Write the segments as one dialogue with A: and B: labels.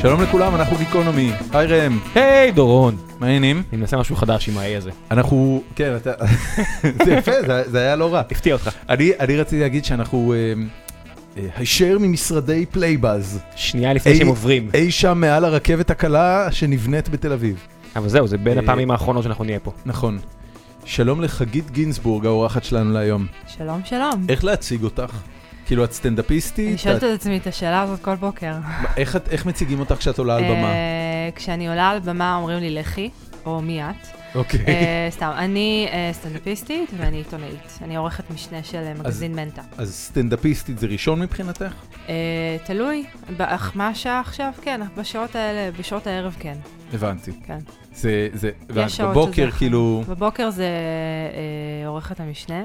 A: שלום לכולם, אנחנו גיקונומי. היי ראם,
B: היי דורון.
A: מה העניינים?
B: אני מנסה משהו חדש עם ה-A הזה.
A: אנחנו... כן, אתה... זה יפה, זה- זה היה לא רע.
B: הפתיע אותך.
A: אני אני רציתי להגיד שאנחנו... אמ, אה, הישר ממשרדי פלייבאז.
B: שנייה לפני שהם עוברים.
A: אי שם מעל הרכבת הקלה שנבנית בתל אביב.
B: אבל זהו, זה בין
A: אה,
B: הפעמים האחרונות שאנחנו נהיה פה.
A: נכון. שלום לחגית גינזבורג, האורחת שלנו להיום.
C: שלום, שלום.
A: איך להציג אותך? כאילו, את סטנדאפיסטית?
C: אני שואלת
A: את-
C: את עצמי את השאלה הזאת כל בוקר.
A: איך את- איך מציגים אותך כשאת עולה על במה?
C: אה, כשאני עולה על במה אומרים לי לכי, או מי את.
A: אוקיי.
C: אה, סתם, אני אה, סטנדאפיסטית ואני עיתונאית. אני עורכת משנה של אה, מגזין מנטה.
A: אז סטנדאפיסטית זה ראשון מבחינתך?
C: אה, תלוי, באח- מה השעה עכשיו? כן, בשעות האלה, בשעות הערב כן.
A: הבנתי.
C: כן.
A: זה, זה, ואת
C: שעות שזה
A: בבוקר
C: אחר.
A: כאילו
C: בבוקר זה אה, עורכת המשנה.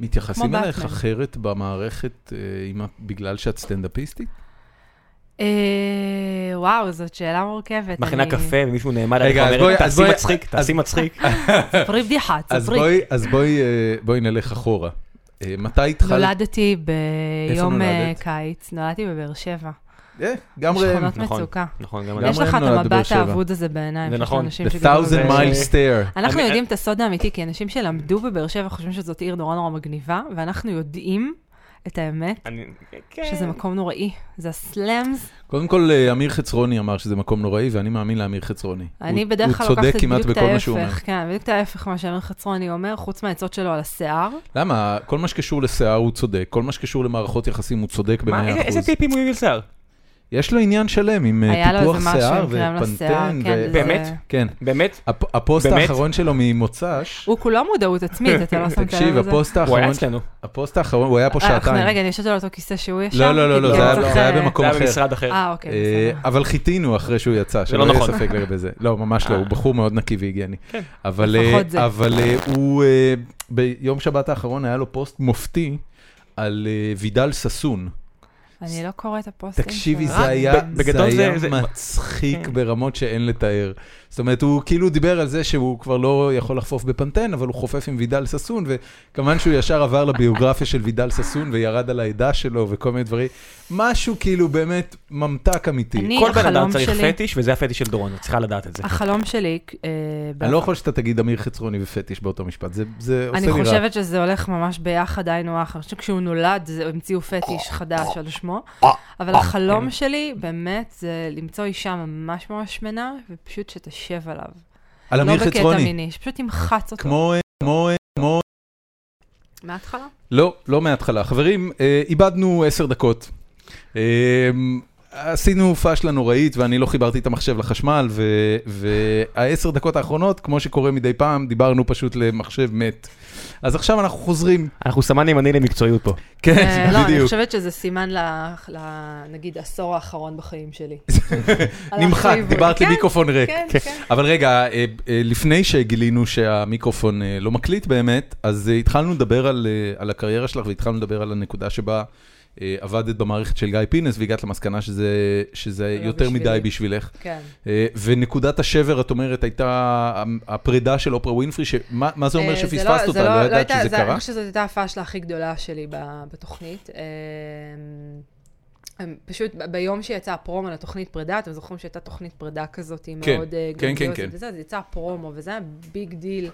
A: מתייחסים
C: כמו
A: אלייך
C: באטמן.
A: אחרת במערכת אה, עם, ה- בגלל שאת סטנדאפיסטית?
C: אה, וואו, זאת שאלה מורכבת.
B: מכינה
C: אני-
B: קפה ומישהו נעמד עליך
A: רגע, אז בואי-
B: ואומר,
A: אז
B: תעשי
A: בואי-
B: מצחיק,
A: אז-
B: תעשי מצחיק.
C: ספרי בדיחה,
A: אז
C: ספרי.
A: בואי, אז בואי, אה, בואי נלך אחורה. אה, מתי התחלת?
C: נולדתי ביום אה,
A: נולדת?
C: קיץ, נולדתי בבאר שבע.
A: אה, גם ראם.
C: בשכונות
B: נכון.
C: מצוקה.
B: נכון, גם
A: למה
C: יש
B: לגמרי.
C: לך
A: הם
C: את
A: נולד בבאר
C: המבט
A: שבע?
C: האבוד הזה בעיניים.
B: זה
C: שיש
B: נכון.
C: לאנשים
A: The
C: שגדלו
A: thousand
C: בבאר
A: mile
C: שבע.
A: stare.
C: אנחנו
B: אני-
C: יודעים את הסוד האמיתי, כי אנשים שלמדו בבאר שבע חושבים שזאת עיר נורא נורא מגניבה, ואנחנו יודעים את האמת,
B: אני- כן.
C: שזה מקום נוראי. זה הסלאמס.
A: קודם כל, אה, אמיר חצרוני אמר שזה מקום נוראי, ואני מאמין לאמיר חצרוני.
C: אני
A: הוא-
C: בדרך כלל
A: הוא צודק
C: לוקחת את
A: כמעט
C: בדיוק את
A: בכל מה שהוא אומר.
C: ההפך, כן, בדיוק את ההפך מה שאמיר חצרוני אומר, חוץ מהעצות שלו על השיער.
A: למה? כל מה שקשור לשיער הוא צודק, כל מה שקשור למערכות יחסים הוא צודק
B: מה, איזה-
A: ב-100%.
B: איזה טיפים הוא יביא לשיער?
A: יש לו עניין שלם עם אה,
C: היה לו
A: טיפוח
C: איזה משהו
A: שיער
C: עם קרם לשיער,
A: ופנטן.
C: כן.
A: ו-
C: זה-
B: באמת?
A: כן.
B: באמת?
A: הפ- הפוסט
B: באמת?
A: האחרון שלו ממוצ"ש,
C: הוא כולו מודעות עצמית, אתה לא שמת
A: תקשיב,
C: לב לזה.
A: הפוסט
B: הוא היה
A: האחרון,
B: אצלנו.
A: הפוסט האחרון, הוא היה פה
C: אה, אנחנו-
A: שעתיים.
C: רגע, אני יושבת על אותו כיסא שהוא ישב.
A: לא, לא, לא, לא,
C: כי
A: זה היה-
C: צריך,
A: זה היה
C: אה,
A: במקום
B: זה היה
A: אחר.
B: במשרד אחר.
C: אה, אוקיי,
A: אה,
C: בסדר.
A: אבל חיכינו אחרי שהוא יצא, שלא
B: לא
A: יהיה
B: נכון. אה. כן.
A: ספק לגבי זה. לא, ממש לא, הוא בחור מאוד נקי והיגייני. אבל
C: לפחות
A: אה,
C: זה.
A: אבל, אה, הוא, אה, ביום שבת האחרון היה לו פוסט מופתי על אה, וידל ששון.
C: אני לא קוראת את הפוסטים
A: תקשיבי,
C: שלו.
A: זה היה,
B: ב-
A: זה
B: בגדול
A: היה
B: זה- זה-
A: מצחיק
B: כן.
A: ברמות שאין לתאר. זאת אומרת, הוא כאילו דיבר על זה שהוא כבר לא יכול לחפוף בפנטן, אבל הוא חופף עם וידל ששון, וכמובן שהוא ישר עבר לביוגרפיה של וידל ששון וירד על העדה שלו וכל מיני דברים. משהו כאילו באמת ממתק אמיתי.
C: אני-
B: כל בן אדם
C: החלום
B: צריך
C: שלי-
B: פטיש, וזה הפטיש של דורון, את צריכה לדעת את זה.
C: החלום שלי, אה, ב-
A: אני לא יכול שאתה תגיד אמיר חצרוני ופטיש באותו משפט, זה- זה עושה לי
C: אני
A: רע.
C: חושבת שזה הולך ממש ביחד, היינו הך. אני חושבת שכשהוא נולד, זה- המציאו
A: אה.
C: פטיש חדש על שמו. אבל החלום שלי, באמת, זה למצוא אישה ממש ממש שמנה, ופשוט שתשב עליו.
A: על
C: לא
A: אמיר
C: בקטע
A: חצרוני,
C: מיני, שפשוט תמחץ אותו.
A: כמו, אה, כמו, אה, כמו...
C: מההתחלה?
A: לא, לא מההתחלה. חברים, אה, איבדנו עשר דקות. אה, עשינו פאשלה נוראית ואני לא חיברתי את המחשב לחשמל, ו- והעשר דקות האחרונות, כמו שקורה מדי פעם, דיברנו פשוט למחשב מת. אז עכשיו אנחנו חוזרים.
B: אנחנו סמן ימני למקצועיות פה.
C: אה, לא, אני
A: בדיוק.
C: חושבת שזה סימן ל- ל- נגיד, עשור האחרון בחיים שלי. על
A: נמחק,
C: החיים.
A: דיברת
C: כן,
A: למיקרופון ריק.
C: כן, כן.
A: אבל רגע, אה, אה, לפני שגילינו שהמיקרופון אה, לא מקליט באמת, אז אה, התחלנו לדבר על, אה, על הקריירה שלך והתחלנו לדבר על הנקודה שבה אה, עבדת במערכת של גיא פינס והגעת למסקנה שזה, שזה
C: לא
A: יותר
C: בשבילי.
A: מדי בשבילך.
C: כן.
A: אה, ונקודת השבר, את אומרת, הייתה הפרידה של אופרה ווינפרי, שמה מה זה אומר
C: אה,
A: שפספסת
C: זה
A: אותה? לא, ידעת
C: הייתה-
A: שזה
C: זה- אני
A: קרה?
C: חושבת שזאת הייתה הפאשלה הכי גדולה שלי ב- בתוכנית. אמ, אמ, פשוט ב- ביום שיצא הפרומו לתוכנית פרידה, אתם זוכרים שהייתה תוכנית פרידה כזאת, היא
A: כן,
C: מאוד אה,
A: כן, כן,
C: גרנדיוזית
A: כן.
C: וזה, אז יצא הפרומו, וזה היה ביג דיל.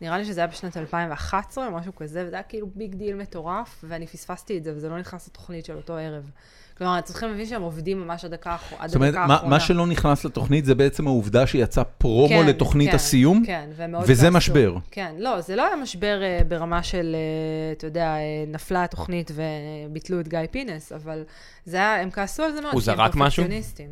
C: נראה לי שזה היה בשנת 2011 או משהו כזה, וזה היה כאילו ביג דיל מטורף, ואני פספסתי את זה, וזה לא נכנס לתוכנית של אותו ערב. כלומר, אתם צריכים להבין שהם עובדים ממש עד הדקה האחרונה.
A: זאת אומרת, מה, מה שלא נכנס לתוכנית זה בעצם העובדה שיצא פרומו לתוכנית הסיום?
C: כן, ומאוד
A: וזה
C: כעסו.
A: משבר.
C: כן, לא, זה לא היה משבר אה, ברמה של, אה, אתה יודע, אה, נפלה התוכנית וביטלו את גיא פינס, אבל זה היה, הם כעסו על זה מאוד.
B: הוא
C: כי הם
B: זרק משהו?
C: פרפקציוניסטים.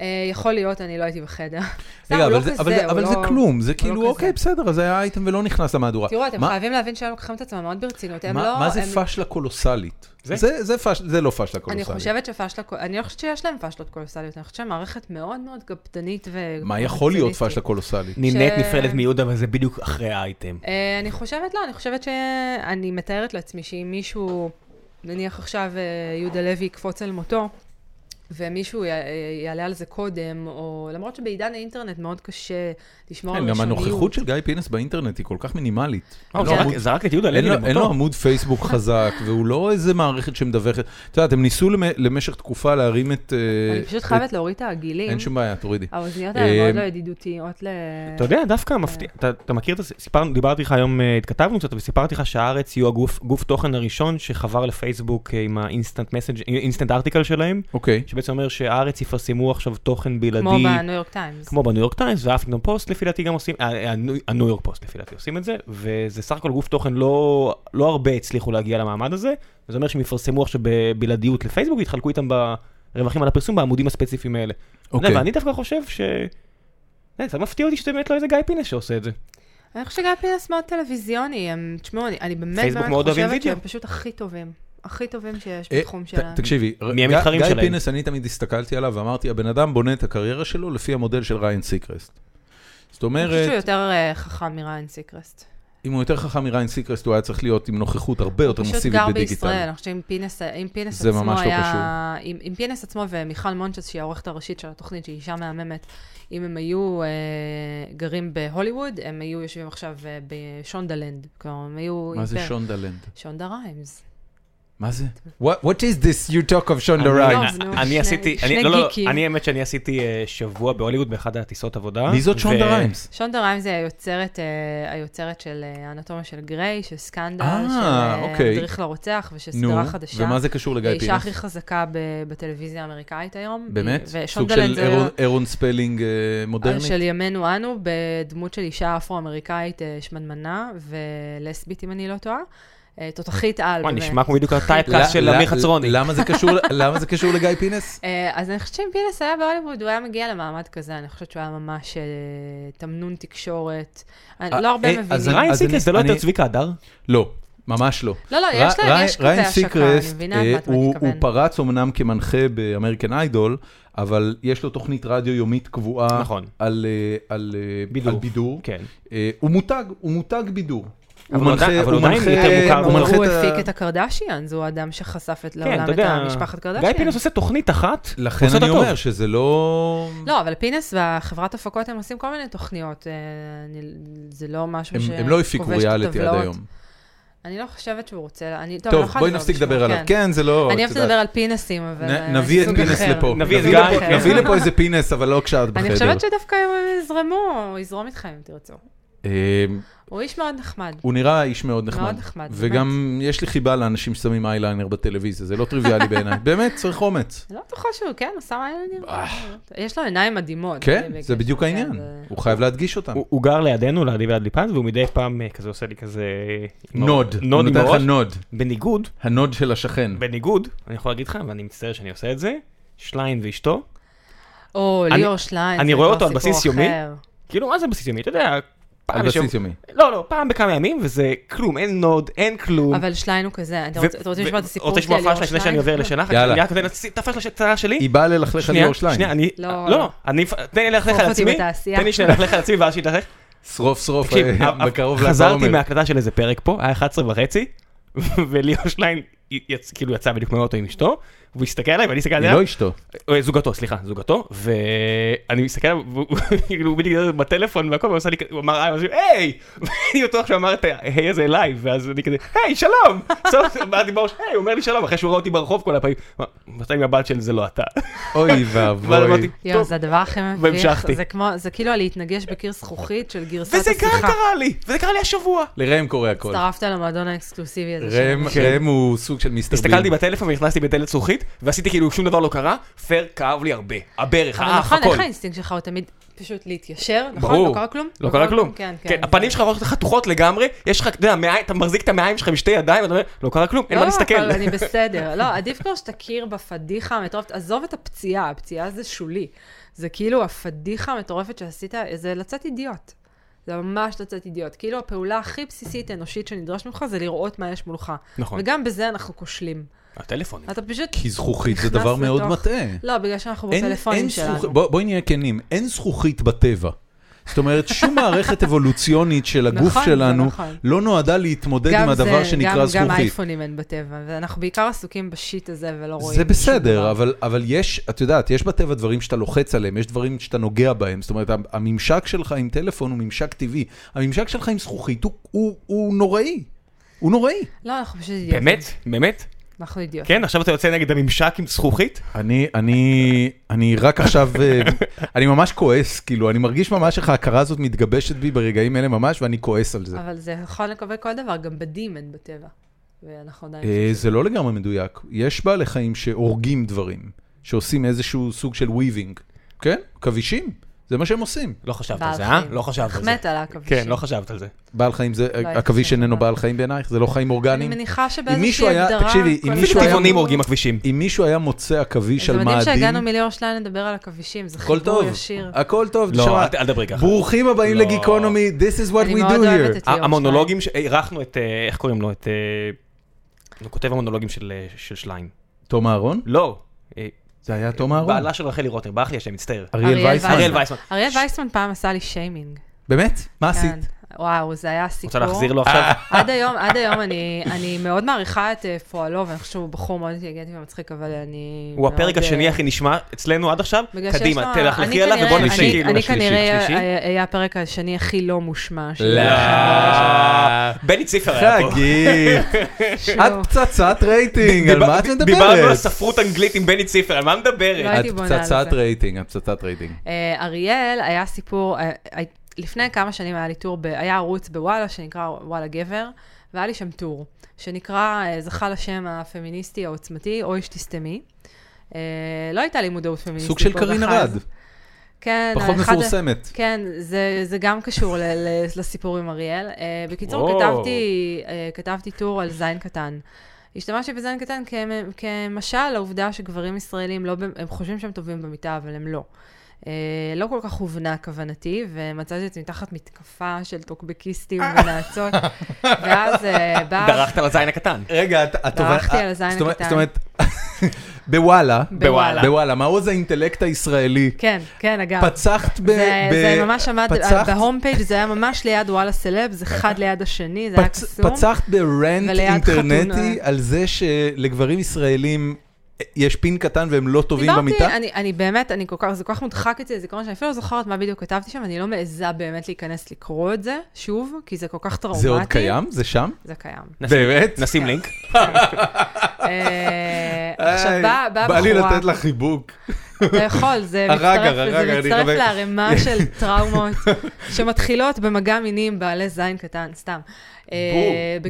C: אה, יכול להיות, אני לא הייתי בחדר. סתם,
A: רגע,
C: הוא
A: אבל
C: לא
A: זה-
C: כזה,
A: אבל זה-
C: הוא
A: אבל זה
C: לא-
A: כלום, זה
C: הוא לא
A: כאילו,
C: כזה.
A: אוקיי, בסדר, אז היה אייטם ולא נכנס למהדורה.
C: תראו, אתם
A: מה-
C: חייבים להבין שהם לוקחים את עצמם מאוד ברצינות. הם
A: מה,
C: לא...
A: מה זה
C: הם-
A: פאשלה קולוסלית? זה,
B: זה?
A: זה, פש, זה לא פאשלה
C: אני
A: קולוסלית.
C: חושבת שפאשלה, קול- אני לא חושבת שיש להם פאשלות קולוסליות, אני חושבת שהם מערכת מאוד מאוד קפדנית ו...
A: מה יכול להיות פאשלה
C: פרפקציוניסטית.
A: קולוסלית?
B: נינט
C: ש-
B: נפרדת מיהודה, אבל זה בדיוק אחרי האייטם.
C: אה, אני חושבת לא, אני חושבת שאני מתארת לעצמי שאם מישהו, נניח עכשיו אה, יהודה לוי יקפוץ אל מותו, ומישהו י- אה, יעלה על זה קודם, או למרות שבעידן האינטרנט מאוד קשה לשמור על
A: כן, גם
C: ראשוניות.
A: הנוכחות של גיא פינס באינטרנט היא כל כך מינימלית.
B: אה, הוא
A: אין לו
B: זרק-
A: עמוד-
B: זרק את יהודה
A: אין
B: לוי
A: לו- אין לו
B: למותו.
A: עמוד פייסבוק חזק, והוא לא איזה מערכת שמדווחת. את יודעת, הם ניסו למ- למשך תקופה להרים את... אה,
C: אני פשוט
A: את-
C: חייבת להוריד את העגילים.
A: אין שום בעיה, תורידי.
C: האוזניות
A: אה,
C: האלה מאוד לא ידידותיות ל...
B: אתה יודע, דווקא
C: כן.
B: מפתיע, אתה- אתה מכיר את זה, סיפרנו, דיברתי לך היום, אה, התכתבנו קצת, וסיפרתי לך שהארץ יהיו הגוף גוף תוכן הראשון שחבר לפייסבוק אה, עם האינסטנט מסאג' אינסטנט ארטיקל שלהם,
A: אוקיי.
B: שבעצם אומר שהארץ יפרסמו עכשיו תוכן בלעדי,
C: כמו בניו יורק טיימס.
B: כמו בניו יורק טיימס והאפטינום פוסט לפי דעתי גם עושים, אה, הניו הניו יורק פוסט לפי דעתי עושים את זה, וזה סך הכל גוף תוכן לא, לא הרבה הצליחו להגיע למעמד הזה, וזה אומר שהם יפרסמו עכשיו בבלעדיות לפייסבוק ויתחלקו איתם ברווחים על הפרסום בעמודים הספציפיים האלה.
A: אוקיי.
C: לא,
B: אוקיי. ואני דווקא חושב ש... אה, זה מפתיע אותי שזה באמת לא איזה גיא פינס שעושה את זה.
C: אני חושבת שגיא פינס מאוד טלוויזיוני, הם, תשמעו, אני, אני באמת
B: פייסבוק
C: באמת
B: מאוד אוהבים
C: חושבת
B: וידאו.
C: שהם פשוט הכי טובים, הכי טובים שיש
A: אה,
C: בתחום
A: ת-
C: שלהם.
A: תקשיבי,
B: מי
A: גיא-
B: המתחרים
A: גיא
B: שלהם?
A: פינס, אני תמיד הסתכלתי עליו ואמרתי, הבן אדם בונה את הקריירה שלו לפי המודל של ריין סיקרסט. זאת
C: אני חושבת שהוא
A: אומרת,
C: יותר אה, חכם מריין סיקרסט.
A: אם הוא יותר חכם מריין סיקרסט, הוא היה צריך להיות עם נוכחות הרבה יותר
C: פשוט
A: מסיבית
C: גר בישראל,
A: בדיגיטל.
C: אני חושבת שאם פינס, אם פינס
A: זה
C: עצמו
A: ממש לא
C: היה... אם, אם פינס עצמו ומיכל מונצ'ס, שהיא העורכת הראשית של התוכנית, שהיא אישה מהממת, אם הם היו אה, גרים בהוליווד, הם היו יושבים עכשיו אה, בשונדלנד. כלומר, הם היו...
A: מה זה
C: אימפריה.
A: שונדלנד?
C: שונדה ריימס.
A: מה זה? What what is this you talk of שונדה
B: אני-
A: ריין?
C: לא, אז נו,
B: אני
C: שני-
B: עשיתי,
C: שני
B: אני- לא, לא,
C: גיקים.
B: אני האמת שאני עשיתי אה, שבוע בהוליווד באחד הטיסות עבודה.
A: מי זאת
B: ו-
A: שונדה ריימס?
C: שונדה ריימס היא היוצרת, אה, היוצרת של אה, האנטומיה של גריי, של סקנדל,
A: אה,
C: של אה,
A: אוקיי.
C: המדריך לרוצח,
A: נו,
C: ושסדרה חדשה.
A: ומה זה קשור לגיא
C: היא האישה
A: פינס?
C: הכי חזקה ב- בטלוויזיה האמריקאית היום.
A: באמת?
C: היא-
A: סוג
C: ושונדלנד
A: של
C: זה...
A: אירון- אירון ספלינג אה, מודרנית?
C: של ימינו אנו, בדמות של אישה אפרו-אמריקאית אה, שמנמנה ולסבית, אם אני לא טועה. אה, תותחית על,
B: וואי,
C: באמת.
B: נשמע כמו בדיוק
A: ל-
B: הטייפקאסט של
A: ל-
B: אמיר חצרוני.
A: למה זה קשור- למה זה קשור לגיא פינס?
C: אה, אז אני חושבת שאם פינס היה בהוליווד, הוא היה מגיע למעמד כזה, אני חושבת שהוא היה ממש אה, תמנון תקשורת. אני-
A: אה,
C: לא הרבה
A: אה,
C: מבינים.
A: אז
B: ריין
A: אז אני-
B: סיקרס זה לא
A: אני-
B: יותר צביקה הדר?
A: לא, ממש לא.
C: לא, לא, יש
A: ר-
C: להם,
A: ר-
C: יש כזה
A: ריין
C: השקה, אני
A: סיקרסט,
C: מבינה
A: אה,
C: למה אתה
A: הוא- הוא
C: מתכוון.
A: פרץ אמנם כמנחה באמריקן איידול, אבל יש לו תוכנית רדיו יומית קבועה
B: נכון.
A: על אה, על, אה,
B: בידור.
A: על בידור.
B: כן.
A: אה, הוא מותג, הוא מותג בידור.
B: אבל
A: הוא
B: הוא עדיין-
A: מנחה-
B: אבל
A: הוא
B: הוא עדיין
A: מנחה-
B: יותר מוכר
A: הוא
B: במובן-
A: מנחה
C: הוא
A: ה-
C: הפיק את הקרדשיאנס, הוא האדם שחשף את
B: כן,
C: לעולם
B: אתה
C: את
B: יודע,
C: לא, המשפחת
B: גיא
C: קרדשיאנס.
B: פינס עושה תוכנית אחת,
A: לכן
B: עושה אותה
A: אני
B: טוב.
A: אומר שזה לא...
C: לא, אבל פינס והחברת הפקות הם עושים כל מיני תוכניות. אה, אני- זה לא משהו
A: הם-
C: שכובש את
A: הם לא הפיקו ריאליטי עד
C: הטבלאות.
A: היום.
C: אני לא חושבת שהוא רוצה, אני, טוב, אני לא
A: טוב,
C: יכולה
A: בואי
C: לדבר
A: נפסיק
C: בשמו,
A: לדבר עליו. כן, זה לא...
C: אני
A: את
C: אוהבת
A: יודעת.
C: לדבר על פינס,ים אבל...
A: נ-
C: אה,
A: נביא את
C: סוג
A: פינס
C: אחר.
A: לפה.
B: נביא את
A: נביא
B: גיא,
A: לפה-
B: כן.
A: נביא לפה איזה פינס, אבל לא כשאת בחדר.
C: אני חושבת שדווקא הם יזרמו, הוא יזרום איתכם אם תרצו.
A: אה,
C: הוא איש מאוד נחמד.
A: הוא נראה איש מאוד נחמד.
C: מאוד נחמד,
A: וגם יש לי חיבה לאנשים ששמים אייליינר בטלוויזיה, זה לא טריוויאלי בעיניי. באמת, צריך אומץ.
C: אני לא בטוחה שהוא, כן, הוא שם עיניים.
A: אה.
C: יש לו עיניים מדהימות.
A: כן,
C: בגלל
A: זה בדיוק
C: כן,
A: העניין.
C: זה-
A: הוא חייב להדגיש אותם.
B: הוא הוא גר לידינו, לידי ועד ליפז, והוא מדי פעם אה, כזה עושה לי כזה... עם
A: נוד.
B: הראש-
A: הוא
B: נוד עם
A: נותן
B: הראש.
A: לך נוד.
B: בניגוד,
A: הנוד של השכן.
B: בניגוד, אני יכול להגיד לך, ואני מצטער שאני עושה את זה, שליין ואשתו,
C: או
B: אני-
C: ליאור שליין.
B: אני
C: זה
B: רואה
C: כבר
B: אותו על
C: סיפור
B: בסיס יומי.
C: אחר.
B: כאילו, מה זה בסיס יומי? אתה יודע, פעם
A: על
B: בשבוע-
A: בסיס יומי.
B: לא, לא, פעם בכמה ימים, וזה כלום, אין נוד, אין כלום.
C: אבל שליין הוא כזה, אתה
B: ו-
C: רוצה- אתה רוצה
B: ו-
C: לשמוע את הסיפור
B: רוצה
C: שלי
B: לשמוע
C: על ליאור
B: הפרעה שלה
C: שליין?
B: לפני שאני עובר לשנה אחת?
A: יאללה.
B: אני רק נותן את את הפרש לשנה שלי?
A: היא באה ללכלך על
B: שנייה,
A: ליאור
B: שנייה,
A: שליין.
B: אני...
C: לא,
B: לא,
C: לא.
B: לא, אני... תן לי ללכלך
C: שרוף
B: על
C: אותי
B: עצמי,
C: בתעשייה.
B: תן לי שנייה ללכלך על עצמי ואז שתלכלך.
A: שרוף שרוף
B: תקשיב,
A: אה,
B: אבל-
A: בקרוב ל"ג
B: חזרתי
A: בעומר.
B: מהקלטה של איזה פרק פה, היה 11 וחצי, וליאור שליין י- יצ- כאילו יצא בדיוק מהאוטו עם אשתו, והוא הסתכל עליי ואני הסתכל
A: היא
B: עליה,
A: לא אשתו.
B: אה, זוגתו, סליחה, זוגתו, ואני מסתכל עליו, והוא- כאילו הוא בדיוק מדבר בטלפון והכל, והוא עושה לי כזה, הוא אמר, היי, משהו, היי, ואני בטוח שהוא אמר את ההיי הזה אליי, ואז אני כזה, היי, שלום, סוף, באתי בראש, היי, הוא אומר לי שלום, אחרי שהוא ראה אותי ברחוב כל הפעמים, הוא אמר, "אתה עם הבת של זה לא אתה,
A: אוי
B: ואז
A: ואבוי.
B: אמרתי,
C: יואו,
B: טוב,
C: זה הדבר הכי מביך.
B: והמשכתי.
C: זה כמו, זה כאילו להתנגש בקיר זכוכית של גרסת
B: וזה
C: השיחה.
B: גם קרה לי, וזה קרה לי השבוע.
A: לראם קורה הכל.
C: הצטרפת למועדון האקסקלוסיבי הזה.
A: ראם
C: שלנו.
A: ראם הוא סוג של מיסטר בין.
B: כן. הסתכלתי בטלפון ונכנסתי בדלת זכוכית, ועשיתי כאילו שום דבר לא קרה, פייר כאב לי הרבה, הברך,
C: אבל
B: האף,
C: נכון,
B: אה, הכל.
C: איך האינסטינקט שלך הוא תמיד פשוט להתיישר, נכון?
A: ברור.
C: לא קרה כלום?
B: לא קרה כלום.
C: כן,
B: כן,
C: כן.
B: הפנים שלך הולכות חתוכות לגמרי, יש לך, אתה יודע, מעי- אתה מחזיק את המעיים שלך בשתי ידיים, אתה אומר, לא קרה כלום, אין
C: לא,
B: מה להסתכל.
C: אבל אני בסדר. לא, עדיף כבר שתכיר בפדיחה המטורפת. עזוב את הפציעה, הפציעה זה שולי. זה כאילו הפדיחה המטורפת שעשית, זה לצאת אידיוט. זה ממש לצאת אידיוט. כאילו הפעולה הכי בסיסית אנושית שנדרש ממך זה לראות מה יש מולך.
B: נכון.
C: וגם בזה אנחנו כושלים.
B: הטלפונים.
C: אתה פשוט...
A: כי זכוכית זה
C: נכנס
A: דבר מאוד
C: לתוך-
A: מטעה.
C: לא, בגלל שאנחנו
A: אין-
C: בפלאפונים
A: אין
C: שלנו.
A: זכוכ- בוא- בואי נהיה כנים, אין זכוכית בטבע. זאת אומרת, שום מערכת אבולוציונית של הגוף
C: נכון, זה
A: שלנו
C: נכון.
A: לא נועדה להתמודד עם הדבר שנקרא
C: גם, גם
A: זכוכית.
C: אייפונים אין בטבע, ואנחנו בעיקר עסוקים בשיט הזה ולא רואים
A: זה
C: שום
A: בסדר,
C: דבר.
A: אבל, אבל יש, את יודעת, יש בטבע דברים שאתה לוחץ עליהם, יש דברים שאתה נוגע בהם. זאת אומרת, הממשק שלך עם טלפון הוא ממשק טבעי. הממשק שלך עם זכוכית הוא, הוא, הוא נוראי. הוא נוראי.
C: לא, אנחנו פשוט אידיוטים.
B: באמת? באמת?
C: אנחנו אידיוטים.
B: כן, עכשיו אתה יוצא נגד הממשק עם זכוכית?
A: אני, אני, אני רק עכשיו, אה, אני ממש כועס, כאילו, אני מרגיש ממש איך ההכרה הזאת מתגבשת בי ברגעים אלה ממש, ואני כועס על
B: כן.
A: זה.
C: אבל זה נכון לגבי כל דבר, גם בדים אין בטבע. ואנחנו עדיין...
A: אה, זה לא לגמרי מדויק. יש בעלי חיים שהורגים דברים, שעושים איזשהו סוג של וויבינג. כן? כבישים, זה מה שהם עושים.
B: לא חשבת על
C: בעל
B: זה, אה?
C: חיים.
B: לא חשבת על זה.
C: החמאת על העכבישים.
B: כן, לא חשבת על זה.
A: בעל חיים זה,
C: הייתי
A: עכביש
C: חושבת
A: איננו
C: עליו.
A: בעל חיים בעינייך? זה לא חיים
C: כן. אני
A: אורגניים?
C: מניחה
A: אם מישהו
C: שבאיזושהי
A: היה-
C: הגדרה...
A: תקשיבי, אם
C: כל
A: מישהו
B: אפילו
C: הדברים-
A: היה-
B: טבעונים הורגים עכבישים.
A: אם מישהו היה מוצא עכביש
C: זה
A: על
C: מדהים שהגענו
A: מאדים,
C: מליאור שליין לדבר על עכבישים, זה
A: הכל
C: חיבור
A: טוב,
C: ישיר.
A: הכל טוב,
B: לא,
A: תשמע,
B: אל ת- אל תדברי ככה.
A: ברוכים הבאים
B: לא.
A: לגיקונומי, this is what
C: אני
A: we do
C: מאוד אוהבת
A: here.
C: את ליאור
B: המונולוגים, ש- אירחנו את, אה, איך קוראים לו? את... אה, הוא כותב המונולוגים של אה, של שליין.
A: תום אהרון?
B: לא. אה,
A: זה היה תום אהרון.
B: בעלה של רחלי רוטר, ברח לי השם, מצטער.
A: אריאל וייסמן.
B: אריאל וייסמן.
C: אריאל וייסמן פעם עשה לי שיימינג.
A: באמת? מה
C: כן.
A: עשית?
C: וואו, זה היה סיפור.
B: רוצה להחזיר לו עכשיו?
C: עד היום, עד היום אני, אני מאוד מעריכה את אה, פועלו, ואני חושבת שהוא בחור מאוד אינטליגנטי ומצחיק, אבל אני...
B: הוא הפרק
C: מאוד, אה,
B: השני הכי נשמע אצלנו עד עכשיו.
C: בגלל שיש
B: קדימה,
C: לו-
B: תלכלכי
C: אני
B: עליו
C: כנראה-
B: ובוא
C: אני-
B: נמשיך. כאילו
C: אני
B: לשלישי,
C: כנראה
B: שלישי.
C: היה- היה הפרק השני הכי לא מושמע. שלי.
A: לא. אה,
B: בני ציפר היה פה.
A: חגית,
C: שהוא-
A: את פצצת רייטינג, על מה את מדברת?
B: דיברנו על ספרות אנגלית עם בני ציפר, על מה
C: לא
B: מדברת?
C: הייתי
A: את
C: בונה על
A: פצצת
C: זה.
A: רייטינג, את פצצת רייטינג.
C: אה, אריאל, היה סיפור, אה, אה, לפני כמה שנים היה לי טור, ב- היה ערוץ בוואלה שנקרא וואלה גבר, והיה לי שם טור, שנקרא, אה, זכה לשם הפמיניסטי העוצמתי, אוי שתסתמי. אה, לא הייתה לי מודעות פמיניסטית.
A: סוג של
C: פה
A: קרין
C: בכלל.
A: ארד,
C: כן,
A: פחות
C: אחד-
A: מפורסמת.
C: כן, זה, זה גם קשור ל, ל, לסיפור עם אריאל. Uh, בקיצור,
B: וואו.
C: כתבתי, uh, כתבתי טור על זין קטן. השתמשתי בזין קטן כמ, כמשל לעובדה שגברים ישראלים, לא, במ- הם חושבים שהם טובים במיטה, אבל הם לא. Uh, לא כל כך הובנה כוונתי, ומצאתי את עצמי תחת מתקפה של טוקבקיסטים ונאצות, ואז uh, בא...
B: דרכת על הזין הקטן.
A: רגע, את- את...
C: דרכתי
B: אה,
A: עוברת-
C: על הזין
A: זאת אומרת-
C: הקטן.
A: זאת אומרת, בוואלה,
B: בוואלה.
A: בוואלה, מהו זה האינטלקט הישראלי?
C: כן, כן, אגב.
A: פצחת ב...
C: זה,
A: ב-
C: זה ממש עמד,
A: פצחת-
C: בהום פייג' זה היה ממש ליד וואלה סלב, זה אחד ליד השני, זה היה
A: פצ-
C: קסום.
A: פצחת ברנט
C: וליד
A: אינטרנטי
C: חתונה.
A: על זה שלגברים ישראלים יש פין קטן והם לא טובים במיטה?
C: דיברתי, אני, אני באמת, אני כל כך, זה כל כך מודחק אצלי לזיכרון, שאני אפילו לא זוכרת מה בדיוק כתבתי שם, אני לא מעיזה באמת להיכנס לקרוא את זה שוב, כי זה כל כך טראומטי.
A: זה עוד קיים? זה שם?
C: זה קיים.
B: נשים-
A: באמת?
B: נשים לינק.
C: אה, עכשיו,
A: היי,
C: באה בא
A: בא לי
C: בחורה,
A: לתת לך חיבוק.
C: אתה יכול, זה
A: הרגע,
C: מצטרף,
A: הרגע, אני
C: זה מצטרף
A: חבר-
C: לערימה של טראומות שמתחילות במגע מיני עם בעלי זין קטן, סתם. אה,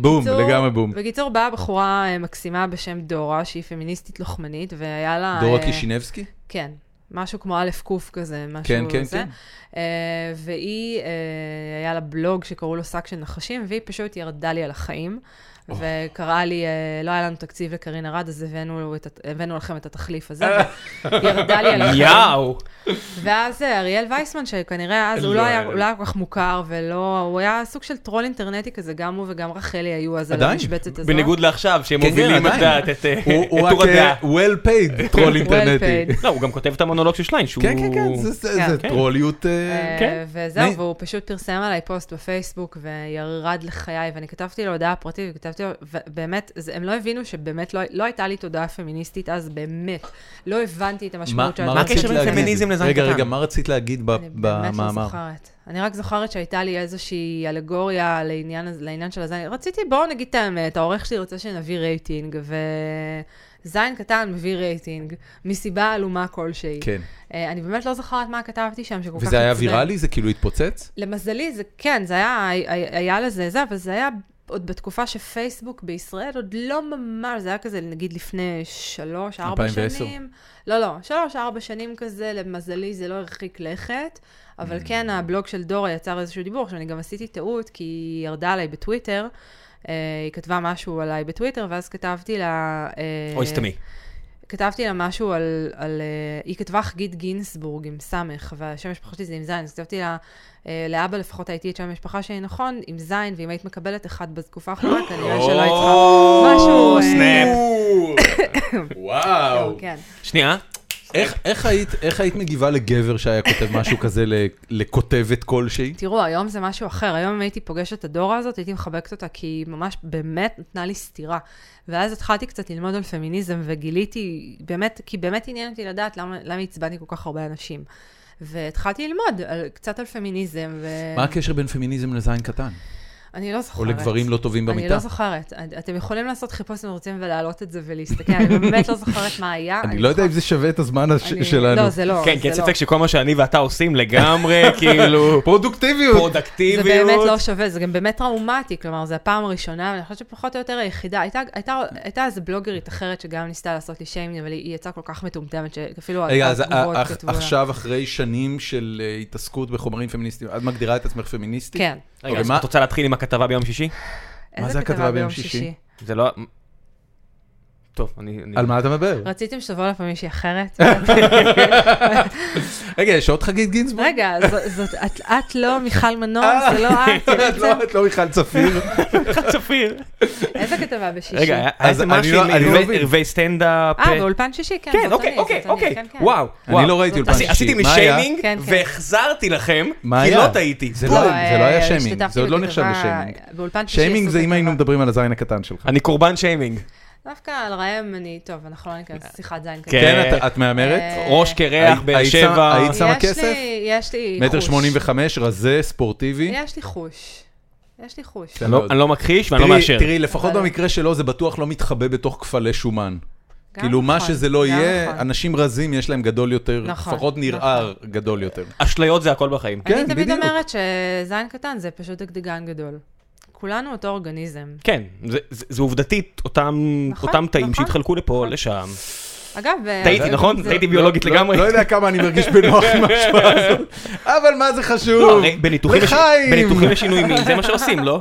A: בום,
C: בקיצור-
A: לגמרי בום.
C: בקיצור, באה בחורה אה, מקסימה בשם דורה, שהיא פמיניסטית לוחמנית, והיה לה...
A: דורה
C: אה,
A: קישינבסקי?
C: כן, משהו כמו א' ק' כזה, משהו
A: כן, כן,
C: זה.
A: כן.
C: אה, והיא, אה, היה לה בלוג שקראו לו שק של נחשים, והיא פשוט ירדה לי על החיים. וקראה לי, אה, לא היה לנו תקציב לקרין ארד, אז הבאנו, את הת- הבאנו לכם את התחליף הזה, וירדה לי על החיים.
B: יאו.
C: ואז אה, אריאל וייסמן, שכנראה אז הוא
A: לא
C: לא
A: היה
C: היה
A: לי.
C: הוא לא היה כל כך מוכר, ולא, הוא היה סוג של טרול אינטרנטי כזה, גם הוא וגם רחלי היו אז על
A: עדיין,
C: המשבצת הזאת.
B: בניגוד לעכשיו, שהם
A: כן, כן,
B: מובילים את
A: עדיין.
B: דעת, את אה,
A: הוא
B: את
A: הוא
B: טור
A: רק
B: הדעה.
A: אה, well paid טרול אינטרנטי.
C: paid.
B: לא, הוא גם כותב את המונולוג של שליין, שהוא...
A: כן, כן, כן, זה- זה
C: כן.
A: זה טרוליות... אה,
B: כן.
C: כן. וזהו,
A: מי-
C: והוא פשוט פרסם עליי פוסט בפייסבוק וירד לחיי, ואני כתבתי לו הודעה פרטית, וכתבתי לו, ובאמת, זה- הם לא הבינו שבאמת לא, לא הייתה לי תודעה פמיניסטית אז, באמת. לא הבנתי את
A: מה
C: המשמעות של
A: מה
C: הדבר.
A: רצית
B: הקשר בין
A: להגיד?
B: פמיניזם לזין
A: רגע,
B: קטן?
A: רגע, מה רצית להגיד ב-
C: אני באמת לא
A: במאמר?
C: זוכרת. אני רק זוכרת שהייתה לי איזושהי אלגוריה לעניין, הזה- לעניין של הזין. רציתי, בואו נגיד את האמת, העורך שלי רוצה שנביא רייטינג, וזין קטן מביא רייטינג, מסיבה עלומה כלשהי.
A: כן.
C: אה, אני באמת לא זוכרת מה כתבתי שם, שכל כך
A: וזה היה
C: עצבן.
A: ויראלי? זה כאילו התפוצץ?
C: למזלי, זה כן, זה היה, היה לזה זה, אבל זה היה עוד בתקופה שפייסבוק בישראל עוד לא ממש, זה היה כזה, נגיד לפני שלוש, ארבע
A: 2010.
C: שנים. לא, לא, שלוש, ארבע שנים כזה, למזלי זה לא הרחיק לכת, אבל
B: Mm.
C: כן, הבלוג של דורה יצר איזשהו דיבור, עכשיו אני גם עשיתי טעות, כי היא ירדה עליי בטוויטר. אה, היא כתבה משהו עליי בטוויטר, ואז כתבתי לה... אה,
B: אוי, סתמי.
C: כתבתי לה משהו על... על אה, היא כתבה חגית גינסבורג עם סמך, והשם משפחה שלי זה עם זין, אז כתבתי לה, אה, לאבא לפחות הייתי את שם המשפחה שלי נכון, עם זין, ואם היית מקבלת אחד בתקופה האחרונה, כנראה שלא היית צריכה משהו... אה,
B: סנאפ.
A: וואו.
C: כן.
B: שנייה.
C: אוקיי.
A: איך- איך היית- איך היית מגיבה לגבר שהיה כותב משהו כזה ל- לכותבת כלשהי?
C: תראו, היום זה משהו אחר. היום אם הייתי פוגשת את הדורה הזאת, הייתי מחבקת אותה, כי היא ממש באמת נתנה לי סטירה. ואז התחלתי קצת ללמוד על פמיניזם, וגיליתי, באמת, כי באמת עניין אותי לדעת למה, למה עצבנתי כל כך הרבה אנשים. והתחלתי ללמוד על, קצת על פמיניזם, ו...
A: מה הקשר בין פמיניזם לזין קטן?
C: אני לא זוכרת.
A: או לגברים לא טובים במיטה?
C: אני לא זוכרת. את- אתם יכולים לעשות חיפוש אם רוצים ולהעלות את זה ולהסתכל, אני באמת לא זוכרת מה היה.
A: אני לא יודע אם
C: זוכרת-
A: זה שווה את הזמן הש-
C: אני-
A: שלנו.
C: לא, זה לא.
B: כן, כי אין
C: זה לא.
B: ספק שכל מה שאני ואתה עושים לגמרי, כאילו,
A: פרודוקטיביות.
B: פרודקטיביות.
C: זה באמת לא שווה, זה גם באמת טראומטי, כלומר, זו הפעם הראשונה, ואני חושבת שפחות או יותר היחידה. הייתה, הייתה, הייתה איזו בלוגרית אחרת שגם ניסתה לעשות לי שיימינג, אבל היא היא יצאה כל כך מטומטמת, שאפילו
A: רגע, אז
C: התגובות
A: ה- ה-
C: כתבו לה.
A: עכשיו, אחרי שנים של אה, התעסקות בחומרים פמיניסטיים, את מגדירה את עצמך פמיניסטית?
C: כן.
B: רגע,
A: אוקיי,
B: אז
A: מה-
B: את רוצה להתחיל עם הכתבה ביום שישי?
A: מה
C: איזה
A: זה
C: כתבה
A: הכתבה ביום שישי?
B: זה לא... טוב, אני... אני-
A: על מה אתה מדבר?
C: רציתם שתבוא לפה מישהי אחרת?
A: רגע, יש עוד חגית גינזבורג?
C: רגע, ז- זאת, את, את לא מיכל מנור, זה לא את
A: את
C: בעצם?
A: לא- את לא מיכל צפיר.
B: צפיר.
C: איזה כתבה בשישי?
B: רגע, היה היה
A: אז
B: איזה
A: אני
B: משהו
A: לא-
B: עם
A: אני לא
B: ערבי-
A: מבין.
B: ערבי סטנדאפ.
C: אה, באולפן שישי, כן.
B: כן,
C: זאת
B: אוקיי,
C: אני,
B: אוקיי,
C: זאת אני,
B: אוקיי.
C: כן, כן.
B: וואו, וואו.
A: אני לא ראיתי
C: זאת-
A: אולפן
B: עשי-
A: שישי.
B: עשיתי לי
A: מה היה?
B: שיימינג,
C: כן, כן.
B: והחזרתי לכם,
A: מה
B: כי
A: היה?
B: לא טעיתי.
A: זה לא-
C: לא,
A: היה
C: אה,
A: שיימינג,
C: השתתפתי
A: זה עוד לא נחשב
C: בכתבה-
A: לשיימינג.
C: באולפן שישי
A: שיימינג
C: עשו
A: זה אם היינו
C: כתבה.
A: מדברים על הזין הקטן שלך.
B: אני קורבן שיימינג.
C: דווקא על ראם אני, טוב, אנחנו לא ניכנס לשיחת זין כזאת.
A: כן, את- את מהמרת?
C: אה,
B: ראש קרח,
A: היית-
B: באר
A: היית
B: שבע.
A: שמה- היית שמה
C: יש לי-
A: כסף?
C: יש לי חוש.
A: מטר שמונים וחמש, רזה, ספורטיבי.
C: יש לי חוש. יש לי חוש.
A: כן.
B: אני לא-
A: מאוד.
B: אני לא מכחיש ואני לא
A: תראי-
B: מאשר.
A: תראי, לפחות
C: אבל-
A: במקרה שלו זה בטוח לא מתחבא בתוך כפלי שומן.
C: גם
A: כאילו, מה
C: נכון,
A: שזה לא
C: גם
A: יהיה,
C: נכון.
A: אנשים רזים יש להם גדול יותר,
C: נכון,
A: לפחות נראה גדול יותר.
B: אשליות זה הכל בחיים.
A: כן,
C: אני תמיד
A: בדיוק.
C: אומרת שזין קטן זה פשוט דגדגן גדול. כולנו אותו אורגניזם.
B: כן, זה- זה זה עובדתית, אותם
C: נכון,
B: אותם תאים
C: נכון,
B: שהתחלקו לפה
C: נכון.
B: לשם.
C: אגב,
B: טעיתי,
C: זה-
B: נכון?
C: זה-
B: טעיתי ביולוגית
A: לא-
B: לגמרי.
A: לא יודע כמה אני מרגיש בנוח עם השוואה הזאת, אבל מה זה
B: לא,
A: חשוב?
B: הרי בניתוחים לש-
A: לחיים.
B: בניתוחים לשינוי מין, זה מה שעושים, לא?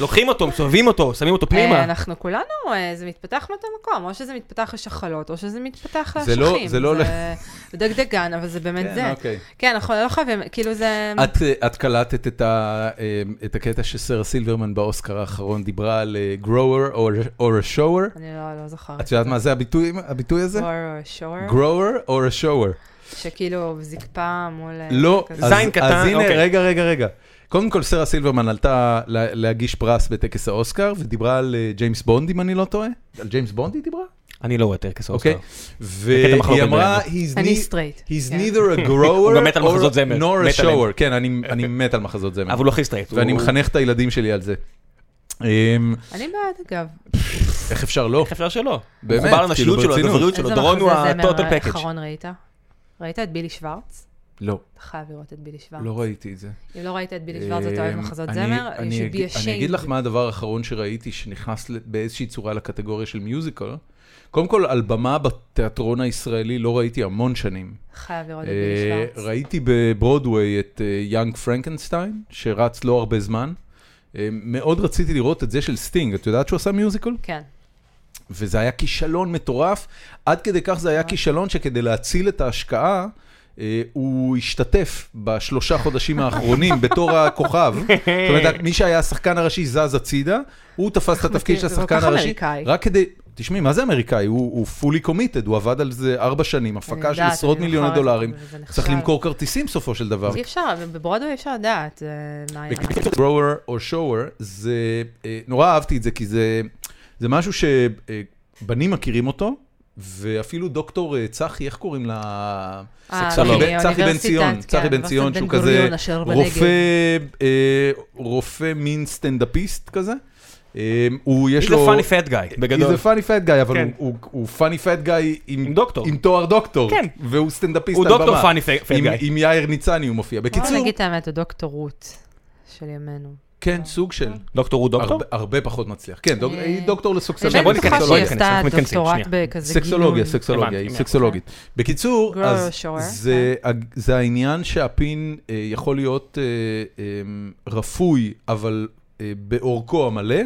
B: לוקחים אותו, מסובבים אותו, שמים אותו
C: אה,
B: פנימה.
C: אנחנו כולנו, אה, זה מתפתח מאותו מקום, או שזה מתפתח לשחלות, או שזה מתפתח
A: זה לא-
C: לאשכים.
A: זה לא
C: זה דגדגן, אבל זה באמת זה.
A: כן, אוקיי.
C: כן, אנחנו לא חייבים, כאילו זה...
A: את, אה, את קלטת את, ה, אה, את הקטע שסרה סילברמן באוסקר האחרון דיברה על אה, grower or, or a shower?
C: אני לא לא זוכרת.
A: את יודעת מה זה הביטוי, הביטוי הזה?
C: or a shore,
A: grower or a shower.
C: שכאילו זקפה מול... אה,
A: לא,
B: אה,
C: כזה.
A: אז,
B: זין קטן,
A: אז הנה,
B: אוקיי.
A: רגע, רגע, רגע. קודם כל, סרה סילברמן עלתה לה, להגיש פרס בטקס האוסקר, ודיברה על אה, ג'יימס בונד, אם אני לא טועה. על ג'יימס בונד היא דיברה?
B: אני לא רואה טקס
A: אוקיי.
B: האוסקר. מחלוקת
A: והיא
B: בינינו.
A: אמרה, he's,
C: אני
A: nei-
C: straight,
A: he's
C: כן.
A: neither a
B: הוא גם
A: grower
B: מת על מחזות
A: or,
B: זמר,
A: nor a
B: מת עליהם.
A: shower. כן, אני, אני מת על מחזות זמר.
B: אבל הוא לא הכי סטרייט.
A: ואני
B: הוא-
A: מחנך את הילדים שלי על זה. אמ,
C: אני בעד, אגב.
A: איך אפשר לא?
B: איך אפשר שלא?
A: באמת,
B: הוא מחובר
A: כאילו,
B: לנשיות שלו,
A: ברצינות.
B: לגבריות שלו,
C: איזה
B: דורון הוא
C: מחזה זמר
B: הטוטל פקאג'.
C: האחרון ראית? ראית את בילי שוורץ?
A: לא,
C: אתה חייב לראות את בילי שוורץ.
A: לא ראיתי את זה.
C: אם לא ראית את בילי שוורץ, אתה אוהב
A: אמ,
C: מחזות
A: אני-
C: זמר, you
A: אני
C: should
A: אגיד-
C: be ashamed.
A: אני אגיד לך מה הדבר האחרון שראיתי שנכנס ל- באיזושהי צורה לקטגוריה של מיוזיקל. קודם כל, על במה בתיאטרון הישראלי לא ראיתי המון שנים.
C: חייב לראות את
A: אה,
C: בילי לא שוורץ.
A: ראיתי בברודוויי את אה, יאנג פרנקנשטיין, שרץ לא הרבה זמן. אה, מאוד רציתי לראות את זה של סטינג, את יודעת שהוא עשה מיוזיקל?
C: כן.
A: וזה היה כישלון מטורף, עד כדי כך
C: אה.
A: זה היה כישלון שכדי להציל את ההשקעה, אה, הוא השתתף בשלושה חודשים האחרונים בתור הכוכב. זאת אומרת, מי שהיה השחקן הראשי זז הצידה, הוא תפס את התפקיד של
C: זה כל
A: השחקן
C: כך
A: הראשי.
C: אמריקאי.
A: רק כדי, תשמעי, מה זה אמריקאי? הוא הוא fully committed, הוא עבד על זה ארבע שנים, הפקה של
C: יודעת,
A: עשרות
C: אני
A: מיליוני
C: זוכרת,
A: דולרים.
C: אבל זה נכשל.
A: צריך למכור כרטיסים בסופו של דבר.
C: אי אפשר, בברודווי אי אפשר לדעת אה, מה היה.
A: grower או shower, זה, אה, נורא אהבתי את זה, כי זה, זה משהו שבנים מכירים אותו, ואפילו דוקטור אה, צחי, איך קוראים לה?
C: אה,
A: צחי
B: לא.
A: בן- צחי בן
C: מאוניברסיטת,
A: ציון,
C: כן,
A: צחי בן ציון,
C: אוניברסיטת
A: שהוא
C: בן
A: כזה
C: גוריון אשר בנגב.
A: רופא, אה, רופא מין סטנדאפיסט כזה. אה, הוא, יש
B: יש לו
A: לו...
B: פאני פאט גאי, בגדול.
A: He's a funny fat guy, אבל
B: כן.
A: הוא- הוא- הוא funny fat guy עם,
B: עם דוקטור.
A: עם תואר דוקטור,
B: כן.
A: והוא סטנדאפיסט
B: הוא
A: על
B: דוקטור
A: במה.
B: פאני פאט
A: עם,
B: גאי.
A: עם יאיר ניצני הוא מופיע.
C: בואו
A: בקיצור,
C: נגיד את האמת, הוא דוקטור רות של ימינו.
A: כן, סוג של.
B: דוקטור הוא דוקטור?
A: הרבה- הרבה פחות מצליח. כן, דוק-
C: אה,
A: היא דוקטור
B: רגע,
C: אני
B: בוא
A: לסוקסולוגיה.
B: ניכנס,
C: בטוחה
B: בוא
C: שהיא
B: ניכנס,
C: עשתה
B: אנחנו מתכנסים,
C: דוקטורט
B: שנייה.
C: בכזה גינון.
A: סקסולוגיה, סקסולוגיה, היא
B: הבנתי,
A: סקסולוגית. בקיצור,
C: Grower
A: אז
C: shower,
A: זה הג- זה העניין שהפין אה, יכול להיות אה, אה, רפוי, אבל אה, באורכו המלא,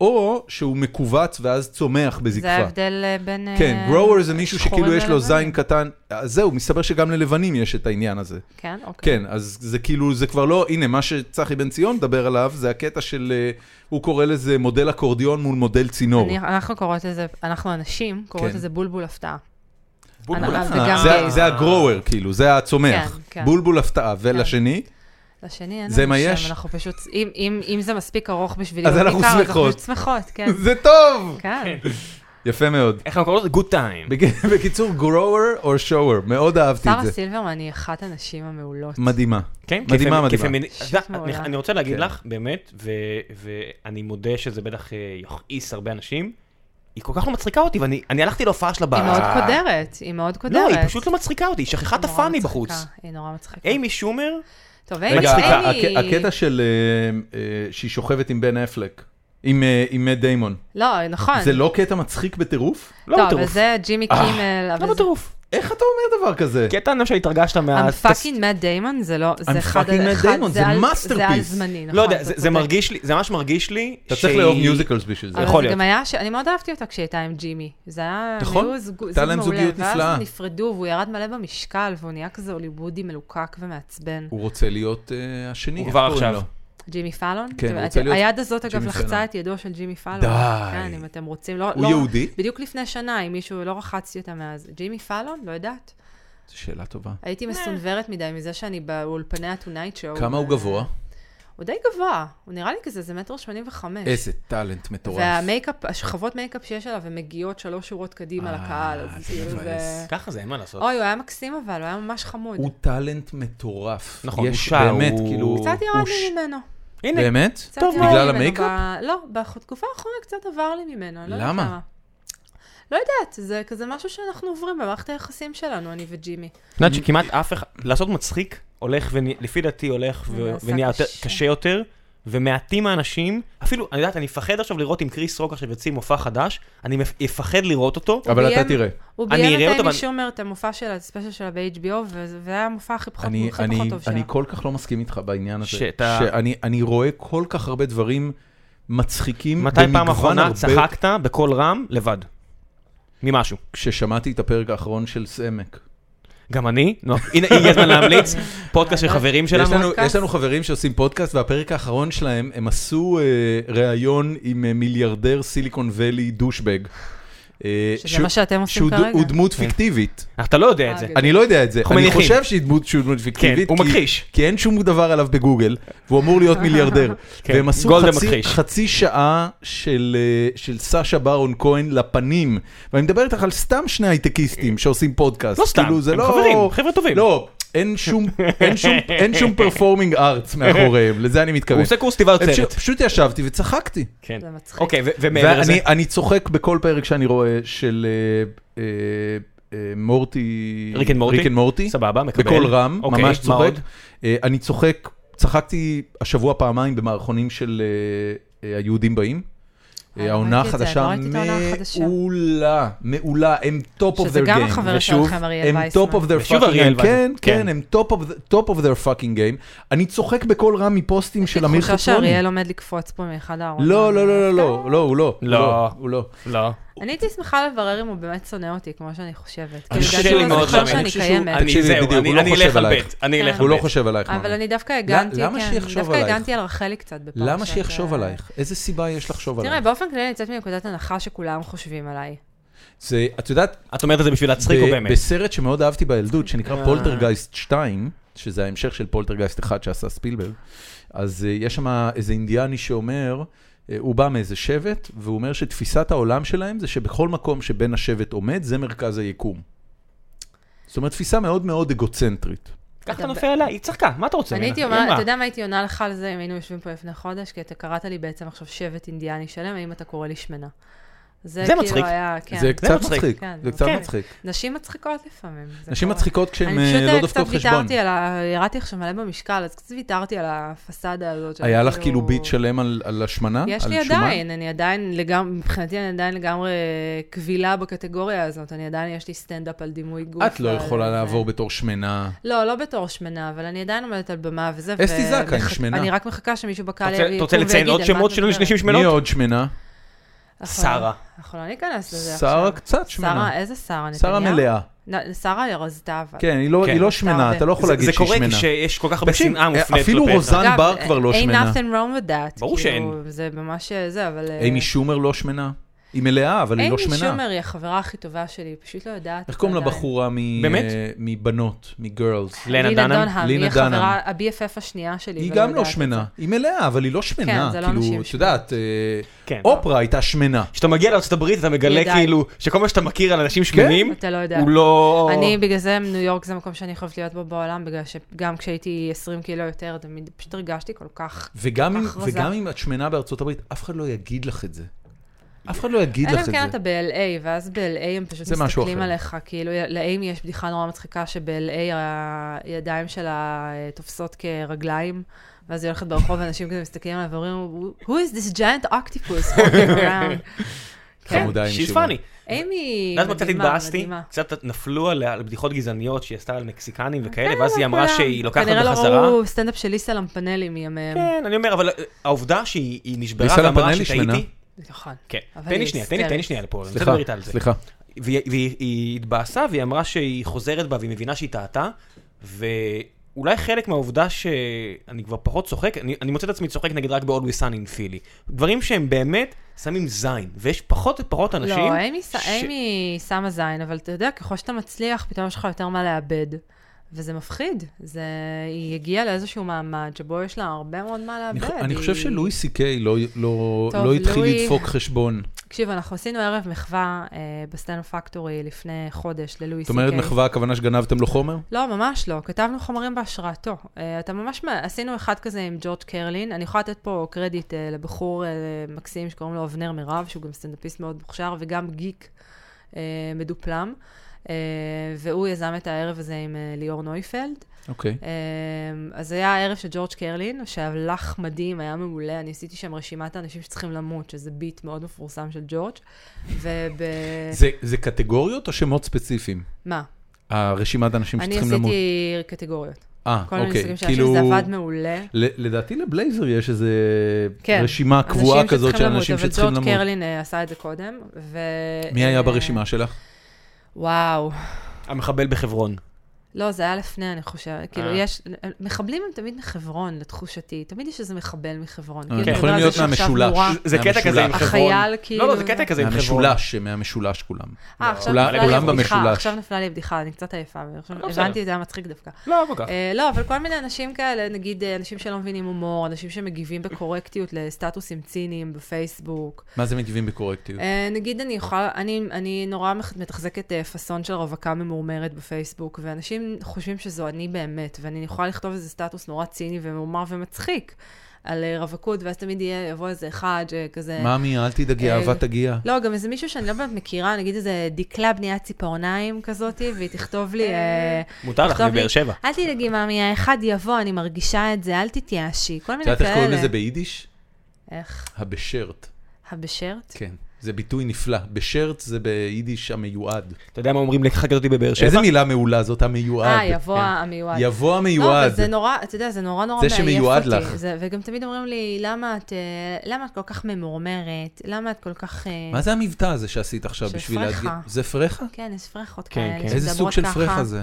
A: או שהוא מכווץ ואז צומח
C: זה
A: בזקפה.
C: ההבדל אה, בין... אה,
A: כן, גרוwer זה מישהו
C: שחורים
A: שכאילו יש לו
C: ללבנים.
A: זין קטן, אז זהו, מסתבר שגם ללבנים יש את העניין הזה.
C: כן, אוקיי.
A: כן, אז זה כאילו, זה כבר לא, הנה, מה שצחי בן ציון מדבר עליו, זה הקטע של, אה, הוא קורא לזה מודל אקורדיון מול מודל צינור.
C: אני- אנחנו קוראות לזה, אנחנו הנשים קוראות
A: כן.
C: לזה בולבול הפתעה.
B: בולבול
C: אה,
B: הפתעה.
C: וגם
A: זה-
C: גייז.
A: זה הגרואוור, כאילו, זה הצומח.
C: כן, כן.
A: בולבול הפתעה. ולשני,
C: לשני אין
A: זה מה
C: לנו
A: יש?
C: שם, אנחנו פשוט, אם- אם אם זה מספיק ארוך בשביל
A: אז
C: להיות
A: אנחנו
C: ניכר, אז אנחנו
A: שמחות.
C: פשוט שמחות, כן.
A: זה טוב!
C: כן.
A: יפה מאוד.
B: איך אנחנו קוראים לזה? גוד טיים.
A: בג- בקיצור, גרואוור או שואוור, מאוד אהבתי את
C: שרה
A: זה.
C: סילברמן היא אחת הנשים המעולות.
A: מדהימה.
B: כן,
A: מדהימה,
B: כפמ-
A: מדהימה.
B: כפמיני-
C: שיט
B: את יודעת, אני,
C: מעולה.
B: אני רוצה להגיד
A: כן.
B: לך, באמת, ו, ואני מודה שזה בטח אה, יכעיס הרבה אנשים, היא כל כך לא מצחיקה אותי, ואני אני הלכתי להופעה שלה ב...
C: היא מאוד
A: אה,
C: קודרת, היא מאוד קודרת.
B: לא, היא פשוט לא מצחיקה אותי, היא שכחה את
C: היא נורא
B: הפאני
C: מצחיקה,
B: בחוץ.
C: היא נורא מצחיקה.
B: אימי שומר,
C: טוב,
A: רגע,
C: אימי,
B: מצחיקה.
A: הק-
C: אימי...
A: הקטע של אה, אה, שהיא שוכבת עם בן אפלק, עם אה, עם מאט דיימון,
C: לא, נכון.
A: זה לא אה, קטע מצחיק בטירוף?
B: לא
C: טוב,
B: בטירוף.
C: אבל זה ג'ימי קימל, אבל
B: לא
C: זה...
B: בטירוף.
A: איך אתה אומר דבר כזה?
B: כי אתה אני חושב שהתרגשת מה...
C: I'm fucking Matt Damon זה לא,
A: אה, I'm
C: זה אחד,
A: fucking Matt
C: אחד-
A: Damon, זה
C: על- זה על
A: masterpiece.
C: זמני, נכון.
B: לא יודע,
C: אתה
B: זה- זה
C: צודק.
B: מרגיש לי, זה ממש מרגיש לי
A: אתה צריך לאהוב מיוזיקלס בשביל זה.
C: אבל
B: יכול
C: זה
B: להיות.
C: גם היה, ש... אני מאוד אהבתי אותה כשהיא הייתה עם ג'ימי. זה היה,
A: נכון.
C: הם היו זוג,
A: הייתה
C: זוג
A: להם
C: מעולה,
A: זוגיות נפלאה.
C: ואז הם נפרדו והוא ירד מלא במשקל, והוא נהיה כזה הוליוודי מלוקק ומעצבן.
A: הוא רוצה להיות אה, השני,
B: הוא
A: איך
B: כבר
A: קוראים
B: עכשיו.
A: לו?
C: ג'ימי פאלון?
A: כן,
C: אתם-
A: הוא רוצה להיות
C: היד הזאת, אגב,
A: ג'ימי פאלון.
C: לחצה את ידו של ג'ימי פאלון.
A: די.
C: כן, אם אתם רוצים. לא,
A: הוא
C: לא,
A: יהודי?
C: בדיוק לפני שנה, אם מישהו, לא רחצתי אותה מאז. ג'ימי פאלון? לא יודעת.
A: זו שאלה טובה.
C: הייתי מסונוורת מדי מזה שאני באולפני ה-Tonight Show.
A: כמה הוא
C: ו-
A: גבוה?
C: הוא די גבוה. הוא נראה לי כזה, זה מטר שמונים וחמש.
A: איזה טאלנט מטורף.
C: והמייקאפ, השכבות מייקאפ שיש עליו, הן מגיעות שלוש שורות קדימה
A: אה,
C: לקהל.
A: זה
C: אז כאילו
A: מבאס.
C: זה...
B: ככה זה, אין מה לעשות.
C: אוי, הוא היה מקסים אבל, הוא היה ממש חמוד.
A: הוא טאלנט מטורף.
B: נכון,
A: יש
B: הוא שר,
A: באמת,
B: הוא-
A: כאילו...
C: קצת
A: הוא
C: ירד
A: ש-
C: לי ממנו.
B: הנה,
A: באמת?
C: קצת
B: טוב,
C: ירד לי
A: בגלל
C: ממנו
A: המייקאפ?
C: ב- לא, בתקופה האחרונה קצת עבר לי ממנו, אני לא יודעת
A: למה?
C: למה. לא יודעת, זה כזה משהו שאנחנו עוברים במערכת היחסים שלנו, אני וג'ימי.
B: את יודעת שכמעט אף אחד, לעשות מצחיק הולך, ונה- לפי דעתי הולך ו-
C: זה נעשה
B: ונהיה יותר-
C: קשה.
B: קשה יותר, ומעטים האנשים, אפילו, אני יודעת, אני אפחד עכשיו לראות אם קריס רוק עכשיו יוציא מופע חדש, אני מפ- אפחד לראות אותו,
A: אבל אתה
C: ביים-
A: תראה.
C: הוא
B: אני אראה
C: ביים את
B: אותו,
C: אימי
B: אבל-
C: שומר, את המופע שלה, את הספיישל שלה ב-HBO, וזה היה המופע הכי פחות
A: אני,
C: הכי
A: אני,
C: פחות טוב
A: אני
C: שלה.
A: כל כך לא מסכים איתך בעניין הזה.
B: שאתה-
A: שאני אני רואה כל כך הרבה דברים מצחיקים
B: מתי פעם
A: במגוון
B: אחרונה
A: הרבה...
B: צחקת בקול רם לבד? ממשהו.
A: כששמעתי את הפרק האחרון של סעמק.
B: גם אני? נו, הנה, הגיע הזמן להמליץ, פודקאסט
C: אה,
B: של חברים
A: יש
B: שלנו.
A: לנו,
C: פודקאסט?
A: יש לנו חברים שעושים פודקאסט, והפרק האחרון שלהם, הם עשו אה, ראיון עם אה, מיליארדר סיליקון ואלי דושבג. אה,
C: שזה
A: שהוא-
C: מה שאתם עושים
A: שהוא דו-
C: כרגע.
A: הוא דמות פיקטיבית.
B: אתה לא יודע את
C: אה,
B: זה.
C: גדול.
A: אני לא יודע את זה,
B: אנחנו
A: אני
B: מניחים. כן,
A: חושב שהיא דמות שהוא דמות פיקטיבית.
B: הוא
A: כי-
B: מכחיש.
A: כי אין שום דבר עליו בגוגל, והוא אמור להיות מיליארדר.
B: כן,
A: והם עשו
B: גולדה
A: חצי-
B: מכחיש.
A: חצי שעה של אה, של סאשה ברון כהן לפנים, ואני מדבר איתך על סתם שני הייטקיסטים שעושים פודקאסט.
B: אה, לא סתם,
A: כאילו, זה
B: הם
A: לא-
B: חברים, חבר'ה טובים.
A: לא, אין שום- אין שום- אין שום פרפורמינג ארטס מאחוריהם, לזה אני מתכוון.
B: הוא עושה קורס טיבה
A: אוקיי. הם
B: יוצרת.
A: פשוט- פשוט ישבתי וצחקתי.
B: כן.
C: זה מצחיק.
B: אוקיי, ו- ומעבר לזה.
A: ואני אני צוחק בכל פרק שאני רואה של אה, אה, אה, מורטי...
B: ריק אנד מורטי?
A: ריק אנד מורטי.
B: סבבה, מקבל.
A: בקול רם,
B: אוקיי,
A: ממש
B: מה
A: צוחק.
B: עוד?
A: אה, אני צוחק, צחקתי השבוע פעמיים במערכונים של אה, אה, היהודים באים.
C: אה,
A: אה, העונה
C: ראיתי את זה,
A: החדשה
C: לא ראיתי את העונה החדשה.
A: מעולה, מעולה, הם טופ אוף
C: שזה
A: their game.
C: גם החבר
A: ושוב,
C: שלכם, אריאל
A: הם
C: וייסמן.
A: טופ אוף their
B: ושוב
A: fucking
B: אריאל
A: game. כן,
B: וייסמן.
A: כן,
B: כן.
A: הם טופ אוף their fucking game. אני צוחק בקול רם מפוסטים של אמיר
C: תחושה
A: חצרוני.
C: שאריאל עומד לקפוץ פה מאחד הארונות.
A: לא, לא, לא, לא, לא, לא, הוא לא. הוא
B: לא.
A: הוא לא.
B: לא.
C: אני הייתי שמחה לברר אם הוא באמת שונא אותי, כמו שאני חושבת.
A: אני
C: כאילו,
A: חושב
C: לדעתי
A: שהוא
C: הוא
A: מאוד
C: זוכר
A: מאמין.
C: שאני
A: אני חושב שהוא-
C: קיימת.
B: אני
A: תקשיבי,
B: זהו,
A: בדיוק, הוא
B: אני
A: לא
B: אני
A: חושב
B: אלך על
A: עלייך.
B: בית. אני אלך על
C: כן.
A: הוא לא
B: בית.
A: חושב עלייך.
C: אבל
A: נעמה.
C: אני דווקא הגנתי, כן,
A: למה שיחשוב עלייך?
C: דווקא הגנתי על רחלי קצת בפרשת...
A: למה שיחשוב
C: אה,
A: עלייך? איזה סיבה יש לחשוב
C: תראה,
A: עלייך?
C: באופן כללי אני יוצאת מנקודת הנחה שכולם חושבים עליי.
A: זה, את יודעת,
B: את אומרת את זה בשביל להצחיק
A: ב-
B: או באמת?
A: בסרט שמאוד אהבתי בילדות, שנקרא
B: אה.
A: פולטרגייסט 2, שזה ההמשך של פולטרגייסט 1 שעשה ספילברג, אז אה, יש שם איזה אינדיאני שאומר, אה, הוא בא מאיזה שבט, והוא אומר שתפיסת העולם שלהם זה שבכל מקום שבן השבט עומד, זה מרכז היקום. זאת אומרת, תפיסה מאוד מאוד אגוצנטרית.
B: ככה אתה
C: אתה
B: נופל עליי, היא צחקה, מה אתה רוצה?
C: אני
B: ממנה?
C: הייתי
B: אין
C: אומרת,
B: מה.
C: אתה יודע מה הייתי עונה לך על זה אם היינו יושבים פה לפני חודש? כי אתה קראת לי בעצם עכשיו שבט אינדיאני שלם, האם אתה קורא לי שמנה. זה
B: זה מצחיק.
C: כאילו היה, כן.
A: זה קצת
B: מצחיק.
A: מצחיק,
C: כן,
A: זה
C: זה
A: קצת
B: מצחיק.
A: מצחיק.
C: נשים מצחיקות לפעמים. זה
A: נשים
C: קורה.
A: מצחיקות כשהן
C: אני
A: אה,
C: פשוט
A: לא
C: אה,
A: דופקות
C: קצת
A: חשבון.
C: ויתרתי על ה... ירדתי עכשיו מלא במשקל, אז קצת ויתרתי על הפסאדה הזאת. של
A: היה לך כאילו ביט שלם על- על השמנה?
C: יש
A: על
C: לי
A: שומן?
C: עדיין, אני עדיין לגמרי, מבחינתי אני עדיין לגמרי קבילה בקטגוריה הזאת, אני עדיין, יש לי סטנדאפ על דימוי גוף.
A: את לא
C: ועל
A: יכולה
C: זה.
A: לעבור בתור שמנה.
C: לא, לא בתור שמנה, אבל אני עדיין עומדת על במה וזה.
A: אסתי
C: ומחכ-
A: זקה היא שמנה.
C: אני רק מחכה שמישהו
B: אתה
C: בקהל
B: רוצה-
C: יביא
B: אתה רוצה
C: יקום
B: לציין
C: ויגיד,
B: עוד
C: "על מה
B: שמות
C: אתה
B: של
C: מדברת?"
B: נשים
A: מי
B: שמנות?
A: עוד שמנה? נכון.
C: אנחנו לא-
B: שרה.
C: אנחנו לא ניכנס לזה עכשיו.
A: שרה קצת שמנה.
C: שרה, איזה שרה?
A: שרה
C: נתניהו?
A: מלאה.
C: נ- שרה היא רזתה, אבל.
A: כן, היא לא-
B: כן.
A: היא לא שמנה,
C: הרבה.
A: אתה לא יכול
B: זה-
A: להגיד
B: זה
A: שהיא
B: קורה
A: שמנה.
B: כשיש כל כך הרבה
A: תקשיב,
B: שנאה מופנית כלפי...
A: אפילו
B: אחד.
A: רוזן
C: אגב, אה,
A: בר כבר לא
C: ain't
A: שמנה.
C: nothing wrong with that.
B: ברור
C: כאילו,
B: שאין.
C: זה ממש זה, אבל... אה,
A: אימי שומר לא שמנה? היא מלאה, אבל היא לא
C: אימי
A: שמנה.
C: שומר היא החברה הכי טובה שלי, היא פשוט לא יודעת.
A: איך קוראים
C: את זה עדיין.
A: לבחורה מ-
B: באמת?
A: אה, מבנות, מגרלס?
B: לנה
C: לינה
B: דנהאם?
C: דונהאם,
A: לינה
C: היא החברה,
A: דנהאם.
C: ה-BFF השנייה שלי.
A: היא
C: ולא
A: גם לא
C: יודעת את
A: שמנה. היא מלאה, אבל היא לא שמנה.
C: זה לא
A: כאילו,
C: אנשים
A: את יודעת, אה,
B: כן.
A: אופרה הייתה שמנה.
B: כשאתה מגיע לארה"ב אתה מגלה
C: ידיים.
B: כאילו שכל מה שאתה מכיר על אנשים שמנים,
C: זה. אתה לא יודע.
B: הוא לא...
C: אני, בגלל זה ניו יורק זה מקום שאני חייבת להיות בו בעולם, בגלל שגם כשהייתי 20 קילו יותר, תמיד פשוט הרגשתי כל כך...
A: וגם אם-
C: הכרזה.
A: וגם אם את שמנה בארצות הברית, אף אחד לא יגיד לך את זה. אף אחד לא יגיד
C: אלא
A: לך
C: אם כן
A: את זה.
C: אתה ב-LA, ואז ב-LA הם פשוט
A: זה משהו
C: מסתכלים
A: אחר.
C: עליך, כאילו, ל-AIM יש בדיחה נורא מצחיקה שב-LA הידיים שלה אה, תופסות כרגליים, ואז היא הולכת ברחוב ואנשים כזה מסתכלים עליה ואומרים, Who is this giant octopus walking around? כן,
A: חמודה עם
B: She's
A: שימון.
B: funny.
C: אימי
B: את יודעת מה קצת
C: מדהימה,
B: התבאסתי?
C: מדהימה.
B: קצת נפלו עליה על בדיחות גזעניות שהיא עשתה על מקסיקנים
C: כן,
B: וכאלה, ואז היא
C: לא
B: אמרה
C: כולם.
B: שהיא לוקחת אותה
C: כנראה
B: בחזרה.
C: לא ראו סטנדאפ של ליסה למפנלי מימיהם.
B: כן, אני אומר, אבל אה, העובדה שהיא היא נשברה
A: ליסה
B: ואמרה
A: לפנלי שמנה.
B: שטעיתי...
C: נכון.
B: כן,
C: אבל
B: תן לי
C: היא
B: שנייה, תן לי- תן לי
C: היסטרית.
B: שנייה לפה, אני רוצה
A: סליחה,
B: לדבר איתה על זה.
A: סליחה.
B: והיא- והיא היא התבאסה והיא אמרה שהיא חוזרת בה והיא מבינה שהיא טעתה, ואולי חלק מהעובדה שאני כבר פחות צוחק, אני, אני מוצא את עצמי צוחק נגיד רק ב-Always Sun in Philly. דברים שהם באמת שמים זין, ויש פחות ופחות אנשים...
C: לא, אימי ש...
B: ש-
C: אימי שמה זין, אבל אתה יודע, ככל שאתה מצליח, פתאום יש לך יותר מה לאבד. וזה מפחיד. זה... היא הגיעה לאיזשהו מעמד שבו יש לה הרבה מאוד מה
A: אני
C: לאבד.
A: חו- אני
C: היא...
A: חושב שלואי סי קיי לא- לא
C: טוב,
A: לא התחיל
C: לואי-
A: לדפוק חשבון.
C: תקשיב, אנחנו עשינו ערב מחווה אה, בסטנד פקטורי לפני חודש ללואי
A: זאת
C: סי
A: אומרת,
C: קיי.
A: מחווה, הכוונה שגנבתם לו חומר?
C: לא, ממש לא. כתבנו חומרים בהשראתו. אה, אתה ממש, מה- עשינו אחד כזה עם ג'ורג' קרלין. אני יכולה לתת פה קרדיט אה, לבחור אה, מקסים שקוראים לו אבנר מירב, שהוא גם סטנדאפיסט מאוד מוכשר וגם גיק אה, מדופלם. אה, והוא יזם את הערב הזה עם אה, ליאור נויפלד.
A: אוקיי.
C: אה, אז זה היה הערב של ג'ורג' קרלין, שהלך מדהים, היה מעולה. אני עשיתי שם רשימת האנשים שצריכים למות, שזה ביט מאוד מפורסם של ג'ורג'. וב...
A: זה- זה קטגוריות או שמות ספציפיים?
C: מה?
A: הרשימת האנשים
C: אני
A: שצריכים למות.
C: עשיתי קטגוריות.
A: אה,
C: כל מיני סוגים של אנשים,
A: כאילו,
C: זה עבד מעולה.
A: ל- לדעתי לבלייזר יש איזו
C: כן.
A: רשימה קבועה
C: אנשים
A: כזאת של
C: שצריכים למות,
A: אנשים שצריכים
C: אבל
A: למות.
C: ג'ורג' קרלין אה, עשה את זה קודם, ו...
A: מי
C: אה,
A: היה ברשימה שלך?
C: וואו.
B: המחבל בחברון.
C: לא, זה היה לפני, אני חושבת. כאילו,
B: אה.
C: יש... מחבלים הם תמיד מחברון, לתחושתי. תמיד יש איזה מחבל מחברון. כאילו,
A: הם
C: אתה מדבר
A: אה. כן, יכולים
C: על זה
A: להיות
C: שעכשיו
A: מהמשולש.
C: נורה-
A: זה
B: זה קטע כזה עם
A: מהמשולש.
B: חברון.
C: החייל,
B: לא, לא,
C: כאילו-
B: זה קטע כזה עם חברון.
A: מהמשולש, מהמשולש כולם.
C: אה, עכשיו
A: כולם-
C: נפלה
A: כולם
C: לי בדיחה,
A: במשולש. אה,
C: עכשיו נפלה לי בדיחה, אני קצת עייפה. אבל עכשיו
B: לא, בסדר.
C: הבנתי, זה היה מצחיק דווקא.
B: לא, כל כך.
C: אה, לא, אבל כל מיני אנשים כאלה, נגיד אה, אנשים שלא מבינים הומור, אנשים שמגיבים בקורקטיות לסטטוסים ציניים בפייסבוק.
A: מה זה מגיבים בקורקטיות?
C: אה, נגיד אני יכולה, אני, אני נורא מח- מתחזקת אה, פאסון של רווקה ממורמרת בפייסבוק, ואנשים חושבים שזו אני באמת, ואני יכולה לכתוב איזה סטטוס נורא ציני ומומר ומצחיק על אה, רווקות, ואז תמיד יהיה, יבוא איזה אחד שכזה...
A: מאמי, אל תדאגי,
C: אה,
A: אהבה תגיע.
C: לא, גם איזה מישהו שאני לא באמת מכירה, נגיד איזה דקלה בניית ציפורניים כזאת, והיא תכתוב לי, אה,
B: מותר לך
C: תכתוב לי,
B: מבאר שבע.
C: אל
A: אה.
C: תדאגי, מאמי, האחד יבוא, אני מרגישה את זה, אל תתייאשי, כל
A: את
C: מיני
A: יודעת איך קוראים לזה
C: כאלה.
A: ביידיש?
C: איך?
A: הבשרט.
C: הבשרט?
A: כן. זה ביטוי נפלא. בשרט זה ביידיש המיועד.
B: אתה יודע מה אומרים לך כזאתי בבאר שבע?
A: איזה מילה מעולה זאת, המיועד.
C: אה, יבוא
B: כן.
C: המיועד.
A: יבוא
C: לא,
A: המיועד.
C: אבל זה נורא, אתה יודע, זה נורא נורא
A: זה
C: מעייף אותי.
A: שמיועד לך.
C: זה, וגם תמיד אומרים לי, למה את, אה, למה את כל כך ממורמרת? למה את כל כך... אה,
A: מה זה המבטא הזה שעשית עכשיו
C: של
A: בשביל
C: פרחה.
A: להגיד? זה פרחה?
C: כן, יש פרחות
B: כן,
C: כאלה
B: כן.
C: שמדברות ככה.
A: איזה סוג של פרחה זה?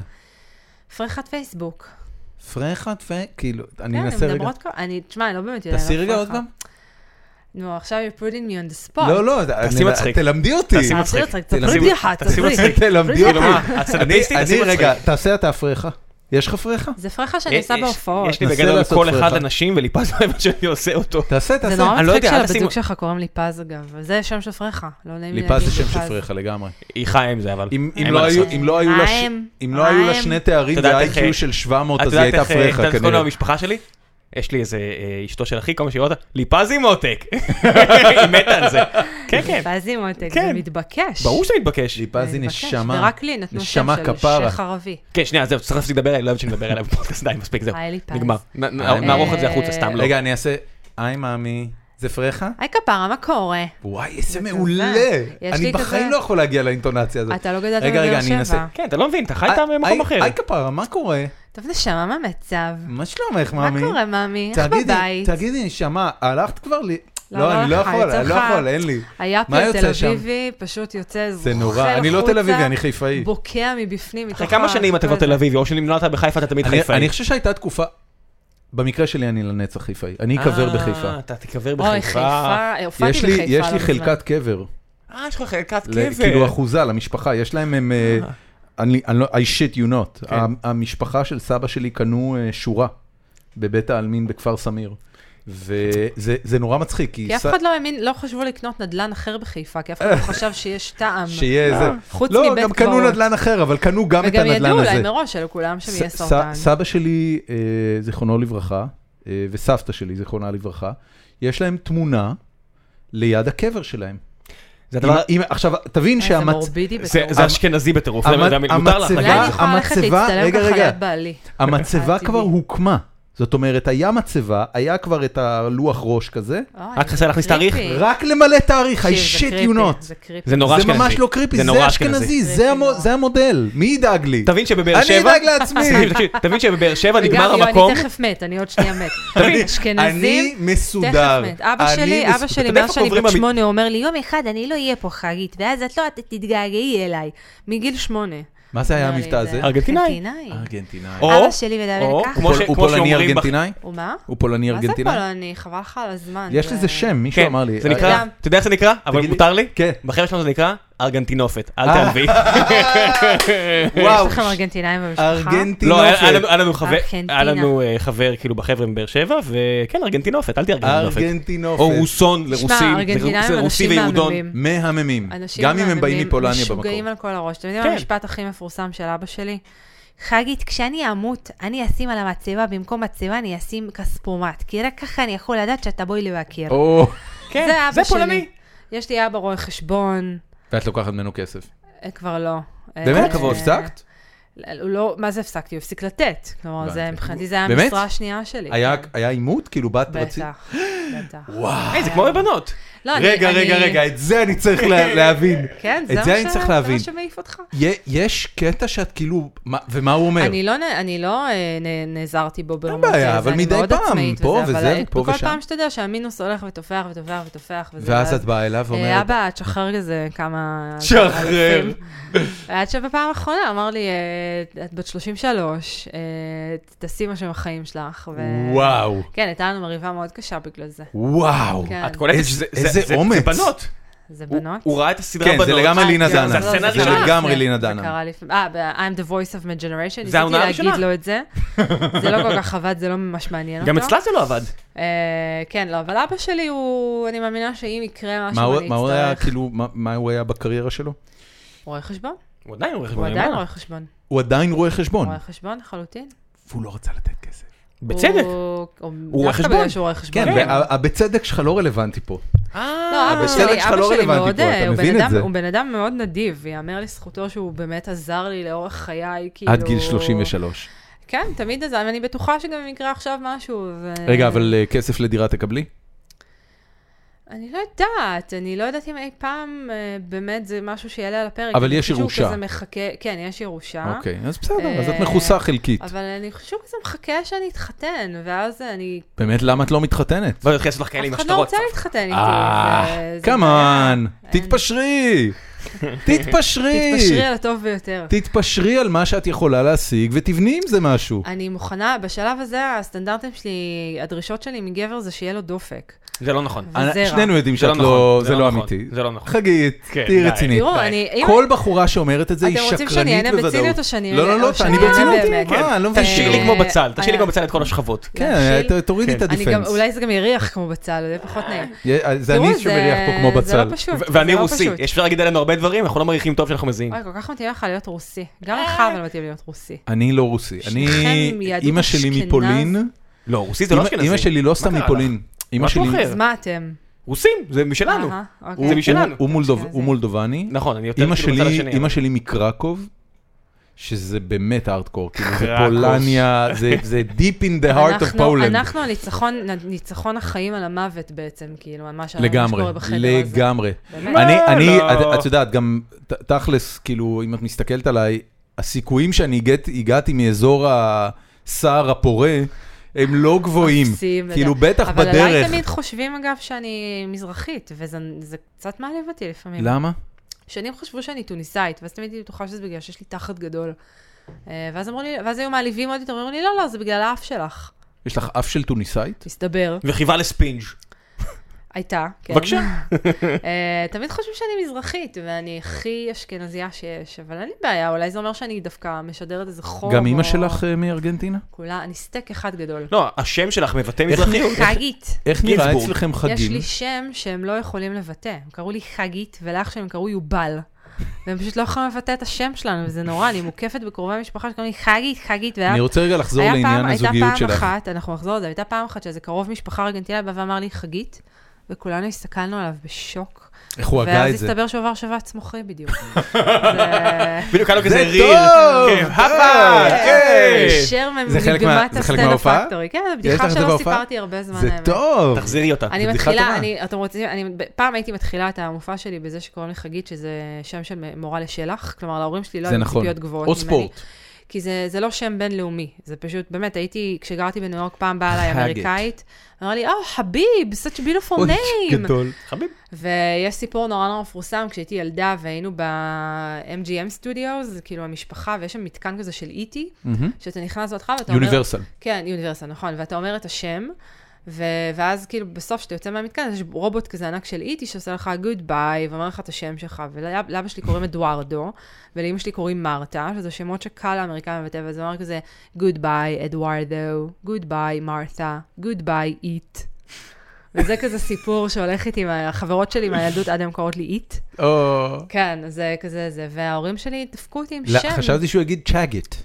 C: פרחת פייסבוק.
A: פרחת ו... כאילו,
C: כן,
A: אני
C: הן
A: אנסה רגע.
C: מדברות ככה. אני, תשמע, אני לא באמת יודעת.
A: תעשי רגע עוד פעם.
C: נו, עכשיו you're putting me on the spot.
A: לא, לא,
B: תעשי
A: אני-
B: מצחיק.
A: תלמדי אותי.
B: תעשי מצחיק.
C: תעשי מצחיק.
A: תלמדי-
C: תספרי בדיחה,
B: תעשי
C: תספרי.
B: מצחיק.
A: תלמדי
B: כאילו
A: אותי.
B: מה, את סטנדאפיסטית?
A: אני-
B: תעשי
A: אני,
B: מצחיק.
A: רגע, תעשה אתה פרחה. יש לך פרחה?
C: זה פרחה שאני עושה
B: יש-
C: בהופעות.
B: אה, יש לי
A: נסה
B: בגדול
A: לעשות
B: כל
A: פרחה.
B: אחד הנשים וליפז מה שאני עושה אותו.
A: תעשה,
C: זה
A: תעשה.
C: נורא
B: אני לא
C: מצחיק
B: יודע, אל
C: שלבת
B: תשים-
C: זוג שלך קוראים לי פז, אגב. זה שם של פרחה. לא נעים לי
A: ליפז
C: להגיד
A: זה שם של
C: פז.
A: פרחה לגמרי.
B: היא חיה עם זה, אבל...
A: אם
B: אין
A: אם
B: מה
A: לא היו-
B: לעשות.
A: אם לא היו לה ש-
C: ריים,
A: אם לא היו לה
C: ריים.
A: שני תארים
B: את יודעת
A: ו-IQ
B: איך-
A: של 700, אז
B: את
A: היא
B: יודעת
A: הייתה
B: איך, אה, את
A: פרחה
B: יודעת כל
A: כנראה.
B: המשפחה שלי? יש לי איזה אה, אשתו של אחי, כל מה שהיא רואה אותה, ליפז עם עותק. היא מתה על זה. כן, כן.
C: פז עם עותק, זה
B: כן.
C: מתבקש.
B: ברור שאתה מתבקש.
A: ליפז היא
C: מתבקש.
A: נשמה.
C: ורק לי נתנו שם
A: נשמה
C: של
A: כפרה.
C: שייח ערבי.
B: כן, שנייה, זהו, צריך להפסיק לדבר עליי, לא אוהב שנדבר עליי בפודקאסט, די, מספיק, זהו.
C: היי, ליפז.
B: נגמר. נ-
C: אה,
B: נ- נערוך את זה החוצה, סתם לא.
A: רגע, אני אעשה... היי, מאמי. זה פרחה?
C: היי כפרה, מה קורה?
A: וואי, איזה
C: כזה.
A: מעולה.
C: יש
A: אני
C: לי כזה-
A: בחיים לא יכול להגיע לאינטונציה הזאת.
C: אתה לא גדלת
A: רגע, רגע,
C: בבאר
A: אני
C: שבע.
A: אנסה.
B: כן, אתה לא מבין, אתה חיית במקום
A: היי-
B: אחר.
A: היי כפרה, מה קורה?
C: טוב, נשמה, מה המצב?
A: מה שלומך,
C: מה
A: מאמי?
C: קורה, מאמי? איך
A: תגידי,
C: בבית?
A: תגידי, נשמה, הלכת כבר ל...
C: לא,
A: לא,
C: לא
A: אני לא
C: הלכה,
A: יכול,
C: יצא
A: אני לא
C: לך.
A: יכול, אין לי.
C: היה
A: מה
C: פה
A: יוצא
C: תל
A: שם?
C: אביבי, פשוט יוצא זרוחה
A: זה נורא. אני לא תל אביבי, אני חיפאי.
C: בוקע מבפנים, מתוך
B: אחרי כמה שנים אתה כבר
C: הכל
B: תל אביבי, או שנמלט בחיפה, אתה תמיד
A: אני-
B: חיפאי.
A: אני חושב שהייתה תקופה... במקרה שלי אני לנצח חיפאי. אני אקבר
B: אה,
A: בחיפה.
B: אתה תיקבר
C: אוי,
B: בחיפה.
C: חיפה, הופעתי
A: יש
C: בחיפה.
A: לי- יש
C: לא
A: לי
C: מזמן.
A: חלקת קבר.
B: אה, יש לך חלקת
A: ל-
B: קבר.
A: כאילו אחוזה למשפחה, יש להם, הם, אה,
B: אה.
A: אני אני לא, I shit you not.
B: כן.
A: ה- המשפחה של סבא שלי קנו אה, שורה בבית העלמין בכפר סמיר. וזה זה נורא מצחיק, כי
C: כי אף
A: ס-
C: אחד לא האמין, לא חשבו לקנות נדלן אחר בחיפה, כי אף אחד לא חשב שיש טעם.
A: שיהיה זה.
C: אה. חוץ
A: לא,
C: מבית
A: גם קנו
C: קברות.
A: נדלן אחר, אבל קנו גם את
C: וגם
A: הנדלן הזה.
C: ידעו אולי מראש שלכולם שם
A: ס-
C: יהיה
A: ס-
C: סרטן.
A: סבא שלי, אה, זיכרונו לברכה, אה, וסבתא שלי, זיכרונה לברכה, יש להם תמונה ליד הקבר שלהם.
B: זה
A: אם-
B: הדבר...
A: אם- עכשיו, תבין
C: אה, זה
A: שהמצבה...
C: מורבידי
B: זה-
C: בטירוף.
B: זה אשכנזי בטירוף,
A: המ-
B: למה זה- מותר לך כן?
A: המצבה-
C: אולי
B: להגיד
C: אני
B: את זה.
C: יכולה ללכת
A: המצבה-
C: להצטלם
A: רגע,
C: ככה
A: רגע.
C: ליד בעלי.
A: המצבה
C: הטבעי.
A: כבר הוקמה. זאת אומרת, היה מצבה, היה כבר את הלוח ראש כזה,
C: אוי,
B: רק
C: זה
B: חסר להכניס
C: קריפי.
B: תאריך.
A: רק למלא תאריך, I
C: כן. תקשיב, זה
A: shit
C: קריפי,
A: you not.
C: זה קריפי.
B: זה נורא
A: זה
B: אשכנזי.
A: ממש לא קריפי,
B: זה נורא
A: זה אשכנזי, זה
C: קריפי
A: המו-
C: נורא.
A: זה המודל, מי ידאג לי?
B: תבין שבבאר
A: אני
B: שבע...
A: אדאג לעצמי.
B: תקשיב, תקשיב, תבין שבבאר שבע
C: וגם,
B: נגמר
C: יו,
B: המקום.
C: אני תכף מת, אני עוד שנייה מת.
A: אני
C: אשכנזים,
A: מסודר.
C: תכף מת. אבא
A: אני
C: שלי,
A: מסודר.
C: אבא שלי,
B: אתה יודע
C: מאז
B: איפה
C: שאני
B: קוברים
C: בת
B: המ-
C: שמונה, הוא אומר לי, יום אחד אני לא אהיה פה חגית, ואז את לא, את תתגעגעי אליי. מגיל שמונה.
A: מה זה היה
C: אומר לי,
A: המבטא הזה?
B: ארגנטינאי.
A: ארגנטינאי.
B: או-
C: אבא שלי מדבר
B: או,
C: ככה.
B: כמו ש-
A: הוא
B: כמו
A: פולני
B: שאומרים בח-
A: ארגנטינאי?
C: הוא מה?
A: הוא פולני
C: מה זה
A: ארגנטינאי?
C: פולני? אה, חבל לך על הזמן.
A: יש
C: זה-
A: לזה שם, מישהו
B: כן,
A: אמר לי.
B: זה נקרא,
C: גם.
B: אתה יודע איך זה נקרא? אבל
A: תגיד לי.
B: מותר לי?
A: כן.
B: בחבר'ה שלנו זה נקרא ארגנטינופת, אל
A: אה.
B: תעלבי.
A: וואו,
C: יש לכם ארגנטינאים במשפחה?
B: לא, היה- היה
A: ארגנטינופת.
B: לנו- היה לנו חבר- היה
C: ארגנטינה.
B: לנו אה, חבר כאילו בחבר'ה מבאר שבע, וכן ארגנטינופת, אל תהיה ארגנטינופת.
A: ארגנטינופת.
B: או רוסון
C: שמע,
B: לרוסים,
C: ארגנטינאים
B: זה
C: הם
B: רוסי
C: אנשים
B: ויהודון.
C: מהממים.
A: מהממים.
C: אנשים
A: גם אם הם
C: מהממים,
A: באים מפולניה במקור.
C: משוגעים על כל הראש. אתם יודעים
B: כן.
C: מה המשפט הכי מפורסם של אבא שלי? חגית, כשאני אמות, אני אשים על המצבה, במקום מצבה אני אשים כספומט, כי רק ככה אני יכול לדעת שאתה בואי לי להכיר.
A: או,
C: כן.
A: אוקיי.
C: זה
B: כן,
C: אבא
B: זה
C: שלי.
B: פולני.
C: יש לי אבא רואה חשבון,
A: ואת לוקחת ממנו כסף.
C: אה, כבר לא. אה,
A: באמת? כבר
C: אה,
A: הפסקת?
C: הוא לא, מה זה הפסקתי? הוא הפסיק לתת. כלומר, זה
A: הבנתי.
C: מבחינתי, זה היה
A: באמת?
C: המשרה השנייה שלי.
A: היה-
C: כן.
A: היה עימות? כאילו בת רצית?
C: בטח, בטח.
A: וואו.
B: היי, אה, זה כמו בבנות.
C: לא, אני-
A: רגע,
C: אני-
A: רגע, רגע, את זה אני צריך לה- להבין.
C: כן, זה
A: את
C: מה
A: זה
C: ש-
A: אני צריך
C: זה
A: להבין.
C: מה שמעיף אותך.
A: יה- יש קטע שאת כאילו, מה- ומה הוא אומר?
C: אני לא, נ- אני לא אה, נ- נעזרתי בו ברמות
A: בעיה,
C: הזה,
A: אבל
C: אני
A: מדי
C: מאוד
A: פעם,
C: עצמאית
A: פה
C: אבל,
A: וזה
C: אה,
A: ופה
C: כל
A: ושם.
C: פעם שאתה יודע שהמינוס הולך ותופח ותופח ותופח. וזה,
A: ואז את באה אליו
C: אה,
A: ואומרת,
C: אבא, תשחרר כזה כמה...
A: שחרר.
C: אלפים. עד שבפעם האחרונה אמר לי, אה, את בת 33, אה, תעשי משהו עם החיים שלך. ו-
A: וואו,
C: כן, הייתה לנו מריבה מאוד קשה בגלל זה.
A: וואו.
C: כן.
B: את קולטת
A: איזה-
B: שזה
A: איזה
B: זה- זה-
A: אומץ.
B: זה בנות.
C: זה
B: הוא-
C: בנות.
B: הוא ראה את הסדרה
A: כן,
B: בנות.
A: זה לגמרי לינה
C: אה, כן,
A: זנה.
C: לא, לא,
B: הסצנה
C: זה
A: זה
B: הראשונה.
A: לגמרי
C: לפני-
A: לינה
C: זה
A: דנה.
C: קרה לפני, אה, ב- I'm the voice of my generation, ניסיתי
B: העונה
C: להגיד
B: הראשונה.
C: לו את זה. זה לא כל כך עבד, זה לא ממש מעניין אותו.
B: גם אצלה זה לא עבד.
C: אה, כן, לא, אבל אבא שלי הוא, אני מאמינה שאם יקרה
A: מה
C: משהו,
A: הוא-
C: אני
A: מה הוא היה,
C: אצטרך.
A: כאילו, מה- מה הוא היה בקריירה שלו?
C: רואה חשבון?
B: הוא עדיין עורך
C: הוא
B: דברים,
C: עדיין
B: אה?
C: רואה חשבון.
A: הוא עדיין רואה חשבון,
C: רואה חשבון לחלוטין.
A: והוא לא רצה לתת כסף.
B: בצדק.
C: הוא
B: רואה
C: דווקא
B: חשבון.
C: בגלל שהוא רואה
A: כן,
C: חשבון.
B: כן.
A: וה- הבצדק שלך לא רלוונטי פה.
B: אה,
C: לא, אבא
A: הבצדק
C: שלי,
A: שלך
C: אבא
A: לא
C: שלי
A: רלוונטי
C: מאוד,
A: פה, אתה
C: אה, הוא בן
A: מבין את
C: אדם-
A: זה.
C: הוא בן אדם מאוד נדיב, ויאמר לזכותו שהוא באמת עזר לי לאורך חיי, כאילו...
A: עד גיל 33.
C: כן, תמיד עזר, ואני בטוחה שגם אם יקרה עכשיו משהו, ו...
A: רגע, אבל אה, כסף לדירה תקבלי?
C: אני לא יודעת, אני לא יודעת אם אי פעם אה, באמת זה משהו שיעלה על הפרק.
A: אבל
C: אני
A: יש
C: חושבת שהוא
A: ירושה.
C: כזה מחכה, כן, יש ירושה.
A: אוקיי, אז בסדר,
C: אה,
A: אז את מכוסה חלקית.
C: אבל אני חושבת שהוא כזה מחכה שאני אתחתן, ואז אני...
A: באמת, למה את לא מתחתנת?
B: ואני הולך לעשות לך כאלה עם
C: אף אחד לא
B: השטרות.
C: רוצה להתחתן איתי. זה-
A: אה,
C: זה בעיה.
A: כמובן,
C: אין.
A: תתפשרי, תתפשרי,
C: תתפשרי על הטוב ביותר.
A: תתפשרי על מה שאת יכולה להשיג ותבני עם זה משהו.
C: אני מוכנה, בשלב הזה הסטנדרטים שלי, הדרישות שלי מגבר זה שיהיה לו דופק.
B: זה לא נכון.
C: אה, זרע.
A: שנינו יודעים
B: זה לא
A: שאת
B: נכון,
A: לא,
B: זה
A: זה
B: לא
A: לא
B: נכון,
A: אמיתי.
B: זה לא נכון.
A: חגית,
B: כן,
A: תהיי
B: די.
A: רצינית.
C: תראו,
B: די.
C: אני... אם-
A: כל בחורה שאומרת את זה היא
C: אתם רוצים
A: שקרנית בוודאות.
C: שאני אענה בציניות או שאני
A: לא,
C: אענה-
A: לא, לא,
C: או שאני
A: תעני
C: אענה
A: בציניות.
C: באמת?
A: מה, אני לא מבין.
B: כן. תשאירי לי
C: אה,
B: כמו בצל, תשאירי לי
C: אה,
B: כמו בצל את כל השכבות.
A: כן,
C: להבשיל.
A: ת- תורידי את
B: כן.
C: אני גם,
A: הדיפנס.
C: אולי זה גם יריח כמו בצל, זה פחות נעים.
A: יה- אה, זה
C: תראו,
A: אני שמריח פה כמו
C: זה
A: בצל.
C: לא פשוט.
B: ו-
C: זה
B: ואני
C: לא
B: רוסי,
C: פשוט. אה.
B: אפשר להגיד עלינו הרבה דברים, אנחנו לא מריחים טוב שאנחנו מזיעים.
C: אוי, כל כך מתאים לך להיות רוסי. גם לך אבל מתאים להיות רוסי.
A: אני לא רוסי. אני,
C: שניכם יהדות
A: אימא שלי
C: אשכנז.
A: מפולין.
B: לא, רוסי זה לא
A: אימא-
B: אשכנזי.
A: אימא שלי לא סתם
B: קרה לך?
A: מפולין. אימא
B: משהו
A: שלי...
B: אחר.
C: אז מה אתם?
B: רוסים, זה משלנו.
C: אהה, אוקיי.
A: הוא-
B: זה משלנו.
A: הוא מולדוב-
C: אשכנזי.
A: הוא מולדובני.
B: נכון, אני יותר
A: אימא
B: כאילו בצד השני.
A: שלי, אימא
B: אבל-
A: שלי מקרקוב, שזה באמת הארדקור, כאילו זה
B: קרקוב.
A: פולניה, זה- זה deep in the heart of
C: אנחנו-
A: Poland.
C: אנחנו הניצחון, ניצחון החיים על המוות בעצם, כאילו, על מה ש- מה
A: לגמרי,
C: שקורה בחדר הזה.
A: לגמרי.
C: באמת.
A: אני, אני,
B: לא.
A: את- את יודעת, גם ת- תכלס, כאילו, אם את מסתכלת עליי, הסיכויים שאני הגעתי- הגעתי מאזור הסער הפורה, הם לא גבוהים.
C: אפסיים
A: כאילו,
C: לדעת.
A: בטח
C: אבל עליי
A: בדרך.
C: תמיד חושבים, אגב, שאני מזרחית, וזה זה קצת מעליב אותי לפעמים.
A: למה?
C: שנים חשבו שאני טוניסאית, ואז תמיד הייתי בטוחה שזה בגלל שיש לי תחת גדול. אה, ואז אמרו לי, ואז היו מעליבים עוד יותר, אמרו לי, לא, לא, זה בגלל האף שלך,
A: יש לך אף של טוניסאית?
C: מסתבר.
B: וחיבה לספינג'.
C: הייתה, כן.
B: בבקשה.
C: אה, תמיד חושבים שאני מזרחית, ואני הכי אשכנזייה שיש, אבל אין לי בעיה, אולי זה אומר שאני דווקא משדרת איזה חום.
A: גם
C: או-
A: אימא שלך אה, מארגנטינה?
C: כולה, אני סטייק אחד גדול.
B: לא, השם שלך מבטא
A: איך
B: מזרחיות.
C: חגית.
A: איך נראה
B: גינסבורג.
A: אצלכם
C: יש
A: חגים?
C: לי שם שהם לא יכולים לבטא. הם קראו לי חגית, ולאח שלי הם קראו יובל. והם פשוט לא יכולים לבטא את השם שלנו, וזה נורא, אני מוקפת בקרובי משפחה שקוראים לי חגית, חגית, והיה
A: אני רוצה רגע לחזור
C: היה
A: לעניין
C: פעם-
A: הזוגיות
C: הייתה פעם
A: שלך.
C: אחת, אנחנו נחזור לזה, הייתה פעם אחת שאיזה קרוב משפחה ארגנטינה בא ואמר לי, חגית, וכולנו הסתכלנו עליו בשוק.
A: איך הוא הגה את
C: ואז
A: זה?
C: הסתבר שהוא עבר שבץ מוחי בדיוק. זה- אה,
B: בדיוק, היה לו כזה
A: זה
B: ריל.
A: טוב!
B: כן, הפעם! כן.
C: הישר
A: אה, זה חלק מה-
C: ממגמת
A: זה חלק מההופעה?
C: הסטנדפקטורי. כן,
A: לך את
C: בדיחה
A: זה
C: שלא
A: בהופעה?
C: סיפרתי הרבה זמן.
A: זה
C: האמת.
A: טוב.
B: תחזירי אותה.
A: זו
C: אני
A: בדיחה טובה.
C: מתחילה, אני, אתם רוצים, אני, ב- פעם הייתי מתחילה את המופע שלי בזה שקוראים לי חגית, שזה שם של מ- מורה לשלח, כלומר להורים שלי לא
A: זה
C: היו
A: נכון.
C: ציפיות גבוהות
A: או
C: ממני,
A: ספורט.
C: כי זה, זה לא שם בינלאומי, זה פשוט, באמת, הייתי, כשגרתי בניו יורק פעם באה אליי
A: חגית.
C: אמריקאית, אמרה לי, או, חביב, such a beautiful
A: אוי,
C: name.
A: גדול.
B: חביב.
C: ויש סיפור נורא נורא מפורסם, כשהייתי ילדה והיינו ב-MGM Studios, כאילו המשפחה, ויש שם מתקן כזה של איטי,
A: מהמם.
C: שאתה נכנס בהתחלה ואתה אומר,
A: יוניברסל.
C: כן, יוניברסל, נכון, ואתה אומר את השם, ו- ואז כאילו בסוף כשאתה יוצא מהמתקן, אז יש רובוט כזה ענק של איטי שעושה לך גוד ביי, ואומר לך את השם שלך, ולאבא שלי קוראים אדוארדו, ולאמא שלי קוראים מרתה, שזה שמות שקל לאמריקאים לבטא, ואז הוא אמר כזה, גוד ביי אדוארדו, גוד ביי מרתה, גוד ביי איט. וזה כזה סיפור שהולך איתי, עם החברות שלי מהילדות עד היום קוראות לי איט.
A: או...
C: כן, זה כזה זה, וההורים שלי דפקו אותי עם
A: לא,
C: כן, שם.
A: חשבתי שהוא יגיד צ'אגט.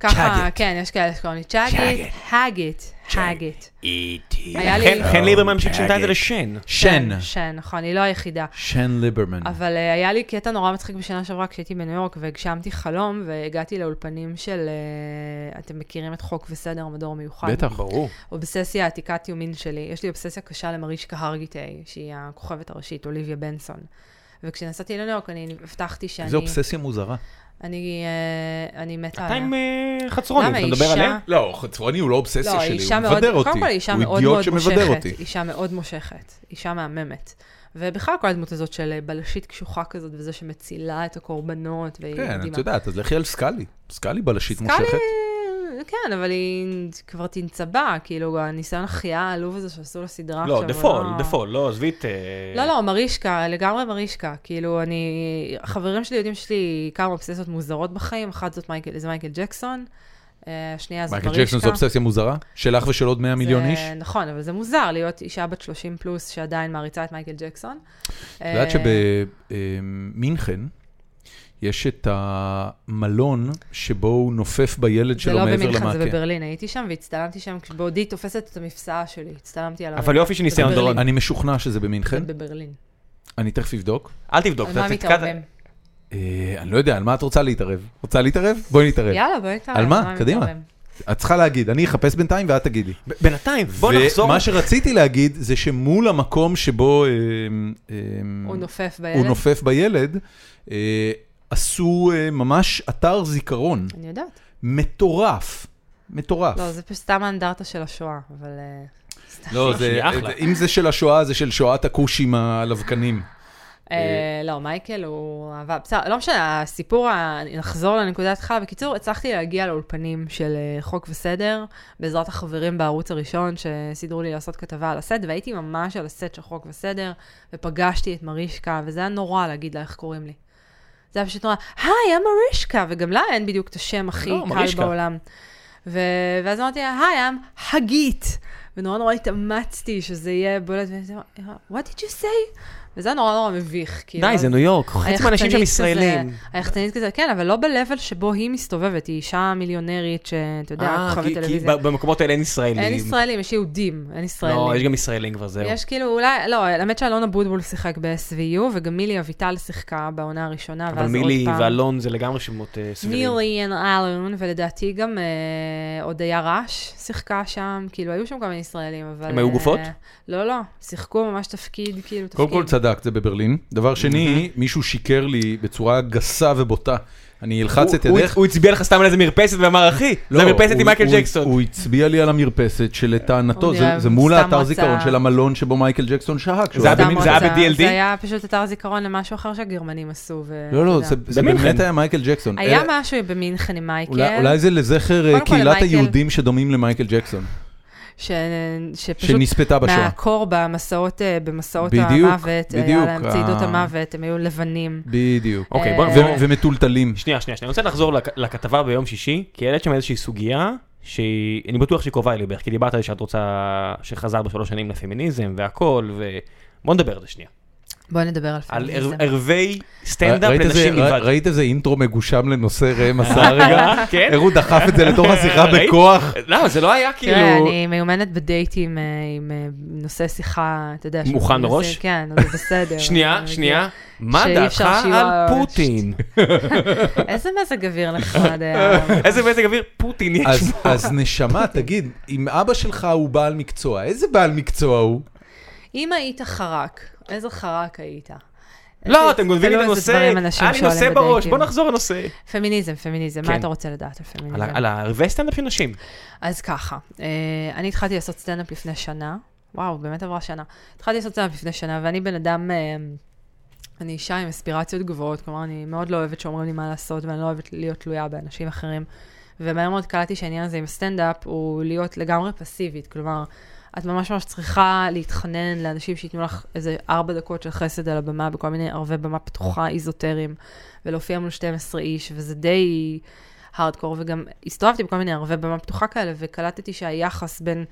C: ככה,
A: צ'אגט.
C: כן, יש כאלה שקוראים לי צ'אגית, הגית, הגית.
B: איטי.
C: היה לי- אה,
B: חן- חן ליברמן ששינתה את זה לשן.
A: שן. Mm.
C: שן, נכון, אני לא היחידה.
A: שן ליברמן.
C: אבל אה, היה לי קטע נורא מצחיק בשנה שעברה כשהייתי בניו יורק והגשמתי חלום והגעתי לאולפנים של, אה, אתם מכירים את חוק וסדר מדור מיוחד.
A: בטח.
B: ברור.
C: אובססיה עתיקת יומין שלי. יש לי אובססיה קשה למרישקה הרגיטי, שהיא הכוכבת הראשית, אוליביה בנסון. וכשנסעתי לניו יורק אני הבטחתי שאני...
A: איזו אובססיה מוזרה.
C: אני, אה, אני מתה
B: אתה
C: עליה.
B: עם אה, חצרוני,
C: למה,
B: אתה מדבר
C: אישה?
B: עליה?
A: לא, חצרוני הוא לא אובססיה
C: לא, היא אישה מאוד, קודם כל היא אישה מאוד מאוד מושכת. אישה מאוד מושכת, אישה מהממת. ובכלל כל הדמות הזאת של אה, בלשית קשוחה כזאת, וזה שמצילה את הקורבנות, והיא
A: כן,
C: מדהימה.
A: את יודעת, אז לכי על סקאלי. סקאלי בלשית
C: סקאלי,
A: מושכת.
C: כן, אבל היא כבר תנצבה, כאילו, הניסיון החייאה העלוב הזה שעשו לסדרה
B: לא,
C: עכשיו.
B: דה
C: הוא
B: פול,
C: לא-
B: דה פול, לא, עזבי את... אה,
C: לא, לא, מרישקה, לגמרי מרישקה. כאילו, אני... חברים שלי יודעים שיש לי כמה אובססיות מוזרות בחיים, אחת זאת מייקל, זה מייקל ג'קסון, אה, השנייה זאת מרישקה.
A: מייקל ג'קסון זו אובססיה מוזרה? שלך ושל עוד 100 מיליון איש?
C: זה, נכון, אבל זה מוזר להיות אישה בת 30 פלוס שעדיין מעריצה את מייקל ג'קסון. אה,
A: את יודעת שבמינכן יש את המלון שבו הוא נופף בילד
C: זה
A: שלו
C: לא
A: מעבר
C: במינכן, זה
A: למעקה.
C: בברלין. הייתי שם והצטלמתי שם, כשבעודי תופסת את המפסעה שלי, הצטלמתי עליו.
B: אבל יופי של ניסיון,
C: בברלין.
B: דורון.
A: אני משוכנע שזה
C: זה
A: במינכן,
C: בברלין.
A: אני תכף אבדוק.
B: אל תבדוק.
C: על
B: אתה
C: מה כן.
B: תתקעת-
C: מתערבים?
A: אה, אני לא יודע, על מה את רוצה להתערב? רוצה להתערב? בואי נתערב.
C: יאללה, בואי נתערב.
A: על מה? קדימה.
C: מתערבים?
A: את צריכה להגיד, אני אחפש בינתיים ואת תגידי.
B: ב- בינתיים, בוא נחזור.
A: ומה שרציתי להגיד זה שמול המקום שבו אה, אה,
C: הוא נופף
A: הוא
C: בילד.
A: נופף בילד, אה, עשו אה, ממש אתר זיכרון
C: אני יודעת.
A: מטורף. מטורף.
C: לא, זה פשוט סתם האנדרטה של השואה, אבל... אה, סתם.
A: לא,
B: זה
A: זה,
B: אחלה.
A: זה- אם זה של השואה, זה של שואת הכוש עם הלבקנים.
C: אה, לא, מייקל הוא אהבה, בסדר, לא משנה, הסיפור, ה- נחזור לנקודת התחלה. בקיצור, הצלחתי להגיע לאולפנים של אה, חוק וסדר, בעזרת החברים בערוץ הראשון, שסידרו לי לעשות כתבה על הסט, והייתי ממש על הסט של חוק וסדר, ופגשתי את מרישקה, וזה היה נורא להגיד לה איך קוראים לי. זה היה פשוט נורא, היי, I'm מרישקה, וגם לה אין בדיוק את השם הכי
B: לא,
C: קל
B: מרישקה.
C: בעולם. ו- ואז אמרתי לה, היי, I'm חגית. ונורא נורא התאמצתי שזה יהיה בולט, וזה אמרה, what did you say? וזה היה נורא נורא מביך, כאילו.
B: די,
C: אז
B: זה ניו יורק, חצי מהאנשים שם
C: היחצנית כזה-
B: ישראלים.
C: היחצנית כזה, כן, אבל לא ב-level שבו היא מסתובבת, היא אישה מיליונרית, שאתה יודע,
B: אה,
C: כוכבת
B: כי- כי
C: טלוויזיה.
B: ב- במקומות האלה אין ישראלים.
C: אין ישראלים, יש יהודים, אין ישראלים.
B: לא, יש גם ישראלים כבר, זהו.
C: יש כאילו, אולי, לא, האמת שאלון אבוטבול שיחק ב-SVU, וגם מילי אביטל שיחקה בעונה הראשונה, ואז עוד
B: אבל
C: פעם.
B: מילי ואלון זה לגמרי שמות אה, סבירים.
C: מילי אלון, ולדעתי גם אה, הודיה רש שיחקה שם, כאילו, היו שם כמה ישראלים, אבל...
B: הם היו
C: אה,
B: גופות?
C: לא, לא, שיחקו ממש תפקיד, כאילו, תפקיד.
A: קודם כל צדקת, זה בברלין. דבר שני, מישהו שיקר לי בצורה גסה ובוטה. אני אלחץ את
B: הוא-
A: ידך.
B: הוא הצביע לך סתם על איזה מרפסת ואמר, אחי, זה
A: לא,
B: מרפסת
A: הוא-
B: עם מייקל
A: הוא-
B: ג'קסון.
A: הוא הצביע לי על המרפסת שלטענתו,
C: הוא
A: זה-
C: נראה-
A: זה מול
C: סתם
A: האתר
C: רצה-
A: זיכרון של המלון שבו מייקל ג'קסון שהה. כשהוא
B: היה
A: היה
C: סתם
A: במינכן.
B: זה היה
C: רוצה-
B: ב-DLD?
C: זה היה פשוט אתר זיכרון למשהו אחר שהגרמנים עשו, ו...
A: לא, לא,
C: אתה
A: זה-
C: יודע.
A: זה
B: במינכן.
A: באמת היה מייקל ג'קסון.
C: היה
A: אה,
C: משהו כן, במינכן עם מייקל,
A: אולי אולי זה לזכר אה,
C: קודם כל,
A: קהילת
C: למייקל-
A: היהודים שדומים למייקל ג'קסון.
C: ש... שפשוט
A: שנספתה בשואה.
C: מהקור במסעות, אה, במסעות
A: בדיוק,
C: המוות, היה
A: בדיוק,
C: להם צעידות
A: ה-
C: המוות, הם היו לבנים.
A: בדיוק.
B: אוקיי,
C: אה,
B: בוא
A: ו-
B: נחזור.
A: ומטולטלים.
B: שנייה, שנייה, שנייה. אני רוצה לחזור לכ- לכתבה ביום שישי, כי העלית שם איזושהי סוגיה שהיא, אני בטוח שהיא קרובה אליבך, כי דיברת על שאת רוצה, שחזר בשלוש שנים לפמיניזם והכל, ו... בוא נדבר על זה שנייה.
C: בואו נדבר על
B: על
C: פמיניזם.
B: ער- ערבי סטנדאפ
A: ראית איזה-
B: לנשים
A: ר-
B: בלבד.
A: ראית איזה אינטרו מגושם לנושא ראם עשה רגע?
B: כן?
A: איך הוא דחף את זה לתוך השיחה
B: ראית?
A: בכוח?
B: למה, זה לא היה כאילו...
C: תראה, אני מיומנת בדייטים אה, עם אה, נושא שיחה, אתה יודע.
B: מוכן
C: שמנסים-
B: מראש?
C: כן, אז זה בסדר.
B: שנייה,
C: אני
B: שנייה. מה
C: שאי
B: דעתך
C: אפשר שיהיו
B: על
C: ה-
B: פוטין?
C: מגיעה. כאילו, איזה מזג אוויר נחמד היה.
B: איזה מזג אוויר פוטין יש
A: אז-
B: פה.
A: אז נשמה, תגיד, אם אבא שלך הוא בעל מקצוע, איזה בעל מקצוע הוא?
C: אמ. אם היית חרק, איזה חרק היית?
B: לא, אתם גונבים לי את
C: תלוי איזה
B: הנושא.
C: דברים אנשים
B: היה לי
C: שואלים
B: נושא בראש,
C: בדייטים.
B: בוא נחזור לנושא.
C: פמיניזם, פמיניזם,
B: כן.
C: מה אתה רוצה לדעת על
B: על
C: פמיניזם?
B: ה- על הערבי סטנדאפ של נשים.
C: אז ככה, אה, אני התחלתי לעשות סטנדאפ לפני שנה. וואו, באמת עברה שנה. התחלתי לעשות סטנדאפ לפני שנה, ואני בן אדם, אה, אני אישה עם אספירציות גבוהות, כלומר, אני מאוד לא אוהבת שאומרים לי מה לעשות, ואני לא אוהבת להיות תלויה באנשים אחרים. ומהר מאוד קלטתי שהעניין הזה עם סטנדאפ הוא להיות לגמרי פסיבית, כלומר, את ממש ממש צריכה להתחנן לאנשים שייתנו לך איזה ארבע דקות של חסד על הבמה, בכל מיני ערבי במה פתוחה, איזוטריים, ולהופיע מול 12 איש, וזה די הארדקור, וגם הסתובבתי בכל מיני ערבי במה פתוחה כאלה, וקלטתי שהיחס בין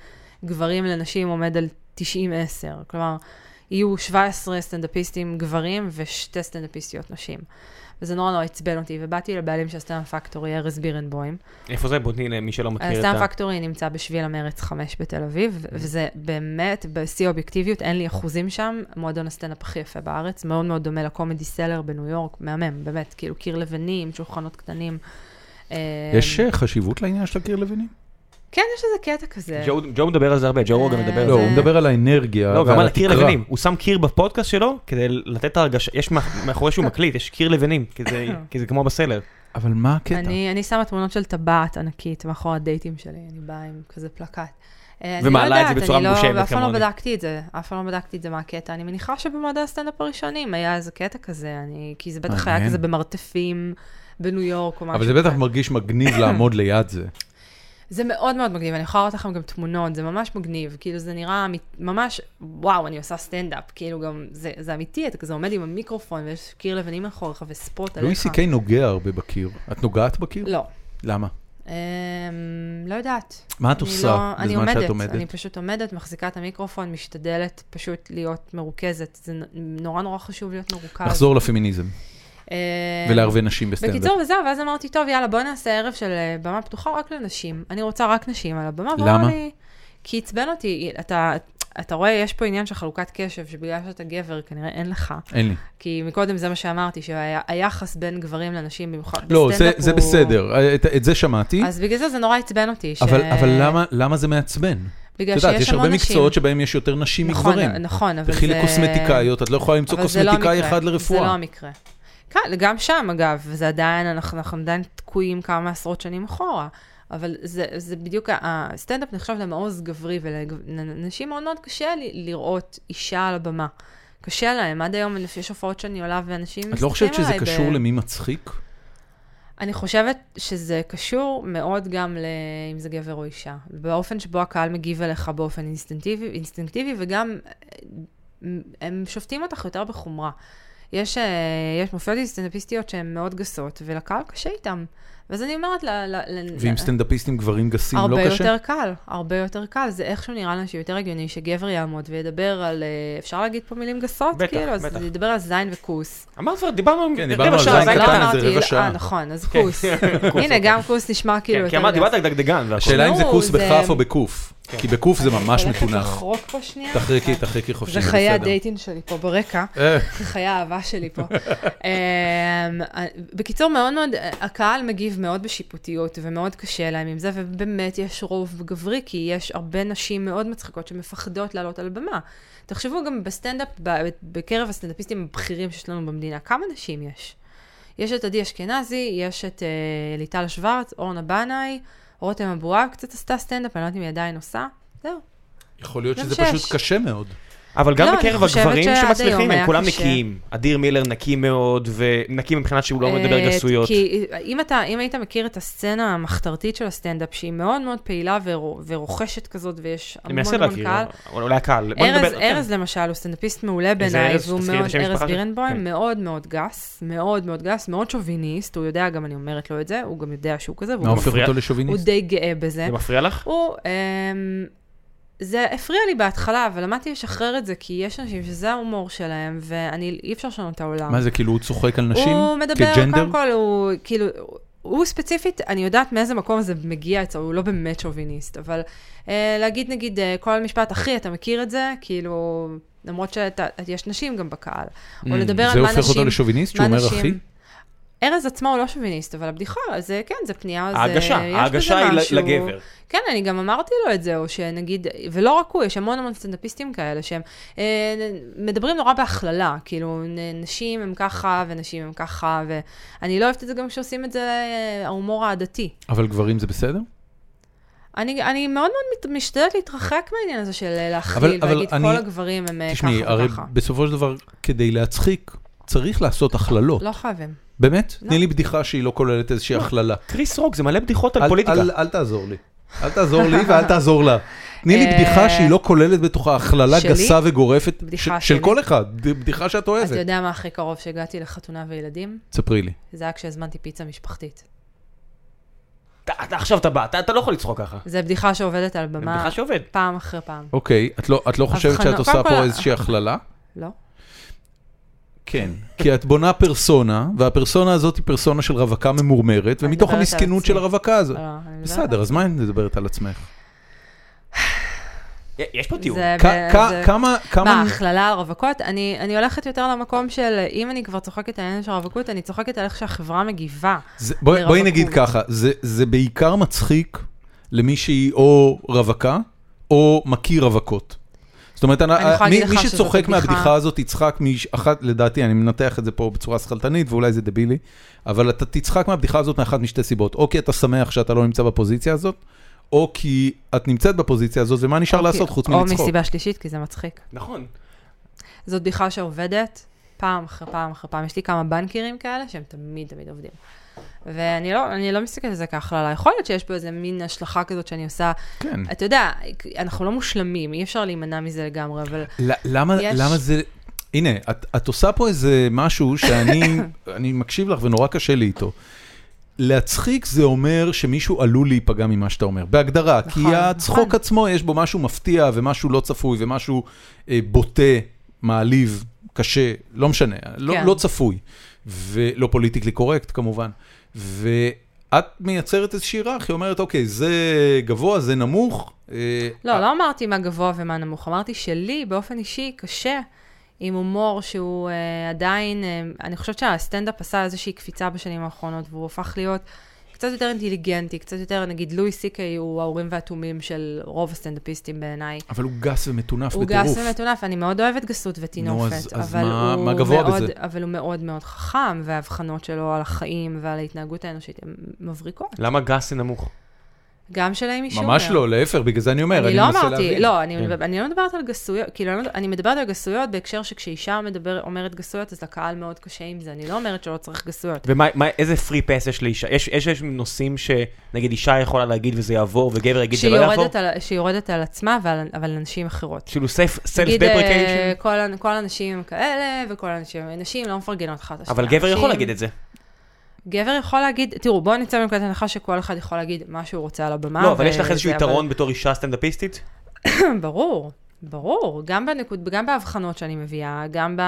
C: גברים לנשים עומד על 90-10, כלומר, יהיו 17 סטנדאפיסטים גברים ושתי סטנדאפיסטיות נשים. וזה נורא נורא עצבן אותי, ובאתי לבעלים של סטנדאפ פקטורי, ארז בירנבוים,
B: איפה זה? בוא תני למי שלא מכיר את
C: הסטאם
B: ה... Mm.
C: פקטורי נמצא בשביל המרץ 5 בתל אביב, וזה באמת, בשיא האובייקטיביות, אין לי אחוזים שם, מועדון הסטנדאפ הכי יפה בארץ, מאוד מאוד דומה לקומדי סלר בניו יורק, מהמם, באמת, כאילו קיר לבנים, שולחנות קטנים. אה,
A: יש אה, חשיבות לעניין של הקיר לבנים?
C: כן, יש איזה קטע כזה.
B: ג'ו- ג'ו מדבר על זה הרבה, ג'ו רוגן
C: אה,
B: מדבר על
A: לא,
B: זה.
A: הוא מדבר על האנרגיה
B: לא, גם
A: ועל
B: על הקיר
A: התקרה.
B: לבנים. הוא שם קיר בפודקאסט שלו כדי לתת את ההרגשה, יש מאח- מאחורי שהוא מקליט, יש קיר לבנים, כי זה- כי זה כמו בסלר.
A: אבל מה הקטע?
C: אני, אני שמה תמונות של טבעת ענקית מאחורי הדייטים שלי, אני באה עם כזה פלקט. אה,
B: ומעלה
C: אני לא
B: את זה
C: יודעת,
B: בצורה
C: אני לא-
B: מגושמת
C: ואף פעם לא
B: כמוני.
C: בדקתי את זה, אף פעם לא בדקתי את זה מה הקטע. אני מניחה שבמועדי הסטנדאפ הראשונים היה איזה קטע כזה, אני, כי זה בטח היה
A: מעניין.
C: כזה במרתפים בניו יורק או משהו.
A: אבל זה בטח
C: כזה.
A: מרגיש מגניב לעמוד ליד זה.
C: זה מאוד מאוד מגניב, אני יכולה להראות לכם גם תמונות, זה ממש מגניב, כאילו זה נראה אמיתי- ממש, וואו, אני עושה סטנדאפ, כאילו גם, זה, זה אמיתי, אתה כזה עומד עם המיקרופון ויש קיר לבנים מאחוריך וספוט עליך.
A: לואי סי קיי נוגע הרבה בקיר. את נוגעת בקיר?
C: לא.
A: למה?
C: אמ, לא יודעת.
A: מה את
C: אני
A: עושה
C: לא- אני
A: בזמן שאת
C: אני
A: עומדת?
C: פשוט עומדת, מחזיקה את המיקרופון, משתדלת פשוט להיות מרוכזת. זה נ- נורא נורא חשוב להיות מרוכז.
A: נחזור לפמיניזם
C: אמ,
A: ולערבי נשים בסטנדאפ.
C: בקיצור, וזהו, ואז אמרתי, טוב, יאללה, בוא נעשה ערב של אה, במה פתוחה רק לנשים. אני רוצה רק נשים על הבמה. ואמר
A: למה?
C: לי, כי עצבן אותי. אתה, אתה רואה, יש פה עניין של חלוקת קשב, שבגלל שאתה גבר, כנראה אין לך.
A: אין לי.
C: כי מקודם זה מה שאמרתי, שהיחס בין גברים לנשים, במיוחד
A: לא, זה-
C: בסטנדאפ
A: זה
C: הוא-
A: בסדר, אה, את- את זה שמעתי,
C: אז בגלל זה זה נורא עצבן אותי. ש-
A: אבל אבל למה- למה זה מעצבן? את
C: בגלל
A: יודעת,
C: שיש
A: יש
C: המון
A: הרבה
C: נשים.
A: מקצועות שבהם יש יותר נשים
C: נכון,
A: מגברים.
C: נכון, אבל זה...
A: תלכי לקוסמטיקאיות, את לא יכולה למצוא
C: אבל זה לא
A: קוסמטיקאי
C: המקרה,
A: אחד לרפואה.
C: זה לא המקרה. כן, גם שם, אגב, זה עדיין, אנחנו, אנחנו עדיין תקועים כמה עשרות שנים אחורה. אבל זה, זה בדיוק, ה- הסטנדאפ נחשב למעוז גברי, ולנשים מאוד מאוד קשה ל- לראות אישה על הבמה. קשה להם, עד היום יש הופעות שאני עולה ואנשים
A: את לא חושבת שזה
C: עליי
A: קשור
C: ב-
A: למי מצחיק?
C: אני חושבת שזה קשור מאוד גם ל... אם זה גבר או אישה. באופן שבו הקהל מגיב אליך באופן אינסטינקטיבי, אינסטינקטיבי וגם אה, הם שופטים אותך יותר בחומרה. יש, אה, יש מופיעות סטנדאפיסטיות שהן מאוד גסות, ולקהל קשה איתן. ואז אני אומרת, ל, ל, ל,
A: ועם סטנדאפיסטים גברים גסים
C: הרבה
A: לא
C: יותר
A: קשה?
C: קל, הרבה יותר קל. זה איכשהו נראה לנו שיותר הגיוני שגבר יעמוד וידבר על, אה, אפשר להגיד פה מילים גסות?
B: בטח,
C: כאילו, אז
B: בטח.
C: ידבר על זין וכוס.
B: אמרת כבר, דיברנו
A: כן,
B: רבע
A: דיברנו על
B: שעה,
A: זין
C: אבל
A: קטן,
C: לא
A: אז זה
C: אמרתי-
A: רבע שעה. כן.
C: אה, נכון, אז כוס. הנה, גם כוס נשמע כאילו
B: כן,
C: יותר...
B: כי אמרת,
C: גס.
B: דיברת על דגדגן והכל.
A: השאלה אם זה
C: לא,
A: כוס
C: זה-
A: בכף או בקוף, כי בקוף זה ממש
C: אני הולכת
A: מטונף.
C: לחרוק פה שנייה.
A: תחריקי, תחריקי חופשי.
C: זה חיי
A: בסדר.
C: הדייטינג שלי פה ברקע,
A: אה,
C: זה חיי האהבה שלי פה. אמ, בקיצור, מאוד מאוד, הקהל מגיב מאוד בשיפוטיות ומאוד קשה להם עם זה, ובאמת יש רוב גברי, כי יש הרבה נשים מאוד מצחיקות שמפחדות לעלות על במה. תחשבו גם בסטנדאפ, ב- בקרב הסטנדאפיסטים הבכירים שיש לנו במדינה, כמה נשים יש? יש את עדי אשכנזי, יש את אה, ליטל שוורץ, אורנה בנאי, רותם אבואב קצת עשתה סטנדאפ, אני לא יודעת אם היא עדיין עושה. זהו.
A: יכול להיות
C: גם
A: שזה
C: שש.
A: פשוט קשה מאוד.
B: אבל
C: לא,
B: גם
C: אני
B: בקרב
C: חושבת
B: הגברים
C: שעד היום
B: שמצליחים, הם
C: היה
B: כולם
C: קשה.
B: נקיים. אדיר מילר נקי מאוד, ונקי מבחינת שהוא לא מדבר
C: אה,
B: גסויות.
C: כי אם אתה, אם היית מכיר את הסצנה המחתרתית של הסטנדאפ, שהיא מאוד מאוד פעילה ורו- ורוכשת כזאת, ויש
B: אני
C: המון
B: מנסה
C: המון
B: להכיר,
C: קהל.
B: אבל אולי הקהל. בוא
C: ארז,
B: נדבר- כן.
C: ארז למשל הוא סטנדאפיסט מעולה
B: איזה
C: בעיניי,
B: ארז?
C: והוא
B: תזכירי לי את
C: מאוד,
B: השם
C: ארז
B: המשפחה שלו.
C: בירנבוים,
B: כן.
C: מאוד מאוד גס, מאוד מאוד גס, מאוד שוביניסט, הוא יודע, גם אני אומרת לו את זה, הוא גם יודע שהוא כזה, והוא
A: מה
C: גם-
A: הופך
B: מפריע?
A: אותו
C: הוא
A: לשוביניסט?
C: די גאה בזה.
B: לא, זה מפריע לך?
C: הוא, אמ, זה הפריע לי בהתחלה, אבל למדתי לשחרר את זה, כי יש אנשים שזה ההומור שלהם, ואני, אי אפשר לשנות את העולם.
A: מה זה, כאילו הוא צוחק על נשים?
C: הוא מדבר,
A: כג'נדר?
C: קודם כל, הוא כאילו, הוא- הוא ספציפית, אני יודעת מאיזה מקום זה מגיע אצלו, הוא לא באמת שוביניסט, אבל אה, להגיד נגיד אה, כל משפט, אחי, אתה מכיר את זה? כאילו, למרות שיש נשים גם בקהל. או לדבר על
A: Mm, זה
C: מה
A: הופך אותו
C: נשים,
A: לשוביניסט, שהוא
C: מה
A: אומר
C: נשים...
A: אחי?
C: ארז עצמו הוא לא שוביניסט, אבל הבדיחה, זה כן, זה פנייה, זה...
B: ההגשה,
C: אה, יש בזה
B: ההגשה היא
C: משהו.
B: ל- לגבר.
C: כן, אני גם אמרתי לו את זה, או שנגיד, ולא רק הוא, יש המון המון סטנדאפיסטים כאלה שהם אה, מדברים נורא בהכללה, כאילו, נ- נשים הם ככה, ונשים הם ככה, ואני לא אוהבת את זה גם כשעושים את זה, אה, ההומור העדתי.
A: אבל גברים זה בסדר?
C: אני, אני מאוד מאוד מת- משתדלת להתרחק מהעניין הזה של אה,
A: אבל-
C: להכליל,
A: אבל
C: ולהגיד
A: אני-
C: כל הגברים הם אה,
A: תשמעי,
C: ככה
A: הרי
C: וככה.
A: בסופו של דבר, כדי להצחיק, צריך לעשות הכללות.
C: לא חייבים.
A: באמת?
C: לא.
A: תני לי בדיחה שהיא לא כוללת איזושהי הכללה.
B: קריס רוק, זה מלא בדיחות על
A: אל-
B: פוליטיקה.
A: אל- אל תעזור לי. אל תעזור לי ואל תעזור לה. תני לי
C: אה,
A: בדיחה שהיא לא כוללת בתוכה הכללה
C: שלי?
A: גסה וגורפת
C: בדיחה
A: ש- של
C: שלי.
A: כל אחד, ד- בדיחה שאת
C: אתה
A: אוהבת.
C: יודע מה הכי קרוב שהגעתי לחתונה וילדים?
A: ספרי לי.
C: זה היה כשהזמנתי פיצה משפחתית.
B: אתה- אתה- עכשיו אתה בא, אתה אתה לא יכול לצחוק ככה.
C: זו בדיחה שעובדת על
B: זה
C: במה
B: בדיחה שעובד.
C: פעם אחרי פעם.
A: אוקיי, את לא- את לא חושבת
C: הבחנה-
A: שאת עושה
C: קודם
A: פה
C: כל-
A: איזושהי הכללה?
C: לא?
A: כן. כי את בונה פרסונה, והפרסונה הזאת היא פרסונה של רווקה ממורמרת,
C: אני
A: ומתוך
C: מדברת על
A: המסכנות של
C: עצמי.
A: הרווקה הזאת.
C: לא, אני מדברת
A: בסדר, אז מה אם מדברת על עצמך?
B: יש פה
C: זה
B: טיעון.
C: ב-
A: לא כ- כ-
C: אה, זה-
A: כמה,
C: מה,
A: כמה...
C: הכללה על רווקות? אני, אני הולכת יותר למקום של אם אני כבר צוחקת על העניין של הרווקות, אני צוחקת על איך שהחברה מגיבה.
A: זה- בואי בואי
C: לרווקות.
A: נגיד ככה, זה- זה בעיקר מצחיק למי שהיא או רווקה, או מכיר רווקות. זאת אומרת, אני-
C: אני יכולה
A: מי-
C: להגיד
A: מי
C: לך שזאת
A: שצוחק
C: הבדיחה-
A: מהבדיחה הזאת יצחק מאחת, לדעתי, אני מנתח את זה פה בצורה שכלתנית, ואולי זה דבילי, אבל אתה תצחק מהבדיחה הזאת מאחת משתי סיבות. או כי אתה שמח שאתה לא נמצא בפוזיציה הזאת, או כי את נמצאת בפוזיציה הזאת, ומה נשאר לעשות חוץ
C: אוקיי, או
A: מלצחוק?
C: מסיבה שלישית, כי זה מצחיק.
B: נכון.
C: זאת בדיחה שעובדת פעם אחרי פעם אחרי פעם. יש לי כמה בנקרים כאלה שהם תמיד תמיד עובדים. ואני לא, אני לא מסתכלת על זה כהכללה. יכול להיות שיש פה איזה מין השלכה כזאת שאני עושה.
A: כן.
C: אתה יודע, אנחנו לא מושלמים, אי אפשר להימנע מזה לגמרי, אבל...
A: ל- למה,
C: יש-
A: למה זה... הנה, את, את עושה פה איזה משהו שאני אני מקשיב לך ונורא קשה לי איתו. להצחיק זה אומר שמישהו עלול להיפגע ממה שאתה אומר, בהגדרה, נכון,
C: נכון,
A: כי הצחוק נכון.
C: נכון.
A: עצמו יש בו משהו מפתיע ומשהו לא צפוי ומשהו אה, בוטה, מעליב, קשה, לא משנה, לא,
C: כן.
A: לא צפוי, ולא פוליטיקלי קורקט כמובן. ואת מייצרת איזושהי היררכיה, אומרת, אוקיי, זה גבוה, זה נמוך. אה,
C: לא, לא אמרתי מה גבוה ומה נמוך, אמרתי שלי באופן אישי קשה עם הומור שהוא אה, עדיין, אה, אני חושבת שהסטנדאפ עשה איזושהי קפיצה בשנים האחרונות, והוא הפך להיות קצת יותר אינטליגנטי, קצת יותר, נגיד לואי סי קיי הוא האורים והתומים של רוב הסטנדאפיסטים בעיניי.
A: אבל הוא גס ומטונף
C: הוא
A: בטירוף.
C: גס ומטונף, אני מאוד אוהבת גסות וטינופת,
A: נו, אז- אז
C: אבל,
A: מה-
C: הוא
A: מה גבוה
C: מאוד,
A: בזה?
C: אבל הוא מאוד מאוד חכם, וההבחנות שלו על החיים ועל ההתנהגות האנושית הן מבריקות.
B: למה גס זה נמוך?
C: גם של אימי שומר.
A: ממש לא, להפך, בגלל זה אני אומר,
C: אני
A: אני
C: לא
A: מנסה
C: אמרתי,
A: להבין.
C: לא, אני
B: כן.
C: מדבר- אני לא מדברת על גסויות, כאילו, אני לא- אני מדברת על גסויות בהקשר שכשאישה מדבר- אומרת גסויות, אז לקהל מאוד קשה עם זה, אני לא אומרת שלא צריך גסויות.
B: ואיזה פרי פס יש לאישה? יש- יש יש נושאים שנגיד אישה יכולה להגיד וזה יעבור, וגבר יגיד זה
C: כשהיא
B: לא יעבור?
C: יורדת על- שהיא יורדת על עצמה ועל אבל על נשים אחרות.
B: כאילו סלף
C: נגיד, אה,
B: דפריקיישן?
C: כל הנ- כל הנשים הם כאלה, וכל הנשים, נשים לא מפרגנות אחת לשנייה.
B: אבל גבר יכול
C: נשים-
B: להגיד את זה.
C: גבר יכול להגיד, תראו, בואו נצא מנקודת הנחה שכל אחד יכול להגיד מה שהוא רוצה על הבמה.
B: לא, אבל יש לך
C: וזה,
B: איזשהו
C: אבל-
B: יתרון בתור אישה סטנדאפיסטית?
C: ברור, ברור. גם בנקוד, גם בהבחנות שאני מביאה, גם ב,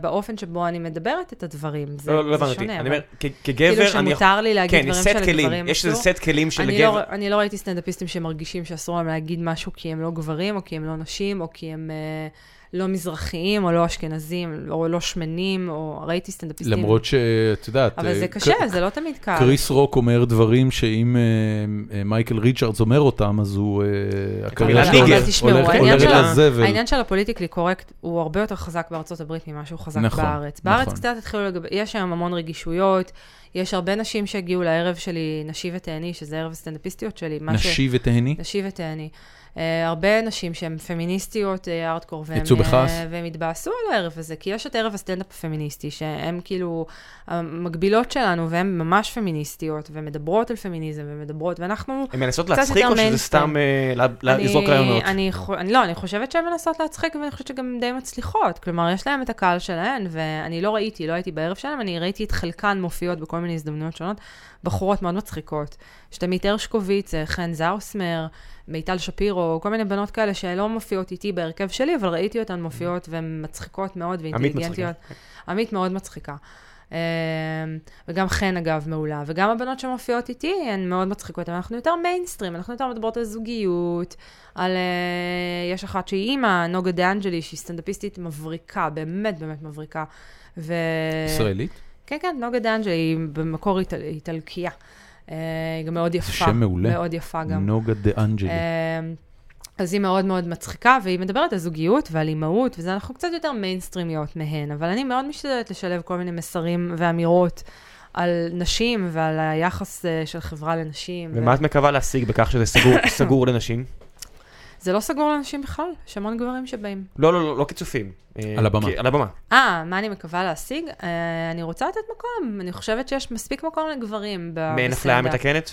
C: באופן שבו אני מדברת את הדברים. זה,
B: לא, לא
C: זה
B: הבנתי.
C: שונה.
B: אני
C: אבל
B: אומר, כ- כגבר,
C: כאילו
B: אני יכול...
C: שמותר לי להגיד
B: כן,
C: דברים
B: סט כלים.
C: שלגברים
B: יש איזה
C: אסור.
B: סט כלים של
C: אני, לא,
B: גבר.
C: אני לא ראיתי סטנדאפיסטים שמרגישים שאסור להם להגיד משהו כי הם לא גברים, או כי הם לא נשים, או כי הם אה, לא מזרחיים, או לא אשכנזים, או לא שמנים, או ראיתי סטנדאפיסטים.
A: למרות שאת יודעת,
C: אבל
A: אה,
C: זה קשה,
A: ק-
C: זה לא תמיד קל.
A: קריס רוק אומר דברים שאם אה, אה, מייקל ריצ'רדס אומר אותם, אז הוא, אה, הקריירה
B: המילה
A: שלו
B: ניגר.
A: הולכת-
C: לא תשמעו,
A: הולכת-
C: העניין
A: הולכת
B: של ה-
A: לזבל.
C: העניין של הפוליטיקלי קורקט הוא הרבה יותר חזק בארצות הברית ממה שהוא חזק
A: נכון,
C: בארץ. בארץ
A: נכון.
C: קצת התחילו, לגב... יש היום המון רגישויות, יש הרבה נשים שהגיעו לערב שלי, נשי ותהני, שזה ערב הסטנדאפיסטיות שלי. מה ש-
A: נשי ותהני?
C: נשי ותהני. אה, הרבה נשים שהן פמיניסטיות, אה, ארטקור, והן,
A: יצאו בכעס?
C: אה, והן התבאסו על הערב הזה, כי יש את ערב הסטנדאפ הפמיניסטי, שהן כאילו המקבילות שלנו, והן ממש פמיניסטיות, ומדברות על פמיניזם, ומדברות, ואנחנו...
B: הן מנסות
C: קצת
B: להצחיק
C: יותר
B: או שזה
C: mainstream.
B: סתם אה, לה- לה-
C: אני-
B: לזרוק רעיונות?
C: אני, חו- אני, לא, אני חושבת שהן מנסות להצחיק, ואני חושבת שהן די מצליחות. כלומר, יש להן את הקהל שלהן, ואני לא ראיתי, לא הייתי בערב שלהן, אני ראיתי את חלקן מופיעות בכל מיני הזדמנויות שונות. בחורות מאוד מצחיקות. שתמית הרשקוביץ, אה, חן זאוסמר, מיטל שפירו, כל מיני בנות כאלה שלא מופיעות איתי בהרכב שלי, אבל ראיתי אותן מופיעות והן מצחיקות מאוד ואינטליגנטיות. עמית מאוד מצחיקה. אה, וגם חן, אגב, מעולה. וגם הבנות שמופיעות איתי, הן מאוד מצחיקות, אבל אנחנו יותר מיינסטרים, אנחנו יותר מדברות על זוגיות, על... אה, יש אחת שהיא אימא, נוגה דאנג'לי, שהיא סטנדאפיסטית מבריקה, באמת באמת מבריקה. ו...
A: ישראלית?
C: כן, כן, נוגה דאנג'ה היא במקור איטל, איטלקייה. אה, היא גם מאוד יפה.
A: שם מעולה.
C: מאוד יפה גם.
A: נוגה דה אנג'לי.
C: אה, אז היא מאוד מאוד מצחיקה, והיא מדברת על זוגיות ועל אימהות, וזה אנחנו קצת יותר מיינסטרימיות מהן, אבל אני מאוד משתדלת לשלב כל מיני מסרים ואמירות על נשים ועל היחס אה, של חברה לנשים.
B: ומה את מקווה להשיג בכך שזה סגור- סגור לנשים?
C: זה לא סגור לנשים בכלל, יש המון גברים שבאים.
B: לא, לא, לא, לא קיצופים. אה,
A: על הבמה.
B: כי- על הבמה.
C: אה, מה אני מקווה להשיג? אה, אני רוצה לתת מקום, אני חושבת שיש מספיק מקום לגברים ב-
B: מעין אפליה
C: בסטנדאפ.
B: מתקנת?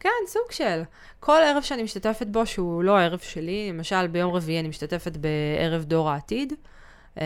C: כן, סוג של. כל ערב שאני משתתפת בו, שהוא לא הערב שלי, למשל ביום רביעי אני משתתפת בערב דור העתיד, אה,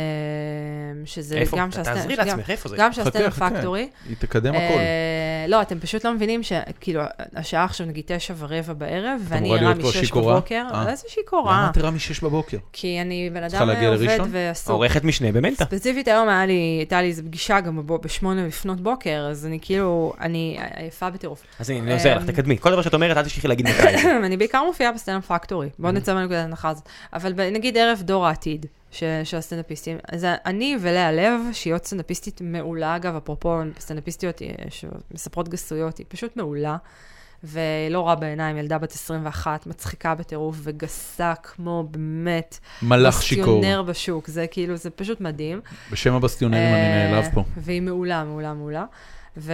C: שזה
B: איפה?
C: גם
B: תעזרי
C: גם-
B: לעצמך, איפה זה?
C: גם
A: חכה,
C: שהסטנדאפ
A: חכה.
C: פקטורי.
A: היא תקדם הכל.
C: אה, לא, אתם פשוט לא מבינים שכאילו, השעה עכשיו נגיד תשע ורבע בערב, ואני
A: אמורה
C: ערה
A: להיות פה
C: משש
A: שיכורה?
C: בבוקר.
A: אה.
C: איזה
A: למה
C: שיכורה?
A: את ערה מ-6 בבוקר?
C: כי אני בן
A: צריכה
C: אדם אה,
A: להגיע
C: עובד
A: לראשון?
C: ועסוק.
B: עורכת משנה במנטה.
C: ספציפית היום היה לי, הייתה לי איזו פגישה גם בבו- בשמונה לפנות בוקר, אז אני כאילו, אני עייפה בטירוף.
B: אז הנה, אני עוזר לך,
C: אמ,
B: תקדמי. כל דבר שאת אומרת, אל תשכחי להגיד מתי. זה.
C: אני בעיקר מופיעה בסטנדאפ פקטורי, בואו נצא מנקודת ההנחה הזאת. אבל ב- נגיד ערב דור העתיד ש- של הסטנדאפיסטים, אז אני ולאה לב, שהיא עוד סטנדאפיסטית מעולה, אגב, אפרופו סטנדאפיסטיות אה, שמספרות גסויות, היא פשוט מעולה. ולא רע בעיניים, ילדה בת 21, מצחיקה בטירוף וגסה כמו באמת
A: מלאך שיכור.
C: בסטיונר בשוק, זה כאילו, זה פשוט מדהים.
A: בשם הבסטיונרים אני
C: אה,
A: נעלב פה.
C: והיא מעולה, מעולה, מעולה. וזה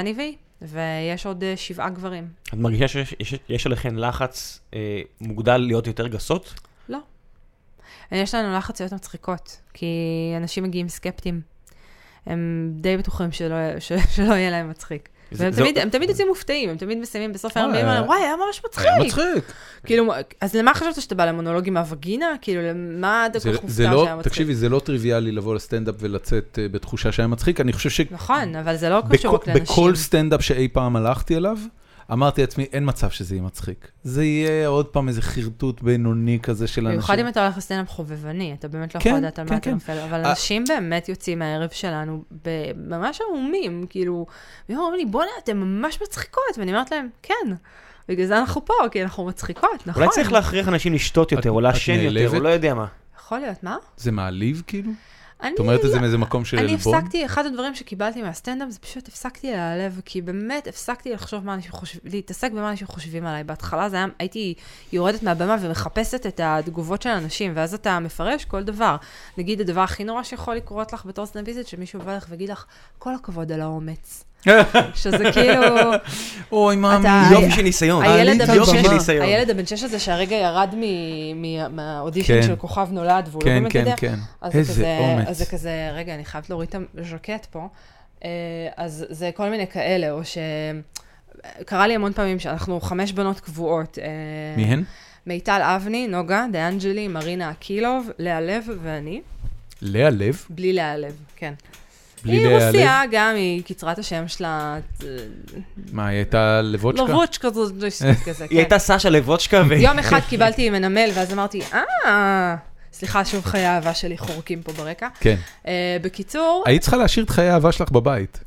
C: אני והיא, ויש עוד אה, שבעה גברים.
B: את מרגישה שיש- יש- יש עליכן לחץ אה, מוגדל להיות יותר גסות?
C: יש לנו לחציות מצחיקות, כי אנשים מגיעים סקפטיים. הם די בטוחים שלא, ש, שלא יהיה להם מצחיק.
B: זה-
C: והם
B: זה-
C: תמיד, הם תמיד יוצאים מופתעים, הם תמיד מסיימים בסוף
A: וואי,
C: היום, ואומרים להם,
A: היה-
C: וואי, היה ממש מצחיק.
A: היה מצחיק.
C: כאילו, אז למה חשבת שאתה בא למונולוג עם הווגינה? כאילו, למה אתה
A: זה-
C: כל כך
A: זה
C: מופתע
A: לא,
C: שהיה מצחיק?
A: תקשיבי, זה לא טריוויאלי לבוא לסטנדאפ ולצאת אה, בתחושה שהיה מצחיק. אני חושב ש...
C: נכון, אבל זה לא קשור רק
A: בכ-
C: לאנשים.
A: בכל סטנדאפ שאי פעם הלכתי אליו, אמרתי לעצמי, אין מצב שזה יהיה מצחיק. זה יהיה עוד פעם איזה חרטוט בינוני כזה של אנשים.
C: במיוחד אם אתה הולך לסטנדאפ חובבני, אתה באמת לא
A: כן,
C: יכול לדעת על
A: כן,
C: מה אתה
A: כן.
C: נופל, אבל
A: אה.
C: אנשים באמת יוצאים מהערב שלנו ב- ממש עמומים, כאילו, והם אומרים לי, בואנה, אתם ממש מצחיקות, ואני אומרת להם, כן, בגלל זה אנחנו פה, כי אנחנו מצחיקות, נכון?
B: אולי צריך להכריח אנשים לשתות יותר, או
A: את
B: לעשן יותר,
A: נעלבת?
B: או לא יודע מה.
C: יכול להיות, מה?
A: זה מעליב כאילו?
C: אני
A: את אומרת את זה מאיזה מקום של
C: לא, אני
A: עלבון?
C: הפסקתי, אחד הדברים שקיבלתי מהסטנדאפ זה פשוט הפסקתי להיעלב, כי באמת הפסקתי לחשוב מה אנשים חושבים, להתעסק במה אנשים חושבים עליי. בהתחלה זה היה, הייתי יורדת מהבמה ומחפשת את התגובות של אנשים, ואז אתה מפרש כל דבר. נגיד, הדבר הכי נורא שיכול לקרות לך בתור סטנדאפיסט, שמישהו יבוא לך ויגיד לך, כל הכבוד על האומץ. שזה כאילו,
A: אוי, לא-
C: אתה-
A: מאמי.
B: יופי של ניסיון.
C: הילד
A: עלית
C: הבן
A: על
B: יופי של
A: במה.
C: שש-
B: ניסיון.
C: הילד הבן שש הזה שהרגע ירד מ- מ-
A: כן.
C: מהאודישן של כוכב נולד, והוא לא
A: כן,
C: באמת
A: כן,
C: יודע,
A: כן.
C: אז זה
A: איזה
C: כזה, אז
A: אומץ.
C: זה כזה, רגע, אני חייבת להוריד את הז'קט פה. אה, אז זה כל מיני כאלה, או ש... קרה לי המון פעמים שאנחנו חמש בנות קבועות. אה,
A: מי הן?
C: מיטל אבני, נוגה, דיאנג'לי, מרינה אקילוב, לאה לב ואני,
A: לאה לב?
C: בלי לאה לב, כן.
A: בלי
C: היא
A: לאה לב?
C: רוסיה, גם היא קצרת השם שלה,
A: מה, היא הייתה לבוצ'קה?
C: לרוץ' כזאת,
A: אה,
C: כזה,
B: היא
C: כן.
B: הייתה סשה לבוצ'קה, ו...
C: יום אחד קיבלתי מנמל, ואז אמרתי, אה, סליחה, שוב חיי האהבה שלי חורקים פה ברקע.
A: כן.
C: אה, בקיצור,
A: היית צריכה להשאיר את חיי האהבה שלך בבית.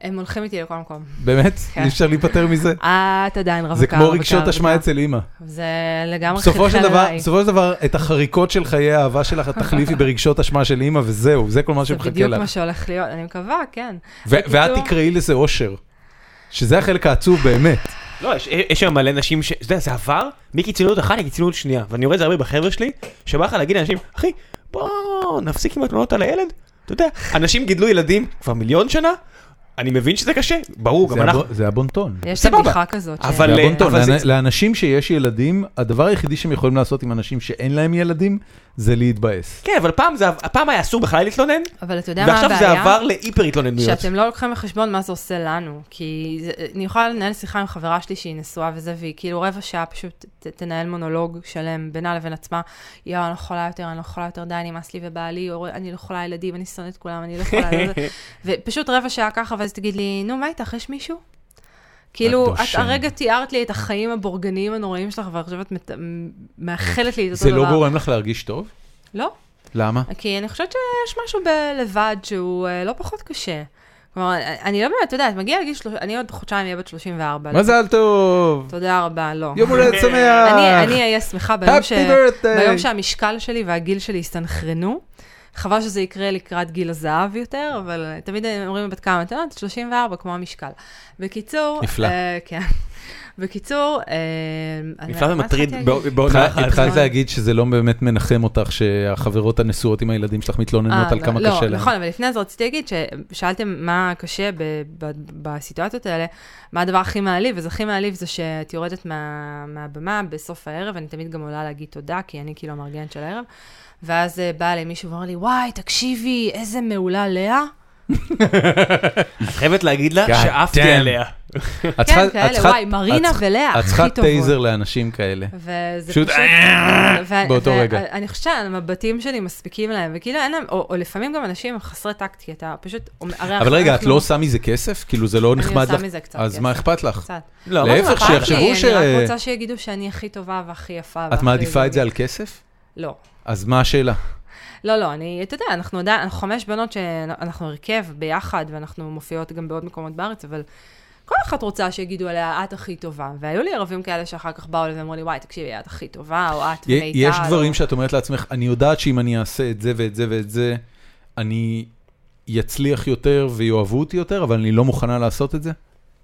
C: הם הולכים איתי לכל מקום.
A: באמת?
C: כן.
A: אי אפשר להיפטר מזה?
C: את עדיין רווקה.
A: זה כמו
C: רווקה,
A: רגשות
C: רווקה.
A: אשמה אצל אימא.
C: זה לגמרי
A: בסופו של
C: חלחל
A: דבר,
C: עליי.
A: בסופו של דבר, את החריקות של חיי האהבה שלך, את תחליפי ברגשות אשמה של אימא, וזהו, זה כל מה
C: זה
A: שמחכה
C: בדיוק מה
A: לך.
C: שהולך להיות, אני מקווה, כן.
A: ו- ואת
C: בקיצור-
A: תקראי לזה אושר. שזה החלק העצוב באמת.
B: לא, יש- יש שם מלא נשים ש... אתה יודע, זה עבר מקיצוניות אחת לקיצוניות שנייה, ואני רואה את זה הרבה בחבר'ה שלי, שבא לך להגיד לאנשים, אחי, בוא נפסיק עם התלונות על הילד. אתה יודע, אנשים גידלו ילדים כבר מיליון שנה, אני מבין שזה קשה, ברור, גם
A: זה
B: אנחנו...
A: הבו- זה הבונטון.
C: יש
B: סבבה.
C: להם בדיחה כזאת. כן. ש-
B: אבל-
A: זה הבונטון.
B: אבל זה-
A: לאנ- לאנשים שיש ילדים, הדבר היחידי שהם יכולים לעשות עם אנשים שאין להם ילדים, זה להתבאס.
B: כן, אבל פעם זה- פעם היה אסור בכלל להתלונן,
C: אבל אתה יודע מה
B: ועכשיו זה
C: הבעיה?
B: עבר להיפר התלוננויות.
C: שאתם לא לוקחים בחשבון מה זה עושה לנו. כי זה, אני יכולה לנהל שיחה עם חברה שלי שהיא נשואה וזה, והיא כאילו רבע שעה פשוט ת, תנהל מונולוג שלם בינה לבין עצמה. יואו, אני לא יכולה יותר, אני לא יכולה יותר, די, נמאס לי ובעלי, או, אני לא יכולה ילדים, אני שונאת כולם, אני לא יכולה... לא זה." ופשוט רבע שעה ככה, ואז תגיד לי, נו, מה איתך, יש מישהו? כאילו, את
A: הדושן.
C: הרגע תיארת לי את החיים הבורגניים הנוראים שלך, ועכשיו את מת- מאחלת לי את אותו
A: זה
C: דבר.
A: לא גורם לך להרגיש טוב?
C: לא.
A: למה?
C: כי אני חושבת שיש משהו בלבד שהוא אה, לא פחות קשה. כלומר, אני- אני לא באמת, אתה יודעת, מגיע לגיל שלוש... אני עוד חודשיים אהיה בת 34. לא-
A: מזל טוב!
C: תודה רבה, לא.
A: יום הולדת שמח!
C: אני אני אהיה שמחה ביום ש...
A: Happy birthday!
C: ביום שהמשקל שלי והגיל שלי יסתנכרנו. חבל שזה יקרה לקראת גיל הזהב יותר, אבל אה, תמיד אומרים לבת כמה, אתה יודעת, 34, כמו המשקל. בקיצור...
A: נפלא.
C: אה, כן. בקיצור... אה,
B: נפלא
C: מה
B: ומטריד
C: התחלתי
B: בא-
C: להגיד?
B: בעונה
A: התחלת-
B: אחת.
C: נכון.
A: התחלת להגיד שזה לא באמת מנחם אותך שהחברות הנשואות עם הילדים שלך מתלוננות
C: אה,
A: על כמה
C: לא,
A: קשה
C: לא,
A: להם.
C: נכון, אבל לפני זה רציתי להגיד ששאלתם מה קשה ב- ב- בסיטואציות האלה, מה הדבר הכי מעליב, אז הכי מעליב זה שאת יורדת מה, מהבמה בסוף הערב, אני תמיד גם עולה להגיד תודה, כי אני כאילו המארגנת של הערב, ואז אה, בא אליי מישהו ואומר לי, וואי, תקשיבי, איזה מעולה לאה.
B: את חייבת להגיד לה
A: God
B: שעפתי
A: damn.
B: עליה.
A: את צריכה-
C: כן,
A: את
C: כאלה,
A: צריכה-
C: וואי, מרינה
A: את צריכה-
C: ולאה,
A: את
C: הכי
A: צריכה
C: טובות.
A: טייזר לאנשים כאלה.
C: וזה
A: פשוט אה,
C: פשוט... ו-
A: באותו
C: ו-
A: רגע.
C: אני חושבת שהמבטים שלי מספיקים להם, וכאילו אין להם, או, או לפעמים גם אנשים הם חסרי טקט, כי אתה פשוט... הרי
A: אבל רגע, את
C: אנחנו-
A: לא עושה מזה כסף? כאילו זה לא נחמד לך?
C: עושה מזה קצת
A: אז
C: כסף.
A: מה אכפת לך?
C: קצת.
B: לא,
A: להפך,
B: מה זה אכפת
A: שיחשבו
B: לי?
A: ש-
C: אני רק רוצה שיגידו שאני הכי טובה והכי יפה.
A: את
C: והכי
A: מעדיפה את זה על
C: זוגית.
A: כסף?
C: לא.
A: אז מה השאלה?
C: לא, לא, אני, אתה יודע, אנחנו עדיין, אנחנו חמש בנות שאנחנו הרכב ביחד, ואנחנו מופיעות גם בעוד מקומות בארץ, אבל כל אחת רוצה שיגידו עליה, את הכי טובה. והיו לי ערבים כאלה שאחר כך באו אליי ואמרו לי, וואי, תקשיבי, את הכי טובה, או את
A: י-
C: ומיטל.
A: יש דברים
C: או...
A: שאת אומרת לעצמך, אני יודעת שאם אני אעשה את זה ואת זה ואת זה, אני אצליח יותר ויאהבו אותי יותר, אבל אני לא מוכנה לעשות את זה?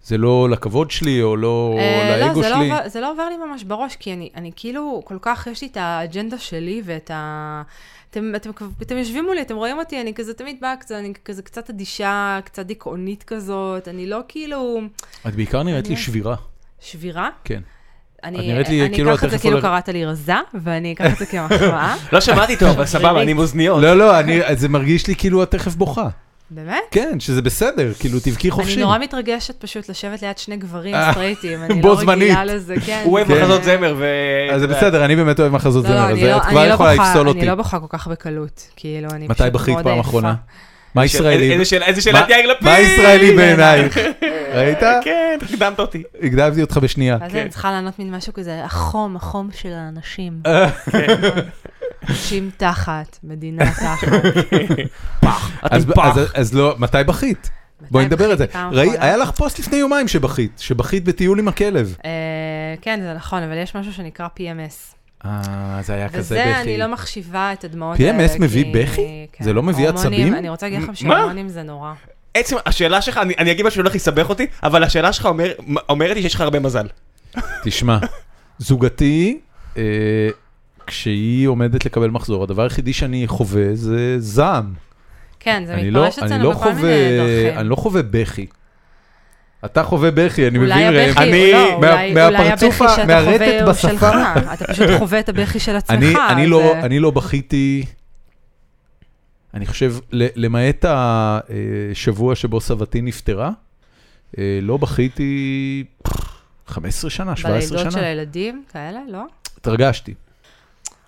A: זה לא לכבוד שלי או לא
C: אה,
A: לאגו
C: לא, זה, לא
A: שלי?
C: עובר, זה לא עובר לי ממש בראש, כי אני, אני כאילו, כל כך, יש לי את האג'נדה שלי ואת ה... אתם, אתם, כב- אתם יושבים מולי, אתם רואים אותי, אני כזה תמיד באה, קצת, אני כזה קצת אדישה, קצת דיכאונית כזאת, אני לא כאילו
A: את בעיקר נראית לי
C: אני-
A: שבירה,
C: שבירה.
A: כן.
C: אני,
A: את נראית לי
C: אני
A: כאילו את
C: אקח את זה
A: תכף
C: כאילו
A: הולכת-
C: קראת לי רזה, ואני אקח את זה כמחמאה.
B: לא שמעתי טוב, אבל סבבה,
C: ריבית.
B: אני עם אוזניות.
A: לא, לא, אני- זה מרגיש לי כאילו את תכף בוכה.
C: באמת?
A: כן, שזה בסדר, כאילו תבכי
C: אני
A: חופשי.
C: נורא מתרגשת פשוט לשבת ליד שני גברים
A: אה,
C: סטרייטים, אני
A: בו
C: לא רגילה
A: זמנית.
C: לזה, כן.
B: הוא אוהב
A: כן.
B: מחזות זמר, ו...
A: אז זה בסדר, אני באמת אוהב מחזות
C: לא, לא,
A: זמר, אז
C: אני לא-
A: את
C: אני
A: כבר
C: לא
A: יכולה
C: בוכה-
A: לפסול
C: אני
A: אותי.
C: לא בוכה כל כך בקלות, כאילו, אני
A: מתי
C: פשוט
A: בכית
C: מאוד
A: פעם
C: עייפה.
A: אחרונה? מה
B: ש-
A: ישראלי?
B: איזה שאלה- איזה שאלת
A: מה-
B: יאיר לפיד?
A: מה ישראלי בעינייך? ראית?
B: כן, הקדמת אותי.
A: הקדמתי אותך בשנייה.
C: אז
B: כן.
C: אני צריכה לענות מין משהו כזה, החום, החום של האנשים.
A: אה.
C: אנשים תחת, מדינה תחת.
A: אז- אז- אז לא, מתי בכית? בואי נדבר על זה. ראי- היה לך פוסט לפני יומיים שבכית, שבכית בטיול עם הכלב.
C: אה, כן, זה נכון, אבל יש משהו שנקרא PMS.
A: אה, זה היה כזה בכי.
C: וזה, אני לא מחשיבה את הדמעות האלה.
A: PMS מביא
C: כי-
A: בכי?
C: כן.
A: זה לא מביא
C: הורמונים,
A: עצבים?
C: אני רוצה להגיד לכם
B: מה?
C: שהורמונים זה נורא.
B: עצם השאלה שלך, אני אני אגיד משהו שהולך לסבך אותי, אבל השאלה שלך אומר- אומרת לי שיש לך הרבה מזל.
A: תשמע, זוגתי, אה, כשהיא עומדת לקבל מחזור, הדבר היחידי שאני חווה זה זעם.
C: כן, זה
A: אני לא,
C: מתפרש
A: אני
C: אצלנו
A: לא
C: בכל מיני
A: חווה, אני
C: דרכים.
A: לא חווה בכי. אתה חווה בכי, אני
C: אולי
A: מבין, ראם.
C: הבכי,
B: אני-
C: לא,
A: מה-
C: אולי- אולי הבכי
A: מהפרצוף
C: שאתה
A: המערטט
C: חווה הוא
A: בשפה.
C: שלך, אתה פשוט חווה את הבכי של עצמך.
A: אני, אני,
C: אז,
A: לא,
C: אה,
A: אני לא בכיתי, אני חושב, ל- למעט השבוע שבו סבתי נפטרה, אה, לא בכיתי 15 שנה, 17
C: בלידות
A: שנה.
C: אה, של הילדים, כאלה, לא?
A: התרגשתי,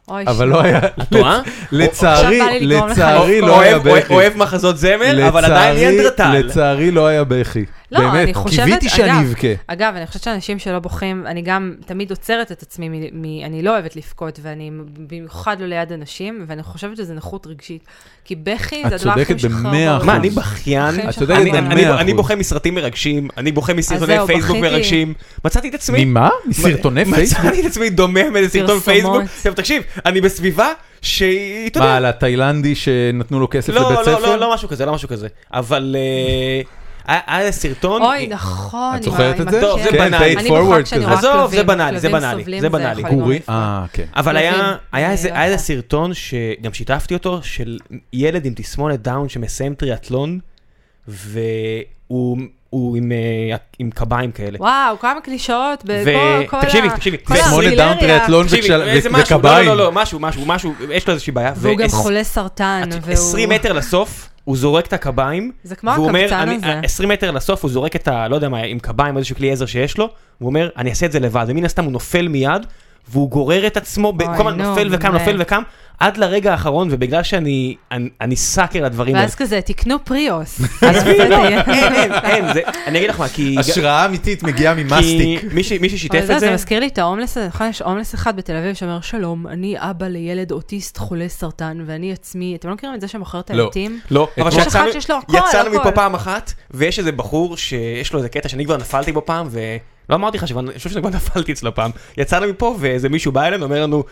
C: אוי,
A: אבל
C: שני.
A: לא היה,
B: טועה?
A: לצערי,
C: עכשיו בא לי לגרום לך
A: לצערי
C: לבכות.
A: לא היה
B: אוהב-
A: בכי.
B: אוהב מחזות זמר, אבל עדיין
A: לצערי-
B: ניאנדרטל.
A: לצערי לא היה בכי.
C: לא, אני
A: באמת,
C: חושבת,
A: קיוויתי שאני
C: אגב,
A: אבכה.
C: אגב, אני חושבת שאנשים שלא בוכים, אני גם תמיד עוצרת את עצמי, מ, מ, אני לא אוהבת לבכות, ואני במיוחד לא ליד אנשים, ואני חושבת שזה נכות רגשית. כי בכי
A: את
C: זה הדבר
A: צודקת
C: הכי משחרר
A: במאה
C: בעולם.
A: אחוז.
B: מה, אני בכיין?
C: בחיים
A: את
C: שלך.
A: צודקת
B: אני-
A: במאה
B: אני- אני
A: אחוז.
B: בוכה מסרטים מרגשים, אני בוכה מסרטוני
C: זהו,
B: פייסבוק
C: בכיתי.
B: מרגשים. מצאתי את עצמי.
A: ממה? מסרטוני פייסבוק?
B: מצאתי את עצמי דומם איזה סרטון
C: פרסומות.
B: פייסבוק. עכשיו, תקשיב, אני בסביבה שהיא, אתה יודע,
A: מה, על התאילנדי שנתנו לו כסף
B: לא,
A: לבית
B: לא,
A: ספר?
B: לא, לא משהו כזה, לא משהו כזה. אבל אה, היה היה סרטון...
C: אוי, נכון.
A: את
C: עם ה-
A: זוכרת
C: עם
A: את זה?
B: טוב,
C: הכלב.
B: זה
A: כן,
B: בנאלי.
A: paid
C: אני
A: forward
C: בוכה כשאני
A: כזה.
C: רואה
B: עזוב, זה
C: כלבים,
B: בנאלי, זה
C: כלבים
B: בנאלי,
C: סובלים,
B: זה
C: יכול
B: בנאלי.
C: לגרום
A: גורי?
C: לפרק.
A: אה, כן.
B: אבל היה,
C: כלבים.
B: היה
C: אני
B: איזה,
C: לא
B: היה איזה
C: יכולה.
B: סרטון שגם שיתפתי אותו, של ילד עם תסמונת דאון שמסיים טריאטלון, והוא הוא- הוא עם, אה, עם קביים כאלה.
C: וואו, כמה קלישאות
B: ו-
C: בכל כל ה...
B: תקשיבי, תקשיבי.
C: כל
B: ושמונה
A: שמונה
C: הארטילריה.
A: דאון טריאטלון
B: תקשיבי,
A: וכשל-
B: איזה
A: ו-
B: משהו, לא,
A: וקביים.
B: לא, לא, משהו, משהו, משהו, יש לו איזושהי בעיה.
C: והוא גם
B: ועש-
C: חולה סרטן,
B: את-
C: והוא...
B: 20 מטר לסוף, הוא זורק את הקביים.
C: זה כמו
B: והוא אומר,
C: הקבצן
B: אני-
C: הזה.
B: ה- 20 מטר לסוף, הוא זורק את ה... לא יודע מה, עם קביים, או איזשהו כלי עזר שיש לו, הוא אומר, אני אעשה את זה לבד, ומן הסתם הוא נופל מיד, והוא גורר את עצמו, ב-
C: אוי,
B: כל הזמן
C: נו,
B: נופל וקם,
C: באמת.
B: נופל וקם, עד לרגע האחרון, ובגלל שאני אני- אני סאקר לדברים האלה.
C: ואז כזה, תקנו פריוס.
B: עזבי,
C: אז
B: לא,
C: זה יהיה-
B: אין, אין, אין, זה- אני אגיד לך מה, כי...
A: השראה אמיתית מגיעה
B: כי
A: ממאסטיק.
B: מי ש- מי
C: אבל
B: ששיתף
C: זהו,
B: את
C: לא, זה
B: זה,
C: מזכיר לי את ההומלס הזה, נכון? יש הומלס אחד בתל אביב שאומר, שלום, אני אבא לילד אוטיסט חולה סרטן, ואני עצמי, אתם לא מכירים את זה שמוכר את
A: לא.
C: העטים?
A: לא,
B: אבל
A: אתמול-
C: יש
B: שיצאנו-
C: אחד שיש לו הכל,
B: יצאנו
C: הכל.
B: מפה פעם אחת, ויש איזה בחור שיש לו איזה קטע שאני כבר נפלתי בו פעם, ולא אמרתי לך, שאני חושב שאני כבר נפלתי אצלו פעם. יצאנו מפה ואיזה מישהו בא אלינו, אומר לנו,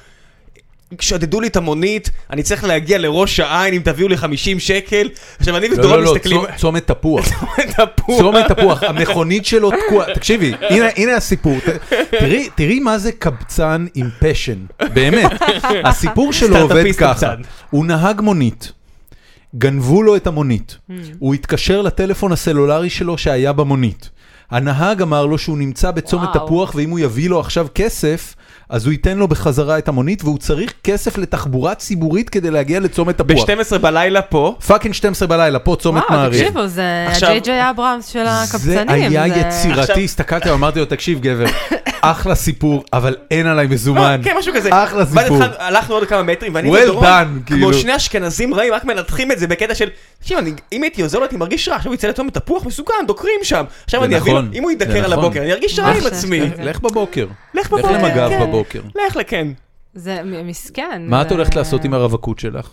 B: שדדו לי את המונית, אני צריך להגיע לראש העין אם תביאו לי 50 שקל. עכשיו אני
A: לא,
B: ודורון
A: לא, לא,
B: מסתכלים,
A: צום- צומת תפוח.
B: צומת הפוך.
A: צומת תפוח, המכונית שלו תקועה, תקשיבי, הנה- הנה הסיפור, ת- תראי- תראי מה זה קבצן עם פשן, באמת, הסיפור שלו עובד
B: סטארט-אפיסט
A: ככה,
B: קבצן.
A: הוא נהג מונית, גנבו לו את המונית,
C: Hmm.
A: הוא התקשר לטלפון הסלולרי שלו שהיה במונית, הנהג אמר לו שהוא נמצא בצומת
C: וואו.
A: תפוח ואם הוא יביא לו עכשיו כסף, אז הוא ייתן לו בחזרה את המונית והוא צריך כסף לתחבורה ציבורית כדי להגיע לצומת תפוח.
B: ב-12 בלילה פה,
A: פאקינג 12 בלילה, פה צומת
C: וואו,
A: מעריב.
C: תקשיבו, זה
B: עכשיו-
C: ג'יי ג'יי אברהמס של הקבצנים.
A: זה היה
B: עכשיו-
A: יצירתי, הסתכלתי ואמרתי לו, תקשיב גבר, אחלה סיפור, אבל אין עליי מזומן.
B: כן, משהו כזה.
A: אחלה
B: ואז
A: סיפור.
B: התחלנו- הלכנו עוד כמה מטרים, ואני
A: Well
B: ודורון,
A: done, כאילו.
B: כמו שני אשכנזים רעים, רק מנתחים את זה בקטע של, תקשיב, אני- אם הייתי עוזר לו, הייתי מרגיש רע, עכשיו הוא יצא לצומת תפוח מסוכן, דוקרים שם. עכשיו
A: זה
B: אני אביא לו,
A: נכון,
B: אם הוא
A: זה
B: יידקר על
A: נכון.
B: הבוקר, אני ארגיש רע
C: ממש
B: עם
C: יש
B: עצמי.
C: לזה.
A: לך בבוקר.
B: לך
A: לך
B: בבוקר,
A: למג"ב
B: כן.
A: בבוקר.
B: לך לכן.
C: זה מ- מסכן.
A: מה את
C: זה-
A: הולכת לעשות עם הרווקות שלך?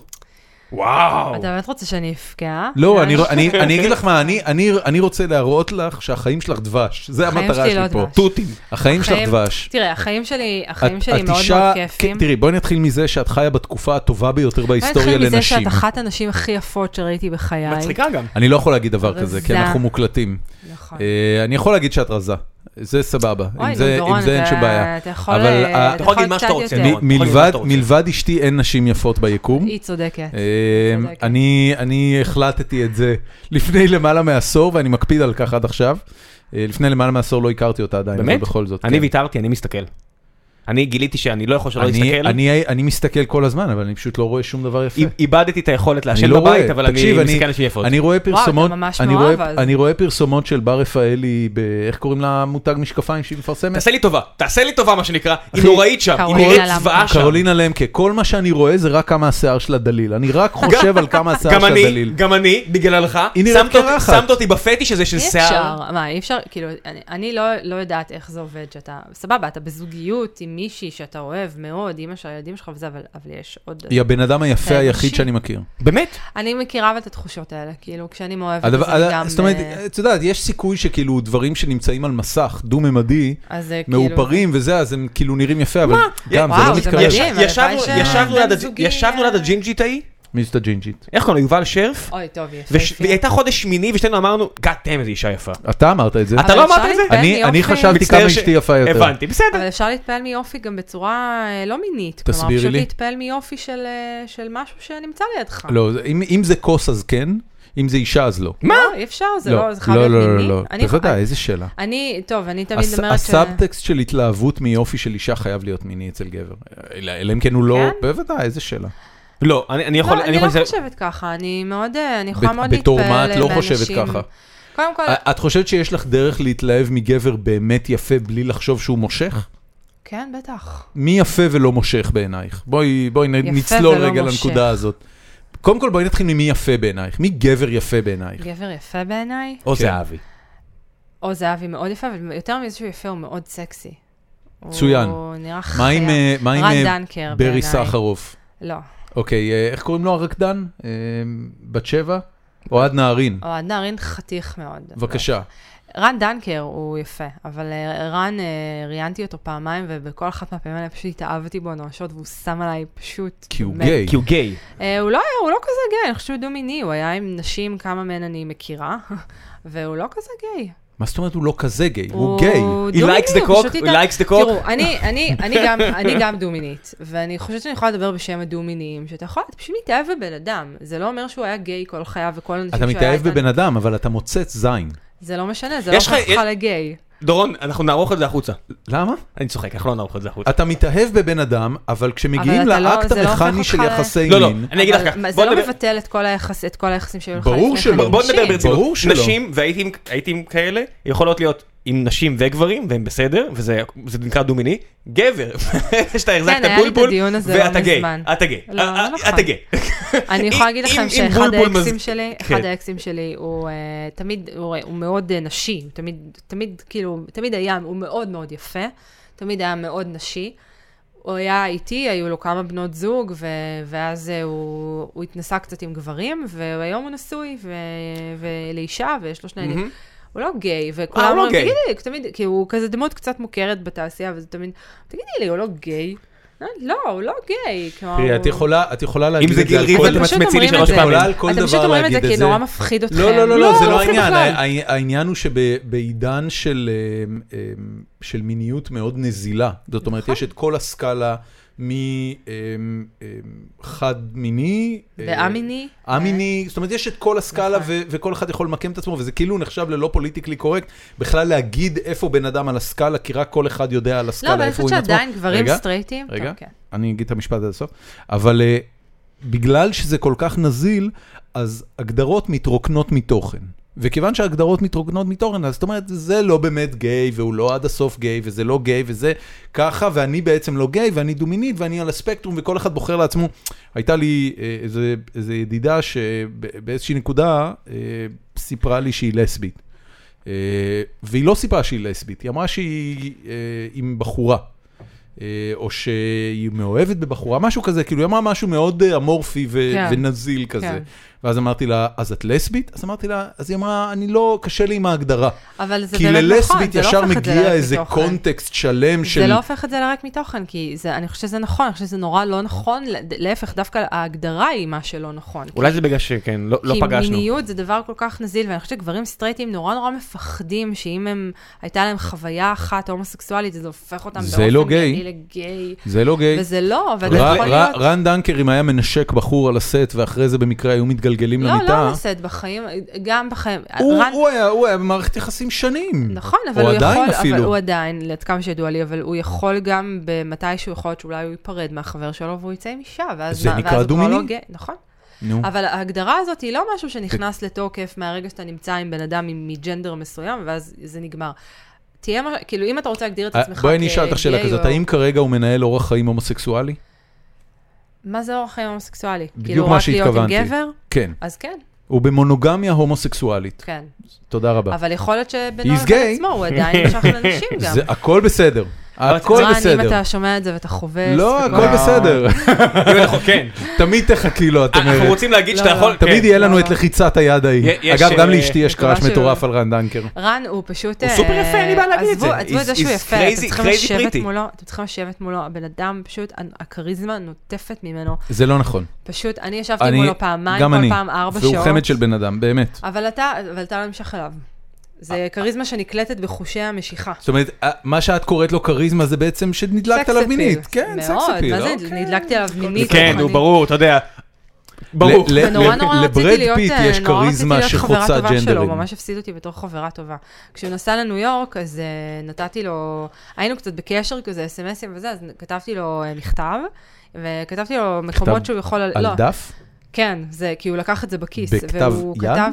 B: וואו.
C: אתה באמת רוצה שאני אה, אפגע?
A: לא, אני-
C: יש-
A: אני אני אגיד לך מה, אני- אני- אני רוצה להראות לך שהחיים שלך דבש. זה
C: החיים
A: המטרה
C: שלי
A: שלי
C: לא
A: פה.
C: דבש.
A: תותים. החיים שלך
C: החיים-
A: דבש.
C: תראה, החיים שלי,
A: את-
C: החיים שלי
A: את
C: מאוד
A: אישה-
C: מאוד
A: כן,
C: כיפים.
A: תראי, בואי נתחיל מזה שאת חיה בתקופה הטובה ביותר בהיסטוריה
C: אני מזה שאת
A: לנשים.
C: אחת הנשים הכי יפות שראיתי בחיי.
B: מצחיקה גם.
A: אני לא יכול להגיד דבר כזה, כי
C: רזה.
A: אנחנו מוקלטים.
C: נכון.
A: אה, אני יכול להגיד שאת רזה. זה סבבה.
C: אוי,
A: עם
C: נו,
A: זה
C: דורון,
A: עם זה אין
C: אתה-
A: שום בעיה.
C: אתה יכול...
A: אבל,
C: אה,
A: אה,
B: אתה יכול להגיד מה
C: קצת
B: שאתה רוצה,
C: יותר.
B: נו.
A: מ-
B: יכול
A: מלבד,
B: להיות מה שאתה
A: מלבד אשתי אין נשים יפות ביקום.
C: היא צודקת.
A: אה,
C: צודקת.
A: אני, אני החלטתי את זה לפני למעלה מעשור ואני מקפיד על כך עד עכשיו. אה, לפני למעלה מעשור לא הכרתי אותה עדיין,
B: באמת?
A: אבל בכל זאת.
B: אני
A: כן.
B: ויתרתי, אני מסתכל. אני גיליתי שאני לא יכול שלא
A: אני,
B: להסתכל.
A: אני, אני מסתכל כל הזמן, אבל אני פשוט לא רואה שום דבר יפה.
B: איב- איבדתי את היכולת
A: אני
B: לעשן
A: לא
B: בבית,
A: רואה.
B: אבל אני
A: תקשיב,
B: מסתכל על שיפות.
A: אני רואה
C: אתה
A: פרסומות,
C: ממש
A: אני,
C: מאוהב,
A: רואה,
C: אז.
A: אני רואה פרסומות של בר רפאלי, ב, איך קוראים לה מותג משקפיים שהיא מפרסמת?
B: תעשה לי טובה, תעשה לי טובה מה שנקרא, היא
A: אחי,
B: נוראית שם, היא
C: קרולינה
B: נראית
C: למקה.
B: זוועה שם.
A: קרולינה למקה, כל מה שאני רואה זה רק כמה השיער שלה דליל, אני רק חושב על כמה השיער
B: גם
A: שלה
B: אני,
A: דליל.
B: גם אני, בגללך,
A: היא נראית לא
B: שמת אותי-
A: קרחת.
B: שמת אותי בפטיש הזה של
C: אי
B: שיער.
C: אפשר, מה, אי אפשר, כאילו, אני, אני לא, לא יודעת איך זה עובד, שאתה, סבבה, אתה בזוגיות עם מישהי שאתה אוהב מאוד, אימא של הילדים שלך וזה, אבל, אבל יש עוד...
A: היא הבן אדם היפה
C: אתה
A: היחיד
C: אנושי.
A: שאני מכיר.
B: באמת?
C: אני מכירה אבל את התחושות האלה, כאילו, כשאני מאוהבת,
A: הדבר,
C: אז אני
A: הד...
C: גם...
A: זאת אומרת,
C: אה,
A: את יודעת, יש סיכוי שכאילו דברים שנמצאים על מסך דו-ממדי,
C: אז זה כאילו...
A: מעופרים וזה, אז הם כאילו נראים יפה, אבל גם, זה
C: וואו,
A: לא
C: זה
A: מתקרב.
C: מדהים.
B: יש-
C: הלוואי
B: ישבנו-
C: שה-
B: ישבנו
C: בן
B: ליד הג'-
C: זוגי,
B: ישבנו ליד
C: אה,
B: הג'ינג'ית ההיא,
A: מי זאת הג'ינג'ית?
B: איך קוראים לה? יובל שרף?
C: אוי, טוב, יפה.
B: וש-
C: יפה.
B: והיא הייתה חודש שמיני ושתינו אמרנו, God damn איזה אישה יפה.
A: אתה אמרת את זה.
B: אתה לא
C: אבל
B: אמרת
C: אפשר
B: את זה?
C: להתפעל
A: אני, אני
C: מיופי.
A: חשבתי
B: מצטער
A: כמה
B: ש-
A: אשתי יפה יותר.
B: הבנתי, בסדר.
C: אבל אפשר להתפעל מיופי גם בצורה אה, לא מינית.
A: תסבירי
C: כלומר,
A: לי.
C: פשוט להתפעל מיופי של, אה, של משהו שנמצא לידך.
A: לא, זה- אם, אם זה כוס אז כן, אם זה אישה אז לא.
C: מה? אי אפשר, זה
A: לא,
C: לא, זה חייב
A: לא,
C: להיות
A: לא,
C: מיני.
A: לא, לא,
C: אני-
A: בוודאי, איזה שאלה.
C: אני, טוב, אני תמיד
A: הס-
C: אומרת ש...
A: הסאבטקסט של התלהבות מיופי של אישה חייב להיות מיני אצל גבר. אלא אלא אם כן הוא לא...
C: כן?
A: בוודאי, איזה שאלה.
B: לא, אני אני יכול...
C: לא, אני לא
B: יכול-
C: חושבת ככה, אני מאוד, אה, אני יכולה
A: ב-
C: מאוד להתפעל
A: בתור
C: מאנשים.
A: מה את לא חושבת ככה? אה-
C: קודם כל,
A: את חושבת שיש לך דרך להתלהב מגבר באמת יפה בלי לחשוב שהוא מושך?
C: כן, בטח.
A: מי יפה ולא מושך בעינייך? בואי, בואי נ-
C: יפה
A: נצלול
C: ולא
A: רגע
C: מושך.
A: לנקודה הזאת. קודם כל בואי נתחיל ממי יפה בעינייך. מי גבר יפה בעינייך?
C: גבר יפה בעיניי,
B: או
A: כן.
B: זהבי.
C: או זהבי מאוד יפה, אבל יותר מזה שהוא יפה, הוא מאוד סקסי. הוא-
A: מצוין.
C: הוא נראה חיה.
A: מה עם, אה, מה עם
C: רן
A: אה,
C: דנקר
A: ברי
C: בעיניי.
A: סחרוף?
C: לא,
A: אוקיי, אה, איך קוראים לו הרקדן? אה, בת שבע? אוהד נהרין.
C: אוהד נהרין חתיך מאוד.
A: בבקשה.
C: לא. רן דנקר הוא יפה, אבל אה, רן, אה, ראיינתי אותו פעמיים, ובכל אחת מהפעמים האלה פשוט התאהבתי בו נואשות, והוא שם עליי פשוט...
A: כי הוא
C: באמת.
A: גיי.
B: כי הוא גיי.
C: אה, הוא לא היה, הוא לא כזה גיי, אני חושבת שהוא דו-מיני, הוא היה עם נשים, כמה מהן אני מכירה, והוא לא כזה גיי.
A: מה זאת אומרת הוא לא כזה גיי? הוא גיי.
B: He
C: דו-מיני,
B: likes the
C: הוא פשוט
B: cock, he
C: איתה-
B: likes the cock.
C: תראו, אני- אני- אני גם- אני גם דו-מינית, ואני חושבת שאני יכולה לדבר בשם הדו-מיניים, שאתה יכול, אתה פשוט מתאהב בבן אדם. זה לא אומר שהוא היה גיי כל חייו וכל הנשים
A: אתה
C: שהוא היה
A: מתאהב
C: איתן-
A: בבן אדם, אבל אתה מוצץ זין.
C: זה לא משנה, זה לא
B: יש לך-
C: הופך אותך
B: יש-
C: לגיי.
B: דורון, אנחנו נערוך את זה החוצה.
A: למה?
B: אני צוחק, אנחנו לא נערוך את זה החוצה.
A: אתה מתאהב בבן אדם, אבל כשמגיעים
C: אבל אתה לא-
A: לאקט
C: זה לא הופך
A: המכני של
C: אותך ל-
A: יחסי
B: לא, לא,
A: מין,
B: אני אגיד לך
C: אבל
B: ככה.
C: מה, זה
B: בוא
C: לא
B: נדבר-
C: מבטל את כל היחס- את כל היחסים שהיו לך לפני
A: ברור
C: כן.
A: שלא.
B: בוא נדבר
C: נשים.
B: ברצינות.
A: לא, ברור שלא.
B: נשים, והייתי עם- הייתי עם כאלה, יכולות להיות עם נשים וגברים, והם בסדר, וזה זה נקרא דו-מיני. גבר, שאתה החזקת
C: כן, היה לי את
B: בולבול,
C: הדיון הזה לא
B: ואתה גיי,
C: מזמן.
B: אתה גיי,
C: לא,
B: אה, אה,
C: לא
B: אתה
C: נכון.
B: גיי.
C: אני
B: אם-
C: יכולה להגיד
B: אם-
C: לכם
B: אם
C: שאחד
B: בולבול מז-
C: האקסים שלי, אחד
B: כן.
C: האקסים שלי הוא אה, תמיד, הוא הוא מאוד אה, נשי, הוא תמיד, תמיד, כאילו, תמיד היה, הוא מאוד מאוד יפה, תמיד היה מאוד נשי. הוא היה איתי, היו לו כמה בנות זוג, ו- ואז אה, הוא, הוא התנסה קצת עם גברים, והיום הוא נשוי ו- ולאישה, ויש לו שני ילדים. הוא לא גיי, וכולם
B: אה, הוא לא
C: אומרים,
B: גיי.
C: תגידי, תמיד, כי הוא כזה דמות קצת מוכרת בתעשייה, וזה תמיד, תגידי לי, הוא לא גיי? לא, הוא לא גיי. כלומר,
A: תראי, את
C: הוא-
A: יכולה- את יכולה להגיד
B: אם זה
A: את זה
B: גיל
A: על
B: ריב,
A: כל-
B: אתם
C: פשוט
B: מצמצים לי
C: אומרים
B: שלוש
C: את זה.
A: יכולה
B: פעמים.
A: על כל
C: אתם פשוט
A: דבר
C: אומרים את
A: להגיד
C: זה
A: את
C: כי
A: זה.
C: נורא מפחיד אתכם.
A: לא, לא, לא, לא, זה לא
C: מפחיד
A: העניין.
C: בכלל.
A: ה- העניין הוא שבעידן של אמ, אמ, של מיניות מאוד נזילה, זאת אומרת,
C: נכון.
A: יש את כל הסקאלה אמ, מחד מיני. אה,
C: וא-מיני. אה.
A: א-מיני, זאת אומרת, יש את כל הסקאלה
C: נכון.
A: ו- וכל אחד יכול למקם את עצמו, וזה כאילו נחשב ללא פוליטיקלי קורקט, בכלל להגיד איפה בן אדם על הסקאלה, כי רק כל אחד יודע על
C: לא,
A: הסקאלה,
C: אבל אני
A: איפה הוא
C: חושבת
A: עם עצמו.
C: שעדיין גברים
A: רגע,
C: סטרייטים. טוב,
A: רגע,
C: כן.
A: אני אגיד את המשפט עד הסוף, אבל אה, בגלל שזה כל כך נזיל, אז הגדרות מתרוקנות מתוכן. וכיוון שההגדרות מתרוקנות מתוכן, אז זאת אומרת, זה לא באמת גיי, והוא לא עד הסוף גיי, וזה לא גיי, וזה ככה, ואני בעצם לא גיי, ואני דומינית, ואני על הספקטרום, וכל אחד בוחר לעצמו. הייתה לי אה, איזה, איזה ידידה שבאיזושהי נקודה אה, סיפרה לי שהיא לסבית. אה, והיא לא סיפרה שהיא לסבית, היא אמרה שהיא אה, עם בחורה. אה, או שהיא מאוהבת בבחורה, משהו כזה, כאילו היא אמרה משהו מאוד אה, אמורפי ו-
C: כן.
A: ונזיל כזה.
C: כן.
A: ואז אמרתי לה, אז את לסבית? אז אמרתי לה, אז היא אמרה, אני לא, קשה לי עם ההגדרה.
C: אבל זה
A: כי
C: באמת נכון,
A: ללסבית
C: זה לא
A: ישר
C: הופך את זה
A: מגיע
C: לריק
A: איזה
C: מתוכן.
A: קונטקסט שלם של...
C: זה לא הופך את זה לריק מתוכן, כי זה- אני חושבת שזה נכון, אני חושבת שזה נורא לא נכון, לה- להפך, דווקא ההגדרה היא מה שלא נכון.
B: אולי זה בגלל שכן, לא לא
C: כי
B: פגשנו.
C: מיניות זה דבר כל כך נזיל, ואני חושבת שגברים סטרייטים נורא נורא מפחדים שאם הם, הייתה להם חוויה אחת הומוסקסואלית, זה הופך אותם
A: זה
C: באופן
A: לא גיי.
C: מיידי לגיי.
A: זה לא גיי.
C: וזה לא, אבל זה
A: ר-
C: יכול
A: ר-
C: להיות...
A: רן דנקר, אם היה מנשק בחור על הסט, ואחרי זה במקרה היו מתגלגלים
C: לא,
A: למיטה,
C: לא נושאת בחיים, גם בחיים.
A: הוא-
C: רן-
A: הוא היה- הוא היה במערכת יחסים שנים.
C: נכון, אבל
A: או
C: הוא
A: עדיין
C: יכול, אבל
A: אפילו.
C: הוא עדיין, עד כמה שידוע לי, אבל הוא יכול גם במתישהו, יכול להיות שאולי הוא ייפרד מהחבר שלו והוא יצא עם אישה, ואז
A: זה
C: מה-
A: נקרא
C: ואז הוא כבר לא
A: דו-מיני?
C: גאה, נכון.
A: נו.
C: אבל ההגדרה הזאת היא לא משהו
A: כן.
C: שנכנס לתוקף מהרגע שאתה נמצא עם בן אדם עם- מג'נדר מסוים, ואז זה נגמר. תהיה, מה- כאילו, אם אתה רוצה להגדיר את
A: אה,
C: עצמך
A: בואי אני אשאל אותך שאלה
C: כגיי
A: כזאת,
C: או-
A: האם כרגע הוא מנהל אורח חיים הומוסקסואלי?
C: מה זה אורח חיים הומוסקסואלי?
A: בדיוק
C: כאילו,
A: מה
C: רק להיות עם
A: שהתכוונתי.
C: גבר?
A: כן.
C: אז כן,
A: הוא במונוגמיה הומוסקסואלית.
C: כן.
A: תודה רבה.
C: אבל יכול להיות שבינו
A: לא. He's
C: לבין
A: gay.
C: עצמו הוא עדיין נמשך לנשים גם.
A: זה הכל בסדר. הכל
C: רן, אם
A: בסדר.
C: אתה שומע את זה ואתה חובס...
A: לא,
C: וכל-
A: הכל בסדר.
B: אם אנחנו- כן,
A: תמיד תחכי לו, את
B: אה. אנחנו
A: אומרת.
B: רוצים להגיד
C: לא,
B: שאתה
C: לא.
B: יכול...
A: תמיד
B: כן.
A: יהיה לנו
C: לא.
A: את לחיצת היד ההיא.
B: יש,
A: אגב, גם
B: אה,
A: לאשתי יש
C: מקווה
A: קראש
C: שהוא-
A: מטורף על רן דנקר.
C: רן הוא פשוט...
B: הוא
C: אה,
B: סופר יפה, אין לי בעיה להגיד את
C: עזבו-
B: זה.
C: עזבו את זה
B: He's-
C: שהוא
B: he's
C: יפה,
B: crazy-
C: אתם צריכים
B: crazy
C: לשבת
B: pretty.
C: מולו, אתם צריכים לשבת מולו, הבן אדם פשוט, הכריזמה נוטפת ממנו.
A: זה לא נכון.
C: פשוט, אני ישבתי
A: אני,
C: מולו פעמיים,
A: גם
C: כל
A: אני.
C: פעם ארבע שעות.
A: והוא חמד של בן אדם, באמת.
C: אבל אתה, אבל אתה לא נמשך אליו. זה כריזמה שנקלטת בחושי המשיכה.
A: זאת אומרת, אה, מה שאת קוראת לו כריזמה זה בעצם שנדלקת עליו
C: סקס אפיל.
A: מינית. כן, סקס אפיל.
C: מאוד, מה זה,
A: אוקיי.
C: נדלקתי עליו מינית.
B: כן, הוא
C: רוחנית.
B: ברור, אתה יודע. ברור.
A: ל- ל-
C: ונורא נורא רציתי
A: לברד
C: להיות,
A: פיט
C: אה,
A: יש
C: נורא רציתי
A: כריזמה
C: להיות חברה
A: שחוצה
C: טובה שלו,
A: ג'נדרים.
C: הוא ממש הפסיד אותי בתור חברה טובה. כשהוא נסע לניו יורק, אז אה, נתתי לו, היינו קצת בקשר כזה, אסמסים וזה, אז כתבתי לו אה, מכתב, וכתבתי לו מקומות שהוא יכול...
A: על
C: לא,
A: דף?
C: כן, זה, כי הוא לקח את זה בכיס.
A: בכתב
C: והוא
A: יד?
C: כתב...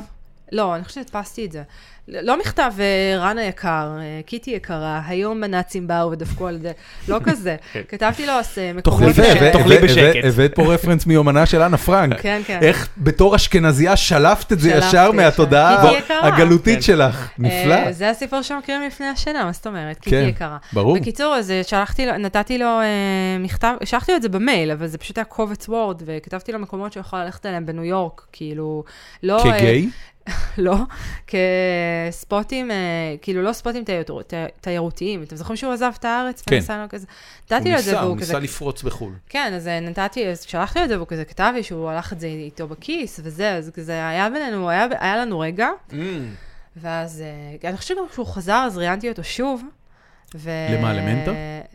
C: לא, אני חושבת שהדפסתי את זה. לא לא מכתב, אה, רן היקר, אה, קיטי יקרה, היום הנאצים באו ודפקו על זה, לא כזה. כתבתי לו אה, מקומות...
B: בשקט,
A: יפה, הבאת-
B: תאכלי
A: הבאת-
B: בשקט.
A: הבאת פה רפרנס מיומנה של אנה פרנק.
C: כן, כן.
A: איך בתור אשכנזייה שלפת את זה
C: שלפתי, כן.
A: ישר מהתודעה
C: שלפתי. היא יקרה.
A: הגלותית
B: כן.
A: שלך.
C: אה,
A: נפלא.
C: זה הסיפור שמכירים לפני השינה, מה זאת אומרת? קיטי
A: כן,
C: יקרה.
A: ברור.
C: בקיצור, אז אה, שלחתי לו, נתתי לו אה, מכתב, שלחתי לו את זה במייל, אבל זה פשוט היה קובץ וורד, וכתבתי לו מקומות שהוא יכול ללכת אליהם בניו יורק, כאילו, לא... אה,
A: כגיי?
C: לא, כספוטים, אה, כאילו לא ספוטים תיירות- תי- תיירותיים. אתם זוכרים שהוא עזב את הארץ?
A: כן.
C: ונסע לו כזה? נתתי לו את זה, והוא כזה...
A: לפרוץ בחו"ל.
C: כן, אז אה, נתתי, אז שלחתי לו את זה, והוא כזה כתב לי שהוא הלך את זה איתו בכיס, וזה, אז כזה היה בינינו, היה, היה לנו רגע,
A: Mm.
C: ואז אה, אני חושבת גם כשהוא חזר, אז ראיינתי אותו שוב. ו...
A: למה, למנטה?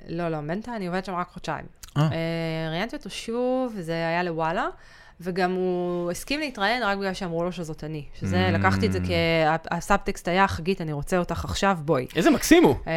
C: לא, לא, מנטה, אני עובדת שם רק חודשיים.
A: אה.
C: אה, ראיינתי אותו שוב, זה היה לוואלה, וגם הוא הסכים להתראיין רק בגלל שאמרו לו שזאת אני. שזה,
A: Mm.
C: לקחתי את זה כ... הסאבטקסט היה, חגית, אני רוצה אותך עכשיו, בואי.
B: איזה מקסים הוא.
C: אה,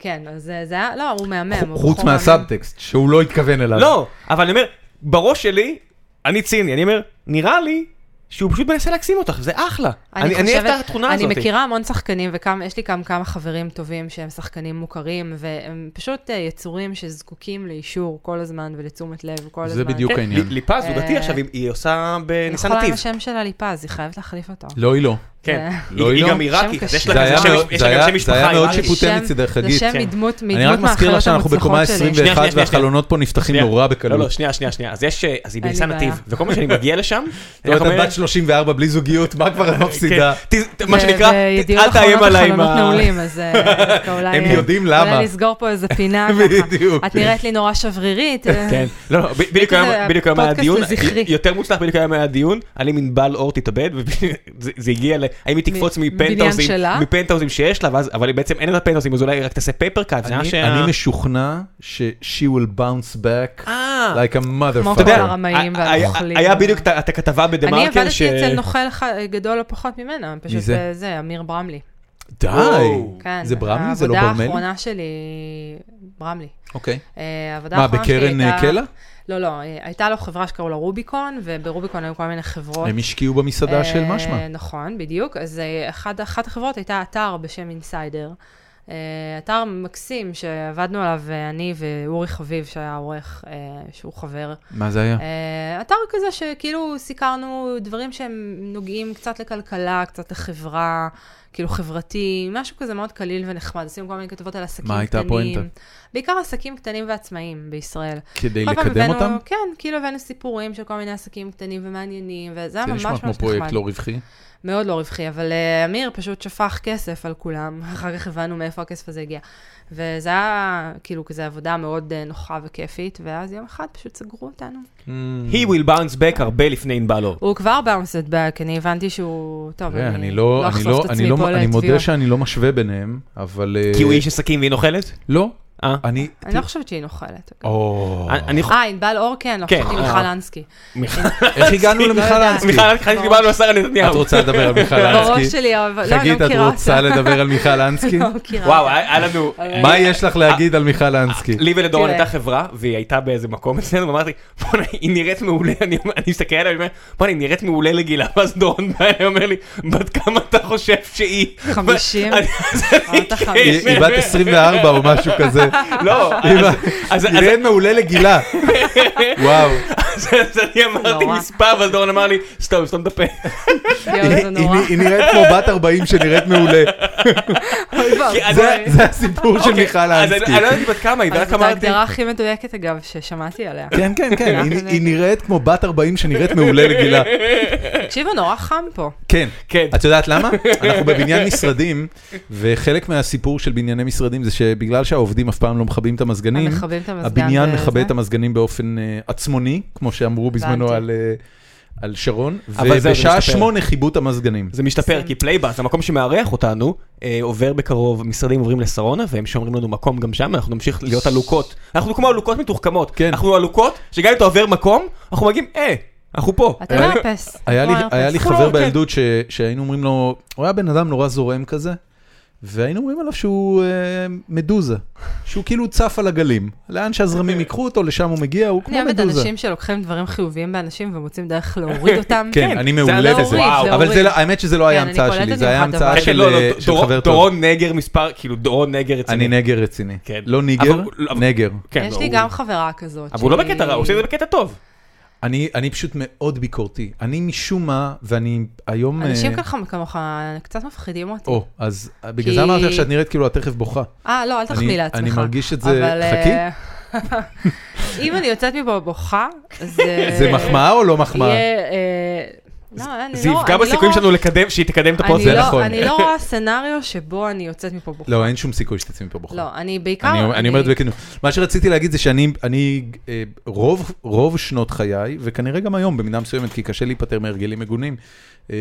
C: כן, אז אה, זה היה, לא, הוא מהמם. הוא
A: חוץ
C: בחור מהמם.
A: מהסאבטקסט, שהוא לא התכוון אליו.
B: לא, אבל אני אומר, בראש שלי, אני ציני, אני אומר, נראה לי שהוא פשוט מנסה להקסים אותך, זה אחלה. אני אני אוהב
C: חושבת-
B: את התכונה הזאת.
C: אני מכירה המון שחקנים, ויש לי גם כמה חברים טובים שהם שחקנים מוכרים, והם פשוט אה, יצורים שזקוקים לאישור כל הזמן ולתשומת לב כל הזמן.
A: זה בדיוק
B: כן,
A: העניין.
B: ל- ליפה זוגתי
C: אה,
B: עכשיו, היא- היא עושה בניסן
C: נכון,
B: נתיב.
C: השם שלה ליפז, היא חייבת להחליף אותו.
A: לא, היא לא.
B: כן.
C: זה-
B: היא
A: לא, היא
B: היא
A: לא.
B: גם עיראקית, אז
C: אה. שם
B: יש לה
A: זה
B: גם
A: היה
B: שם-
A: מאוד-
B: יש
A: זה
B: לה גם
A: היה-
B: שם
A: זה היה
B: משפחה
A: מאוד
B: עיראקית.
A: שיפוטי
C: שם-
A: מצידך, חגית.
C: זה שם
B: כן.
C: מדמות,
A: אני
C: מדמות
A: רק מזכיר
C: מהאחיות
A: לך שאנחנו בקומה
C: המוצלחות שלי.
A: 21
B: שנייה, שנייה,
A: והחלונות פה נפתחים
B: שנייה.
A: נורא
B: לא, לא,
A: בקלות.
B: שנייה, שנייה, שנייה. אז יש, אה, אז היא
C: אין לי
B: בניסן
C: בעיה.
B: נתיב, וכל פעם שאני מגיע לשם, אני
A: לא,
B: רק
A: אתה
B: אומר,
A: בת 34 בלי זוגיות, מה כבר את מפסידה?
B: כן, ת- מה שנקרא, אל תאיים עליי עם
C: וידיעות אחרונות החלונות
B: ה...
C: נעולים, אז אה, דווקא אולי...
A: הם
C: אה,
A: יודעים למה.
C: אולי נסגור פה איזה פינה
A: בדיוק.
C: ככה. את נראית לי נורא שברירית. אה,
B: כן, לא, לא, ב- בדיוק
C: כזה
B: היום- בדיוק היום היה
C: פודקאסט
B: הדיון,
C: לזכרי.
B: יותר מוצלח בדיוק היום היה הדיון, על אם ענבל אור תתאבד, וזה הגיע ל... האם היא תקפוץ
C: מ-
B: מפנטהאוזים,
C: בניין שלה?
B: מפנטהאוזים שיש לה, ואז, אבל בעצם אין לה פנטהאוזים, אז אולי היא רק תעשה פייפר קאט, זה היה
A: אני-
B: שה...
A: אני משוכנע ש-she will bounce back
B: אה.
A: like a
C: כמו
A: motherfucker.
B: אתה יודע,
C: כל הרמאים
B: ה- ה-
C: והנוכלים.
B: היה בדיוק את ה- את הכתבה בדה
C: אני
B: מרקר,
C: עבדתי אצל נוכל ח- גדול לא פחות ממנה, פשוט
A: זה?
C: אה, זה, אמיר ברמלי.
A: די.
B: וואו.
C: כן.
A: זה ברמלי? זה לא
C: העבודה
A: ברמלי?
C: האחרונה שלי, ברמלי.
A: אוקיי.
C: אה, העבודה
A: מה,
C: האחרונה שלי
A: בקרן
C: הייתה-
A: אה, קלע?
C: לא, לא, אה, הייתה לו חברה שקראו לה רוביקון, וברוביקון היו כל מיני חברות.
A: הם השקיעו במסעדה של
C: אה,
A: משמע.
C: נכון, בדיוק. אז אה, אחד- אחת החברות הייתה אתר בשם אינסיידר. אה, אתר מקסים שעבדנו עליו, אה, אני ואורי חביב, שהיה העורך, אה, שהוא חבר.
A: מה זה היה?
C: אה, אתר כזה שכאילו סיקרנו דברים שהם נוגעים קצת לכלכלה, קצת לחברה, כאילו חברתי, משהו כזה מאוד קליל ונחמד. עשינו כל מיני כתבות על עסקים
A: מה
C: קטנים.
A: הייתה הפואנטה?
C: בעיקר עסקים קטנים ועצמאיים בישראל.
A: כדי
C: כל פעם
A: לקדם
C: הבאנו-
A: אותם?
C: כן, כאילו הבאנו סיפורים של כל מיני עסקים קטנים ומעניינים, וזה היה
A: זה
C: ממש
A: נשמע
C: ממש
A: כמו
C: נחמד.
A: פרויקט לא רווחי.
C: מאוד לא רווחי, אבל אה, אמיר פשוט שפך כסף על כולם, אחר כך הבנו מאיפה הכסף הזה הגיע. וזה היה כאילו כזה עבודה מאוד אה, נוחה וכיפית, ואז יום אחד פשוט סגרו אותנו.
B: He will bounce back הרבה לפני ענבל אור.
C: הוא כבר bounced back, אני הבנתי שהוא... טוב,
A: תראה, אני לא, אני לא,
C: אחשוף את
A: אני
C: עצמי
A: לא,
C: פה
A: אני מודה
C: לתביעות.
A: שאני לא משווה ביניהם, אבל... אה,
B: כי הוא איש עסקים והיא נוכלת?
A: לא,
B: אה.
A: אני...
C: אני לא חושבת שהיא נוכלת.
A: או...
B: אני- אני
C: אה, ענבל אור כן, לא
B: כן,
C: חשבתי
B: אה.
C: מיכל אנסקי.
A: איך הגענו
B: לא
A: למיכל
C: יודעת.
A: אנסקי?
B: מיכל, חשבתי שדיברנו על שרה
A: את
B: נתניהו.
A: רוצה לדבר על מיכל
C: בראש
A: אנסקי?
C: שלי, אבל לא, אני לא
A: חגית, את
C: מכירה
A: רוצה
C: אותה.
A: לדבר על מיכל אנסקי?
C: לא מכירה
B: וואו,
C: אותה.
B: היה היה לנו...
A: מה יש לך להגיד על מיכל אנסקי?
B: לי ולדורון
C: תראה.
B: הייתה חברה, והיא הייתה באיזה מקום אצלנו, ואמרתי, בואנה, היא נראית מעולה, אני אומר- אני מסתכל עליה, אני אומר, בואנה, היא נראית מעולה לגילה, ואז דורון בא אליי, אומר לי, בת כמה אתה חושב שהיא?
C: אה. חמישים?
B: ואני- אז אני
C: אמרת
B: כן,
A: היא היא בת 24 או משהו כזה.
B: לא,
A: היא
B: אז-
A: בת-
B: אז-
A: היא
B: אז-
A: נראית מעולה לגילה. וואו.
B: אז אז אני אמרתי
C: נורא.
B: מספר, ואז דורון אמר לי, סתום, סתום את הפה.
C: יואו, כן, זה
A: היא-
C: נורא.
A: היא- היא נראית כמו בת 40 שנראית מעולה.
C: אוי ואבוי.
B: אז-
A: זה- זה הסיפור של
B: אוקיי,
A: מיכל
B: אז אני
A: אנסקי.
B: אני לא יודעת בת כמה היא,
C: אז
B: ורק
C: זאת
B: אמרתי,
C: ההגדרה הכי מדויקת, אגב, ששמעתי עליה.
A: כן, כן, כן, היא-
C: אנחנו
A: היא
C: נ-
A: נראית כמו בת 40 שנראית מעולה לגילה.
C: תקשיבו, נורא חם פה.
A: כן.
B: כן.
A: את יודעת למה? אנחנו בבניין משרדים, וחלק מהסיפור של בנייני משרדים זה שבגלל שהעובדים אף פעם לא מכבים את המזגנים,
C: מכבים את המזגן
A: הבניין
C: וזה?
A: מכבה את המזגנים באופן אה, עצמוני, כמו שאמרו בזמנו
C: הבנתי.
A: על... אה, על שרון,
B: אבל זהו, זה
A: ובשעה
B: משתפר.
A: שמונה חיבו את המזגנים.
B: זה משתפר, כי פלייבאס, המקום שמארח אותנו, אה, עובר בקרוב, משרדים עוברים לשרונה, והם שומרים לנו מקום גם שם, אנחנו נמשיך להיות עלוקות. אנחנו כמו עלוקות מתוחכמות.
A: כן.
B: אנחנו עלוקות, שגם אם אתה עובר מקום, אנחנו מגיעים, אה, אנחנו פה.
C: אתה לא מאפס.
A: אה, היה לי,
C: לא מאפס.
A: היה לי
B: חולה,
A: חבר
B: כן.
A: בילדות ש, שהיינו אומרים לו, הוא היה בן אדם נורא זורם כזה, והיינו אומרים עליו שהוא אה, מדוזה, שהוא כאילו צף על הגלים. לאן שהזרמים ייקחו אותו, לשם הוא מגיע, הוא
C: אני
A: כמו
C: אוהבת
A: מדוזה.
C: אנשים שלוקחים דברים חיוביים באנשים ומוצאים דרך להוריד אותם.
A: כן, אני
B: זה
A: מעולה
B: להוריד,
A: בזה.
B: זה
A: וואו. אבל
C: להוריד.
A: זה לא- האמת שזה לא היה
C: כן, אני
A: המצאה
C: קולטת
A: שלי, זה
C: ממך
A: היה
C: דבר.
A: המצאה
B: כן, כן,
A: של
B: לא, לא,
A: אה,
B: דור-
A: של חבר טוב.
B: דורון נגר מספר, כאילו דורון נגר אצלנו.
A: אני נגר רציני.
B: כן.
A: לא ניגר,
B: אבל- אבל-
A: נגר.
B: כן,
C: יש
B: לא,
C: לי
B: הוא-
C: גם חברה כזאת.
B: אבל הוא לא
C: שהיא-
B: בקטע רע, הוא עושה את זה בקטע טוב.
A: אני אני פשוט מאוד ביקורתי. אני משום מה, ואני היום... אה,
C: אנשים ככה כמוך קצת מפחידים אותי.
A: או, אז בגלל
C: כי-
A: זה אמרתי לך שאת נראית כאילו את תכף בוכה.
C: אה, לא, אל
A: אני-
C: תחמיא לעצמך.
A: אני מרגיש את זה-
C: אבל, אה, אם אני יוצאת מפה בוכה, זה...
A: זה מחמאה או לא מחמאה?
C: אה, יהיה... אה, לא, אני
B: זה
C: לא-
B: יפגע
C: אני לא
B: בסיכויים
C: רואה-
B: שלנו לקדם, שהיא תקדם את הפוסט.
C: אני
A: זה
C: לא-
A: נכון.
C: אני לא רואה סצנריו שבו אני יוצאת מפה בוכה.
A: לא, אין שום סיכוי שתצאי מפה בוכה.
C: לא, אני בעיקר...
A: נכון. אני, אני... אני אומר את זה בכנות. מה שרציתי להגיד זה שאני אני, אה, רוב, רוב שנות חיי, וכנראה גם היום במידה מסוימת, כי קשה להיפטר מהרגלים מגונים, אה,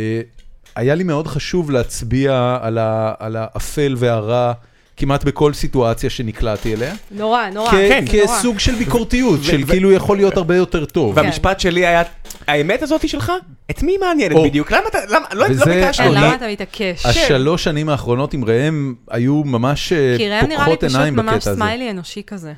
A: היה לי מאוד חשוב להצביע על, ה, על האפל והרע כמעט בכל סיטואציה שנקלעתי אליה.
C: נורא, נורא.
A: כ-
B: כן,
C: נורא.
A: כסוג של ביקורתיות, של
B: ו-
A: כאילו יכול להיות הרבה יותר טוב.
B: והמשפט שלי היה, האמת הזאת שלך, את מי מעניינת
A: או.
B: בדיוק? למה אתה, למה, לא לא
A: וזה-
B: ביקשנו,
C: אה,
A: אני-
C: למה אתה מתעקש?
A: השלוש שנים האחרונות עם ראם היו ממש אה,
C: כן, כי ראם נראה לי
A: פוקחות
C: פשוט
A: עיניים
C: ממש
A: בקטע הזה.
C: סמיילי אנושי כזה.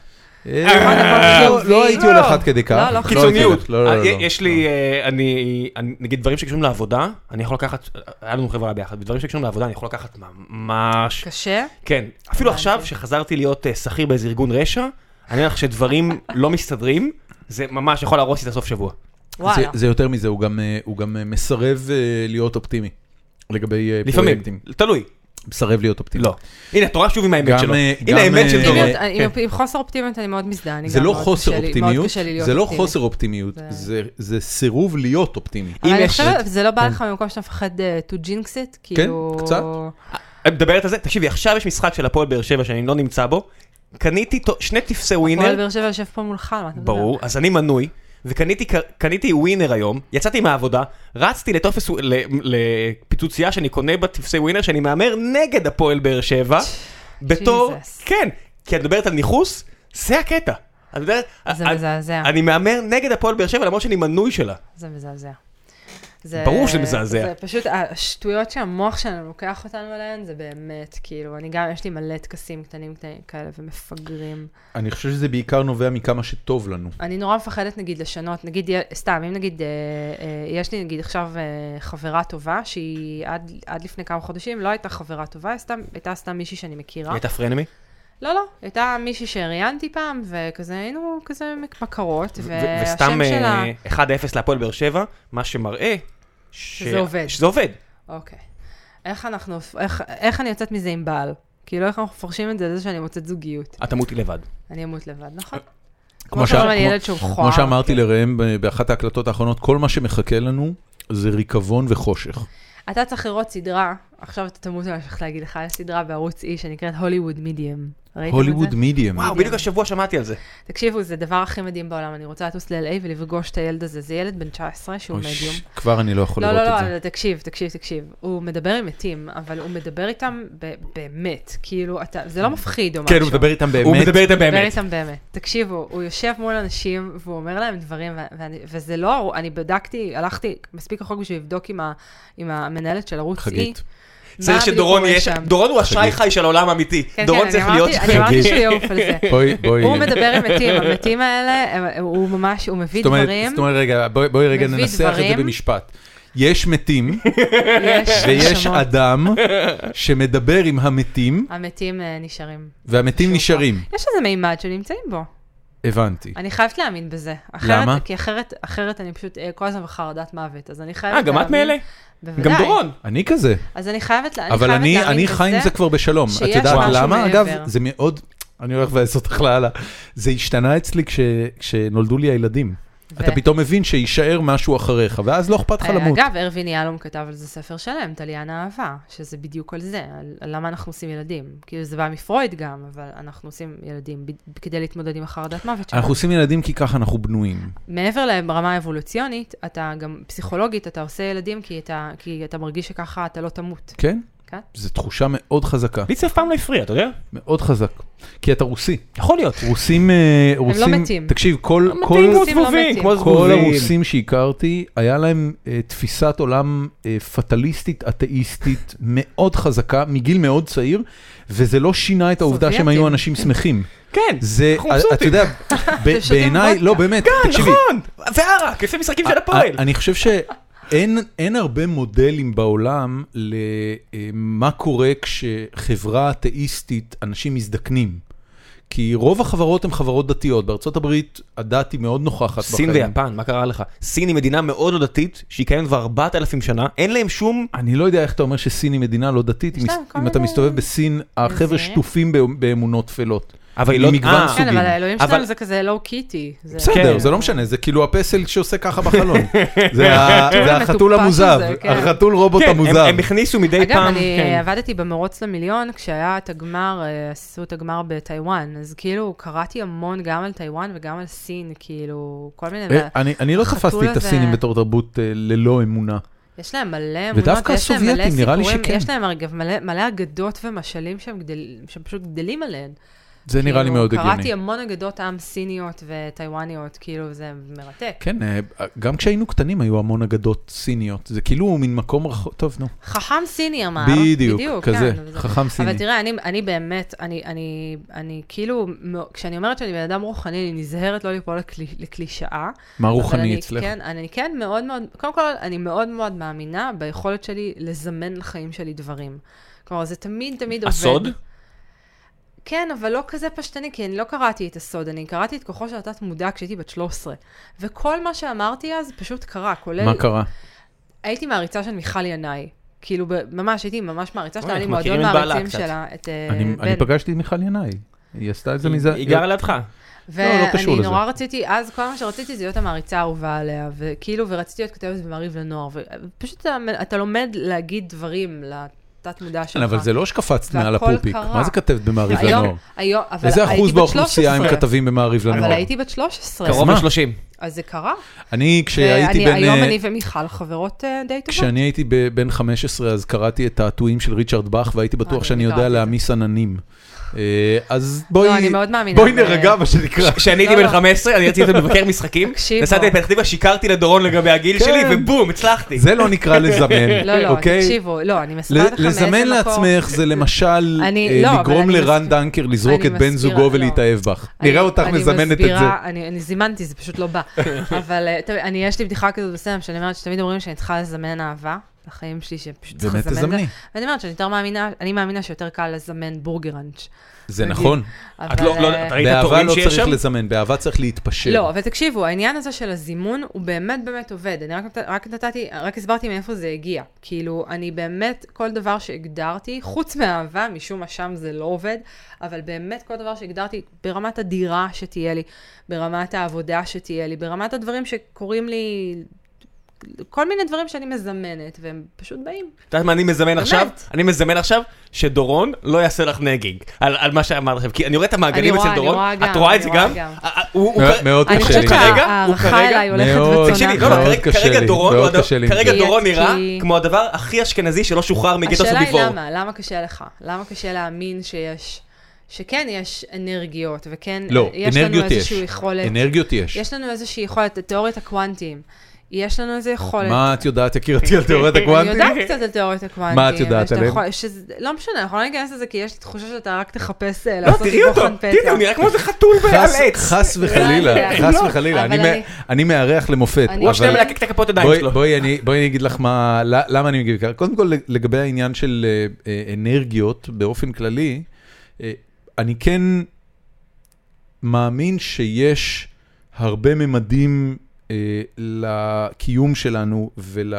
A: אה,
C: הכל
A: לא-
C: חיובי.
A: לא הייתי
B: לא.
A: הולך עד כדי כך.
C: לא, לא
A: לא הייתי
B: קיצוניות.
A: הולך, לא, לא,
B: אה,
A: לא,
B: י-
A: לא.
B: יש לי, אה, אני, אני- נגיד דברים שקשורים לעבודה, אני יכול לקחת, היה לנו חברה ביחד, ודברים שקשורים לעבודה אני יכול לקחת ממש
C: קשה?
B: כן, אפילו
C: אוקיי. הבנתי.
B: עכשיו שחזרתי להיות אה, שכיר באיזה ארגון רשע, אני אומר לך שדברים לא מסתדרים, זה ממש יכול להרוס לי את הסוף שבוע.
A: זה-
C: וואלה.
A: זה יותר מזה, הוא גם, אה, הוא גם אה, מסרב אה, להיות אופטימי. לגבי אה,
B: לפעמים,
A: פרויקטים.
B: תלוי.
A: מסרב להיות אופטימי.
B: לא. הנה, אתה רואה שוב עם האמת
A: גם,
B: שלו.
A: אה, גם,
B: הנה האמת של
A: אה,
B: דורון.
C: אופטימיות,
A: אה,
C: עם- עם חוסר אופטימיות אני מאוד מזדהה, אני
A: זה
C: גם
A: לא
C: מאוד
A: חוסר
C: קשה לי- מאוד
A: אופטימיות,
C: קשה לי להיות
A: זה לא
C: אופטימית.
A: חוסר אופטימיות,
C: זה-
A: זה- זה סירוב להיות אופטימי.
C: אבל
B: אם
C: אני
B: יש- כן.
C: חושבת, זה לא בא לך במקום שאתה מפחד אה, to jinx it, כאילו...
A: קצת.
B: את מדברת על זה? תקשיבי, עכשיו יש משחק של הפועל באר שבע שאני לא נמצא בו, קניתי טו- שני טפסי
C: פועל
B: ווינר,
C: באר שבע יושב פה מולך, מה אתה מדבר?
B: ברור, אז אני מנוי. וקניתי ק- קניתי ווינר היום, יצאתי מהעבודה, רצתי לטופס, ו- ל- לפיצוצייה שאני קונה בטפסי ווינר, שאני מהמר נגד הפועל באר שבע, בתור,
C: Jesus.
B: כן, כי את מדברת על ניכוס, זה הקטע. את יודעת,
C: זה
B: אני-
C: מזעזע.
B: אני מהמר נגד הפועל באר שבע למרות שאני מנוי שלה.
C: זה מזעזע. זה,
B: ברור שזה מזעזע.
C: זה פשוט, השטויות שהמוח שלנו לוקח אותנו אליהן, זה באמת, כאילו, אני גם, יש לי מלא טקסים קטנים קטנים כאלה ומפגרים.
A: אני חושב שזה בעיקר נובע מכמה שטוב לנו.
C: אני נורא מפחדת, נגיד, לשנות, נגיד, יה- סתם, אם נגיד, אה, אה, יש לי, נגיד, עכשיו אה, חברה טובה, שהיא עד, עד לפני כמה חודשים לא הייתה חברה טובה, היא סתם, הייתה סתם מישהי שאני מכירה.
B: הייתה פרנמי?
C: לא, לא, הייתה מישהי שראיינתי פעם, וכזה היינו כזה מכרות,
B: ו-
C: והשם
B: וסתם אה,
C: שלה...
B: 1-0 להפועל באר שבע, מה שמראה... ש-
C: שזה עובד.
B: שזה עובד.
C: אוקיי. איך אנחנו, איך, איך אני יוצאת מזה עם בעל? כאילו, איך אנחנו מפרשים את זה, זה שאני מוצאת זוגיות.
B: אתה מותי לבד.
C: אני אמות לבד, נכון?
A: כמו
C: כמו שאומרים
A: שה-
C: על ילד שהוא כן.
A: כמו-
C: מכוער.
A: כמו שאמרתי לראם ב- באחת ההקלטות האחרונות, כל מה שמחכה לנו זה ריקבון וחושך.
C: אתה צריך לראות סדרה, עכשיו אתה תמות על איך להגיד לך, יש סדרה בערוץ E שנקראת הוליווד מידיאם. ראיתם את
A: הוליווד
C: זה?
A: מידיאם.
B: וואו, בדיוק השבוע שמעתי על זה.
C: תקשיבו, זה הדבר הכי מדהים בעולם, אני רוצה לטוס ל-LA ולפגוש את הילד הזה, זה ילד בן 19 שהוא מדיום.
A: כבר אני לא יכול
C: לא,
A: לראות
C: לא,
A: את
C: לא,
A: זה.
C: אבל תקשיב, תקשיב, תקשיב. הוא מדבר עם מתים, אבל הוא מדבר איתם ב- באמת, כאילו, אתה- זה לא מפחיד
A: כן,
C: או משהו.
A: איתם
B: הוא מדבר איתה
C: מדבר
B: באמת.
C: איתם באמת. תקשיבו, הוא יושב מול אנשים והוא אומר להם דברים, ו- ואני- וזה לא, אני בדקתי, הלכתי מספיק רחוק בשביל לבדוק עם ה- עם המנהלת של ערוץ E.
A: חגית.
C: מה
B: צריך
C: בדיוק
B: שדורון
C: קורה
B: יהיה
C: שם.
B: שם. דורון הוא השי חי של העולם האמיתי.
C: כן,
B: דורון
C: כן,
B: צריך
C: אני
B: להיות...
C: אמרתי- אני אמרתי
A: חגית.
C: שהוא יעוף על זה.
A: בואי, בואי.
C: הוא מדבר עם מתים, המתים האלה, הם- הוא ממש, הוא מביא
A: זאת אומרת,
C: דברים,
A: זאת אומרת, רגע, בואי בואי רגע
C: מביא
A: ננסח את
C: דברים.
A: זה במשפט. יש מתים
C: יש
A: ויש
C: האשמות.
A: אדם שמדבר עם המתים,
C: המתים אה, נשארים.
A: והמתים
C: שוב
A: נשארים.
C: פעם. יש איזה מימד שנמצאים בו.
A: הבנתי.
C: אני חייבת להאמין בזה. אחרת,
A: למה?
C: כי אחרת, אחרת אני פשוט אה, כל הזמן בחרדת מוות, אז אני חייבת
B: אה,
C: להאמין.
B: גם את מאלה?
C: בוודאי.
B: גם דורון.
A: אני כזה,
C: אז אני חייבת, לה- אני
A: אבל
C: חייבת
A: אני
C: להאמין
A: אני
C: בזה.
A: חי עם זה כבר בשלום. את
C: שיש
A: יודעת
C: משהו
A: למה?
C: מעבר.
A: אגב, זה מאוד, אני הולך לבאס אותך לאללה. זה השתנה אצלי כש- כשנולדו לי הילדים.
C: ו-
A: אתה פתאום מבין שיישאר משהו אחריך, ואז לא אכפת לך
C: אה,
A: למות.
C: אגב, ארווין יהלום כתב על זה ספר שלם, תליין אהבה, שזה בדיוק על זה, על על למה אנחנו עושים ילדים. כאילו, זה בא מפרויד גם, אבל אנחנו עושים ילדים ב- כדי להתמודד עם החרדת מוות שלנו.
A: אנחנו עושים ילדים כי ככה אנחנו בנויים.
C: מעבר לרמה האבולוציונית, אתה גם פסיכולוגית, אתה עושה ילדים כי אתה, כי אתה מרגיש שככה אתה לא תמות.
A: כן?
C: כן.
A: זו תחושה מאוד חזקה,
B: לי זה אף פעם לא הפריע, אתה יודע?
A: מאוד חזק. כי אתה רוסי.
B: יכול להיות.
A: רוסים, אה, רוסים...
C: לא מתים.
A: תקשיב, כל... כל-
B: לא מתאים כמו
C: רוסים לא
B: זבובים,
C: מתים.
B: כמו
A: כל
B: זבובים.
A: הרוסים שהכרתי, היה להם אה, תפיסת עולם אה, פטליסטית, אתאיסטית, מאוד חזקה, מגיל מאוד צעיר, וזה לא שינה את העובדה שהם
C: סובייטים.
A: היו אנשים שמחים.
B: כן,
A: זה,
B: אנחנו
A: אה, אתה
B: מבסוטים.
A: יודע, ב-
C: שותים
A: בעיניי,
C: וודקה.
A: לא, באמת, תקשיבי,
B: נכון, אה, וערק, לפני משחקים של הפועל.
A: אני חושב שאין אין הרבה מודלים בעולם למה קורה כשחברה אתאיסטית, אנשים מזדקנים. כי רוב החברות הן חברות דתיות, בארצות הברית הדת היא מאוד נוכחת
B: סין
A: בחיים.
B: ויפן, מה קרה לך? סין היא מדינה מאוד לא דתית, שהיא קיימת כבר 4,000 שנה, אין להם שום...
A: אני לא יודע איך אתה אומר שסין היא מדינה לא דתית,
C: יש
A: אם,
C: להם כל
A: אם אתה
C: מיני-
A: מסתובב בסין, החבר'ה
C: זה-
A: שטופים באמ- באמונות טפלות.
B: אבל היא לא...
A: ממגוון
B: אה, כן.
A: סוגים.
C: כן, אבל האלוהים
B: אבל-
C: שלנו זה כזה לואו קיטי.
A: בסדר, זה לא משנה, זה כאילו הפסל שעושה ככה בחלון. זה ה-
C: החתול
A: זה החתול
C: כן, המטופש
A: המוזב,
C: הזה, כן.
A: החתול רובוט
B: כן, הם-
A: המוזב.
B: הם הכניסו מדי
C: אגב,
B: פעם...
C: אני
B: כן.
C: עבדתי במרוץ למיליון כשהיה את הגמר, אה, עשו את הגמר בטיוואן, אז כאילו קראתי המון גם על טיוואן וגם על סין, כאילו, כל מיני...
A: אה, אני- אני לא
C: החתול
A: תפסתי את
C: הזה-
A: הסינים בתור תרבות אה, ללא אמונה.
C: יש להם מלא אמונות,
A: ודווקא
C: יש להם מלא
A: הסובייטים, נראה לי
C: סיפורים,
A: שכן.
C: יש להם הרי גם מלא, מלא אגדות ומשלים שהם, גדל, שהם פשוט גדלים עליהן.
A: זה נראה לי
C: כאילו,
A: מאוד הגיוני.
C: קראתי המון אגדות עם סיניות וטיוואניות, כאילו זה מרתק.
A: כן, אה, גם כשהיינו קטנים היו המון אגדות סיניות. זה כאילו מין מקום רחוק, טוב, נו.
C: חכם סיני אמר.
A: בדיוק, כזה,
C: כן, וזה-
A: חכם סיני.
C: אבל תראה, אני, אני באמת, אני, אני, אני כאילו, מאו- כשאני אומרת שאני בן אדם רוחני, אני נזהרת לא ליפול לקלי, לקלישאה.
A: מה
C: אבל
A: רוחני
C: אני
A: אצלך?
C: כן, אני כן מאוד מאוד, קודם כל, אני מאוד מאוד מאמינה ביכולת שלי לזמן לחיים שלי דברים. כלומר, זה תמיד תמיד עובד.
B: הסוד?
C: כן, אבל לא כזה פשטני, כי אני לא קראתי את הסוד, אני קראתי את כוחו של התת מודע כשהייתי בת 13. וכל מה שאמרתי אז פשוט קרה, כולל...
A: מה קרה?
C: אה, הייתי מעריצה של מיכל ינאי. כאילו, ב- ממש, הייתי ממש מעריצה שלה,
B: אוי,
C: היה לי
B: אנחנו מכירים
C: מועדון
B: את בעלה
C: מעריצים
B: קצת.
C: שלה, את אה,
A: אני-
C: בן.
A: אני פגשתי את מיכל ינאי. היא עשתה את זה מזה.
B: היא גרה לידך.
A: לא, לא קשור
C: ואני
A: לזה.
C: נורא רציתי, אז כל מה שרציתי זה להיות המעריצה האהובה עליה, וכאילו, ורציתי להיות כתבת במעריב לנוער, ופשוט אתה, אתה לומד להגיד דברים לתת מודע
A: כן,
C: שלך.
A: אבל זה לא שקפצת מעל
C: והכל
A: הפופיק.
C: קרה.
A: מה זה כתבת במעריב
C: היום-
A: לנוער?
C: היום, אבל
A: איזה
C: הייתי
A: אחוז
C: בת
A: באוכלוסייה הם
C: 13.
A: כתבים במעריב
C: אבל
A: לנוער?
C: הייתי בת 13,
B: קרוב
A: מה?
B: ל-30.
C: אז זה קרה.
A: אני, כשהייתי
C: ואני-
A: בן...
C: היום
A: אה,
C: אני ומיכל חברות אה, די טובות.
A: כשאני הייתי ב- בן 15, אז קראתי את תעתועים של ריצ'רד באך, והייתי
C: אה,
A: בטוח
C: אני
A: שאני יודע
C: קראתי את זה.
A: להעמיס עננים. אה, אז
C: לא, אני
A: בואי...
C: מאוד מאמינה.
A: בואי
C: ב-
A: נרגע, מה שנקרא.
B: כשאני הייתי
C: לא,
B: בן
C: לא.
B: 15, אני רציתי להיות מבקר משחקים,
C: תקשיב,
B: נסעתי
C: בוא.
B: לפתח תקווה, שיקרתי לדורון לגבי הגיל
A: כן.
B: שלי, ובום, הצלחתי.
A: זה לא נקרא לזמן,
C: לא, לא,
A: אוקיי?
C: תקשיבו, לא, אני
A: ל-
C: מספרת לך מאיזה מקום.
A: לזמן לעצמך זה למשל
C: אני-
A: אה,
C: לא, אבל
A: לגרום
C: אני
A: לרן
C: מסב-
A: דנקר לזרוק
C: אני
A: את בן
C: מסבירה,
A: זוגו
C: לא.
A: ולהתאהב בך.
C: אני-
A: נראה אותך
C: אני
A: מזמנת את זה. כן.
C: מסבירה, אני, אני זימנתי, זה פשוט לא בא. אבל אה, תראי, אני, יש לי בדיחה כזאת בסדר, שאני אומרת שתמיד אומרים שאני צריכה לזמן אהבה לחיים שלי, שפשוט צריך
A: באמת
C: לזמן. את זה.
A: תזמני.
C: ואני אומרת שאני יותר מאמינה, אני מאמינה שיותר קל לזמן בורגראנץ'. אה,
A: זה
C: נגיד.
A: נכון.
B: את לא, לא, את ראית
A: באהבה
B: התורים
A: לא
B: שיש
A: צריך
B: שם?
A: לזמן, באהבה צריך להתפשר.
C: לא, אבל תקשיבו, העניין הזה של הזימון הוא באמת באמת עובד. אני רק, נת- רק נתתי, רק הסברתי מאיפה זה הגיע. כאילו, אני באמת, כל דבר שהגדרתי, חוץ מהאהבה, משום מה שם זה לא עובד, אבל באמת כל דבר שהגדרתי, ברמת הדירה שתהיה לי, ברמת העבודה שתהיה לי, ברמת הדברים שקורים לי, כל מיני דברים שאני מזמנת, והם פשוט באים.
B: את יודעת מה אני מזמן
C: באמת.
B: עכשיו? אני מזמן עכשיו שדורון לא יעשה לך נגינג על על מה שאמרתי לכם, כי אני רואה את המעגלים
C: אני רואה,
B: אצל
C: אני
B: דורון,
C: רואה
B: את רואה את
C: גם, אני
B: זה
C: רואה
B: גם?
C: גם.
B: אה, אה, הוא- הוא-
A: מאוד- מאוד
C: אני
A: קשה
C: חושבת
A: לי.
B: כרגע, הוא
C: שההערכה
B: כרגע-
C: אליי הולכת
A: מאוד,
C: וצונה.
B: תקשיבי, לא, לא,
A: מאוד
B: כרגע-
A: קשה
B: כרגע
A: לי,
B: דורון,
A: מאוד
B: הוא הדבר-
A: קשה לי עם
B: כרגע
C: זה.
B: דורון
C: כי-
B: נראה כמו הדבר הכי אשכנזי שלא שוחרר מגטוס
C: השאלה היא
B: ביפור.
C: למה, למה קשה לך? למה קשה להאמין שיש, שכן יש אנרגיות, וכן
A: לא,
C: יש לנו
A: אנרגיות יש.
C: איזושהי יכולת,
A: אנרגיות יש.
C: יש לנו איזושהי יכולת, תיאוריית הקוואנטים, יש לנו איזו יכולת.
A: מה את יודעת, יקירתי, על תיאוריית
C: אני
A: הקוונטים?
C: יודעת קצת על תיאוריות הקוואנטים.
A: מה את יודעת
C: ושאתה
A: עליהם?
C: יכול- שזה- לא משנה, אנחנו לא ניכנס לזה, כי יש לי תחושה שאתה רק תחפש אה,
B: לא,
C: לעשות לי
B: תראי אותו,
C: בוחן
B: תראי,
C: פצע.
B: הוא נראה כמו איזה חתול
A: חס-
B: בעל עץ.
A: חס וחלילה,
C: לא,
A: חס
C: לא.
A: וחלילה,
C: אבל
A: אני מא-
C: אני-
A: אני מארח למופת.
B: הוא
C: אני-
B: עוד
A: אבל-
B: שנייה מלקק את הכפות ידיים
A: בואי-
B: שלו.
A: בואי אני- בואי אני אגיד לך מה, ל- למה אני מגיב ככה. קודם כל, לגבי העניין של אה, אה, אנרגיות באופן כללי, אה, אני כן מאמין שיש הרבה ממדים אה, לקיום שלנו ול,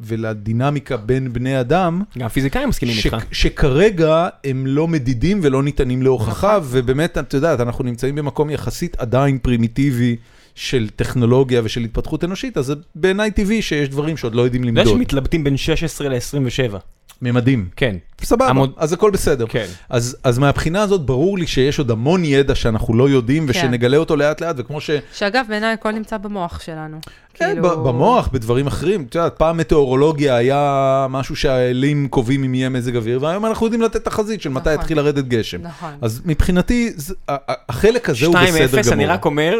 A: ולדינמיקה בין בני אדם.
B: גם פיזיקאים מסכימים
A: ש-
B: איתך.
A: שכרגע הם לא מדידים ולא ניתנים להוכחה,
C: נכון.
A: ובאמת, את יודעת, אנחנו נמצאים במקום יחסית עדיין פרימיטיבי של טכנולוגיה ושל התפתחות אנושית, אז זה בעיניי טבעי שיש דברים שעוד לא יודעים
B: אתה יודע
A: למדוד.
B: שמתלבטים בין 16 ל-27.
A: ממדים.
B: כן.
A: סבבה,
B: המוד-
A: אז הכל בסדר.
B: כן.
A: אז, אז מהבחינה הזאת ברור לי שיש עוד המון ידע שאנחנו לא יודעים
C: כן. כאילו-
A: ושנגלה אותו לאט לאט, וכמו ש...
C: שאגב, בעיניי הכל נמצא במוח שלנו.
A: כן,
C: כאילו-
A: ב- במוח, בדברים אחרים. את יודעת, פעם מטאורולוגיה היה משהו שהאלים קובעים אם יהיה מזג אוויר, והיום אנחנו יודעים לתת תחזית של מתי
C: נכון.
A: יתחיל לרדת גשם.
C: נכון.
A: אז מבחינתי, זה- ה- ה- החלק הזה הוא
B: 2-0,
A: בסדר
B: אני רק
A: גמור.
B: אומר,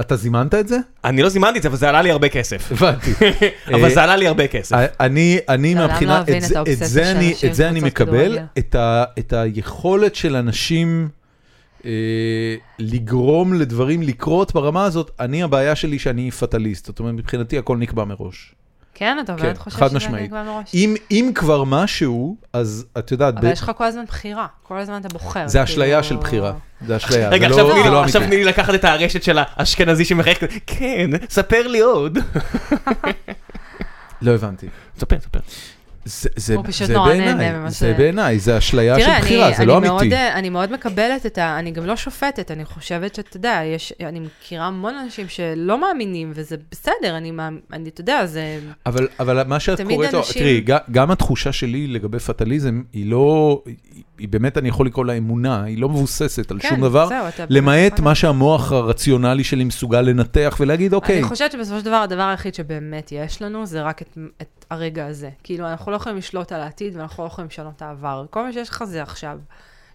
A: אתה זימנת את זה?
B: אני לא זימנתי את זה, אבל זה עלה לי הרבה כסף.
A: הבנתי. אה,
B: אבל זה עלה לי הרבה כסף.
A: אני, אני
C: לעולם לא
A: מהבחינה,
C: אבין
A: את
C: את
A: זה- את
C: האובססיה
A: זה
C: של
A: אני-
C: אנשים
A: את זה אני
C: בקבוצות
A: מקבל,
C: כדורגל.
A: את ה- את היכולת של אנשים אה, לגרום לדברים לקרות ברמה הזאת, אני הבעיה שלי שאני פטליסט, זאת אומרת מבחינתי הכל נקבע מראש.
C: כן, אתה
A: כן,
C: באמת
A: חד
C: חושב שזה
A: משמעית.
C: נקבע מראש.
A: אם, אם כבר משהו, אז את יודעת, ב-
C: אבל יש לך כל הזמן בחירה, כל הזמן אתה בוחר.
A: זה אשליה
C: כאילו-
A: של בחירה, זה אשליה,
B: רגע,
A: זה
B: עכשיו
A: לא-
B: תני
A: זה
B: לי-
A: לא
B: עכשיו
A: אמיתי.
B: תני לי לקחת את הרשת של האשכנזי שמחייך, כזה, כן, ספר לי עוד.
A: לא הבנתי.
B: ספר, ספר.
A: זה- זה
C: הוא פשוט
A: זה
C: נורא
A: בעיניי,
C: נהנה ממה
A: זה
C: ש-
A: בעיניי, זה אשליה של
C: תראה, אני-
A: בחירה, זה
C: אני
A: לא
C: מאוד,
A: אמיתי.
C: אה, אני מאוד מקבלת את ה... אני גם לא שופטת, אני חושבת שאתה יודע, יש... אני מכירה המון אנשים שלא מאמינים, וזה בסדר, אני מאמ... אני, אתה יודע, זה...
A: אבל, אבל מה שאת
C: תמיד
A: קוראת לו,
C: אנשים-
A: תראי, ג- גם התחושה שלי לגבי פטליזם היא לא, היא- היא באמת, אני יכול לקרוא לה אמונה, היא לא מבוססת על
C: כן,
A: שום דבר,
C: זהו, אתה-
A: למעט
C: נכון.
A: מה שהמוח הרציונלי שלי מסוגל לנתח ולהגיד, אוקיי,
C: אני חושבת שבסופו של דבר הדבר היחיד שבאמת יש לנו זה רק את, את הרגע הזה. כאילו, אנחנו לא יכולים לשלוט על העתיד ואנחנו לא יכולים לשנות את העבר. כל מה שיש לך זה עכשיו.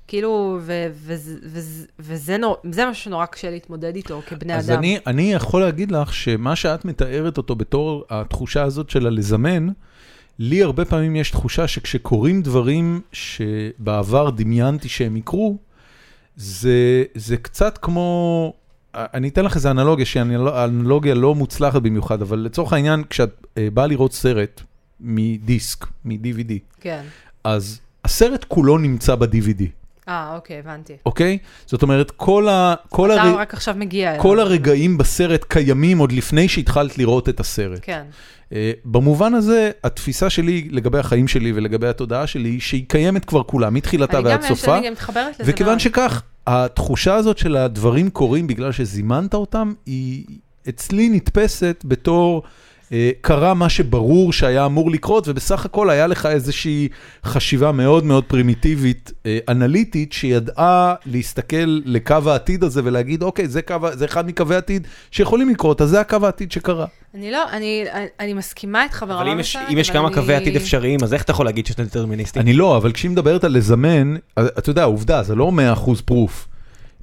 C: כאילו, ו- וזה- וזה- וזה נור- זה משהו שנורא קשה להתמודד איתו כבני
A: אז
C: אדם.
A: אני, אני יכול להגיד לך שמה שאת מתארת אותו בתור התחושה הזאת של הלזמן, לי הרבה פעמים יש תחושה שכשקורים דברים שבעבר דמיינתי שהם יקרו, זה, זה קצת כמו, אני אתן לך איזה אנלוגיה, שהיא אנל- אנלוגיה לא מוצלחת במיוחד, אבל לצורך העניין, כשאת אה, באה לראות סרט מדיסק, מ-DVD,
C: כן.
A: אז הסרט כולו נמצא ב-DVD,
C: אה, אוקיי, הבנתי.
A: אוקיי? זאת אומרת, כל ה... כל
C: אתה
A: הר-
C: רק עכשיו מגיע אליו.
A: כל הרגעים בסרט קיימים עוד לפני שהתחלת לראות את הסרט.
C: כן.
A: אה, במובן הזה, התפיסה שלי לגבי החיים שלי ולגבי התודעה שלי, היא שהיא קיימת כבר כולה, מתחילתה
C: אני
A: ועד
C: גם, יש-
A: סופה.
C: אני גם מתחברת לזה
A: וכיוון
C: מאוד.
A: שכך, התחושה הזאת של הדברים קורים בגלל שזימנת אותם, היא אצלי נתפסת בתור... אה, קרה מה שברור שהיה אמור לקרות, ובסך הכל היה לך איזושהי חשיבה מאוד מאוד פרימיטיבית, אה, אנליטית, שידעה להסתכל לקו העתיד הזה ולהגיד, אוקיי, זה, קו, ה- זה אחד מקווי העתיד שיכולים לקרות, אז זה הקו העתיד שקרה.
C: אני לא, אני, אני, אני מסכימה איתך ברמה
B: אבל אם יש-
C: מסוימת,
B: אם יש
C: אבל
B: כמה
C: לא, אני-
B: קווי עתיד אפשריים, אז איך אתה יכול להגיד שאתה דטרמיניסטי?
A: אני לא, אבל כשהיא מדברת על לזמן, אז אתה יודע, עובדה, זה לא 100% proof.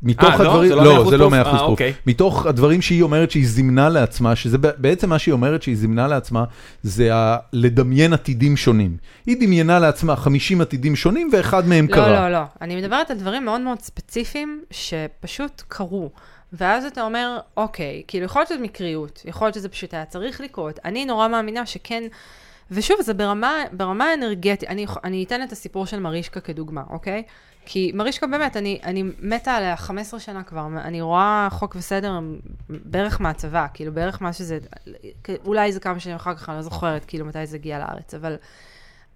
A: מתוך
B: אה, לא?
A: הדברים,
B: זה לא 100%
A: זה לא
B: proof?
A: 100%
B: אה,
A: proof.
B: אוקיי.
A: מתוך הדברים שהיא אומרת שהיא זימנה לעצמה, שזה ב- בעצם מה שהיא אומרת שהיא זימנה לעצמה, זה ה- לדמיין עתידים שונים. היא דמיינה לעצמה 50 עתידים שונים ואחד מהם
C: לא,
A: קרה.
C: לא, לא. אני מדברת על דברים מאוד מאוד ספציפיים שפשוט קרו. ואז אתה אומר, אוקיי, כאילו, יכול להיות שזה מקריות, יכול להיות שזה פשוט היה צריך לקרות. אני נורא מאמינה שכן... ושוב, זה ברמה, ברמה האנרגטית, אני, יכו- אני אתן את הסיפור של מרישקה כדוגמה, אוקיי? כי מרישקה באמת, אני, אני מתה עליה 15 שנה כבר, אני רואה חוק וסדר בערך מהצבא, כאילו בערך מה שזה, אולי זה כמה שנים אחר כך, אני לא זוכרת כאילו מתי זה הגיע לארץ, אבל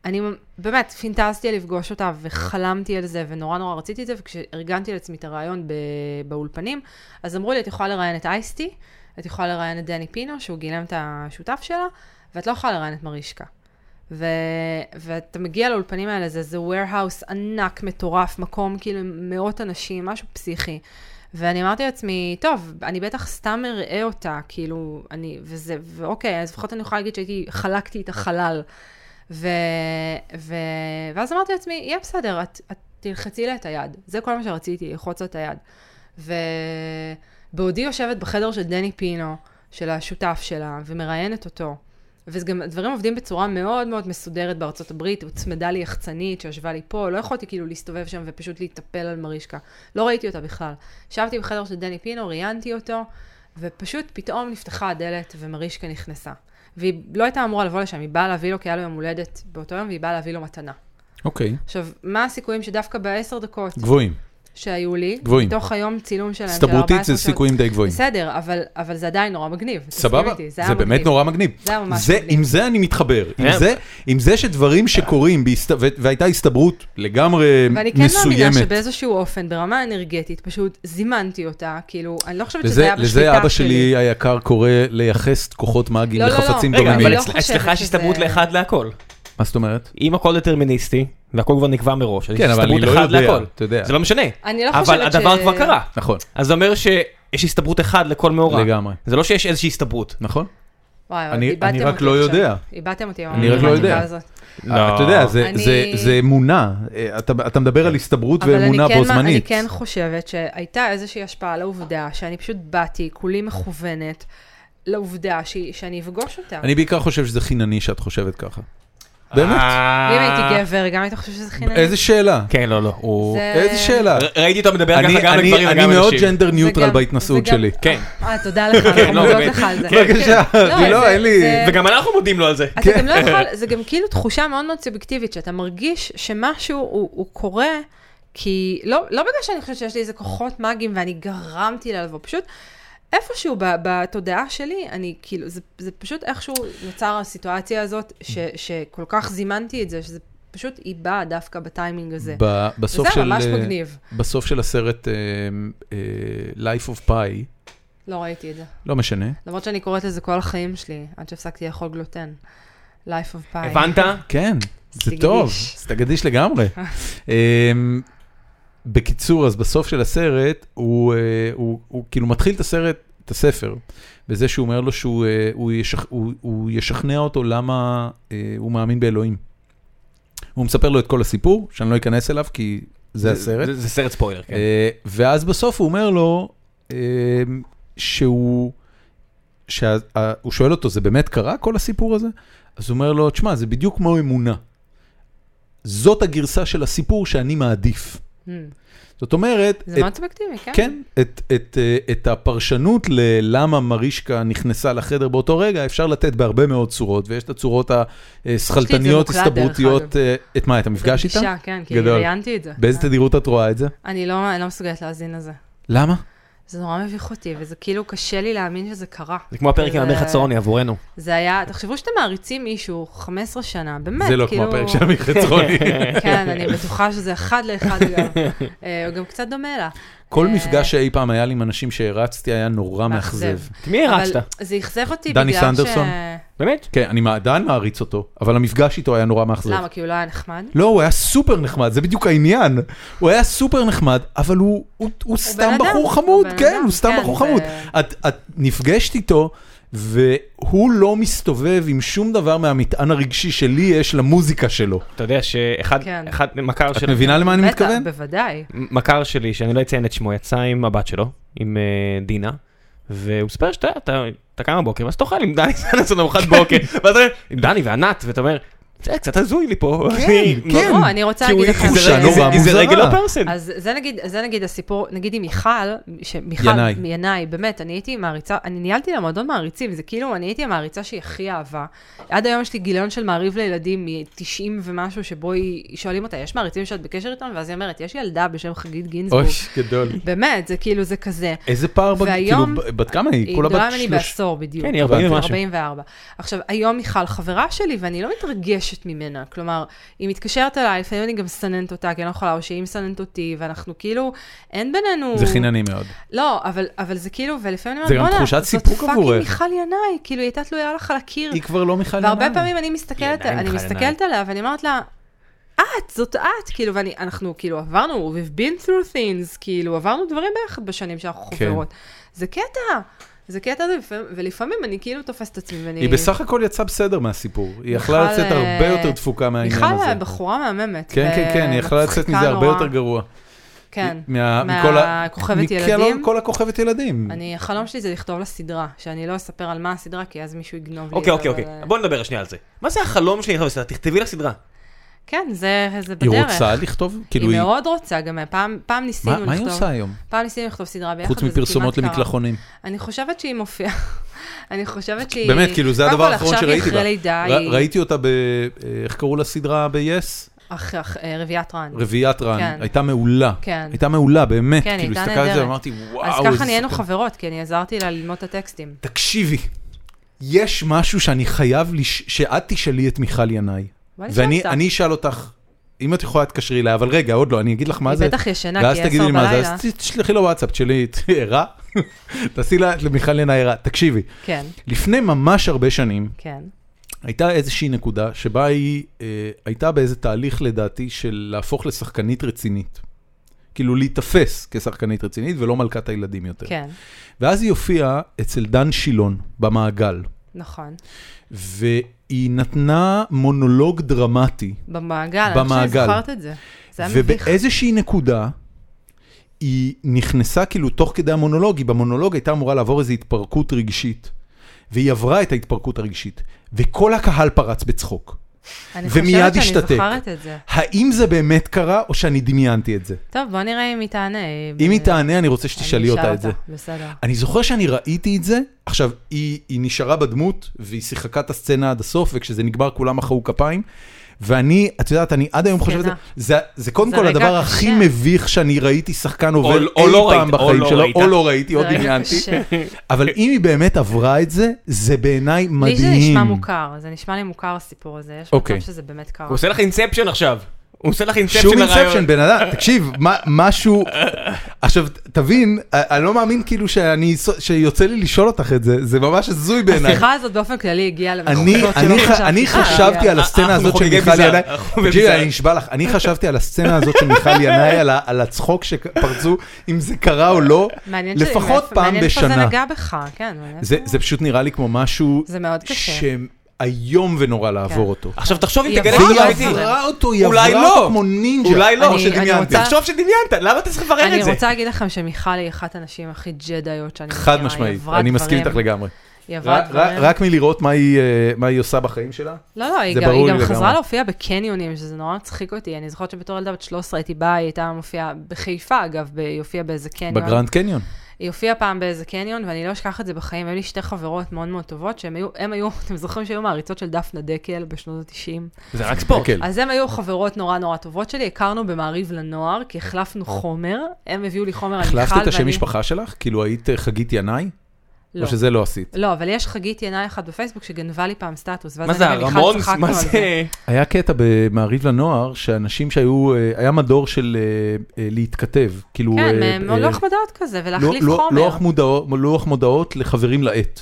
C: אני באמת פינטזתי על לפגוש אותה וחלמתי על זה ונורא נורא רציתי את זה, וכשארגנתי לעצמי את הרעיון ב- באולפנים, אז אמרו לי, את יכולה לראיין את אייסטי, את יכולה לראיין את דני פינו, שהוא גילם את השותף שלה, ואת לא יכולה לראיין את מרישקה. ו... ואתה מגיע לאולפנים האלה, זה איזה warehouse ענק, מטורף, מקום כאילו עם מאות אנשים, משהו פסיכי. ואני אמרתי לעצמי, טוב, אני בטח סתם אראה אותה, כאילו, אני, וזה, ואוקיי, אז לפחות אני יכולה להגיד שהייתי, חלקתי את החלל. ו... ו... ואז אמרתי לעצמי, יהיה בסדר, את, את תלחצי לה את היד. זה כל מה שרציתי, ללחוץ לה את היד. ובעודי יושבת בחדר של דני פינו, של השותף שלה, ומראיינת אותו. וגם הדברים עובדים בצורה מאוד מאוד מסודרת בארצות הברית, הוצמדה לי יחצנית שישבה לי פה, לא יכולתי כאילו להסתובב שם ופשוט להתאפל על מרישקה. לא ראיתי אותה בכלל. ישבתי בחדר של דני פינו, ראיינתי אותו, ופשוט פתאום נפתחה הדלת ומרישקה נכנסה. והיא לא הייתה אמורה לבוא לשם, היא באה להביא לו, כי היה לו יום הולדת באותו יום, והיא באה להביא לו מתנה.
A: אוקיי.
C: עכשיו, מה הסיכויים שדווקא בעשר דקות
A: גבוהים.
C: כן, שהיו לי,
A: גבוהים.
C: מתוך היום צילום שלהם, של 14
A: הסתברותית זה
C: שעות-
A: סיכויים די גבוהים.
C: בסדר, אבל, אבל זה עדיין נורא מגניב. תסכים
A: סבבה,
C: איתי,
A: זה
C: היה
A: באמת
C: מגניב.
A: נורא מגניב.
C: זה היה ממש
A: זה-
C: מגניב.
A: עם זה אני מתחבר. עם
B: כן.
A: זה- עם זה שדברים שקורים, בהסת- ו- והייתה הסתברות לגמרי
C: ואני כן מאמינה
A: מסוימת.
C: שבאיזשהו אופן, ברמה אנרגטית, פשוט זימנתי אותה, כאילו, אני לא חושבת שזה
A: לזה,
C: היה בשליטה
A: לזה אבא
C: שלי.
A: שלי היקר קורא לייחס כוחות מאגיים
C: לא, לא, לא.
A: לחפצים
B: רגע,
A: דוממים.
B: אבל
C: לא
B: אצל-
C: חושבת
B: אצלך יש
C: שזה-
B: הסתברות לאחד להכל.
A: מה זאת אומרת?
B: אם הכל דטרמיניסטי, והכל כבר נקבע מראש, אז יש
A: כן, אבל
B: הסתברות
A: אני לא
B: אחד
A: יודע,
B: להכל.
A: אתה יודע.
B: זה לא משנה.
C: אני לא
B: אבל
C: חושבת ש-
B: הדבר כבר קרה.
A: נכון,
B: אז זה אומר שיש הסתברות אחד לכל מאורע.
A: לגמרי.
B: זה לא שיש איזושהי הסתברות.
A: נכון.
C: וואי, אבל
A: אני-
C: איבדתם
A: אני רק
C: אותי
A: לא
C: עכשיו.
A: יודע.
C: איבדתם אותי,
A: אני רק לא
C: במתמטיקה
A: יודע.
C: הזאת.
A: אה, אתה יודע, זה-
C: אני-
A: זה- זה אמונה. אה, אתה אתה מדבר על הסתברות
C: אבל אני
A: ואמונה
C: כן-
A: בו זמנית.
C: אני כן חושבת שהייתה איזושהי השפעה על העובדה שאני פשוט באתי, כולי מכוונת, לעובדה שהיא- שאני אפגוש אותה.
A: אני בעיקר חושב שזה חינני שאת חושבת ככה. באמת?
B: אה.
C: אם הייתי גבר, גם היית חושב שזה חינני?
A: אה, איזה שאלה.
B: כן, לא, לא. הוא-
C: זה-
A: איזה שאלה.
B: ר- ראיתי אותו מדבר ככה
A: אה. אני-
B: גם על
A: אני-
B: גברים
A: אני
B: וגם על
A: מאוד
B: נשים.
A: ג'נדר ניוטרל
C: גם-
A: בהתנסות
C: זה גם-
A: שלי.
B: כן.
C: אה, תודה לך, אנחנו
B: לא,
C: מודות
B: באמת.
C: לך על זה.
A: כן, בבקשה,
C: לא,
A: לא,
C: זה-
A: אין לי...
C: זה-
B: וגם אנחנו מודים לו על זה.
C: אתה
A: כן.
C: גם לא יכול, זה גם כאילו תחושה מאוד מאוד סובייקטיבית, שאתה מרגיש שמשהו הוא, הוא קורה, כי לא, לא בגלל שאני חושבת שיש לי איזה כוחות מאגיים ואני גרמתי לה לבוא, פשוט איפשהו ב, בתודעה שלי, אני כאילו, זה, זה פשוט איכשהו נוצר הסיטואציה הזאת, ש,
A: Mm.
C: שכל כך זימנתי את זה, שזה פשוט היא באה דווקא בטיימינג הזה.
A: ב- בסוף
C: וזה
A: של...
C: ממש
A: אה,
C: מגניב.
A: בסוף של הסרט אה, אה, Life of Pi,
C: לא ראיתי את זה.
A: לא משנה.
C: למרות שאני קוראת לזה כל החיים שלי, עד שהפסקתי לאכול גלוטן. Life of Pi.
B: הבנת?
A: כן, זה
C: סטגדיש.
A: טוב, סטגדיש לגמרי. אמ, בקיצור, אז בסוף של הסרט, הוא, אה, הוא, הוא כאילו מתחיל את הסרט, את הספר, בזה שהוא אומר לו שהוא אה, הוא ישכ, הוא, הוא ישכנע אותו למה אה, הוא מאמין באלוהים. הוא מספר לו את כל הסיפור, שאני לא אכנס אליו, כי זה הסרט.
B: זה- זה סרט ספוילר, כן.
A: אה, ואז בסוף הוא אומר לו, אה, שהוא, שה- ה- הוא שואל אותו, זה באמת קרה כל הסיפור הזה? אז הוא אומר לו, תשמע, זה בדיוק כמו אמונה. זאת הגרסה של הסיפור שאני מעדיף.
C: Hmm.
A: זאת אומרת,
C: זה
A: את-
C: מאוד סובייקטיבי, כן?
A: כן, את, את, אה, את הפרשנות ללמה מרישקה נכנסה לחדר באותו רגע, אפשר לתת בהרבה מאוד צורות, ויש את הצורות השכלתניות,
C: יש לי את זה מוקלט, דרך
A: הסתברותיות. אה, את מה, את המפגש איתה?
C: אישה, כן, כי
A: גדול.
C: ראיינתי את זה.
A: באיזה תדירות את רואה את זה?
C: אני לא אני לא מסוגלת להאזין לזה.
A: למה?
C: זה נורא מביך אותי, וזה כאילו קשה לי להאמין שזה קרה.
B: זה כמו הפרק עם
C: זה-
B: עמיר חצרוני עבורנו.
C: זה היה, תחשבו שאתם מעריצים מישהו 15 שנה, באמת,
A: זה לא
C: כאילו...
A: כמו הפרק של המחצרוני.
C: כן, אני בטוחה שזה אחד לאחד גם. אה, הוא גם קצת דומה לה.
A: כל
C: אה,
A: מפגש שאי פעם היה לי עם אנשים שהרצתי היה נורא מאכזב.
C: מאכזב.
B: את מי הרצת?
C: אבל זה אכזב אותי בגלל
A: דני
C: ש...
A: סנדרסון?
B: באמת?
A: כן, אני עדיין מעריץ אותו, אבל המפגש איתו היה נורא מאכזב.
C: למה? כי הוא לא היה נחמד?
A: לא, הוא היה סופר נחמד, זה בדיוק העניין. הוא היה סופר נחמד, אבל הוא, הוא, הוא סתם
C: בן אדם,
A: בחור
C: הוא
A: חמוד,
C: בן
A: כן,
C: אדם,
A: הוא סתם
C: כן,
A: בחור
C: זה-
A: חמוד. את, את נפגשת איתו, והוא לא מסתובב עם שום דבר מהמטען הרגשי שלי יש למוזיקה שלו.
B: אתה יודע שאחד
C: כן.
B: אחד מכר
A: את
B: של...
A: מבינה למה אני
C: בטח,
A: מתכוון?
C: בוודאי.
B: מכר שלי, שאני לא אציין את שמו, יצא עם הבת שלו, עם אה, דינה, והוא מספר שאתה אתה- אתה קם בבוקר, ואז אתה אוכל עם דני סנסון ארוחת בוקר,
A: כן.
B: ואז אתה אומר, עם דני וענת, ואתה אומר, זה קצת הזוי לי פה.
A: כן.
C: לא, אני רוצה
B: כי הוא- לא,
C: להגיד לכם...
B: כי זה-
C: ש-
A: תחושה נורא
B: כי זה
A: מוזרה.
B: רגל הפרסן.
A: כן.
C: אז זה נגיד, זה נגיד הסיפור, נגיד עם מיכל, שמיכל,
A: ינאי.
C: ינאי, באמת, אני הייתי מעריצה, אני ניהלתי לה מועדון מעריצים, זה כאילו, אני הייתי המעריצה שהיא הכי אהבה. עד היום יש לי גיליון של מעריב לילדים מ-90 ומשהו, שבו היא, שואלים אותה, יש מעריצים שאת בקשר איתם? ואז היא אומרת, יש ילדה בשם חגית גינזבורג.
A: אוי, גדול.
C: באמת, זה כאילו, זה כזה.
A: איזה פער, בג- כאילו,
C: והיום-
A: ב- בת כמה היא?
C: היא
A: כולה
C: גדולה
A: בת
C: ממני
A: שלוש...
C: בעשור בדיוק.
B: כן, היא 40
A: הבנתי.
B: ומשהו.
C: 44. עכשיו, היום מיכל חברה שלי, ואני לא מתרגשת ממנה. כלומר, היא מתקשרת אליי, לפעמים אני גם מסננת אותה, כי אני לא יכולה, או שהיא מסננת אותי, ואנחנו כאילו, אין בינינו...
A: זה חינני מאוד.
C: לא, אבל, אבל זה כאילו, ולפעמים
A: זה
C: אני
A: גם
C: אומרת,
A: תחושת
C: בואנה, זאת
A: סיפוק
C: פאקינג
A: עבורך."
C: מיכל ינאי, כאילו, היא הייתה תלויה לך על הקיר.
A: היא כבר לא מיכל
C: והרבה
A: ינאי.
C: פעמים אני מסתכלת,
B: עדיין
C: אני
B: מיכל
C: מסתכלת עליה, ואני אומרת לה, את, זאת את, כאילו, ואנחנו כאילו עברנו, we've been through things, כאילו, עברנו דברים ביחד בשנים שאנחנו
A: כן.
C: חברות. זה קטע, זה קטע, הזה, ולפעמים- ולפעמים אני כאילו תופסת את עצמי, ואני...
A: היא בסך הכל יצאה בסדר מהסיפור. היא יכלה
C: מיכל,
A: לצאת הרבה
C: אה,
A: יותר דפוקה מהעניין הזה.
C: מיכל בחורה מהממת.
A: כן, כן, כן, היא יכלה לצאת
C: ומצחיקה
A: מזה הרבה
C: נורא.
A: יותר גרוע.
C: כן.
A: מה- מכל ה-
C: מהכוכבת
A: מכל
C: ילדים.
A: ה- כל הכוכבת ילדים.
C: אני, החלום שלי זה לכתוב לה סדרה, שאני לא אספר על מה הסדרה, כי אז מישהו יגנוב לי.
B: אוקיי,
C: את
B: אוקיי,
C: זה,
B: אוקיי,
C: אבל, אה,
B: בוא נדבר שנייה על זה. מה זה החלום שלי? לכתוב בסדרה? תכתבי לסדרה.
C: כן, זה זה
A: היא
C: בדרך.
A: רוצה לכתוב? כאילו,
C: היא
A: היא-
C: מאוד רוצה, גם פעם, פעם ניסינו
A: מה
C: לכתוב.
A: מה היא עושה היום?
C: פעם ניסינו לכתוב סדרה ביחד,
A: חוץ
C: וזה
A: מפרסומות
C: כמעט קרה.
A: למקלחונים.
C: אני חושבת שהיא מופיעה. אני חושבת שהיא...
A: באמת, כאילו, זה
C: קודם
A: הדבר
C: כל,
A: האחרון שראיתי
C: עכשיו היא
A: בה.
C: אחרי לידה,
A: ר-
C: היא...
A: ראיתי אותה ב... אה, איך קראו לסדרה ב-yes?
C: אח- אח- אה, רביעיית רן.
A: רביעיית רן.
C: כן.
A: הייתה מעולה.
C: כן.
A: הייתה מעולה, באמת.
C: כן, היא
A: כאילו,
C: הייתה
A: הסתכלתי על זה
C: נהדרת.
A: ואמרתי, וואו.
C: אז ככה
A: איזה
C: נהיינו
A: סרטון."
C: חברות, כי אני עזרתי לה ללמוד את הטקסטים.
A: תקשיבי, יש משהו שאני חייב, לש... שאת תשאלי את מיכל ינאי.
C: בוא נשאל
A: ואני
C: אותה.
A: אני אשאל אותך, אם את יכולה תתקשרי אליה, אבל רגע, עוד לא, אני אגיד לך מה
C: היא
A: זה.
C: בטח ישנה,
A: ואז
C: כי
A: תגידי
C: עשר
A: לי מה זה,
C: בלילה.
A: אז ת- תשלחי לו וואטסאפ שלי, "ת- ערה? תעשי לה, למיכל ינאי ערה. תקשיבי,
C: כן,
A: לפני ממש הרבה שנים,
C: כן.
A: הייתה איזושהי נקודה שבה היא אה, הייתה באיזה תהליך לדעתי של להפוך לשחקנית רצינית. כאילו להיתפס כשחקנית רצינית ולא מלכת הילדים יותר.
C: כן,
A: ואז היא הופיעה אצל דן שילון במעגל,
C: נכון.
A: והיא נתנה מונולוג דרמטי,
C: במעגל, אני חושבת
A: במעגל.
C: שזכרת את זה. זה היה מביך.
A: ובאיזושהי נקודה היא נכנסה כאילו תוך כדי המונולוג, היא במונולוג הייתה אמורה לעבור איזו התפרקות רגשית, והיא עברה את ההתפרקות הרגשית, וכל הקהל פרץ בצחוק.
C: אני
A: ומיד
C: חושבת שאני
A: השתתק.
C: זוכרת את זה.
A: האם זה באמת קרה, או שאני דמיינתי את זה?
C: טוב, בוא נראה אם היא תענה.
A: אם היא
C: אה,
A: תענה, אני רוצה שתשאלי
C: אני אשאל
A: אותה את זה.
C: בסדר.
A: אני זוכר שאני ראיתי את זה, עכשיו, היא, היא נשארה בדמות, והיא שיחקה את הסצנה עד הסוף, וכשזה נגמר כולם מחאו כפיים. ואני, את יודעת, אני עד היום חושב את זה,
C: זקנה.
A: זה, זה קודם
C: זה
A: כל
C: רגע
A: הדבר
C: קשה.
A: הכי מביך שאני ראיתי שחקן עובר
B: או
A: אי
B: לא
A: פעם
B: ראית, או
A: בחיים
B: לא
A: שלו,
B: ראית.
A: או לא ראיתי, או
C: זה רגע
A: דמיינתי,
C: קשה.
A: אבל אם היא באמת עברה את זה, זה בעיניי מדהים.
C: לי זה נשמע מוכר, זה נשמע לי מוכר הסיפור הזה, יש
A: אוקיי.
C: מצב שזה באמת קרה.
B: הוא עושה לך אינספשן עכשיו. הוא עושה לך
A: שום
B: אינספציה
A: אינספשן, בן אדם, תקשיב, מה- משהו... עכשיו, תבין, א- אני לא מאמין כאילו שאני, שיוצא לי לשאול אותך את זה, זה ממש הזוי בעיניי.
C: השיחה הזאת באופן כללי הגיעה
A: אני,
C: למקומות
A: אני, ח- אני חשבתי על
B: אה,
A: הסצנה
B: אנחנו
A: הזאת של
B: חוגגי
A: מיכל
B: ביזאר,
A: ינאי,
B: אנחנו
A: תקשיבי,
B: בביזאר.
A: אני נשבע לך, אני חשבתי על הסצנה הזאת של מיכל ינאי, על ה- על הצחוק שפרצו, אם זה קרה או לא,
C: מעניין שלי,
A: לפחות
C: מאיפה-
A: פעם
C: מעניין איפה זה
A: בשנה.
C: נגע בך, כן. מעניין
A: זה
C: איפה-
A: זה פשוט נראה לי כמו משהו
C: זה מאוד קשה. כן.
A: שאיום ונורא לעבור אותו.
B: עכשיו תחשוב אם
C: היא
B: תגלה
C: עברה
B: אותו
A: והיא
C: אולי
B: אמיתי.
C: זה.
A: עברה אותו, לא. היא
B: אולי
A: עברה אותו
B: לא.
A: כמו נינג'ה.
B: אולי לא,
A: כמו
B: אני-
A: שדמיינתי.
C: אני רוצה-
B: תחשוב שדמיינת, למה אתה צריך לברר את
C: אני
B: זה?
C: רוצה להגיד לכם שמיכל היא אחת הנשים הכי ג'דאיות שאני מכירה.
A: חד
C: היא
A: משמעית,
C: עברה
A: אני מסכים
C: דברים-
A: איתך לגמרי.
C: היא עברה
A: רק- רק
C: דברים.
A: רק מלראות מה היא, אה, מה היא עושה בחיים שלה.
C: לא, לא, היא
A: זה
C: גם, היא
A: ברור לי
C: גם חזרה
A: לגמרי.
C: להופיע בקניונים, שזה נורא מצחיק אותי. אני זוכרת שבתור ילדה בת 13 הייתי באה, היא הייתה מופיעה בחיפה, אגב, ב- היא הופיעה באיזה קניון.
A: בגרנד קניון.
C: היא הופיעה פעם באיזה קניון, ואני לא אשכח את זה בחיים. היו לי שתי חברות מאוד מאוד טובות, שהן היו, הם היו, אתם זוכרים שהיו מעריצות של דפנה דקל בשנות ה-90?
B: זה רק ספורט.
A: כן.
C: אז הן היו חברות נורא נורא טובות שלי, הכרנו במעריב לנוער, כי החלפנו חומר, הם הביאו לי חומר על מיכל, ואני...
A: החלפת את השם משפחה שלך? כאילו היית אה, חגית ינאי?
C: לא.
A: או שזה לא עשית?
C: לא, אבל יש חגית ינאי אחת בפייסבוק שגנבה לי פעם סטטוס, ואז
B: מה זה
C: אני ומיכל
B: הרמון?
C: צחקנו
B: מה
C: על זה.
B: זה?
A: היה קטע במעריב לנוער, שאנשים שהיו, אה, היה מדור של אה, אה, להתכתב, כאילו...
C: כן,
A: אה,
C: מ-
A: אה,
C: לוח מודעות כזה, ולהחליף
A: לא- לא-
C: חומר.
A: לוח מודעות- לוח מודעות לחברים לעט.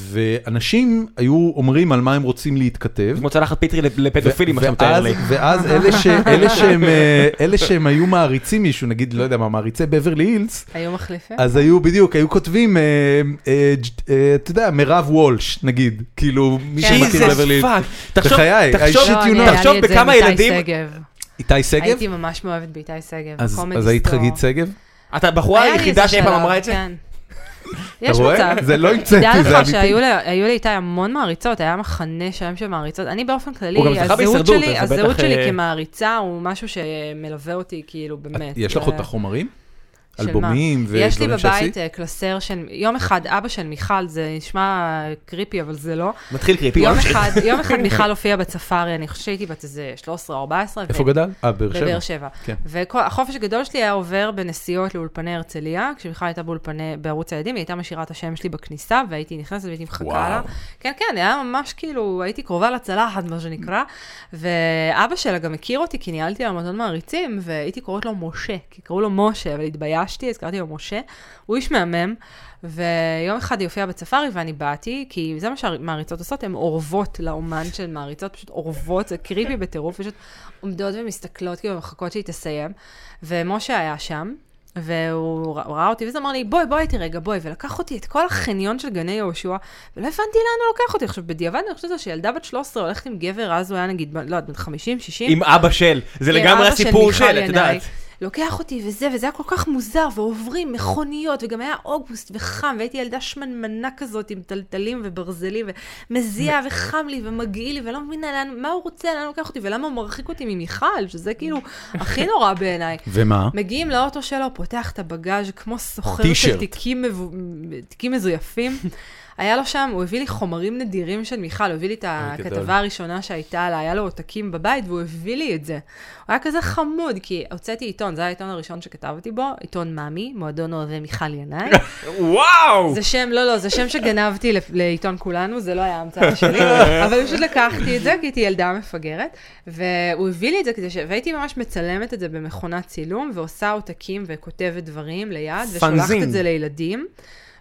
A: ואנשים היו אומרים על מה הם רוצים להתכתב.
B: כמו צלחת פטרי לפדופילים,
A: ו-
B: מה שאתה מתאר
A: ואז-
B: לי.
A: ואז אלה ש- אלה שהם, אה, אלה שהם היו מעריצים מישהו, נגיד, לא יודע מה, מעריצי בברלי הילס,
C: היו מחליפים?
A: אז היו בדיוק, היו כותבים, אה, אה, ג'- אה, אתה יודע, מירב וולש, נגיד, כאילו, מי
C: כן.
A: שמכיר
B: Jesus
A: בברלי הילס.
B: fuck. תחשוב,
A: בחיי,
B: תחשוב,
A: האישית
C: לא, אני,
A: יונה.
C: היה לי
B: תחשוב
C: את זה עם
B: בכמה
C: איתי
B: ילדים-
C: שגב.
A: איתי שגב?
C: הייתי ממש מאוהבת באיתי שגב.
A: אז
C: Comedy
A: אז היית
C: Store.
A: חגית שגב?
B: אתה הבחורה
C: היה לי
B: היחידה
C: איזה
B: שאי פעם
C: שלב,
B: אמרה את זה?
C: כן. יש
A: אתה רואה?
C: מצב.
A: זה לא
C: דע
A: המצאתי, זה
C: לך
A: אמיתי.
C: שהיו לה- היו לאיתי המון מעריצות, היה מחנה שלם של מעריצות. אני באופן כללי,
B: הוא גם זכה
C: הזהות
B: בהישרדות,
C: שלי,
B: אז זה
C: הזהות
B: בטח,
C: שלי
B: אה,
C: כמעריצה הוא משהו שמלווה אותי, כאילו, באמת.
A: יש לך
C: זה-
A: עוד את החומרים?
C: של מה?
A: אלבומים
C: יש לי
A: ודברים
C: בבית
A: שעשית?
C: אה, קלסר של, יום אחד אבא של מיכל, זה נשמע קריפי, אבל זה לא.
B: מתחיל קריפי.
C: יום אחד, יום אחד מיכל הופיעה בצפארי, אני חושבת שהייתי בת איזה 13 או 14. ו-
A: איפה גדל? אה, באר שבע.
C: בבאר שבע.
A: כן.
C: והחופש הגדול שלי היה עובר בנסיעות לאולפני הרצליה, כשמיכל הייתה באולפני, בערוץ הילדים, היא הייתה משאירה את השם שלי בכניסה, והייתי נכנסת והייתי מחכה
A: וואו.
C: לה. כן, כן, היה ממש כאילו, הייתי קרובה לצלחת, מה שנקרא, ואבא שלה גם הכיר אותי, כי ניהלתי לה מועדון מעריצים, והייתי קוראת לו משה, כי קראו לו משה, אבל התביישתי, אז קראתי לו משה. הוא איש מהמם, ויום אחד היא הופיעה בצפארי ואני באתי, כי זה מה שהמעריצות עושות, הן אורבות לאומן של מעריצות, פשוט אורבות, זה קריפי בטירוף, פשוט עומדות ומסתכלות, כאילו, מחכות שהיא תסיים. ומשה היה שם, והוא רא- הוא ראה אותי, ואז אמר לי, בואי, בואי איתי רגע, בואי. ולקח אותי את כל החניון של גני יהושע, ולא הבנתי לאן הוא לוקח אותי. עכשיו, בדיעבד אני חושבת שילדה בת 13 הולכת עם גבר, אז הוא היה נגיד, ב- לא יודעת, בן 50, 60.
B: עם אבא של. זה
C: כן,
B: לגמרי
C: אבא של
B: הסיפור
C: מיכל
B: של, את
C: ינאי.
B: יודעת.
C: לוקח אותי וזה, וזה היה כל כך מוזר, ועוברים מכוניות, וגם היה אוגוסט וחם, והייתי ילדה שמנמנה כזאת עם טלטלים וברזלים, ומזיע וחם לי ומגעיל לי, ולא מבינה לאן, מה הוא רוצה, לאן הוא לוקח אותי, ולמה הוא מרחיק אותי ממיכל, שזה כאילו הכי נורא בעיניי.
A: ומה?
C: מגיעים לאוטו שלו, פותח את הבגאז' כמו סוחר
A: טישרט.
C: של תיקים, מבו... תיקים מזויפים. היה לו שם, הוא הביא לי חומרים נדירים של מיכל, הוא הביא לי את
A: אוי, גדול.
C: הכתבה הראשונה שהייתה לה, היה לו עותקים בבית והוא הביא לי את זה. הוא היה כזה חמוד, כי הוצאתי עיתון, זה היה העיתון הראשון שכתבתי בו, עיתון מאמי, מועדון אוהבי מיכל ינאי.
B: וואו!
C: זה שם, לא, לא, זה שם שגנבתי ל- לעיתון כולנו, זה לא היה המצאה שלי, אבל פשוט לקחתי את זה, כי הייתי ילדה מפגרת, והוא הביא לי את זה כדי ש... והייתי ממש מצלמת את זה במכונת צילום, ועושה עותקים וכותבת דברים ליד, ושולחת
B: פנזין.
C: את זה לילדים.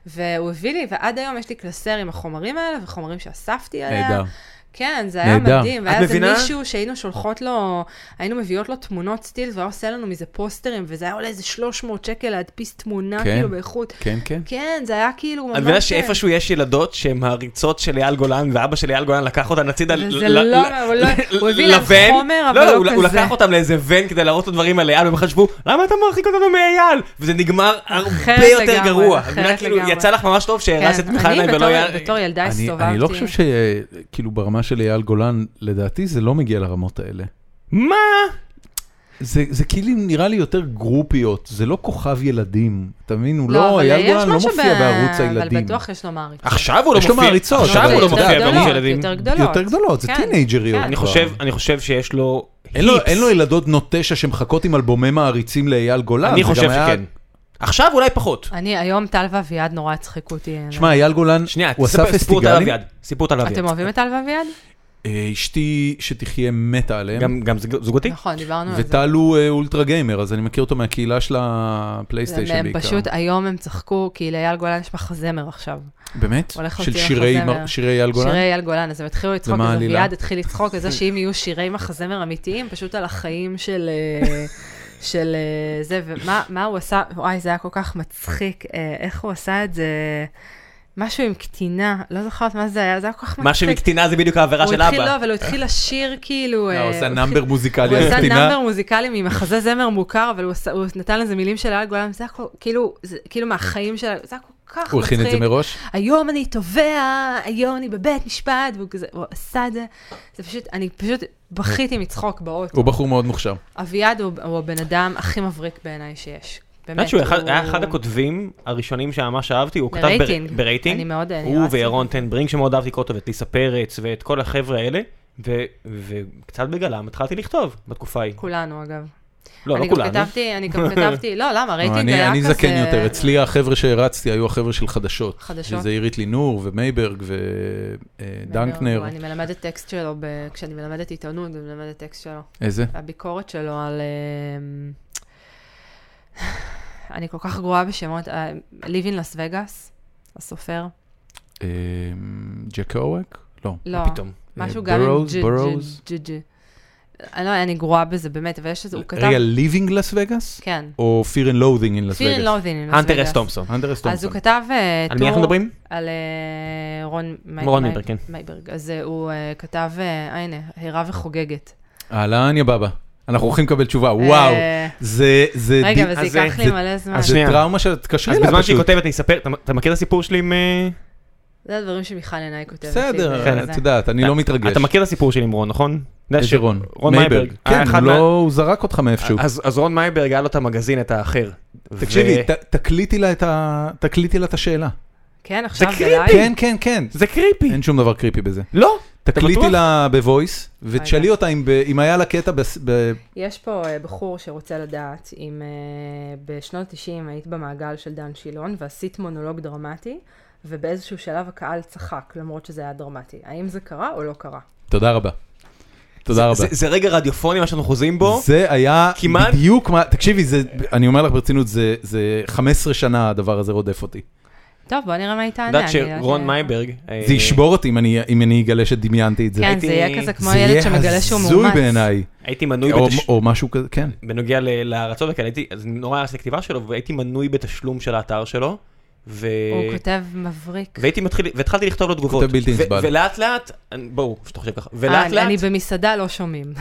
C: והוא הביא לי, ועד היום יש לי קלסר עם החומרים האלה, וחומרים שאספתי עליה.
A: נהדר.
C: כן, זה היה
A: נהדר.
C: מדהים.
B: את
C: והיה איזה
B: מבינה?
C: מישהו שהיינו שולחות לו, היינו מביאות לו תמונות סטילס, והוא היה עושה לנו מזה פוסטרים, וזה היה עולה איזה 300 שקל להדפיס תמונה,
A: כן.
C: כאילו, באיכות.
A: כן, כן.
C: כן, זה היה כאילו ממש...
B: את מבינה שאיפשהו יש ילדות שהן מעריצות של אייל גולן, ואבא של אייל גולן לקח אותן הצידה ל-
C: וזה
B: ל-
C: לא-
B: ל-
C: הוא לא-
B: ל-
C: הוא הביא להם
B: לוון.
C: חומר, אבל לא
B: הוא- הוא
C: כזה.
B: לקח אותם לאיזה ון כדי להראות לו דברים על אייל, והם חשבו, למה אתה מרחיק אותנו מאייל? וזה נגמר הרבה
C: אחרת
B: יותר
C: לגמרי,
B: גרוע.
C: אחרת
B: את מבינה, כאילו,
C: לגמרי.
B: יצא לך ממש טוב שהרס את
C: כן,
B: מיכל
C: אני
B: עיניים ולא...
C: בתור-
B: היה-
C: בתור ילדה
A: אני,
C: הסתובבתי.
A: אני לא חושב שכאילו ברמה של אייל גולן, לדעתי זה לא מגיע לרמות האלה.
B: מה?
A: זה, זה כאילו נראה לי יותר גרופיות, זה לא כוכב ילדים, אתה מבין? הוא לא,
C: אבל
A: אייל
C: יש
A: גולן לא
C: משהו
A: מופיע
C: ב-
A: בערוץ הילדים.
C: אבל בטוח יש לו מעריצות.
B: עכשיו הוא לא
A: יש לו
B: מופיע.
A: מעריצות,
B: עכשיו
A: אבל
B: הוא לא
A: אתה
B: מופיע
A: יודע,
B: בערוץ
A: לא.
B: ילדים.
C: יותר גדולות.
A: יותר גדולות, זה
C: כן,
A: טינג'ריות.
C: כן.
B: אני חושב- אני חושב שיש לו...
A: אין, לו,
B: היפס.
A: אין לו ילדות בנות תשע שמחכות עם אלבומי מעריצים לאייל גולן.
B: אני
A: זה גם
B: חושב
A: היה-
B: שכן. עכשיו אולי פחות.
C: אני, היום טל ואביעד נורא יצחקו אותי.
A: שמע, אייל גולן,
B: שנייה,
A: הוא עשה
B: תספר- סיפור תל
A: פסטיגלים.
B: אביעד. סיפור תל אביעד.
C: אתם אוהבים את טל ואביעד?
A: אה, אשתי שתחיה מתה עליהם.
B: גם- גם זוג- זוגתי?
C: נכון, דיברנו על זה.
A: וטל הוא אה, אולטרה גיימר, אז אני מכיר אותו מהקהילה של הפלייסטיישן
C: הם
A: בעיקר.
C: פשוט, היום הם צחקו, כי לאייל גולן יש מחזמר עכשיו.
A: באמת?
C: הולך
A: של
C: להוציא לך
A: שירי
C: זמר.
A: מר- שירי אייל גולן?
C: שירי אייל גולן, אז הם התחילו לצחוק,
A: ומה
C: אז
A: העלילה?
C: אביעד התחיל לצחוק על זה שאם יהיו שירי מחזמר אמיתיים, פשוט על החיים של... אה, של אה, זה, ומה מה הוא עשה, וואי, זה היה כל כך מצחיק, אה, איך הוא עשה את זה, משהו עם קטינה, לא זוכרת מה זה היה, זה היה כל כך מצחיק.
B: משהו עם קטינה זה בדיוק העבירה
C: הוא
B: של
C: התחיל, לא,
B: אבא.
C: אבל הוא התחיל לשיר כאילו...
A: אה,
C: אה,
A: הוא עושה
C: התחיל-
A: נאמבר מוזיקלי
C: הוא
A: על
C: עשה
A: קטינה.
C: נאמבר מוזיקלי ממחזה זמר מוכר, אבל הוא עשה- הוא נתן לזה מילים של אייל גולן, זה היה כל- כאילו, זה כאילו מהחיים של... זה היה כל כך מצחיק.
A: הוא הכין את זה מראש?
C: היום אני תובע, היום אני בבית משפט, והוא כזה, הוא עשה את זה. זה פשוט, אני פשוט בכיתי מצחוק באוטו.
A: הוא בחור מאוד מוכשר.
C: אביעד הוא, הוא הבן אדם הכי מבריק בעיניי שיש.
B: את יודעת
C: באמת,
B: שהוא אחד- היה אחד הכותבים הראשונים שממש אהבתי, הוא כתב בר-
C: ברייטינג.
B: ברייטינג.
C: אני מאוד- אני
B: הוא
C: אהבתי.
B: וירון טן ברינג שמאוד אהבתי לקרוא אותו, ואת ליסה פרץ, ואת כל החבר'ה האלה, ו- וקצת בגלם התחלתי לכתוב בתקופה ההיא.
C: כולנו אגב.
B: לא, לא
C: אני גם
B: כולנו.
C: כתבתי, אני גם כתבתי, לא, למה, רייטינג
A: אני
C: היה
A: אני
C: כזה...
A: זקן יותר, אצלי החבר'ה שהרצתי היו החבר'ה של חדשות.
C: חדשות.
A: שזה אירית לינור ומייברג אה, ודנקנר.
C: אני מלמדת טקסט שלו, ב- כשאני מלמדת עיתונות, אני מלמדת טקסט שלו.
A: איזה?
C: הביקורת שלו על... אמ, אני כל כך גרועה בשמות, אה, Live in Las Vegas, הסופר.
A: אה, ג'ק אורק? לא.
C: לא,
B: פתאום.
C: משהו
A: אה,
C: גם עם
A: Burroughs,
C: ג'י
A: Burroughs?
C: ג'י ג'י. אני לא, אני גרועה בזה, באמת, אבל יש איזה, הוא כתב...
A: רגע, Living Las Vegas?
C: כן. לא
A: או Fear and Loathing in Las
C: פיר
A: Vegas?
C: לובין.
B: אנטר אס תומפסון.
A: אנדרס
C: אז הוא
A: תומפסון.
C: כתב אה,
B: על מי אנחנו מדברים?
C: על אה, רון מי-
B: רון
C: מי-
B: מייברג, כן.
C: מייברג. אז אה, הוא אה, כתב, אה, הנה, הירה וחוגגת.
A: אהלן, יא בבא. אנחנו הולכים לקבל תשובה, אה, וואו.
C: אה,
A: זה, זה,
C: רגע,
A: די-
C: אבל זה
B: אז זה-
C: ייקח לי
A: זה-
C: מלא זמן.
B: אז
A: זה
B: שנייה.
A: טראומה שתתקשר
B: אז
A: אליה
B: בזמן שהיא
A: פשוט.
B: כותבת, אני אספר, אתה- אתה מכיר את הסיפור שלי עם... אה,
C: זה הדברים שמיכל עיניי כותבת. לי
A: בסדר,
C: בזה.
A: את יודעת, אני לא מתרגש.
B: אתה מכיר את הסיפור שלי עם רון, נכון? אתה יודע
A: איזה
B: ש-
A: רון?
B: רון מייברג. היה
A: כן,
B: אחד
A: הוא
B: מה- אה,
A: לא, הוא זרק אותך מאיפשהו.
B: אז אז רון מייברג היה לו את המגזין, את האחר.
A: תקשיבי,
B: ו-
A: ת- תקליטי לה את ה- תקליטי לה את השאלה.
C: כן, עכשיו
B: קריפי.
C: בלייב.
A: כן, כן, כן.
B: זה קריפי.
A: אין שום דבר קריפי בזה.
B: לא.
A: תקליטי
B: בטוח?
A: לה בוויס,
C: אוקיי.
A: ותשאלי אותה אם ב- אם היה לה קטע בס- ב...
C: יש פה אה, בחור שרוצה לדעת אם אה, בשנות ה-90 היית במעגל של דן שילון ועשית מונולוג דרמטי, ובאיזשהו שלב הקהל צחק, למרות שזה היה דרמטי. האם זה קרה או לא קרה?
A: תודה רבה. תודה רבה.
B: זה- זה רגע רדיופוני מה שאנחנו חוזים בו.
A: זה היה
B: כמעט-
A: בדיוק מה, תקשיבי, זה- אני אומר לך ברצינות, זה- זה 15 שנה הדבר הזה רודף אותי.
C: טוב, בוא נראה מה היא
B: את
C: תענה.
B: יודעת
C: לא, אני יודעת
B: שרון
C: ש-
B: מייברג... אה,
A: זה ישבור אותי אם אני- אם אני אגלה שדמיינתי את זה.
C: כן,
B: הייתי-
C: זה יהיה כזה כמו
A: זה
C: ילד
A: יהיה
C: שמגלה שהוא מאומץ.
A: הזוי בעיניי.
B: הייתי מנוי
A: או-
B: בתש-
A: או משהו כזה, כן.
B: בנוגע ל- לארצות וכאלה, הייתי, אז נורא הרסתי כתיבה שלו, והייתי מנוי בתשלום של האתר שלו, ו...
C: הוא כותב מבריק.
B: והייתי מתחיל, והתחלתי לכתוב לו תגובות.
A: כותב בלתי
B: ו-
A: נסבל.
B: ולאט לאט, אני- בואו, שאתה חושב ככה,
C: אה,
B: ולאט
C: אני-
B: לאט,
C: אני במסעדה לא שומעים.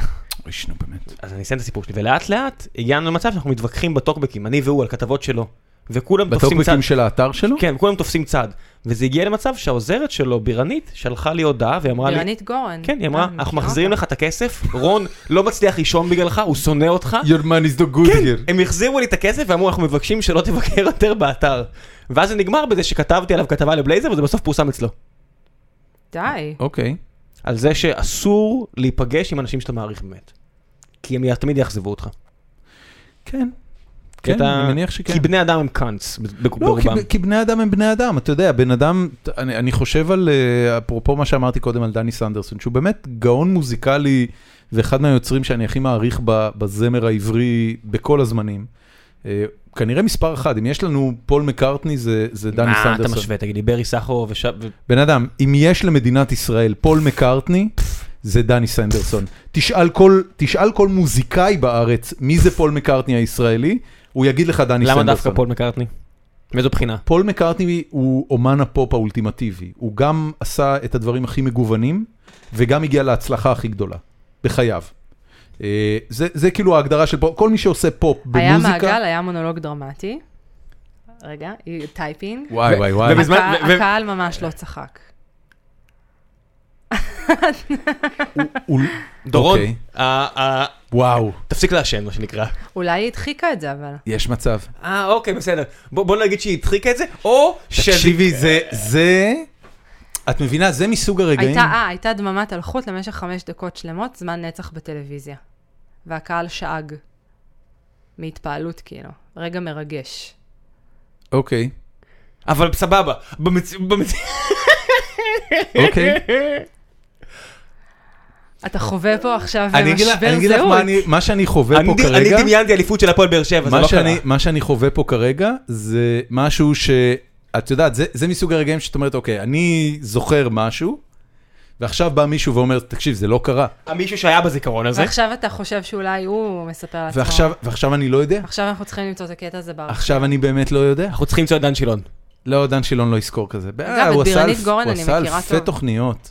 A: אוי, שנו באמת.
B: אז אני אסיים את הסיפור שלי, ולאט לאט הגענו למצב שאנחנו מתווכחים בטוקבקים, אני והוא, על כתבות שלו, וכולם תופסים צד.
A: בטוקבקים של האתר שלו?
B: כן, כולם תופסים צד. וזה הגיע למצב שהעוזרת שלו, בירנית, שלחה לי הודעה, והיא אמרה לי...
C: בירנית גורן.
B: כן, היא אמרה,
C: אה,
B: אנחנו
C: מכירה
B: מחזירים
C: אותה.
B: לך את הכסף, רון לא מצליח לישון בגללך, הוא שונא אותך.
A: Your man is the good
B: כן.
A: here.
B: הם החזירו לי את הכסף ואמרו, אנחנו מבקשים שלא תבקר יותר באתר. ואז זה נגמר בזה שכתבתי עליו כתבה לבלייזר, וזה בסוף פורסם אצלו.
C: די.
A: אוקיי.
B: על זה שאסור להיפגש עם אנשים שאתה מעריך באמת. כי הם תמיד יאכזבו אותך.
A: כן.
B: כי
A: כן,
B: אתה-
A: אני מניח שכן.
B: כי בני אדם הם קאנץ ב- ב-
A: לא, כי,
B: ברובם.
A: כי בני אדם הם בני אדם, אתה יודע, בן אדם, אני, אני חושב על, אה, אפרופו מה שאמרתי קודם על דני סנדרסון, שהוא באמת גאון מוזיקלי ואחד מהיוצרים שאני הכי מעריך ב, בזמר העברי בכל הזמנים. אה, כנראה מספר אחד, אם יש לנו פול מקארטני זה, זה דני
B: מה אתה
A: סנדרסון.
B: משווה? תגיד לי, ברי סחרוב וש... ו-
A: בן אדם, אם יש למדינת ישראל פול מקארטני, זה דני סנדרסון. תשאל כל, תשאל כל מוזיקאי בארץ מי זה פול מקארטני הישראלי, הוא יגיד לך דני סנדרסון.
B: למה דווקא פול מקארטני? מאיזו בחינה?
A: פול מקארטני הוא אומן הפופ האולטימטיבי. הוא גם עשה את הדברים הכי מגוונים, וגם הגיע להצלחה הכי גדולה, בחייו. אה, זה, זה כאילו ההגדרה של פופ, כל מי שעושה פופ
C: היה
A: במוזיקה...
C: מעגל, היה מונולוג דרמטי. רגע, היא- טייפינג.
A: וואי וואי וואי.
B: ובזמן-
C: הקה-
B: ו- ו-
C: הקהל ממש לא צחק.
A: הוא-
B: דורון,
A: אוקיי.
B: אה, אה,
A: וואו,
B: תפסיק לעשן, מה שנקרא.
C: אולי היא הדחיקה את זה, אבל.
A: יש מצב.
B: אה, אוקיי, בסדר. בוא בוא נגיד שהיא הדחיקה את זה, או שזה...
A: תקשיבי, זה, זה... את מבינה, זה מסוג הרגעים...
C: הייתה, אה, הייתה דממת אלחוט למשך חמש דקות שלמות, זמן נצח בטלוויזיה. והקהל שאג. מהתפעלות, כאילו. רגע מרגש.
A: אוקיי,
B: אבל סבבה. במצ- במצ-
A: אוקיי.
C: אתה חווה פה עכשיו
A: אני אגיד לך- אני
C: משבר
A: אגיד לך מה
C: זהות.
A: אני- מה שאני חווה
B: אני
A: פה
B: ד-
A: כרגע,
B: אני דמיינתי אליפות של הפועל באר שבע, זה
A: מה
B: לא קרה.
A: שאני- מה שאני חווה פה כרגע זה משהו ש... את יודעת, זה- זה מסוג הרגעים שאת אומרת, אוקיי, אני זוכר משהו, ועכשיו בא מישהו ואומר, תקשיב, זה לא קרה.
B: מישהו שהיה בזיכרון הזה.
C: ועכשיו אתה חושב שאולי הוא מספר לעצמו.
A: ועכשיו ועכשיו אני לא יודע.
C: עכשיו אנחנו צריכים למצוא את הקטע הזה בארץ.
A: עכשיו אני באמת לא יודע.
B: אנחנו צריכים למצוא את דן שילון.
A: לא, דן שילון לא יזכור כזה. אה,
C: את
A: הוא עשה
C: בירנית
A: אלף-
C: גורן
A: הוא
C: אני
A: עשה
C: מכירה
A: אלפי
C: טוב.
A: תוכניות.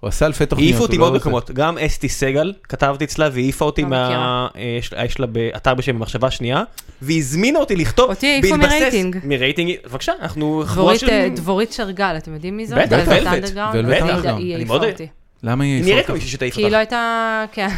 A: הוא עשה אלפי תוכניות.
B: העיפו אותי
A: הוא לא
B: מאוד
A: עושה-
B: מקומות, גם אסתי סגל, כתבתי אצלה והעיפה אותי
C: לא
B: מה... אה, יש לה- יש לה באתר בשם מחשבה שנייה, והזמינה אותי לכתוב,
C: אותי העיפו
B: בהתבסס-
C: מרייטינג.
B: מרייטינג, בבקשה, אנחנו חבורה
C: דבורית,
B: של...
C: אה, דבורית שרגל, אתם יודעים מי זאת?
B: בטח,
C: אז
B: ולווט.
C: אנדרגראונד,
A: ולווט
C: היא-
A: אנדרגראונד.
C: היא
B: אני
C: העיפה
B: מאוד-
C: אותי.
A: למה
B: היא
A: היא
B: נראית
A: העיפה
B: כמו
A: אותך?
B: מישהי שתעיף
C: כי היא
B: אותך.
C: לא הייתה, כן,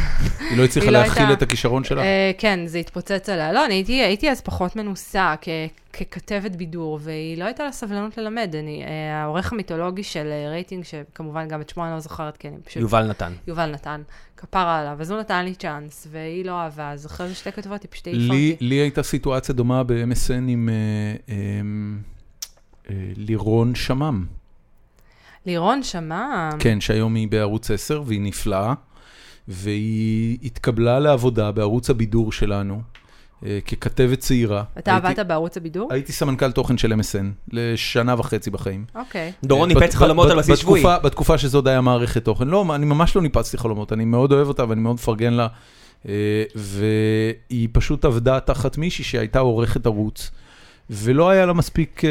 A: היא לא הצליחה
C: היא לא
A: להכיל
C: הייתה-
A: את הכישרון שלה.
C: אה, כן, זה התפוצץ עליה. לא, אני הייתי, הייתי אז פחות מנוסה כ, ככתבת בידור, והיא לא הייתה לה סבלנות ללמד. אני, אה, העורך המיתולוגי של אה, רייטינג, שכמובן גם את שמו אני לא זוכרת, כי אני פשוט...
B: יובל נתן.
C: יובל נתן, כפרה עליו, אז הוא נתן לי צ'אנס, והיא לא אהבה, אז אחרי זה שתי כתבות היא פשוט העיפה
A: לי
C: אותי.
A: לי הייתה סיטואציה דומה ב-MSN עם אה, אמ, אה, לירון שמם.
C: לירון שמע,
A: כן, שהיום היא בערוץ 10 והיא נפלאה, והיא התקבלה לעבודה בערוץ הבידור שלנו אה, ככתבת צעירה.
C: אתה
A: הייתי-
C: עבדת בערוץ הבידור?
A: הייתי סמנכ"ל תוכן של MSN לשנה וחצי בחיים.
C: אוקיי.
B: דורון
A: אה, בת-
B: ניפץ
A: בת-
B: חלומות
A: בת-
B: על בסיס שבועי.
A: בתקופה- בתקופה שזאת היה מערכת תוכן. לא, אני ממש לא ניפצתי חלומות, אני מאוד אוהב אותה ואני מאוד מפרגן לה. אה, והיא פשוט עבדה תחת מישהי שהייתה עורכת ערוץ, ולא היה לה מספיק, אה,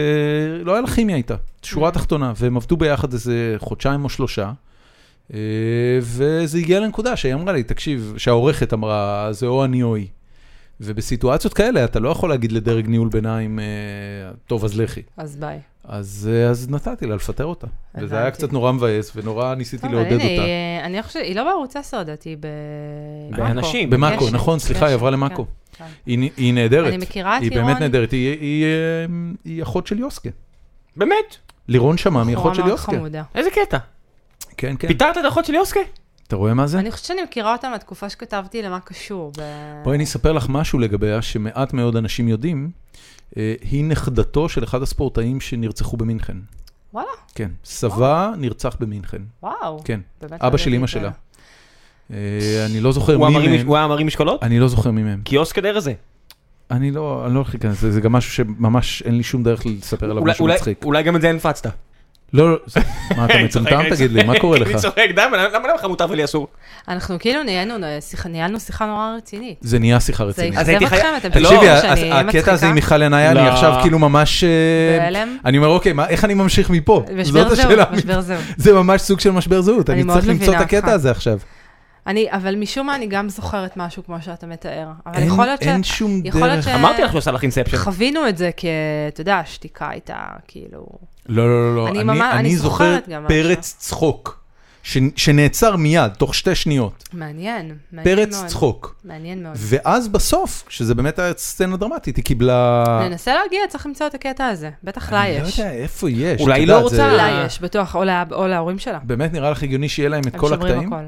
A: לא היה לה כימיה איתה, שורה תחתונה, והם עבדו ביחד איזה חודשיים או שלושה. אה, וזה הגיע לנקודה שהיא אמרה לי, תקשיב, שהעורכת אמרה, זה או אני או היא. ובסיטואציות כאלה אתה לא יכול להגיד לדרג ניהול ביניים, אה, טוב אז לכי.
C: אז ביי.
A: אז, אה, אז נתתי לה לפטר אותה. וזה היה
C: הבנתי.
A: קצת נורא מבאס, ונורא ניסיתי
C: טוב,
A: לעודד
C: אבל הנה, היא,
A: אותה.
C: אה, אני חושבת, היא לא בערוץ 10 לדעתי, היא ב...
B: בעיה
C: בעכו.
B: נשים.
A: במאקו,
C: יש-
A: נכון,
C: יש-
A: סליחה, היא עברה למאקו.
C: כן.
A: היא נ- היא נהדרת.
C: אני מכירה את
A: היא
C: לירון.
A: באמת נהדרת, היא- היא אה, היא אחות של יוסקה.
B: באמת?
A: לירון שמם היא אחות של
C: בחורה מאוד
A: יוסקה.
C: חמודה.
B: איזה קטע?
A: כן, כן.
B: פיטרת את האחות של יוסקה?
A: אתה רואה מה זה?
C: אני חושבת שאני מכירה אותה מהתקופה שכתבתי למה קשור. ב...
A: בואי אני אספר לך משהו לגביה, שמעט מאוד אנשים יודעים. אה, היא נכדתו של אחד הספורטאים שנרצחו במינכן.
C: וואלה,
A: כן. סבה נרצח במינכן.
C: וואו.
A: כן.
C: באמת לא
A: אבא של
C: ידעתי
A: אימא
C: את
A: שלה.
C: ה-
A: אה, אני לא זוכר
B: הוא
A: מי
B: אמרים-
A: מהם.
B: הוא היה אמרים משקולות?
A: אני לא זוכר מי מהם.
B: קיוסק הדר הזה.
A: אני לא, אני לא הולך להיכנס לזה, זה גם משהו שממש אין לי שום דרך לספר עליו
B: אולי-
A: משהו
B: אולי-
A: מצחיק.
B: אולי גם את זה הנפצת.
A: לא, לא, זה- מה אתה מצומטם תגיד לי, מה קורה
B: כן, אני
A: לך?
B: צוחק, למה למה לך מותר ולי אסור?
C: אנחנו כאילו נהיינו שיחה- ניהלנו שיחה נורא רצינית.
A: זה נהיה שיחה
C: זה
A: רצינית.
B: אז הייתי
C: יחזב אתכם,
B: חי-
C: אתם תחשבו
A: תקשיבי, אז-
C: שאני
A: הקטע הזה עם
C: מצחיקה.
A: מיכל ינאי, אני
B: לא.
A: עכשיו כאילו ממש... אה,
C: בהלם?
A: אני אומר, אוקיי, מה- איך אני ממשיך מפה? זאת
C: משבר
A: השאלה.
C: זהות, משבר זהות.
A: זה ממש סוג של משבר זהות,
C: אני
A: אני
C: מאוד
A: צריך למצוא את
C: מבינה
A: הקטע
C: אותך.
A: הזה עכשיו.
C: אני, אבל משום מה אני גם זוכרת משהו כמו שאתה מתאר. אבל
A: אין-
C: יכול להיות ש...
A: אין שום
C: יכול להיות
A: דרך.
C: ש-
B: אמרתי לך שהוא עשה לך אינספשן.
C: חווינו את זה כ... אתה יודע, השתיקה הייתה כאילו...
A: לא, לא, לא, לא,
C: אני
A: אני-
C: ממש- אני
A: אני זוכר
C: זוכרת גם משהו.
A: פרץ צחוק, ש- שנעצר מיד, תוך שתי שניות.
C: מעניין, מעניין מאוד.
A: פרץ צחוק.
C: מעניין מאוד.
A: ואז בסוף, שזה באמת היה סצנה דרמטית, היא קיבלה...
C: ננסה להגיע, צריך למצוא את הקטע הזה. בטח לה יש.
A: אני לא יודע איפה יש.
B: אולי
A: את
B: היא
A: יודעת,
B: לא רוצה
A: זה-
C: לה יש, בטוח, או לה- או להורים שלה.
A: באמת נראה לך הגיוני שיהיה להם את
C: הם
A: כל
C: שומרים
A: הקטעים?
C: הכל.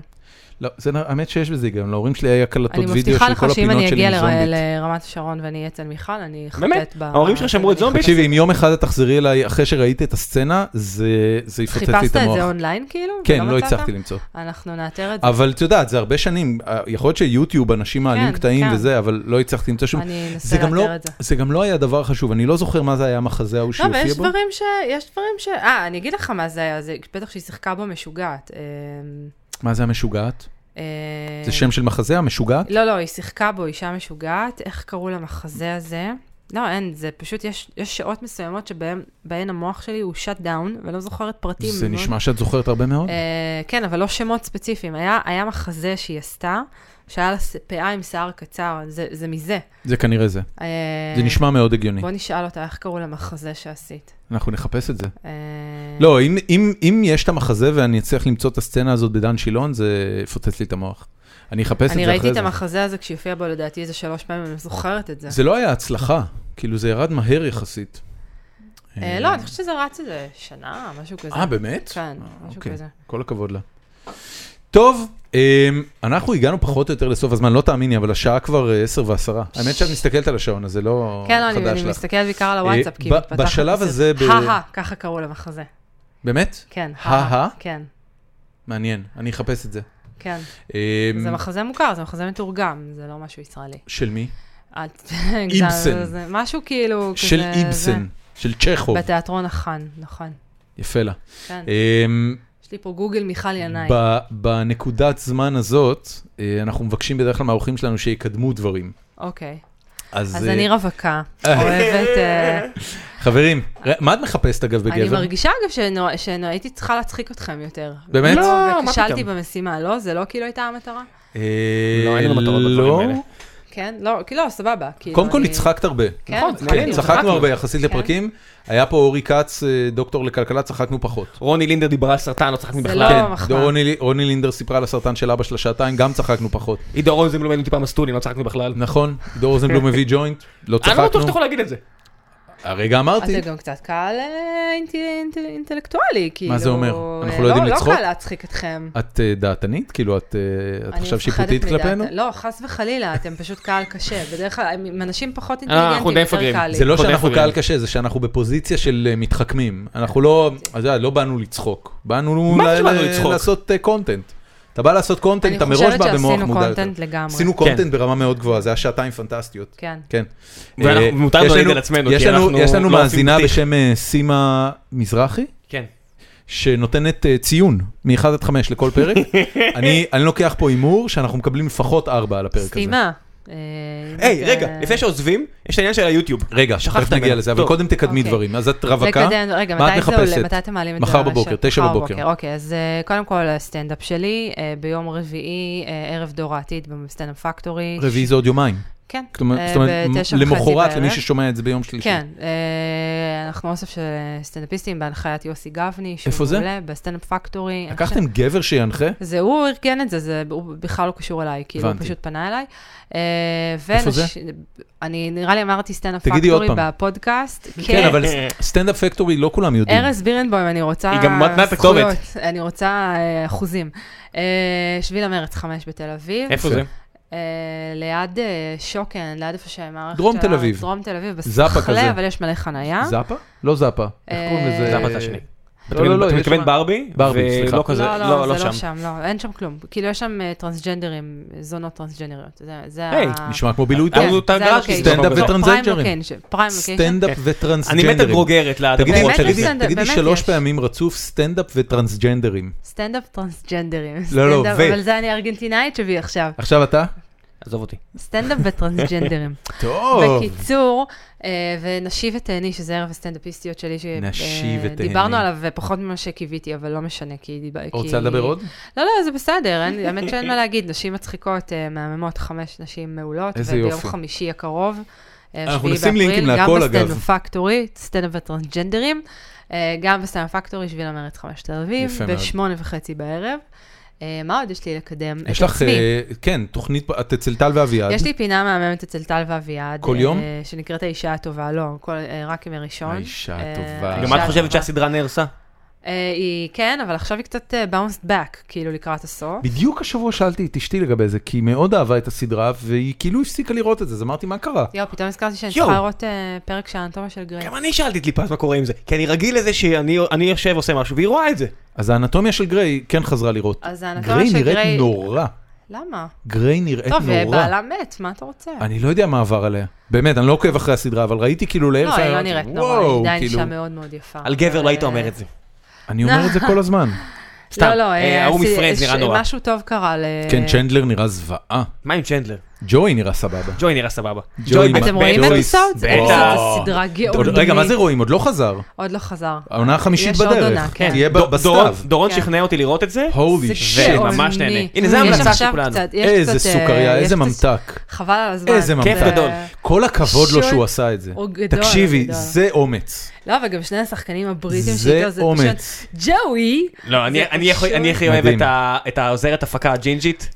A: לא, זה נ- האמת שיש בזה גם, להורים שלי היה
C: אני
A: קלטות וידאו
C: מבטיחה
A: של
C: לך
A: כל
C: שאם
A: הפינות
C: אני
A: שלי
C: אגיע
A: עם
C: לר-
A: זומבית.
C: לרמת השרון ואני אהיה אצל מיכל, אני אחטט ב...
B: באמת? ההורים שלך שמרו את זומבית?
A: תקשיבי, אם יום אחד את תחזרי אליי אחרי שראית את הסצנה, זה זה יפוצץ לי
C: חיפשת
A: את
C: את זה
A: המוח.
C: אונליין כאילו?
A: כן,
C: ולא
A: לא
C: מצאת?
A: הצלחתי למצוא.
C: אנחנו נאתר את זה.
A: אבל את יודעת, זה הרבה שנים, אה, יכול להיות שיוטיוב, אנשים מעלים קטעים
C: כן.
A: וזה, אבל לא הצלחתי למצוא שום...
C: אני אנסה
A: זה גם לא-
C: לאתר את זה.
A: זה גם לא היה דבר חשוב, אני לא זוכר מה זה היה המחזה ההוא
C: לא,
A: שהופיע
C: אבל
A: בו.
C: יש דברים ש... יש דברים ש... אה, אני אגיד לך מה זה היה, זה בטח שהיא שיחקה בו משוגעת. אמ,
A: מה זה המשוגעת?
C: אמ,
A: זה שם של מחזה, המשוגעת?
C: לא, לא, היא שיחקה בו אישה משוגעת, איך קראו למחזה הזה? לא, אין, זה פשוט, יש, יש שעות מסוימות שבהן בהן המוח שלי הוא shut down, ולא זוכרת פרטים.
A: זה
C: מאוד.
A: נשמע שאת זוכרת הרבה מאוד.
C: אה, כן, אבל לא שמות ספציפיים. היה, היה מחזה שהיא עשתה, שהיה לה ס- פאה עם שיער קצר, זה, זה מזה.
A: זה כנראה זה.
C: אה,
A: זה נשמע מאוד הגיוני.
C: בוא נשאל אותה איך קראו למחזה שעשית.
A: אנחנו נחפש את זה.
C: אה,
A: לא, אם- אם- אם יש את המחזה ואני אצליח למצוא את הסצנה הזאת בדן שילון, זה יפוצץ לי את המוח. אני אחפש את
C: אני
A: זה
C: ראיתי
A: אחרי
C: את
A: זה.
C: המחזה הזה כשהופיע בו לדעתי איזה שלוש פעמים, אני לא זוכרת את זה.
A: זה לא היה הצלחה, כאילו זה ירד מהר יחסית.
C: אה, לא, אני חושבת שזה רץ איזה שנה, משהו כזה.
A: אה, באמת?
C: כן,
A: אה,
C: משהו
A: אוקיי.
C: כזה.
A: כל הכבוד לה. טוב, אמ, אנחנו הגענו פחות או יותר לסוף הזמן, לא תאמיני, אבל השעה כבר אה, עשר ועשרה. האמת שאת מסתכלת על השעון, אז זה לא
C: כן, לא, אני,
A: חדש
C: אני
A: לך.
C: מסתכלת בעיקר על הוואטסאפ,
A: אה,
C: כי
A: ב-
C: התפתחת
A: בשלב
C: בסרט.
A: הזה ב-
C: הא-הא, ככה קראו למחזה.
A: באמת?
C: כן,
A: הא-הא?
C: כן.
A: מעניין, אני אחפש את זה.
C: כן.
A: אמ,
C: זה מחזה מוכר, זה מחזה מתורגם, זה לא משהו ישראלי.
A: של מי?
C: את-
A: איבסן.
C: זה משהו כאילו...
A: של
C: כזה-
A: איבסן, של צ'כוב.
C: זה. בתיאטרון החאן, נכון.
A: יפה לה.
C: כן.
A: אמ,
C: יש לי פה גוגל מיכל ינאי.
A: ב- בנקודת זמן הזאת, אה, אנחנו מבקשים בדרך כלל מהאורחים שלנו שיקדמו דברים.
C: אוקיי.
A: אז
C: אז
A: אה,
C: אני רווקה, אוהבת... אה,
A: חברים, ר- מה את מחפשת אגב
C: אני
A: בגבר?
C: מרגישה אגב שנוע- שנוע- הייתי צריכה להצחיק אתכם יותר.
A: באמת?
C: לא,
B: לא, מה
C: וכשלתי
B: פתאום.
C: במשימה, לא? זה לא כאילו הייתה המטרה?
A: אה,
B: לא, אין לנו מטרות בדברים
A: לא.
B: האלה.
C: כן? לא, כאילו, סבבה. כאילו,
A: קודם כל
C: אני-
A: הצחקת הרבה.
C: כן,
B: נכון,
C: אבל
B: מעניין,
A: כן,
C: כאילו-
A: צחקנו
B: צחקנו.
A: הרבה יחסית
C: כן.
A: לפרקים. היה פה אורי כץ, אה, דוקטור לכלכלה, צחקנו פחות.
B: רוני לינדר דיברה על סרטן, לא צחקנו
C: זה
B: בכלל.
C: לא-
A: כן,
C: מחמאה.
A: רוני- רוני לינדר סיפרה על הסרטן של אבא שלה שעתיים, גם צחקנו פחות.
B: עידו רוזן מלמד טיפה מסטולים, לא צחקנו בכלל.
A: נכון, דור רוזנבלום מביא ג'וינט, לא
B: אני לא בטוח שאתה
A: צחקנו.
B: יכול להגיד את זה.
A: הרגע אמרתי,
C: אתה גם קצת קהל אה, אינטל- אינטל- אינטלקטואלי, כאילו.
A: זה אומר? אנחנו לא יודעים לצחוק?
C: לא קל להצחיק אתכם.
A: את אה, דעתנית? כאילו, את אה, את
C: אני
A: עכשיו
C: מפחדת
A: שיפוטית
C: מדעת.
A: כלפינו?
C: לא, חס וחלילה, אתם פשוט קהל קשה. בדרך כלל, הם הם אנשים פחות
B: אה, אנחנו
C: אינטליגנטים,
B: די
C: יותר
B: מפגרים.
C: קל לי.
A: זה לא
B: קודם
A: שאנחנו
B: כל.
A: קהל קשה, זה שאנחנו בפוזיציה של אה, מתחכמים. אנחנו לא, את יודעת, לא באנו לצחוק. באנו
B: מה
A: ל-
B: זה שבאנו
A: ל-
B: לצחוק?
A: לעשות אה, קונטנט. אתה בא לעשות קונטנט,
C: אני
A: אתה מראש
C: חושבת
A: בא במוח
C: שעשינו
A: מודע. יותר.
C: קונטנט לגמרי.
A: עשינו
B: כן.
A: קונטנט ברמה מאוד גבוהה, זה היה שעתיים פנטסטיות.
C: כן.
A: כן.
B: ואנחנו-
A: אה,
B: מותר לנו
A: יש
B: להעיד על עצמנו,
A: יש
B: כי
A: לנו-
B: אנחנו
A: יש לנו
B: לא עושים
A: מאזינה
B: בטיח.
A: בשם אה, סימה מזרחי,
B: כן.
A: שנותנת אה, ציון מ-1 עד 5 לכל פרק. אני אני לוקח פה הימור שאנחנו מקבלים לפחות 4 על הפרק הזה.
C: סתימה. אה,
B: היי,
C: אה,
B: רגע, לפני שעוזבים, יש את העניין של היוטיוב.
A: רגע,
B: שכחת
A: שכחת נגיע
B: ממנו.
A: לזה, אבל
B: טוב.
A: קודם תקדמי
C: אוקיי.
A: דברים. אז את רווקה?
C: לקדם, רגע,
A: מה את
C: מתי זה
A: מחפשת?
C: עולה? מתי אתם מעלים את זה
A: מחר
C: לרשת?
A: בבוקר, תשע
C: מחר
A: בבוקר.
C: אוקיי, אז אה, קודם כל, הסטנדאפ שלי, אה, ביום רביעי, אה, ערב דור העתיד בסטנדאפ פקטורי.
A: רביעי זה עוד יומיים.
C: כן.
A: כלומר-
C: אה,
A: זאת אומרת,
C: בתשע וחצי
A: למחרת,
C: בערב.
A: למי ששומע את זה ביום שלישי.
C: כן, אה, אנחנו אוסף של אה, סטנדאפיסטים בהנחיית יוסי גבני. שהוא
A: איפה זה?
C: מעולה, בסטנדאפ פקטורי. אני חושבת-
A: לקחתם גבר שינחה?
C: זה הוא ארגן את זה, זה הוא בכלל לא קשור אליי, כאילו, הוא
A: הבנתי.
C: פשוט פנה אליי. אה,
A: איפה זה?
C: אני, נראה לי אמרתי סטנדאפ
A: תגידי עוד
C: פקטורי
A: פעם.
C: בפודקאסט.
A: כן, אבל ס- סטנדאפ פקטורי לא כולם יודעים.
C: ארז בירנבוים, אני רוצה...
B: היא גם מתנה את
C: זכויות,
B: הכתובת.
C: אני רוצה אה, אחוזים. אה, שביל המרץ 5 בתל אביב.
B: איפה
A: יפה.
B: זה?
C: אה, ליד אה, שוקן, ליד איפה שהמערכת
A: דרום
C: של
A: תל
C: הארץ,
A: אביב.
C: דרום תל אביב,
A: זאפה כזה.
C: בסחלה, אבל יש מלא חניה.
A: זאפה? לא זאפה. איך
C: אה,
A: קוראים לזה?
B: זה הפת השני.
A: לא,
B: אתה
A: לא,
B: מתכוון-
A: לא,
B: אתה
A: יש
B: מתכוון
A: שם-
B: ברבי?
A: ברבי,
B: ולא
A: סליחה.
B: כזה-
C: לא, לא,
B: לא
C: זה
B: שם.
C: לא שם, לא, אין שם כלום. כאילו, יש שם אה, טרנסג'נדרים, אה, זונות טרנסג'נדריות. זה- זה
B: היי,
C: ה-
A: נשמע כמו בילוי
C: כן,
A: טוב.
B: אבל הוא
C: זה
B: טרנסג'נדר,
C: הלוקיישן.
A: סטנדאפ
C: לא,
A: וטרנסג'נדרים.
C: פריים לוקיישן, פריים לוקיישן.
A: סטנדאפ
B: אני מת על
A: וטרנסג'נדרים.
B: גרוגרת לאדמות
A: תגידי,
C: באמת
B: שלי.
A: תגידי-
C: סטנדאפ,
A: תגידי
C: באמת
A: שלוש
C: יש.
A: פעמים רצוף סטנדאפ וטרנסג'נדרים.
C: סטנדאפ טרנסג'נדרים.
A: לא, לא,
C: סטנדאפ-
A: ו-
C: אבל זה אני ארגנטינאית שבי עכשיו.
A: עכשיו אתה?
B: עזוב אותי.
C: סטנדאפ וטרנסג'נדרים.
A: טוב.
C: בקיצור, אה, ונשי ותהני, שזה ערב הסטנדאפיסטיות שלי, ש-
A: נשי
C: אה,
A: ותהני.
C: דיברנו עליו אה, פחות ממה שקיוויתי, אבל לא משנה, כי... דיבר- כי-
A: רוצה לדבר עוד?
C: לא, לא, זה בסדר, אין- האמת שאין מה להגיד, נשים מצחיקות, אה, מהממות, חמש נשים מעולות,
A: איזה
C: וביום
A: יופי.
C: חמישי הקרוב, אה,
A: אנחנו
C: שביעי
A: נשים
C: באפריל,
A: לינקים להכל,
C: גם
A: אגב.
C: בסטנדאפ פקטורי, סטנדאפ וטרנסג'נדרים, אה, גם בסטנדאפ פקטורי, שביל המרץ חמש תל אביב,
A: יפה מאוד.
C: בשמונה וחצי בערב. אה, מה עוד יש לי לקדם? את
A: יש לך,
C: עצמי.
A: אה, כן, תוכנית, פה- את אצל טל ואביעד.
C: יש לי פינה מהממת אצל טל ואביעד.
A: כל
C: אה,
A: יום?
C: שנקראת האישה הטובה, לא, כל- אה, רק ימי ראשון.
A: האישה
C: אה,
A: הטובה.
C: האישה
B: גם את
C: הטובה.
B: חושבת שהסדרה נהרסה?
C: אה, היא כן, אבל עכשיו היא קצת באונסט בק, כאילו לקראת הסוף.
A: בדיוק השבוע שאלתי את אשתי לגבי זה, כי היא מאוד אהבה את הסדרה, והיא כאילו הפסיקה לראות את זה, אז אמרתי, מה קרה?
C: יואו, פתאום הזכרתי שאני
B: יואו.
C: צריכה לראות אה, פרק של האנטומיה של גריי.
B: גם אני שאלתי את ליפז מה קורה עם זה, כי אני רגיל לזה שאני אני יושב עושה משהו והיא רואה את זה.
A: אז האנטומיה של גריי כן חזרה לראות.
C: אז האנטומיה
A: גריי
C: של
A: נראית
C: גריי-
A: נורא.
C: למה?
A: גריי נראית
C: טוב, אה,
A: נורא.
C: בעלה מת, מה אתה רוצה?
A: אני לא יודע מה עבר עליה. באמת, אני לא עוקב אחרי הסדרה, אבל ראיתי כאילו
C: לא,
A: לאמצע,
C: היא לא
A: אמרתי,
C: נראית נורא,
A: "וואו",
C: היא עדיין
A: כאילו,
C: אישה מאוד מאוד יפה.
B: על גבר
C: אבל,
B: לא היית
C: אה,
B: אומר את זה.
A: אני אומר את זה כל הזמן.
B: סתם,
C: לא, לא,
B: אה,
C: אה,
B: ההוא
C: עשי-
B: מפרז
C: ש-
B: נראה נורא.
C: משהו טוב קרה ל...
A: כן, צ'נדלר נראה זוועה.
B: מה עם צ'נדלר?
A: ג'וי נראה סבבה.
B: ג'וי נראה סבבה.
A: ג'וי
B: בטח-
A: מה-
C: אתם רואים את
A: ג'וי-
C: הסאוט? זה
B: בטח.
C: סדרה
A: עוד-
C: גאונית.
A: רגע, מה זה רואים? עוד לא חזר.
C: עוד לא חזר.
A: העונה החמישית
C: יש עוד עונה,
A: בדרך.
C: כן.
A: תהיה
B: דור-
A: ב- בסתיו.
B: דורון- דורון
C: כן.
B: שכנע אותי לראות את זה.
A: הולי
C: זה
A: שיט.
C: גאוני.
B: ממש נהנה. הנה, זה
C: יש
B: ההמלצה
C: עכשיו
B: של כולנו.
C: קצת- יש
A: איזה
C: קצת, אה,
A: סוכריה,
C: יש
A: איזה
C: קצת-
A: ממתק.
C: חבל על הזמן. אה,
A: איזה
C: זה-
A: ממתק.
B: כיף גדול.
A: כל הכבוד לו
C: שוט.
A: שהוא עשה את זה.
C: הוא גדול,
A: תקשיבי,
C: גדול.
A: זה אומץ.
C: לא, וגם שני השחקנים הבריטים
A: זה
C: שאיתו, זה פשוט...
A: אומץ.
C: ג'וי!
B: לא, אני-
C: זה
B: אני הכי-
C: פשוט-
B: אני הכי אוהב
A: מדהים.
B: את ה- את העוזרת הפקה הג'ינג'ית.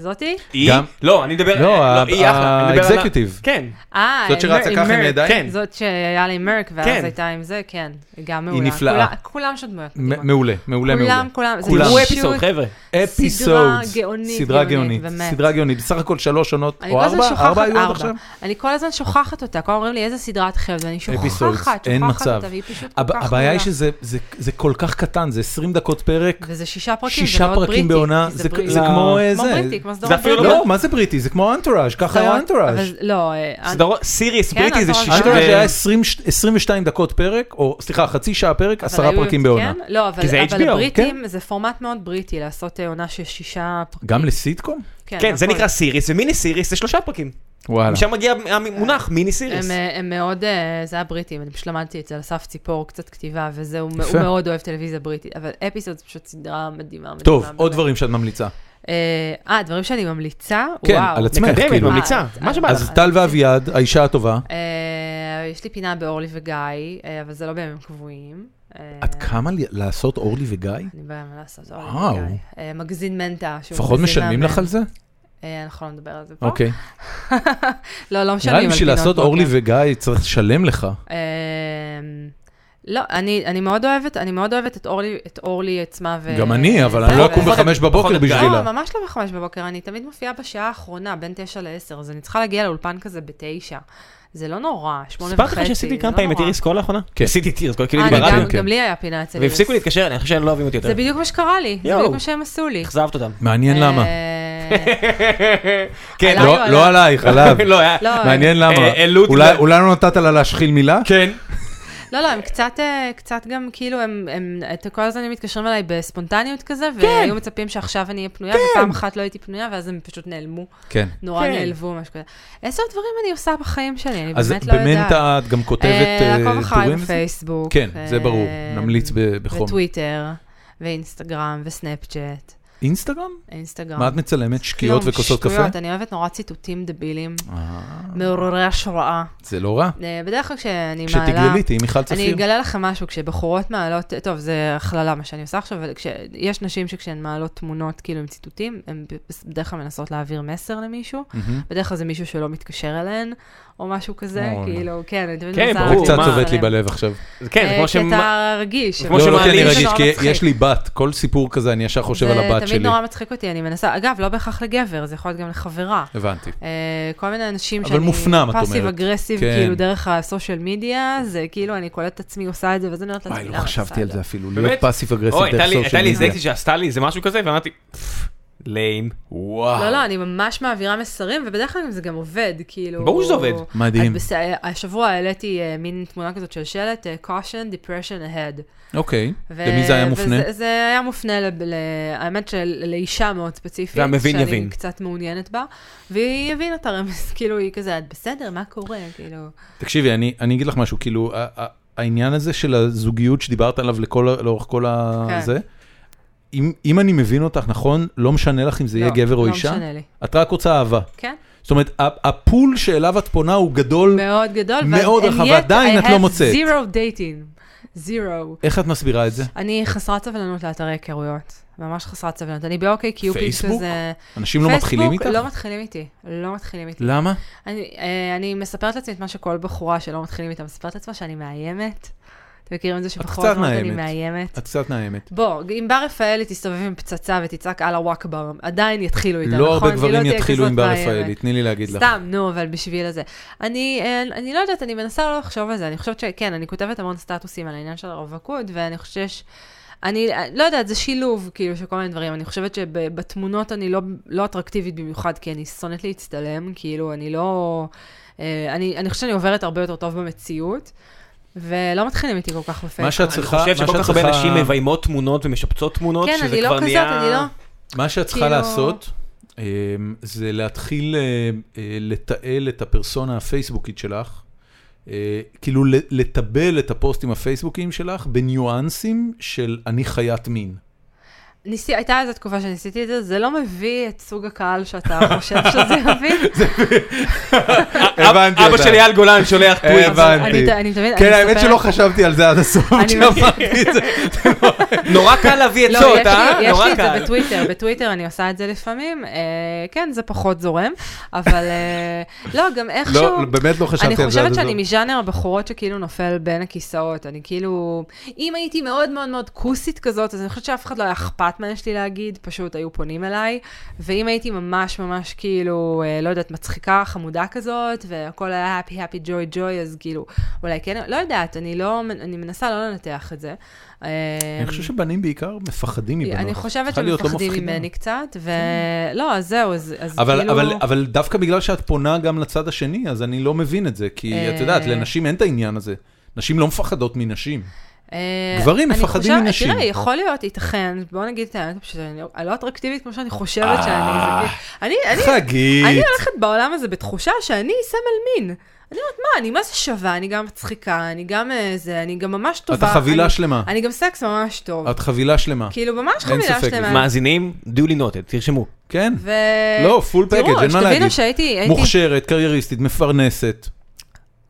C: זאתי?
B: היא?
A: גם-
B: לא, אני מדבר...
A: לא, ה-
B: היא אחלה, אני מדבר על ה-
A: האקזקיוטיב.
B: כן.
C: אה,
A: זאת שרצה
C: מר-
A: ככה עם
C: מרק.
A: הידיים?
B: כן.
C: זאת שהיה לה עם מרק, ואז
B: כן.
C: הייתה עם זה, כן. היא גם מעולה.
A: נפלאה.
C: כולה- כולם שם דמויות מדהימות.
A: מ- מעולה, מעולה, מעולה.
C: כולם, כולם. זה
A: כולם.
B: תראו
C: פשוט- אה,
B: אפיסוד, חבר'ה.
C: סדרה
A: Episodes.
C: גאונית,
A: סדרה
C: גאונית,
A: גאונית,
C: באמת.
A: סדרה גאונית. בסך הכל שלוש עונות,
C: אני
A: או
C: כל הזמן
A: ארבע?
C: שוכחת-
A: ארבע היו עד עכשיו?
C: אני כל הזמן שוכחת אותה, כל הזמן אומרים לי איזה סדרה את חייבת, ואני שוכחת,
A: Episodes,
C: שוכחת
A: אין מצב.
C: אותה, והיא פשוט כל
A: הב-
C: כך
A: הבעיה היא
C: גדולה.
A: שזה זה- זה כל כך קטן, זה 20 דקות פרק,
C: וזה שישה פרקים, זה
A: שישה
C: מאוד בריטי.
A: פרקים בעונה,
C: כי
A: זה
C: בריטי. לא.
A: זה כמו אה,
C: כמו בריטי,
A: זה.
C: כמו
B: זה
C: סדרות
B: אפילו
C: בריטיות.
A: לא, מה זה בריטי? זה כמו אנטוראז', ככה היה
C: סדרות-
A: אנטוראז'.
C: אבל לא, אה,
B: סדרות, סיריס
C: כן,
B: בריטי זה
C: הסדרות
B: שישה...
A: אנטוראז'
C: ו-
A: היה 20 22 דקות פרק, או סליחה, חצי שעה פרק,
C: אבל
A: עשרה
C: היו-
A: פרקים בעונה. כן.
C: כן, לא, אבל
B: כי זה
C: אבל
B: HBO,
C: הבריטים, זה פורמט מאוד בריטי, לעשות אה, עונה של שישה פרקים.
A: גם לסיטקום?
B: כן, זה
C: נכון.
B: נקרא סיריס, ומיני סיריס זה שלושה פרקים.
A: וואלה.
B: משם מגיע המונח מיני סיריס.
C: הם, אה, הם מאוד, אה, זה הבריטים, אני פשוט למדתי אצל אסף ציפור קצת כתיבה, וזה, הוא מ-
A: יפה.
C: הוא מאוד אוהב טלוויזיה בריטית, אבל אפיסוד זה פשוט סדרה מדהימה. מדהימה,
A: טוב, עוד
C: באמת.
A: דברים שאת ממליצה.
C: אה, אה, דברים שאני ממליצה?
A: כן,
C: וואו.
A: על עצמך.
B: מקדמת,
A: כאילו.
B: ממליצה,
C: אה,
B: מה שבא
C: אה,
A: אז
B: לך.
A: טל ואביעד, האישה הטובה,
C: אה, יש לי פינה באורלי וגיא, אה, אבל זה לא בימים קבועים. אה,
A: את קמה לי- לעשות אורלי וגיא?
C: אני בעיה מה לעשות,
A: וואו.
C: אורלי וגיא. אה, מגזין מנטה. שהוא
A: לפחות
C: מגזין
A: משלמים
C: מאמן.
A: לך על זה?
C: אה, אנחנו לא נדבר על זה פה.
A: אוקיי.
C: לא, לא משלמים על
A: נראה לי
C: פינות.
A: בשביל לעשות
C: בוקר.
A: אורלי וגיא צריך לשלם לך.
C: אמ, לא, אני, אני מאוד אוהבת, אני מאוד אוהבת את אורלי, את אורלי עצמה. ו...
A: גם אני, אבל
C: זה-
A: אני לא
B: פחות-
A: אקום בחמש
B: פחות
A: בבוקר
B: את גיא.
A: בשבילה.
C: לא, ממש לא בחמש בבוקר, אני תמיד מופיעה בשעה האחרונה, בין תשע לעשר, אז אני צריכה להגיע לאולפן כזה בתשע. זה לא נורא, שמונה
B: סיפרתי
C: וחצי,
B: לך שעשיתי
C: זה
B: כמה
C: לא
B: פעמים את
C: נורא.
B: איריס נכון? קול לאחרונה?
A: כן.
B: עשיתי את איריס קול, כאילו
C: אה,
B: הייתי
C: אני
B: ברדיו.
C: גם,
A: כן.
C: גם לי היה פינה אצל איריס.
B: והפסיקו להתקשר, אני חושב שהם לא אוהבים אותי יותר.
C: זה בדיוק מה שקרה לי, זה
B: יואו.
C: בדיוק מה שהם עשו לי.
B: אכזבת אותם.
A: מעניין
C: אה,
A: למה.
B: כן,
C: עליי
A: לא-
C: או עליו?
A: לא עלייך, עליו.
B: לא, היה...
C: לא, הם-
A: מעניין למה.
B: אה, העלו את
A: אולי-
B: זה.
A: אולי לא נתת לה להשחיל מילה?
B: כן.
C: לא, לא, הם קצת, אה, קצת גם כאילו, הם, הם את- כל הזמן הם מתקשרים אליי בספונטניות כזה, והיו מצפים שעכשיו אני אהיה פנויה, ופעם אחת לא הייתי פנויה, ואז הם פשוט נעלמו.
A: כן.
C: נורא
B: כן.
C: נעלבו, משהו כזה. איזה עוד דברים אני עושה בחיים שלי? אני
A: אז
C: באמת לא יודעת.
A: במנטה את גם כותבת אה,
C: לעקוב אחריי
A: טורים?
C: בפייסבוק.
A: כן, זה ברור,
C: אה,
A: נמליץ ב- בחום.
C: וטוויטר, ואינסטגרם, וסנאפצ'אט,
A: אינסטגרם?
C: אינסטגרם.
A: מה את מצלמת? שקיעות
C: כלום,
A: וכוסות קפה?
C: לא. שטויות, אני אוהבת נורא ציטוטים דבילים,
A: אה,
C: מעוררי השראה.
A: זה לא רע.
C: אה, בדרך כלל כשאני מעלה...
A: כשתגללי תהיי מיכל
C: אני
A: צפיר.
C: אגלה לכם משהו, כשבחורות מעלות, טוב, זה הכללה מה שאני עושה עכשיו, אבל כש- יש נשים שכשהן מעלות תמונות כאילו עם ציטוטים, הן בדרך כלל מנסות להעביר מסר למישהו,
A: מהמם.
C: בדרך כלל זה מישהו שלא מתקשר אליהן, או משהו כזה,
A: אוי.
C: כאילו, כן, אני תמיד
B: כן,
C: מנסה...
A: זה
B: ברור,
A: קצת
B: מה?
A: צובט לי בלב עכשיו.
B: זה כן, זה כמו
C: כי
B: שהם...
C: אתה אה, רגיש.
A: לא,
B: זה כמו
A: לא כי אני
B: שמעלים-
A: רגיש,
C: זה נורא
A: כי
C: מצחיק.
A: יש לי בת, כל סיפור כזה אני ישר חושב על הבת
C: זה תמיד
A: שלי.
C: נורא מצחיק אותי, אני מנסה, אגב, לא בהכרח לגבר, זה יכול להיות גם לחברה.
A: הבנתי.
C: אה, כל מיני אנשים
A: אבל
C: שאני
A: מופנם, את
C: פאסיב
A: אומרת.
C: אגרסיב,
A: כן.
C: כאילו דרך הסושיאל מדיה, זה כאילו אני קולטת את עצמי עושה את זה, ואז אני אומרת לעצמי, "אה,
A: וואי, לא
C: למה אני עושה
A: חשבתי על
C: את
A: זה אפילו,
B: באמת?
A: להיות פאסיב אגרסיב
B: אוי, הייתה
A: דרך
B: לי- הייתה
A: סושיאל
B: לי
A: מדיה.
B: זקטית שעשתה לי איזה משהו כזה, ואמרתי, "פפ, ליים.
A: וואו.
C: לא, לא, אני ממש מעבירה מסרים, ובדרך כלל זה גם עובד, כאילו...
B: ברור שזה עובד.
A: מדהים.
C: אז בס- השבוע העליתי אה, מין תמונה כזאת של שלט, אה, caution, depression ahead.
A: אוקיי,
C: ו-
A: למי זה היה מופנה?
C: וזה זה היה מופנה, לב- ל... האמת שלאישה מאוד ספציפית.
B: והמבין
C: שאני
B: יבין.
C: קצת מעוניינת בה, והיא הבינה את הרמז, כאילו, היא כזה, את בסדר, מה קורה? כאילו...
A: תקשיבי, אני אני אגיד לך משהו, כאילו, ה- ה- העניין הזה של הזוגיות שדיברת עליו לכל ה- לאורך כל
C: כן.
A: הזה, אם- אם אני מבין אותך נכון, לא משנה לך אם זה יהיה
C: לא,
A: גבר או
C: לא
A: אישה?
C: משנה לי.
A: את רק רוצה אהבה.
C: כן,
A: זאת אומרת, ה- הפול שאליו את פונה הוא גדול.
C: מאוד גדול. ואז-
A: מאוד
C: and
A: רחב,
C: yet
A: ועדיין
C: I
A: את לא
C: have
A: מוצאת.
C: zero dating. zero.
A: איך את מסבירה את זה?
C: אני חסרת סבלנות לאתרי היכרויות. ממש חסרת סבלנות. אני באוקיי קיופיד
A: פייסבוק?
C: כזה...
A: אנשים לא מתחילים איתך?
C: לא מתחילים איתי. לא מתחילים איתי.
A: למה?
C: אני, אה, אני מספרת לעצמי את מה שכל בחורה שלא מתחילים איתה מספרת לעצמה, שאני מאיימת. אתם מכירים את זה שבחורות
A: קצת
C: אומרות אני
A: מאיימת."
C: מאיימת?
A: את קצת נאמת.
C: בוא, אם בר רפאלי תסתובב עם פצצה ותצעק על הוואקבר, עדיין יתחילו איתה, נכון?
A: לא הרבה
C: היא לא
A: גברים
C: תהיה
A: יתחילו עם
C: כזאת
A: בר
C: מאיימת.
A: רפאלי, תני לי להגיד לך.
C: סתם, נו, אבל בשביל הזה. אני, אה, אני לא יודעת, אני מנסה לא לחשוב על זה. אני חושבת שכן, אני כותבת המון סטטוסים על העניין של הרווקות, ואני חושבת שיש... אני אה, לא יודעת, זה שילוב, כאילו, של כל מיני דברים. אני חושבת שבתמונות אני לא, לא אטרקטיבית במיוחד, כי אני שונאת להצטלם, כאילו, אני לא... אה, אני, אני חושבת שאני עוברת הרבה יותר טוב במציאות, ולא מתחילים איתי כל כך בפייסבוק.
A: מה שאת
B: אני
A: צריכה,
B: חושב
A: מה
B: שכל
A: שאת
B: כך הרבה
A: צריכה-
B: אנשים מביימות תמונות ומשפצות תמונות,
C: כן,
B: שזה
C: אני לא
B: כבר
C: כזאת,
B: נהיה...
C: אני לא...
A: מה שאת צריכה
C: כאילו-
A: לעשות, אמ, זה להתחיל אה, אה, לתעל את הפרסונה הפייסבוקית שלך, אה, כאילו ל- לטבל את הפוסטים הפייסבוקיים שלך בניואנסים של אני חיית מין.
C: ניסי, הייתה איזו תקופה שניסיתי
B: אה,
C: את זה, זה לא מביא את סוג הקהל שאתה חושב שזה יביא.
A: הבנתי
B: אבא
A: אותה.
B: של אייל גולן שולח טוויט.
A: הבנתי.
C: אני- אני תמיד-
A: כן,
C: אני
A: האמת
C: מספרת-
A: שלא חשבתי על זה עד הסוף
C: אני
A: כשאמרתי את זה.
B: נורא קל להביא
C: לא,
B: עצות,
C: יש לי-
B: אה?
C: יש
B: נורא
C: לי את זה
B: קל.
C: בטוויטר, בטוויטר אני עושה את זה לפעמים, אה, כן, זה פחות זורם, אבל אה, לא, גם איכשהו...
A: לא, באמת לא חשבתי על
C: אני
A: זה. עד
C: חושבת
A: הסוף.
C: שאני מז'אנר הבחורות שכאילו נופל בין הכיסאות. אני כאילו... אם הייתי מאוד מאוד מאוד כוסית כזאת, אז אני חושבת שאף אחד לא היה אכפת מה יש לי להגיד, פשוט היו פונים אליי. ואם הייתי ממש ממש כאילו, אה, לא יודעת, מצחיקה, חמודה כזאת, והכל היה happy happy joy joy, אז כאילו, אולי כן, לא יודעת, אני לא... אני מנסה לא לנתח את זה. אה,
A: אני חושב שבנים בעיקר מפחדים מבנות.
C: אני חושבת
A: צריכה להיות לא
C: שמפחדים
A: מפחידה.
C: ממני קצת, ולא, אז זהו, אז אז
A: אבל,
C: כאילו...
A: אבל, אבל דווקא בגלל שאת פונה גם לצד השני, אז אני לא מבין את זה, כי את
C: אה.
A: יודעת, לנשים אין את העניין הזה. נשים לא מפחדות מנשים.
C: אה,
A: גברים
C: אני
A: מפחדים
C: חושבת-
A: מנשים.
C: תראה, יכול להיות, ייתכן, בוא נגיד את האמת פשוט, אני לא- אני לא אטרקטיבית כמו שאני חושבת
A: אה.
C: שאני. זה כאילו- אני, אני, אני לא
A: חגית.
C: הולכת בעולם הזה בתחושה שאני סמל מין. אני אומרת, מה, אני מה זה שווה, אני גם מצחיקה, אני גם אה, זה, אני גם ממש טובה.
A: את חבילה
C: אני-
A: שלמה.
C: אני גם סקס ממש טוב.
A: את חבילה שלמה.
C: כאילו, ממש
A: אין
C: חבילה
A: ספק.
C: שלמה.
B: מאזינים, duly noted, תרשמו.
A: כן.
C: ו...
A: לא, full package, אין מה
C: תראו,
A: להגיד.
C: שתבינו שהייתי, הייתי...
A: מוכשרת, קרייריסטית, מפרנסת,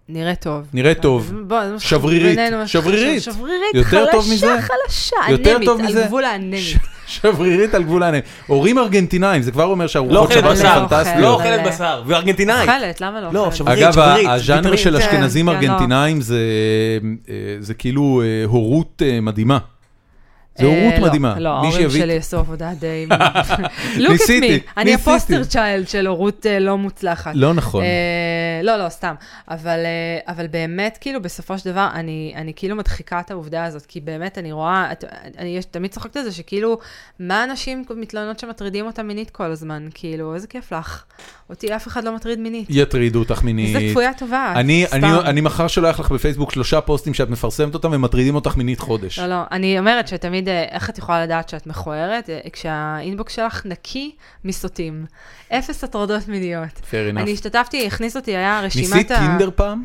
C: נראה טוב.
A: נראית טוב.
C: בוא, זה מה שחשוב
A: שברירית,
C: בינינו, מה שחשוב.
A: שברירית.
C: שברירית,
A: יותר טוב מזה?
C: חלשה, חלשה,
A: יותר
C: אנמית,
A: טוב מזה?
C: על גבול האנמית.
A: שברירית על גבול העיניים. הורים ארגנטינאים, זה כבר אומר
B: לא
A: שהרוחות שבת
B: אוכלת בשר,
A: הן
C: לא
B: לא
A: פנטסטיות.
C: אוכל.
B: אוכלת
C: אבל-
B: בשר, וארגנטינאי.
C: אוכלת, למה לא
B: לא,
C: אוכלת?
B: עכשיו-
A: אגב,
B: שברית,
A: הז'אנר
B: ביטרית,
A: של
C: כן,
A: אשכנזים
C: כן, לא.
A: ארגנטינאים זה אה, זה כאילו אה, הורות אה, מדהימה. זה
C: אה,
A: הורות
C: לא,
A: מדהימה.
C: לא,
A: מי
C: ההורים
A: שיביא-
C: שלי עשו עבודה די... לוק את
A: ניסיתי,
C: מי, אני
A: ניסיתי.
C: הפוסטר צ'יילד של הורות אה, לא מוצלחת.
A: לא נכון.
C: אה, לא, לא, סתם. אבל, אה, אבל באמת, כאילו, בסופו של דבר, אני, אני כאילו מדחיקה את העובדה הזאת, כי באמת, אני רואה, את, אני יש, תמיד צוחקת על זה, שכאילו, מה הנשים מתלוננות שמטרידים אותה מינית כל הזמן? כאילו, איזה כיף לך. אותי אף אחד לא מטריד מינית.
A: יטרידו אותך מינית.
C: איזה צפויה טובה. את,
A: אני,
C: סתם.
A: אני, אני מחר שולח לך בפייסבוק שלושה פוסטים שאת מפרסמת אותם ומטרידים אותך מינית חודש.
C: לא, לא, אני אומרת שתמיד, אה, איך את יכולה לדעת שאת מכוערת? אה, כשהאינבוקס שלך נקי מסוטים. אפס הטרדות מיניות.
A: Fair
C: אני
A: enough.
C: השתתפתי, הכניס אותי, היה רשימת ה...
A: ניסית טינדר פעם?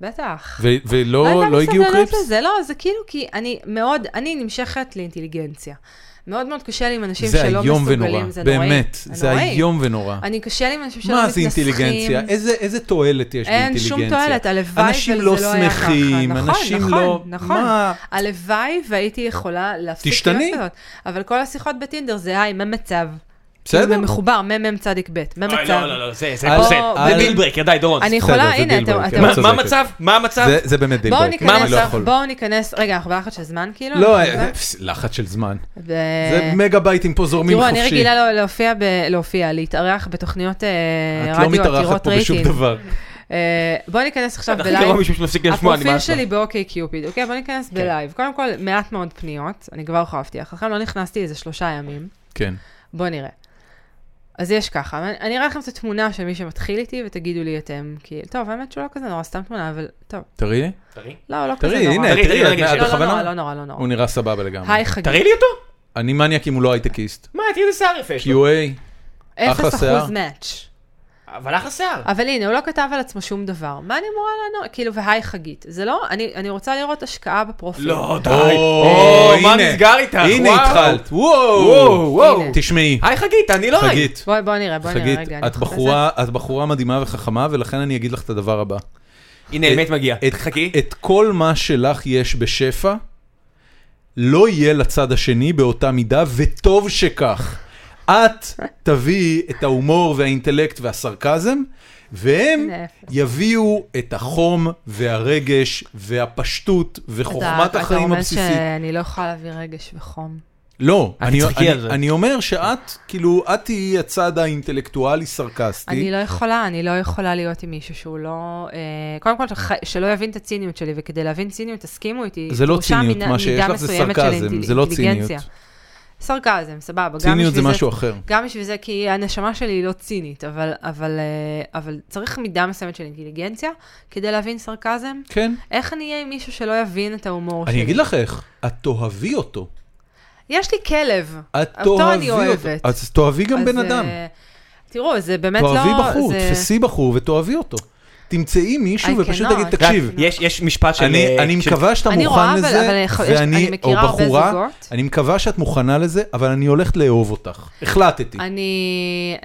C: בטח.
A: ו- ולא לא
C: הייתה
A: הגיעו
C: מסתדרת
A: קריפס?
C: לזה, לא, זה כאילו, כי אני מאוד, אני נמשכת לאינטליגנציה. מאוד מאוד קשה לי עם אנשים
A: זה
C: שלא
A: איום ונורא,
C: מסוגלים, זה נוראי.
A: באמת, זה
C: נוראי.
A: איום ונורא.
C: אני קשה לי עם אנשים שלא
A: מה זה
C: מתנסחים.
A: אינטליגנציה? איזה איזה תועלת יש
C: אין
A: באינטליגנציה?
C: שום תועלת, הלוואי
A: אנשים
C: וזה
A: לא
C: לא היה
A: שמחים,
C: ככה. נכון,
A: אנשים
C: נכון,
A: לא...
C: נכון.
A: מה?
C: הלוואי והייתי יכולה להפסיק
A: תשתני.
C: להיות כזאת. אבל כל השיחות בטינדר זה היי, מה מצב?
A: בסדר.
C: כאילו, מחובר, מ"מ צדיק ב', מה
B: אוי,
C: מצב?
B: לא, לא, לא, זה זה
A: על-
B: פוסט.
A: על-
B: זה ביל ברקר, די, דורון.
C: אני
A: בסדר,
C: יכולה,
A: זה
C: הנה,
A: deal
C: אתם...
A: breaker,
C: אתם-
A: לא
B: מה-
A: צודקת.
B: מה המצב? מה המצב?
A: זה- זה באמת דילבר.
C: בואו
B: מה
C: ניכנס,
B: המצב?
C: עכשיו- בואו ניכנס, רגע, אנחנו בלחץ של זמן כאילו?
A: לא,
C: אני
A: אה,
C: חושבת.
A: פס, לחץ של זמן.
C: ו-
A: זה מגה בייטים פה זורמים
C: אה, תראו,
A: חופשי.
C: אני רגילה לא- להופיע, ב- להופיע, להתארח בתוכניות אה,
A: את לא
C: רדיו
A: מתארחת
C: עתירות
A: פה בשום
C: רייטינג.
A: דבר.
C: אה, בואו ניכנס עכשיו
B: הכי גרוע
C: בלייב.
B: מישהו שמפסיק לשמוע,
C: הפרופיל
B: נמאס לו.
C: שלי באוקיי קיופיד, אוקיי? בואו ניכנס
A: כן.
C: בלייב. קודם כל, מעט מאוד פניות, אני כבר יכולה להבטיח לכם, לא נכנסתי איזה שלושה ימים.
A: כן.
C: בואו נראה. אז יש ככה, אני- אני אראה לכם את התמונה של מי שמתחיל איתי ותגידו לי אתם, כי, טוב, האמת שהוא לא כזה נורא, סתם תמונה, אבל טוב,
A: תראי לי.
C: לא, לא כזה
A: תראי,
C: נורא.
A: הנה,
B: תראי, תראי,
A: תראי,
B: רגע,
A: את-
C: לא,
A: את
B: שנייה.
C: לא נורא,
A: בכוונה...
C: לא נורא, לא נורא.
A: הוא נראה סבבה לגמרי.
C: היי חגית.
B: תראי לי אותו.
A: אני מניאק אם הוא לא הייטקיסט.
B: מה, תראי איזה שיער יפה יש לו.
A: QA, אחלה
C: 0%
A: שיער.
C: מאץ'.
B: אבל אחלה שיער.
C: אבל הנה, הוא לא כתב על עצמו שום דבר. מה אני אמורה לענות? כאילו, והי חגית. זה לא, אני, אני רוצה לראות השקעה בפרופיל.
B: לא, די.
A: אוי,
B: אוי, מה
A: הנה.
B: נסגר איתך?
A: הנה
B: וואו.
A: התחלת.
B: וואו,
A: וואו,
B: וואו.
C: הנה.
A: תשמעי,
B: היי חגית, אני לא היי.
A: חגית,
C: בואי, בואי נראה, בואי נראה
A: חגית,
C: רגע. אני
A: את
C: מחפשת.
A: בחורה, את בחורה מדהימה וחכמה, ולכן אני אגיד לך את הדבר הבא.
B: הנה,
A: את-
B: אמת מגיע.
A: את-
B: חכי.
A: את כל מה שלך יש בשפע, לא יהיה לצד השני באותה מידה, וטוב שכך. את תביאי את ההומור והאינטלקט והסרקזם, והם
C: הנה, אפס.
A: יביאו את החום והרגש והפשטות וחוכמת
C: אתה-
A: החיים
C: אתה
A: הבסיסית.
C: אומר שאני לא יכולה להביא רגש וחום.
A: לא,
B: אל
A: אני-
B: תצחקי
A: אני-
B: על זה.
A: אני אומר שאת, כאילו, את תהיי הצד האינטלקטואלי
C: אני
A: סרקסטי.
C: לא יכולה, אני לא יכולה להיות עם מישהו שהוא לא... אה, קודם כל, שח- שלא יבין את הציניות שלי, וכדי להבין ציניות, תסכימו איתי.
A: זה לא
C: דרושה
A: ציניות,
C: מינה-
A: מה שיש
C: מידה
A: לך זה
C: מסוימת של
A: סרקזם, זה לא
C: אינטליגנציה.
A: ציניות.
C: סרקזם, סבבה. גם
A: ציניות זה
C: בשביל
A: משהו אחר.
C: גם בשביל זה, כי הנשמה שלי היא לא צינית, אבל, אבל, אה, אבל צריך מידה מסוימת של אינטליגנציה כדי להבין סרקזם.
A: כן.
C: איך אני אהיה עם מישהו שלא יבין את ההומור שלי?
A: אני אגיד לך איך, את תאהבי אותו.
C: יש לי כלב.
A: את
C: אותו
A: תאהבי
C: אני
A: אותו.
C: אוהבת.
A: אז תאהבי גם
C: אז,
A: בן אדם.
C: אה, תראו, זה באמת לא...
A: תאהבי בחור,
C: זה-
A: תפסי בחור ותאהבי אותו. תמצאי מישהו
C: I
A: ופשוט
C: cannot.
A: תגיד, תקשיב,
B: יש יש משפט של...
A: אני,
B: אה,
A: אני
B: של-
A: מקווה שאתה
C: אני
A: מוכן
C: רואה, אבל- אבל
A: לזה,
C: אני יכול- יש-
A: ואני,
C: אני
A: או
C: מכירה הרבה
A: בחורה,
C: זוגות.
A: אני מקווה שאת מוכנה לזה, אבל אני הולכת לאהוב אותך. החלטתי.
C: אני,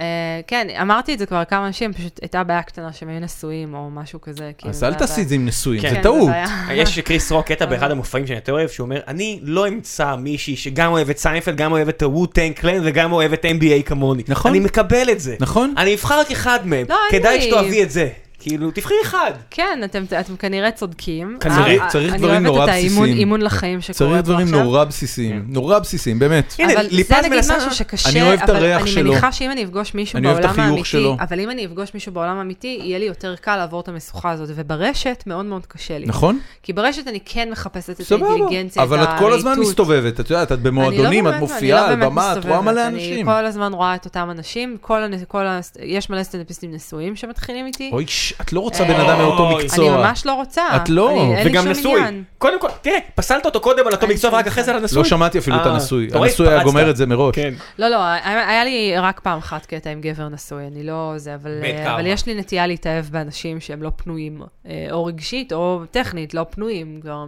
C: אה, כן, אמרתי את זה כבר לכמה אנשים, פשוט הייתה בעיה קטנה שהם היו נשואים או משהו כזה. כאילו,
A: אז
C: זה
A: אל
C: הבעיה.
A: תעשי את זה עם נשואים,
B: כן,
A: זה
B: זה
A: טעות.
C: בעיה.
B: יש קריס רוק
C: אה.
B: קטע באחד המופעים שאני יותר אוהב, שהוא אומר, אני לא אמצא מישהי שגם אוהבת סיינפלד, גם אוהבת את ה-Wu-Tang Clan וגם אוהבת NBA כמוני.
A: נכון.
B: אני מקבל את זה.
A: נכון.
B: אני אבחר רק אחד מהם.
C: לא, אין
B: כדאי
C: לי-
B: שתאהבי את זה. כאילו, תבחרי אחד.
C: כן, אתם, אתם כנראה צודקים.
B: כנראה.
C: אה,
A: צריך דברים נורא
C: אני אוהבת את
A: בסיסיים.
C: האימון אימון לחיים שקורה פה עכשיו. כן.
A: צריך דברים נורא בסיסיים, נורא בסיסיים, באמת.
B: הנה,
C: אבל
B: ליפז
C: זה נגיד
B: מנסה-
C: משהו שקשה,
A: אני אוהב את
C: אבל
A: הריח
C: אני
A: שלו.
C: מניחה שאם אני אפגוש מישהו
A: אני אוהב את
C: בעולם
A: החיוך
C: האמיתי,
A: שלו.
C: אבל אם אני אפגוש מישהו בעולם האמיתי, יהיה לי יותר קל לעבור את המשוכה הזאת, וברשת מאוד מאוד קשה לי.
A: נכון?
C: כי ברשת אני כן מחפשת את
A: סבבה.
C: האינטליגנציה, את
A: אבל את כל הזמן
C: הרהיטות.
A: מסתובבת, את יודעת, את
C: אני לא
A: במועדונים, את
C: באמת-
A: מופיעה
C: אני
A: על
C: לא באמת
A: במה, את רואה
C: מסתובבת.
A: מלא אנשים.
C: אני כל הזמן רואה את אותם אנשים, כל הנ- כל ה- יש מלא סטנדאפיסטים נשואים שמתחילים איתי.
A: אוי, ש- את לא רוצה
C: אה,
A: בן אדם מאותו
B: אוי.
C: אני
A: מקצוע.
C: ממש לא רוצה.
A: את לא,
C: אני- אין לי
B: וגם
C: שום
B: נשוי.
C: עניין.
B: קודם כל, תראה, פסלת אותו קודם על אותו
C: אין
B: מקצוע
C: שום
B: ורק אחרי זה על הנשוי.
A: לא שמעתי אפילו את
B: אה,
A: הנשוי.
B: אתה רואה,
A: הנשוי היה
B: התפרצת.
A: גומר את זה מראש.
B: כן.
C: לא, לא, היה היה לי רק פעם אחת קטע עם גבר נשוי, אני לא זה, אבל,
B: בית
C: אה,
B: קרמה.
C: אבל יש לי נטייה להתאהב באנשים שהם לא פנויים, אה, או רגשית או טכנית, לא פנויים. כבר...
B: לא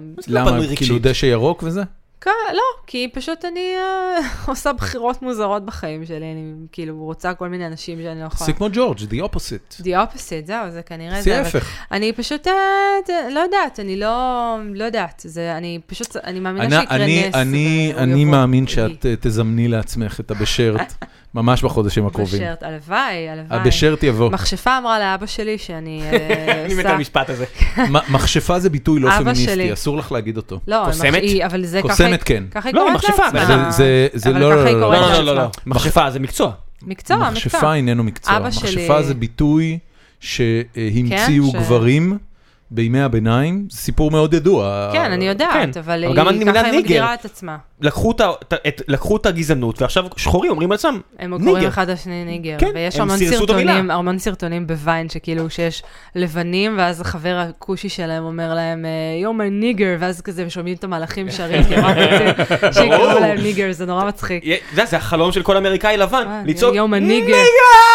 A: למה,
B: פנוי רגשית.
A: כאילו דשא ירוק וזה?
C: כן, לא, כי פשוט אני אה, עושה בחירות מוזרות בחיים שלי, אני כאילו רוצה כל מיני אנשים שאני לא יכולה.
A: זה כמו ג'ורג', the opposite.
C: The opposite, זהו, זה כנראה
A: זה
C: זה. אבל-
A: ההפך.
C: אני פשוט, אה, זה- לא יודעת, אני לא, לא יודעת, זה, אני פשוט, אני מאמינה
A: אני-
C: שיקרה
A: אני-
C: נס.
A: אני
C: והוא
A: אני
C: יבוא.
A: מאמין
C: לי.
A: שאת אה, תזמני לעצמך את הבשרט ממש בחודשים הקרובים.
C: בשרט, הלוואי, הלוואי.
A: הבשרט יבוא.
C: מכשפה אמרה לאבא שלי שאני אה,
B: אני מת על
C: עושה...
B: המשפט הזה.
A: מ- מכשפה זה ביטוי לא
C: אבא
A: פמיניסטי,
C: שלי.
A: אסור לך להגיד אותו.
C: לא,
B: קוסמת?
C: היא- היא- אבל זה ככה...
A: קוסמת כן.
C: ככה היא
B: לא,
C: קוראת
B: מכשפה,
C: לעצמה.
A: זה- זה- זה
C: אבל
A: לא,
C: ככה היא
A: לא, לא,
B: לא,
C: קוראת
B: לא, לא, לא.
C: לעצמה.
B: מכשפה זה מקצוע.
C: מקצוע,
A: מכשפה
C: מקצוע.
A: איננו מקצוע.
C: אבא שלי-
A: מכשפה זה ביטוי שהמציאו
C: כן, ש-
A: גברים בימי הביניים, זה סיפור מאוד ידוע.
C: כן, אני יודעת,
B: כן.
C: אבל
B: אבל גם
C: היא-
B: אני
C: ככה
B: מילה
C: היא
B: ניגר.
C: מגדירה את עצמה.
B: לקחו את ה- את- לקחו את הגזענות, ועכשיו שחורים אומרים לעצמם,
C: הם
B: ניגר.
C: קוראים אחד לשני ניגר,
B: כן,
C: ויש
B: הם
C: המון
B: סירסו את המילה.
C: סרטונים, המון סרטונים בוויין שכאילו שיש לבנים, ואז החבר הכושי שלהם אומר להם, "אה, you're my nigger, ואז כזה הם שומעים את המלאכים שרים, כי הם רק רוצים שיקראו להם ניגר, זה נורא מצחיק. אה,
B: יה- אתה יודע, זה החלום של כל אמריקאי לבן, לצעוק,
C: יום הניגר.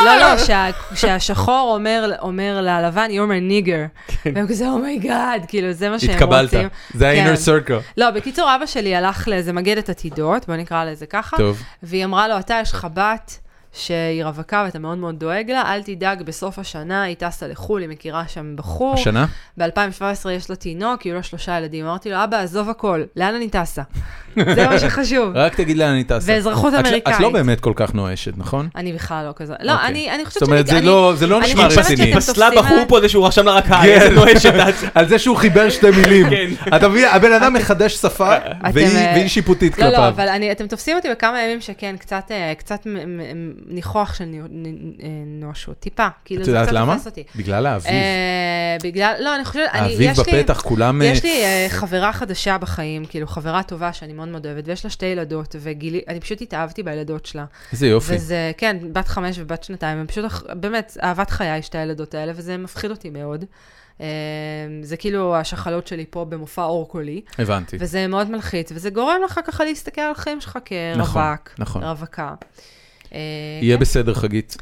C: לא, לא, שה- שהשחור אומר- אומר ללבן, יום הניגר.
B: כן.
C: והם כזה, אומייגאד, כאילו, זה מה שהם רוצים.
A: התקבלת, זה ה-inner
C: כן.
A: circle.
C: לא, בקיצור, אבא שלי הלך לאיזה מגדת עתידות, בוא נקרא לזה ככה,
A: טוב.
C: והיא אמרה לו, אתה, יש לך בת שהיא רווקה ואתה מאוד מאוד דואג לה, אל תדאג, בסוף השנה היא טסה לחו"ל, היא מכירה שם בחור.
A: השנה?
C: ב-2017 יש לה תינוק, יהיו לה שלושה ילדים. אמרתי לו, אבא, עזוב הכל, לאן אני טסה? זה מה שחשוב.
A: רק תגיד לאן אני טסה. את
C: ואזרחות
A: לא- את
C: אמריקאית.
A: לא באמת כל כך נואשת, נכון?
C: אני בכלל לא כזה. לא,
A: אוקיי.
C: אני אני חושבת
A: זאת אומרת,
C: שאני-
A: זה
C: אני-
A: לא- זה לא
C: אני
A: נשמע
C: חושבת
A: רציני.
C: שאתם
B: פסלה
C: תופסים
B: בחור
C: על-
B: פה זה שהוא רשם לה רק היי,
A: כן.
B: איזה נואשת את.
A: על זה שהוא חיבר שתי מילים.
B: כן.
A: אתה מבין, הבן אדם מחדש שפה, והיא-
C: אה,
A: והיא שיפוטית
C: לא, לא,
A: כלפיו.
C: אבל אני, אתם תופסים אותי בכמה ימים שכן, קצת, אה, קצת מ- מ- מ- ניחוח של נו- נ- אה, נואשות, טיפה. כאילו,
A: את
C: זה
A: יודעת
C: קצת
A: למה?
C: תופס אותי.
A: בגלל האביב.
C: אה, בגלל, לא, אני חושבת, אני,
A: האביב
C: יש לי...
A: בפתח, כולם... אה,
C: יש לי אה, חברה חדשה בחיים, כאילו חברה טובה שאני מאוד מאוד אוהבת, ויש לה שתי ילדות, ואני פשוט התאהבתי בילדות שלה.
A: איזה יופי.
C: וזה, כן, בת חמש ובת שנתיים, הם פשוט, אח- באמת, אהבת חיי, שתי הילדות האלה, וזה מפחיד אותי מאוד. אה, זה כאילו השחלות שלי פה במופע אור קולי.
A: הבנתי.
C: וזה מאוד מלחיץ, וזה גורם לך ככה להסתכל על החיים שלך כרווק,
A: נכון,
C: נכון,
A: נכון.
C: נכון. רווקה. אה,
A: יהיה
C: כן,
A: בסדר, חגית.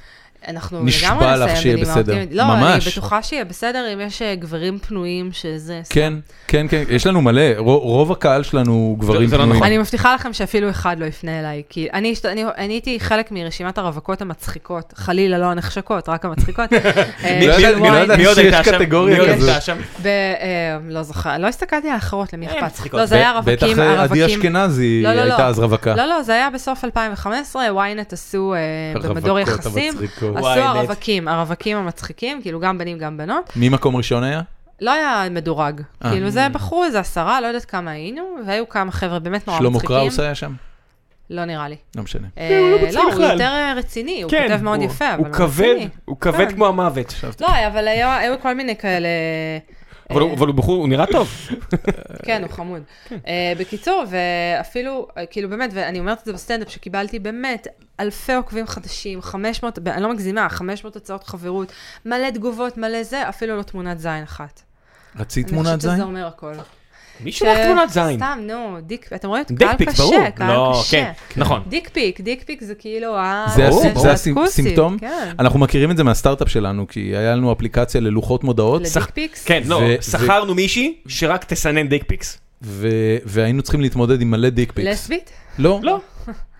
C: אנחנו
A: נשבע
C: לגמרי
A: לך
C: נסיים
A: שיהיה
C: בנימה
A: בסדר.
C: אופטימית. לא,
A: ממש.
C: אני בטוחה שיהיה בסדר אם יש אה, גברים פנויים שזה...
A: כן, כן, כן, יש לנו מלא, רו- רוב הקהל שלנו הוא גברים
B: זה לא נכון.
A: פנויים.
C: אני מבטיחה לכם שאפילו אחד לא יפנה אליי, כי אני, השת- אני, אני הייתי חלק מרשימת הרווקות המצחיקות, חלילה לא הנחשקות, רק המצחיקות. אה,
A: לא
C: של
A: יודעת- אני לא
C: וואי.
A: יודעת
B: מי עוד
A: שיש
B: הייתה שם?
A: קטגוריה
B: מי עוד
A: כזאת.
B: הייתה שם?
C: ב- אה, לא זוכר, לא הסתכלתי על האחרות, למי
B: אה,
C: אכפת.
B: מצחיקות.
C: לא, זה היה
A: ב- בטח
C: הרווקים,
A: אה, עדי
C: הרווקים.
A: אשכנזי
C: לא, לא, לא.
A: הייתה אז רווקה.
C: לא, לא, זה היה בסוף 2015, ynet עשו אה, במדור
A: הרווקות
C: יחסים,
A: המצחיקות.
C: עשו
B: ynet.
C: הרווקים, הרווקים המצחיקים, כאילו גם בנים גם בנות.
A: מי מקום ראשון היה?
C: לא היה מדורג,
A: אה.
C: כאילו זה בחרו איזה עשרה, לא יודעת כמה היינו, והיו כמה חבר'ה באמת נורא
A: שלמה
C: לא, מצחיקים.
A: קראוס היה שם?
C: לא נראה לי.
A: לא משנה.
B: הוא לא
C: אה,
B: מצחיק
C: הוא
B: בכלל.
C: יותר אה, רציני, הוא
B: כן,
C: כותב מאוד
B: הוא-
C: יפה, אבל
B: הוא
C: הוא רציני.
B: כבד, הוא כבד
C: כן.
B: כמו המוות.
C: לא, אבל היה- היו כל מיני כאלה...
B: אבל
A: אה,
B: הוא אבל הוא בחור, הוא נראה טוב.
C: כן, הוא חמוד. אה, בקיצור, ואפילו, אה, כאילו באמת, ואני אומרת את זה בסטנדאפ, שקיבלתי באמת אלפי עוקבים חדשים, 500, ב- אני לא מגזימה, 500 הצעות חברות, מלא תגובות, מלא זה, אפילו לא תמונת זין אחת.
A: רצית
C: אני
A: תמונת
C: חושבת שזה
A: זין?
C: אומר הכל.
B: מי שולח
C: ש-
B: תמונת זין?
C: סתם, נו, דיק, אתם רואים?
B: דיק
C: קהל
B: פיק,
C: קשה,
B: ברור.
C: קהל
B: לא,
C: קשה.
B: כן, נכון.
C: דיק פיק, דיק פיק זה כאילו ה...
A: זה
B: ברור,
A: הסי-
B: ברור.
A: זה
C: הסכוסית,
A: הסימפטום.
C: כן.
A: אנחנו מכירים את זה מהסטארט-אפ שלנו, כי היה לנו אפליקציה ללוחות מודעות,
C: לדיק
B: שח-
C: פיקס?
B: כן, לא,
A: ו-
B: שכרנו מישהי שרק תסנן דיק פיקס.
A: ו- והיינו צריכים להתמודד עם מלא דיק פיקס.
C: לסבית?
A: לא,
B: לא.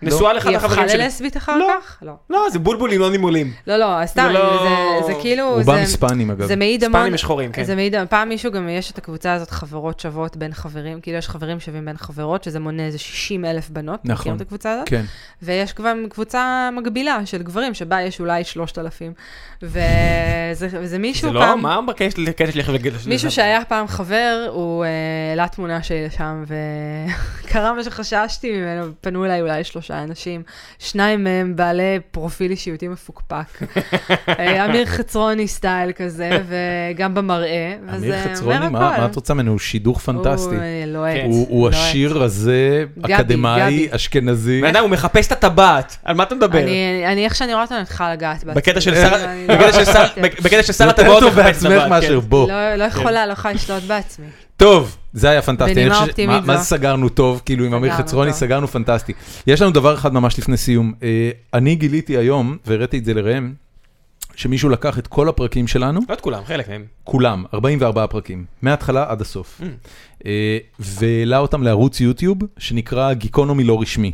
B: נשואה לאחד
C: היא הפכה
B: החברים שלי.
C: ללסבית אחר
B: לא.
C: כך? לא.
B: לא, זה בולבולים לא נימולים.
C: לא, לא, סתם,
B: זה לא-
C: זה- זה כאילו...
A: רובם
C: זה-
A: היספנים אגב.
C: זה מעיד המון...
B: ספנים שחורים, כן.
C: זה מעיד, פעם מישהו גם, יש את הקבוצה הזאת, חברות שוות בין חברים, כאילו יש חברים שווים בין חברות, שזה מונה איזה 60 אלף בנות,
A: נכון.
C: מכירים את הקבוצה הזאת?
A: כן.
C: ויש כבר קבוצה מקבילה של גברים, שבה יש אולי 3,000, וזה וזה מישהו
B: זה לא,
C: פעם...
B: מה בקטע שלי איך להגיד?
C: מישהו שהיה פעם חבר, הוא אה, העלה תמונה שלי לשם, וקרה מה שחששתי ממנו, פנו אליי אולי שלושה אנשים, שניים מהם בעלי פרופיל אישיותי מפוקפק. אה, אמיר חצרוני סטייל כזה, וגם במראה, וזה
A: אמיר
C: אומר
A: חצרוני, מה
C: הכל.
A: מה את רוצה ממנו? הוא שידוך פנטסטי.
C: הוא אה, לוהט.
B: כן.
A: הוא הוא
C: לוהט.
A: עשיר רזה,
C: גבי,
A: אקדמאי,
C: גבי.
A: אשכנזי.
B: בן אדם, הוא מחפש את הטבעת, על מה אתה מדבר?
C: אני, אני, איך שאני רואה אותו, אני מתחילה לגעת בעצמי.
B: בקטע של
A: אה,
C: אני
B: שר-
C: לא-
B: בקטע של שר- בקטע של שר
A: יותר
B: הטבעות
A: טוב
B: מחפש
A: בעצמך
B: טבעת,
A: מאשר
B: כן.
A: בוא.
C: לא, לא יכולה, לא יכולה לשלוט בעצמי.
A: טוב, זה היה פנטסטי.
C: בנימה
A: אני חושב ש-
C: אופטימית
A: מה- מה זה
C: זו.
A: סגרנו טוב? כאילו עם אמיר
C: סגרנו
A: חצרוני
C: טוב.
A: סגרנו פנטסטי. יש לנו דבר אחד ממש לפני סיום. אה, אני גיליתי היום, והראיתי את זה לראם, שמישהו לקח את כל הפרקים שלנו,
B: לא את כולם, חלק מהם.
A: כולם, 44 פרקים, מההתחלה עד הסוף, אה, והעלה אותם לערוץ יוטיוב שנקרא גיקונומי לא רשמי.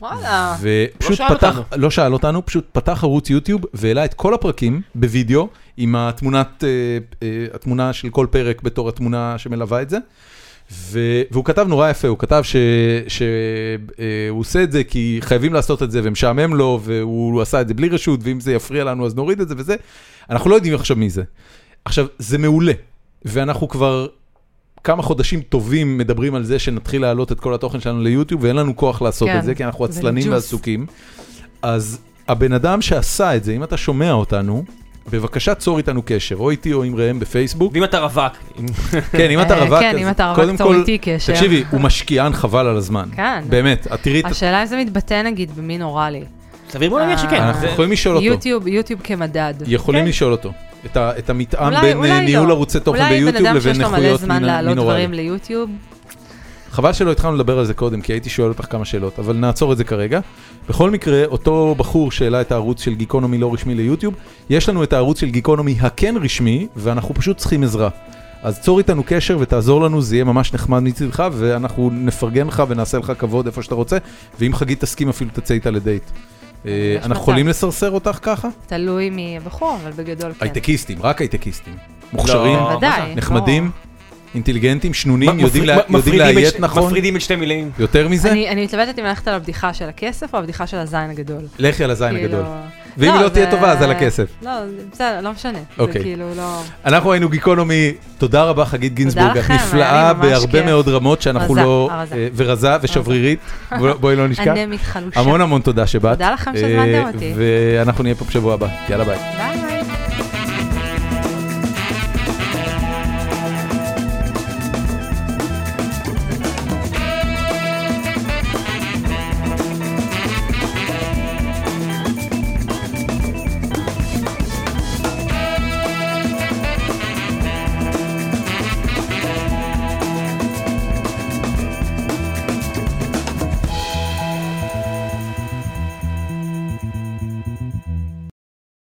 C: וואלה.
A: ופשוט
B: שאל
A: פתח,
B: אותנו.
A: לא שאל אותנו, פשוט פתח ערוץ יוטיוב והעלה את כל הפרקים בווידאו עם התמונת, אה, אה, התמונה של כל פרק בתור התמונה שמלווה את זה. ו... והוא כתב נורא יפה, הוא כתב שהוא ש... אה, הוא עושה את זה כי חייבים לעשות את זה ומשעמם לו, והוא עשה את זה בלי רשות, ואם זה יפריע לנו אז נוריד את זה וזה. אנחנו לא יודעים עכשיו מי זה. עכשיו, זה מעולה, ואנחנו כבר כמה חודשים טובים מדברים על זה שנתחיל להעלות את כל התוכן שלנו ליוטיוב, ואין לנו כוח לעשות
C: כן.
A: את זה, כי אנחנו
C: זה
A: עצלנים
C: ג'וס.
A: ועסוקים. אז הבן אדם שעשה את זה, אם אתה שומע אותנו, בבקשה צור איתנו קשר, או איתי או עם ראם בפייסבוק.
B: ואם אתה רווק, אם-
A: כן, אם אתה
C: אה,
A: רווק,
C: כן,
A: אז
C: אם אתה רווק,
A: קודם
C: צור
A: כל,
C: איתי קשר.
A: תקשיבי, הוא משקיען חבל על הזמן.
C: כן.
A: באמת, את תראי את...
C: השאלה אם זה מתבטא נגיד במין אוראלי.
B: סביר מאוד להניח שכן.
A: אה, אנחנו
B: זה-
A: יכולים לשאול אותו.
C: יוטיוב, יוטיוב כמדד.
A: יכולים
B: כן.
A: לשאול אותו. את ה- את המתאם
C: אולי-
A: בין
C: אולי
A: אה,
C: לא.
A: ניהול ערוצי תוכן ביוטיוב
C: אולי בן אדם
A: לבין
C: שיש לו מלא
A: נכויות
C: זמן
A: מין-
C: להעלות
A: מינורליות.
C: דברים ליוטיוב,
A: חבל שלא התחלנו לדבר על זה קודם, כי הייתי שואל אותך כמה שאלות, אבל נעצור את זה כרגע. בכל מקרה, אותו בחור שהעלה את הערוץ של גיקונומי לא רשמי ליוטיוב, יש לנו את הערוץ של גיקונומי הכן רשמי, ואנחנו פשוט צריכים עזרה. אז צור איתנו קשר ותעזור לנו, זה יהיה ממש נחמד מצדך, ואנחנו נפרגן לך ונעשה לך כבוד איפה שאתה רוצה, ואם חגית תסכים אפילו תצא איתה לדייט. אה,
C: יש
A: אנחנו
C: מצב. כן.
A: יכולים לסרסר אותך ככה?
C: תלוי מי הבחור, אבל בגדול כן.
A: הייטקיסטים, רק הייטקיסטים. מוכשרים,
B: לא,
C: בוודאי.
A: אה, נחמדים, אינטליגנטים, שנונים,
B: מפריד-
A: יודעים לה-
B: מפרידים
A: יודעים
B: את
A: לאיית
B: ש-
A: נכון.
B: מפרידים את שתי מילים.
A: יותר מזה?
C: אני אני מתלבטת אם ללכת על הבדיחה של הכסף או הבדיחה של הזין הגדול.
A: לכי על הזין
C: כאילו-
A: הגדול. ואם היא לא תהיה
C: זה-
A: טובה, אז על הכסף.
C: לא, זה בסדר, לא משנה. זה
A: אוקיי.
C: כאילו לא...
A: אנחנו היינו גיקונומי, תודה רבה חגית גינזבורג, את
C: לכם, היה לי
A: נפלאה
C: ממש
A: בהרבה
C: כיף.
A: מאוד רמות שאנחנו
C: רזה,
A: לא...
C: רזה.
A: אה, ורזה ושברירית, בוא- בואי לא נשכח.
C: אנמית חלושה.
A: המון המון תודה שבאת.
C: תודה לכם שהזמנתם
A: אה,
C: אותי.
A: ואנחנו נהיה פה בשבוע הבא, יאללה ביי.
C: ביי.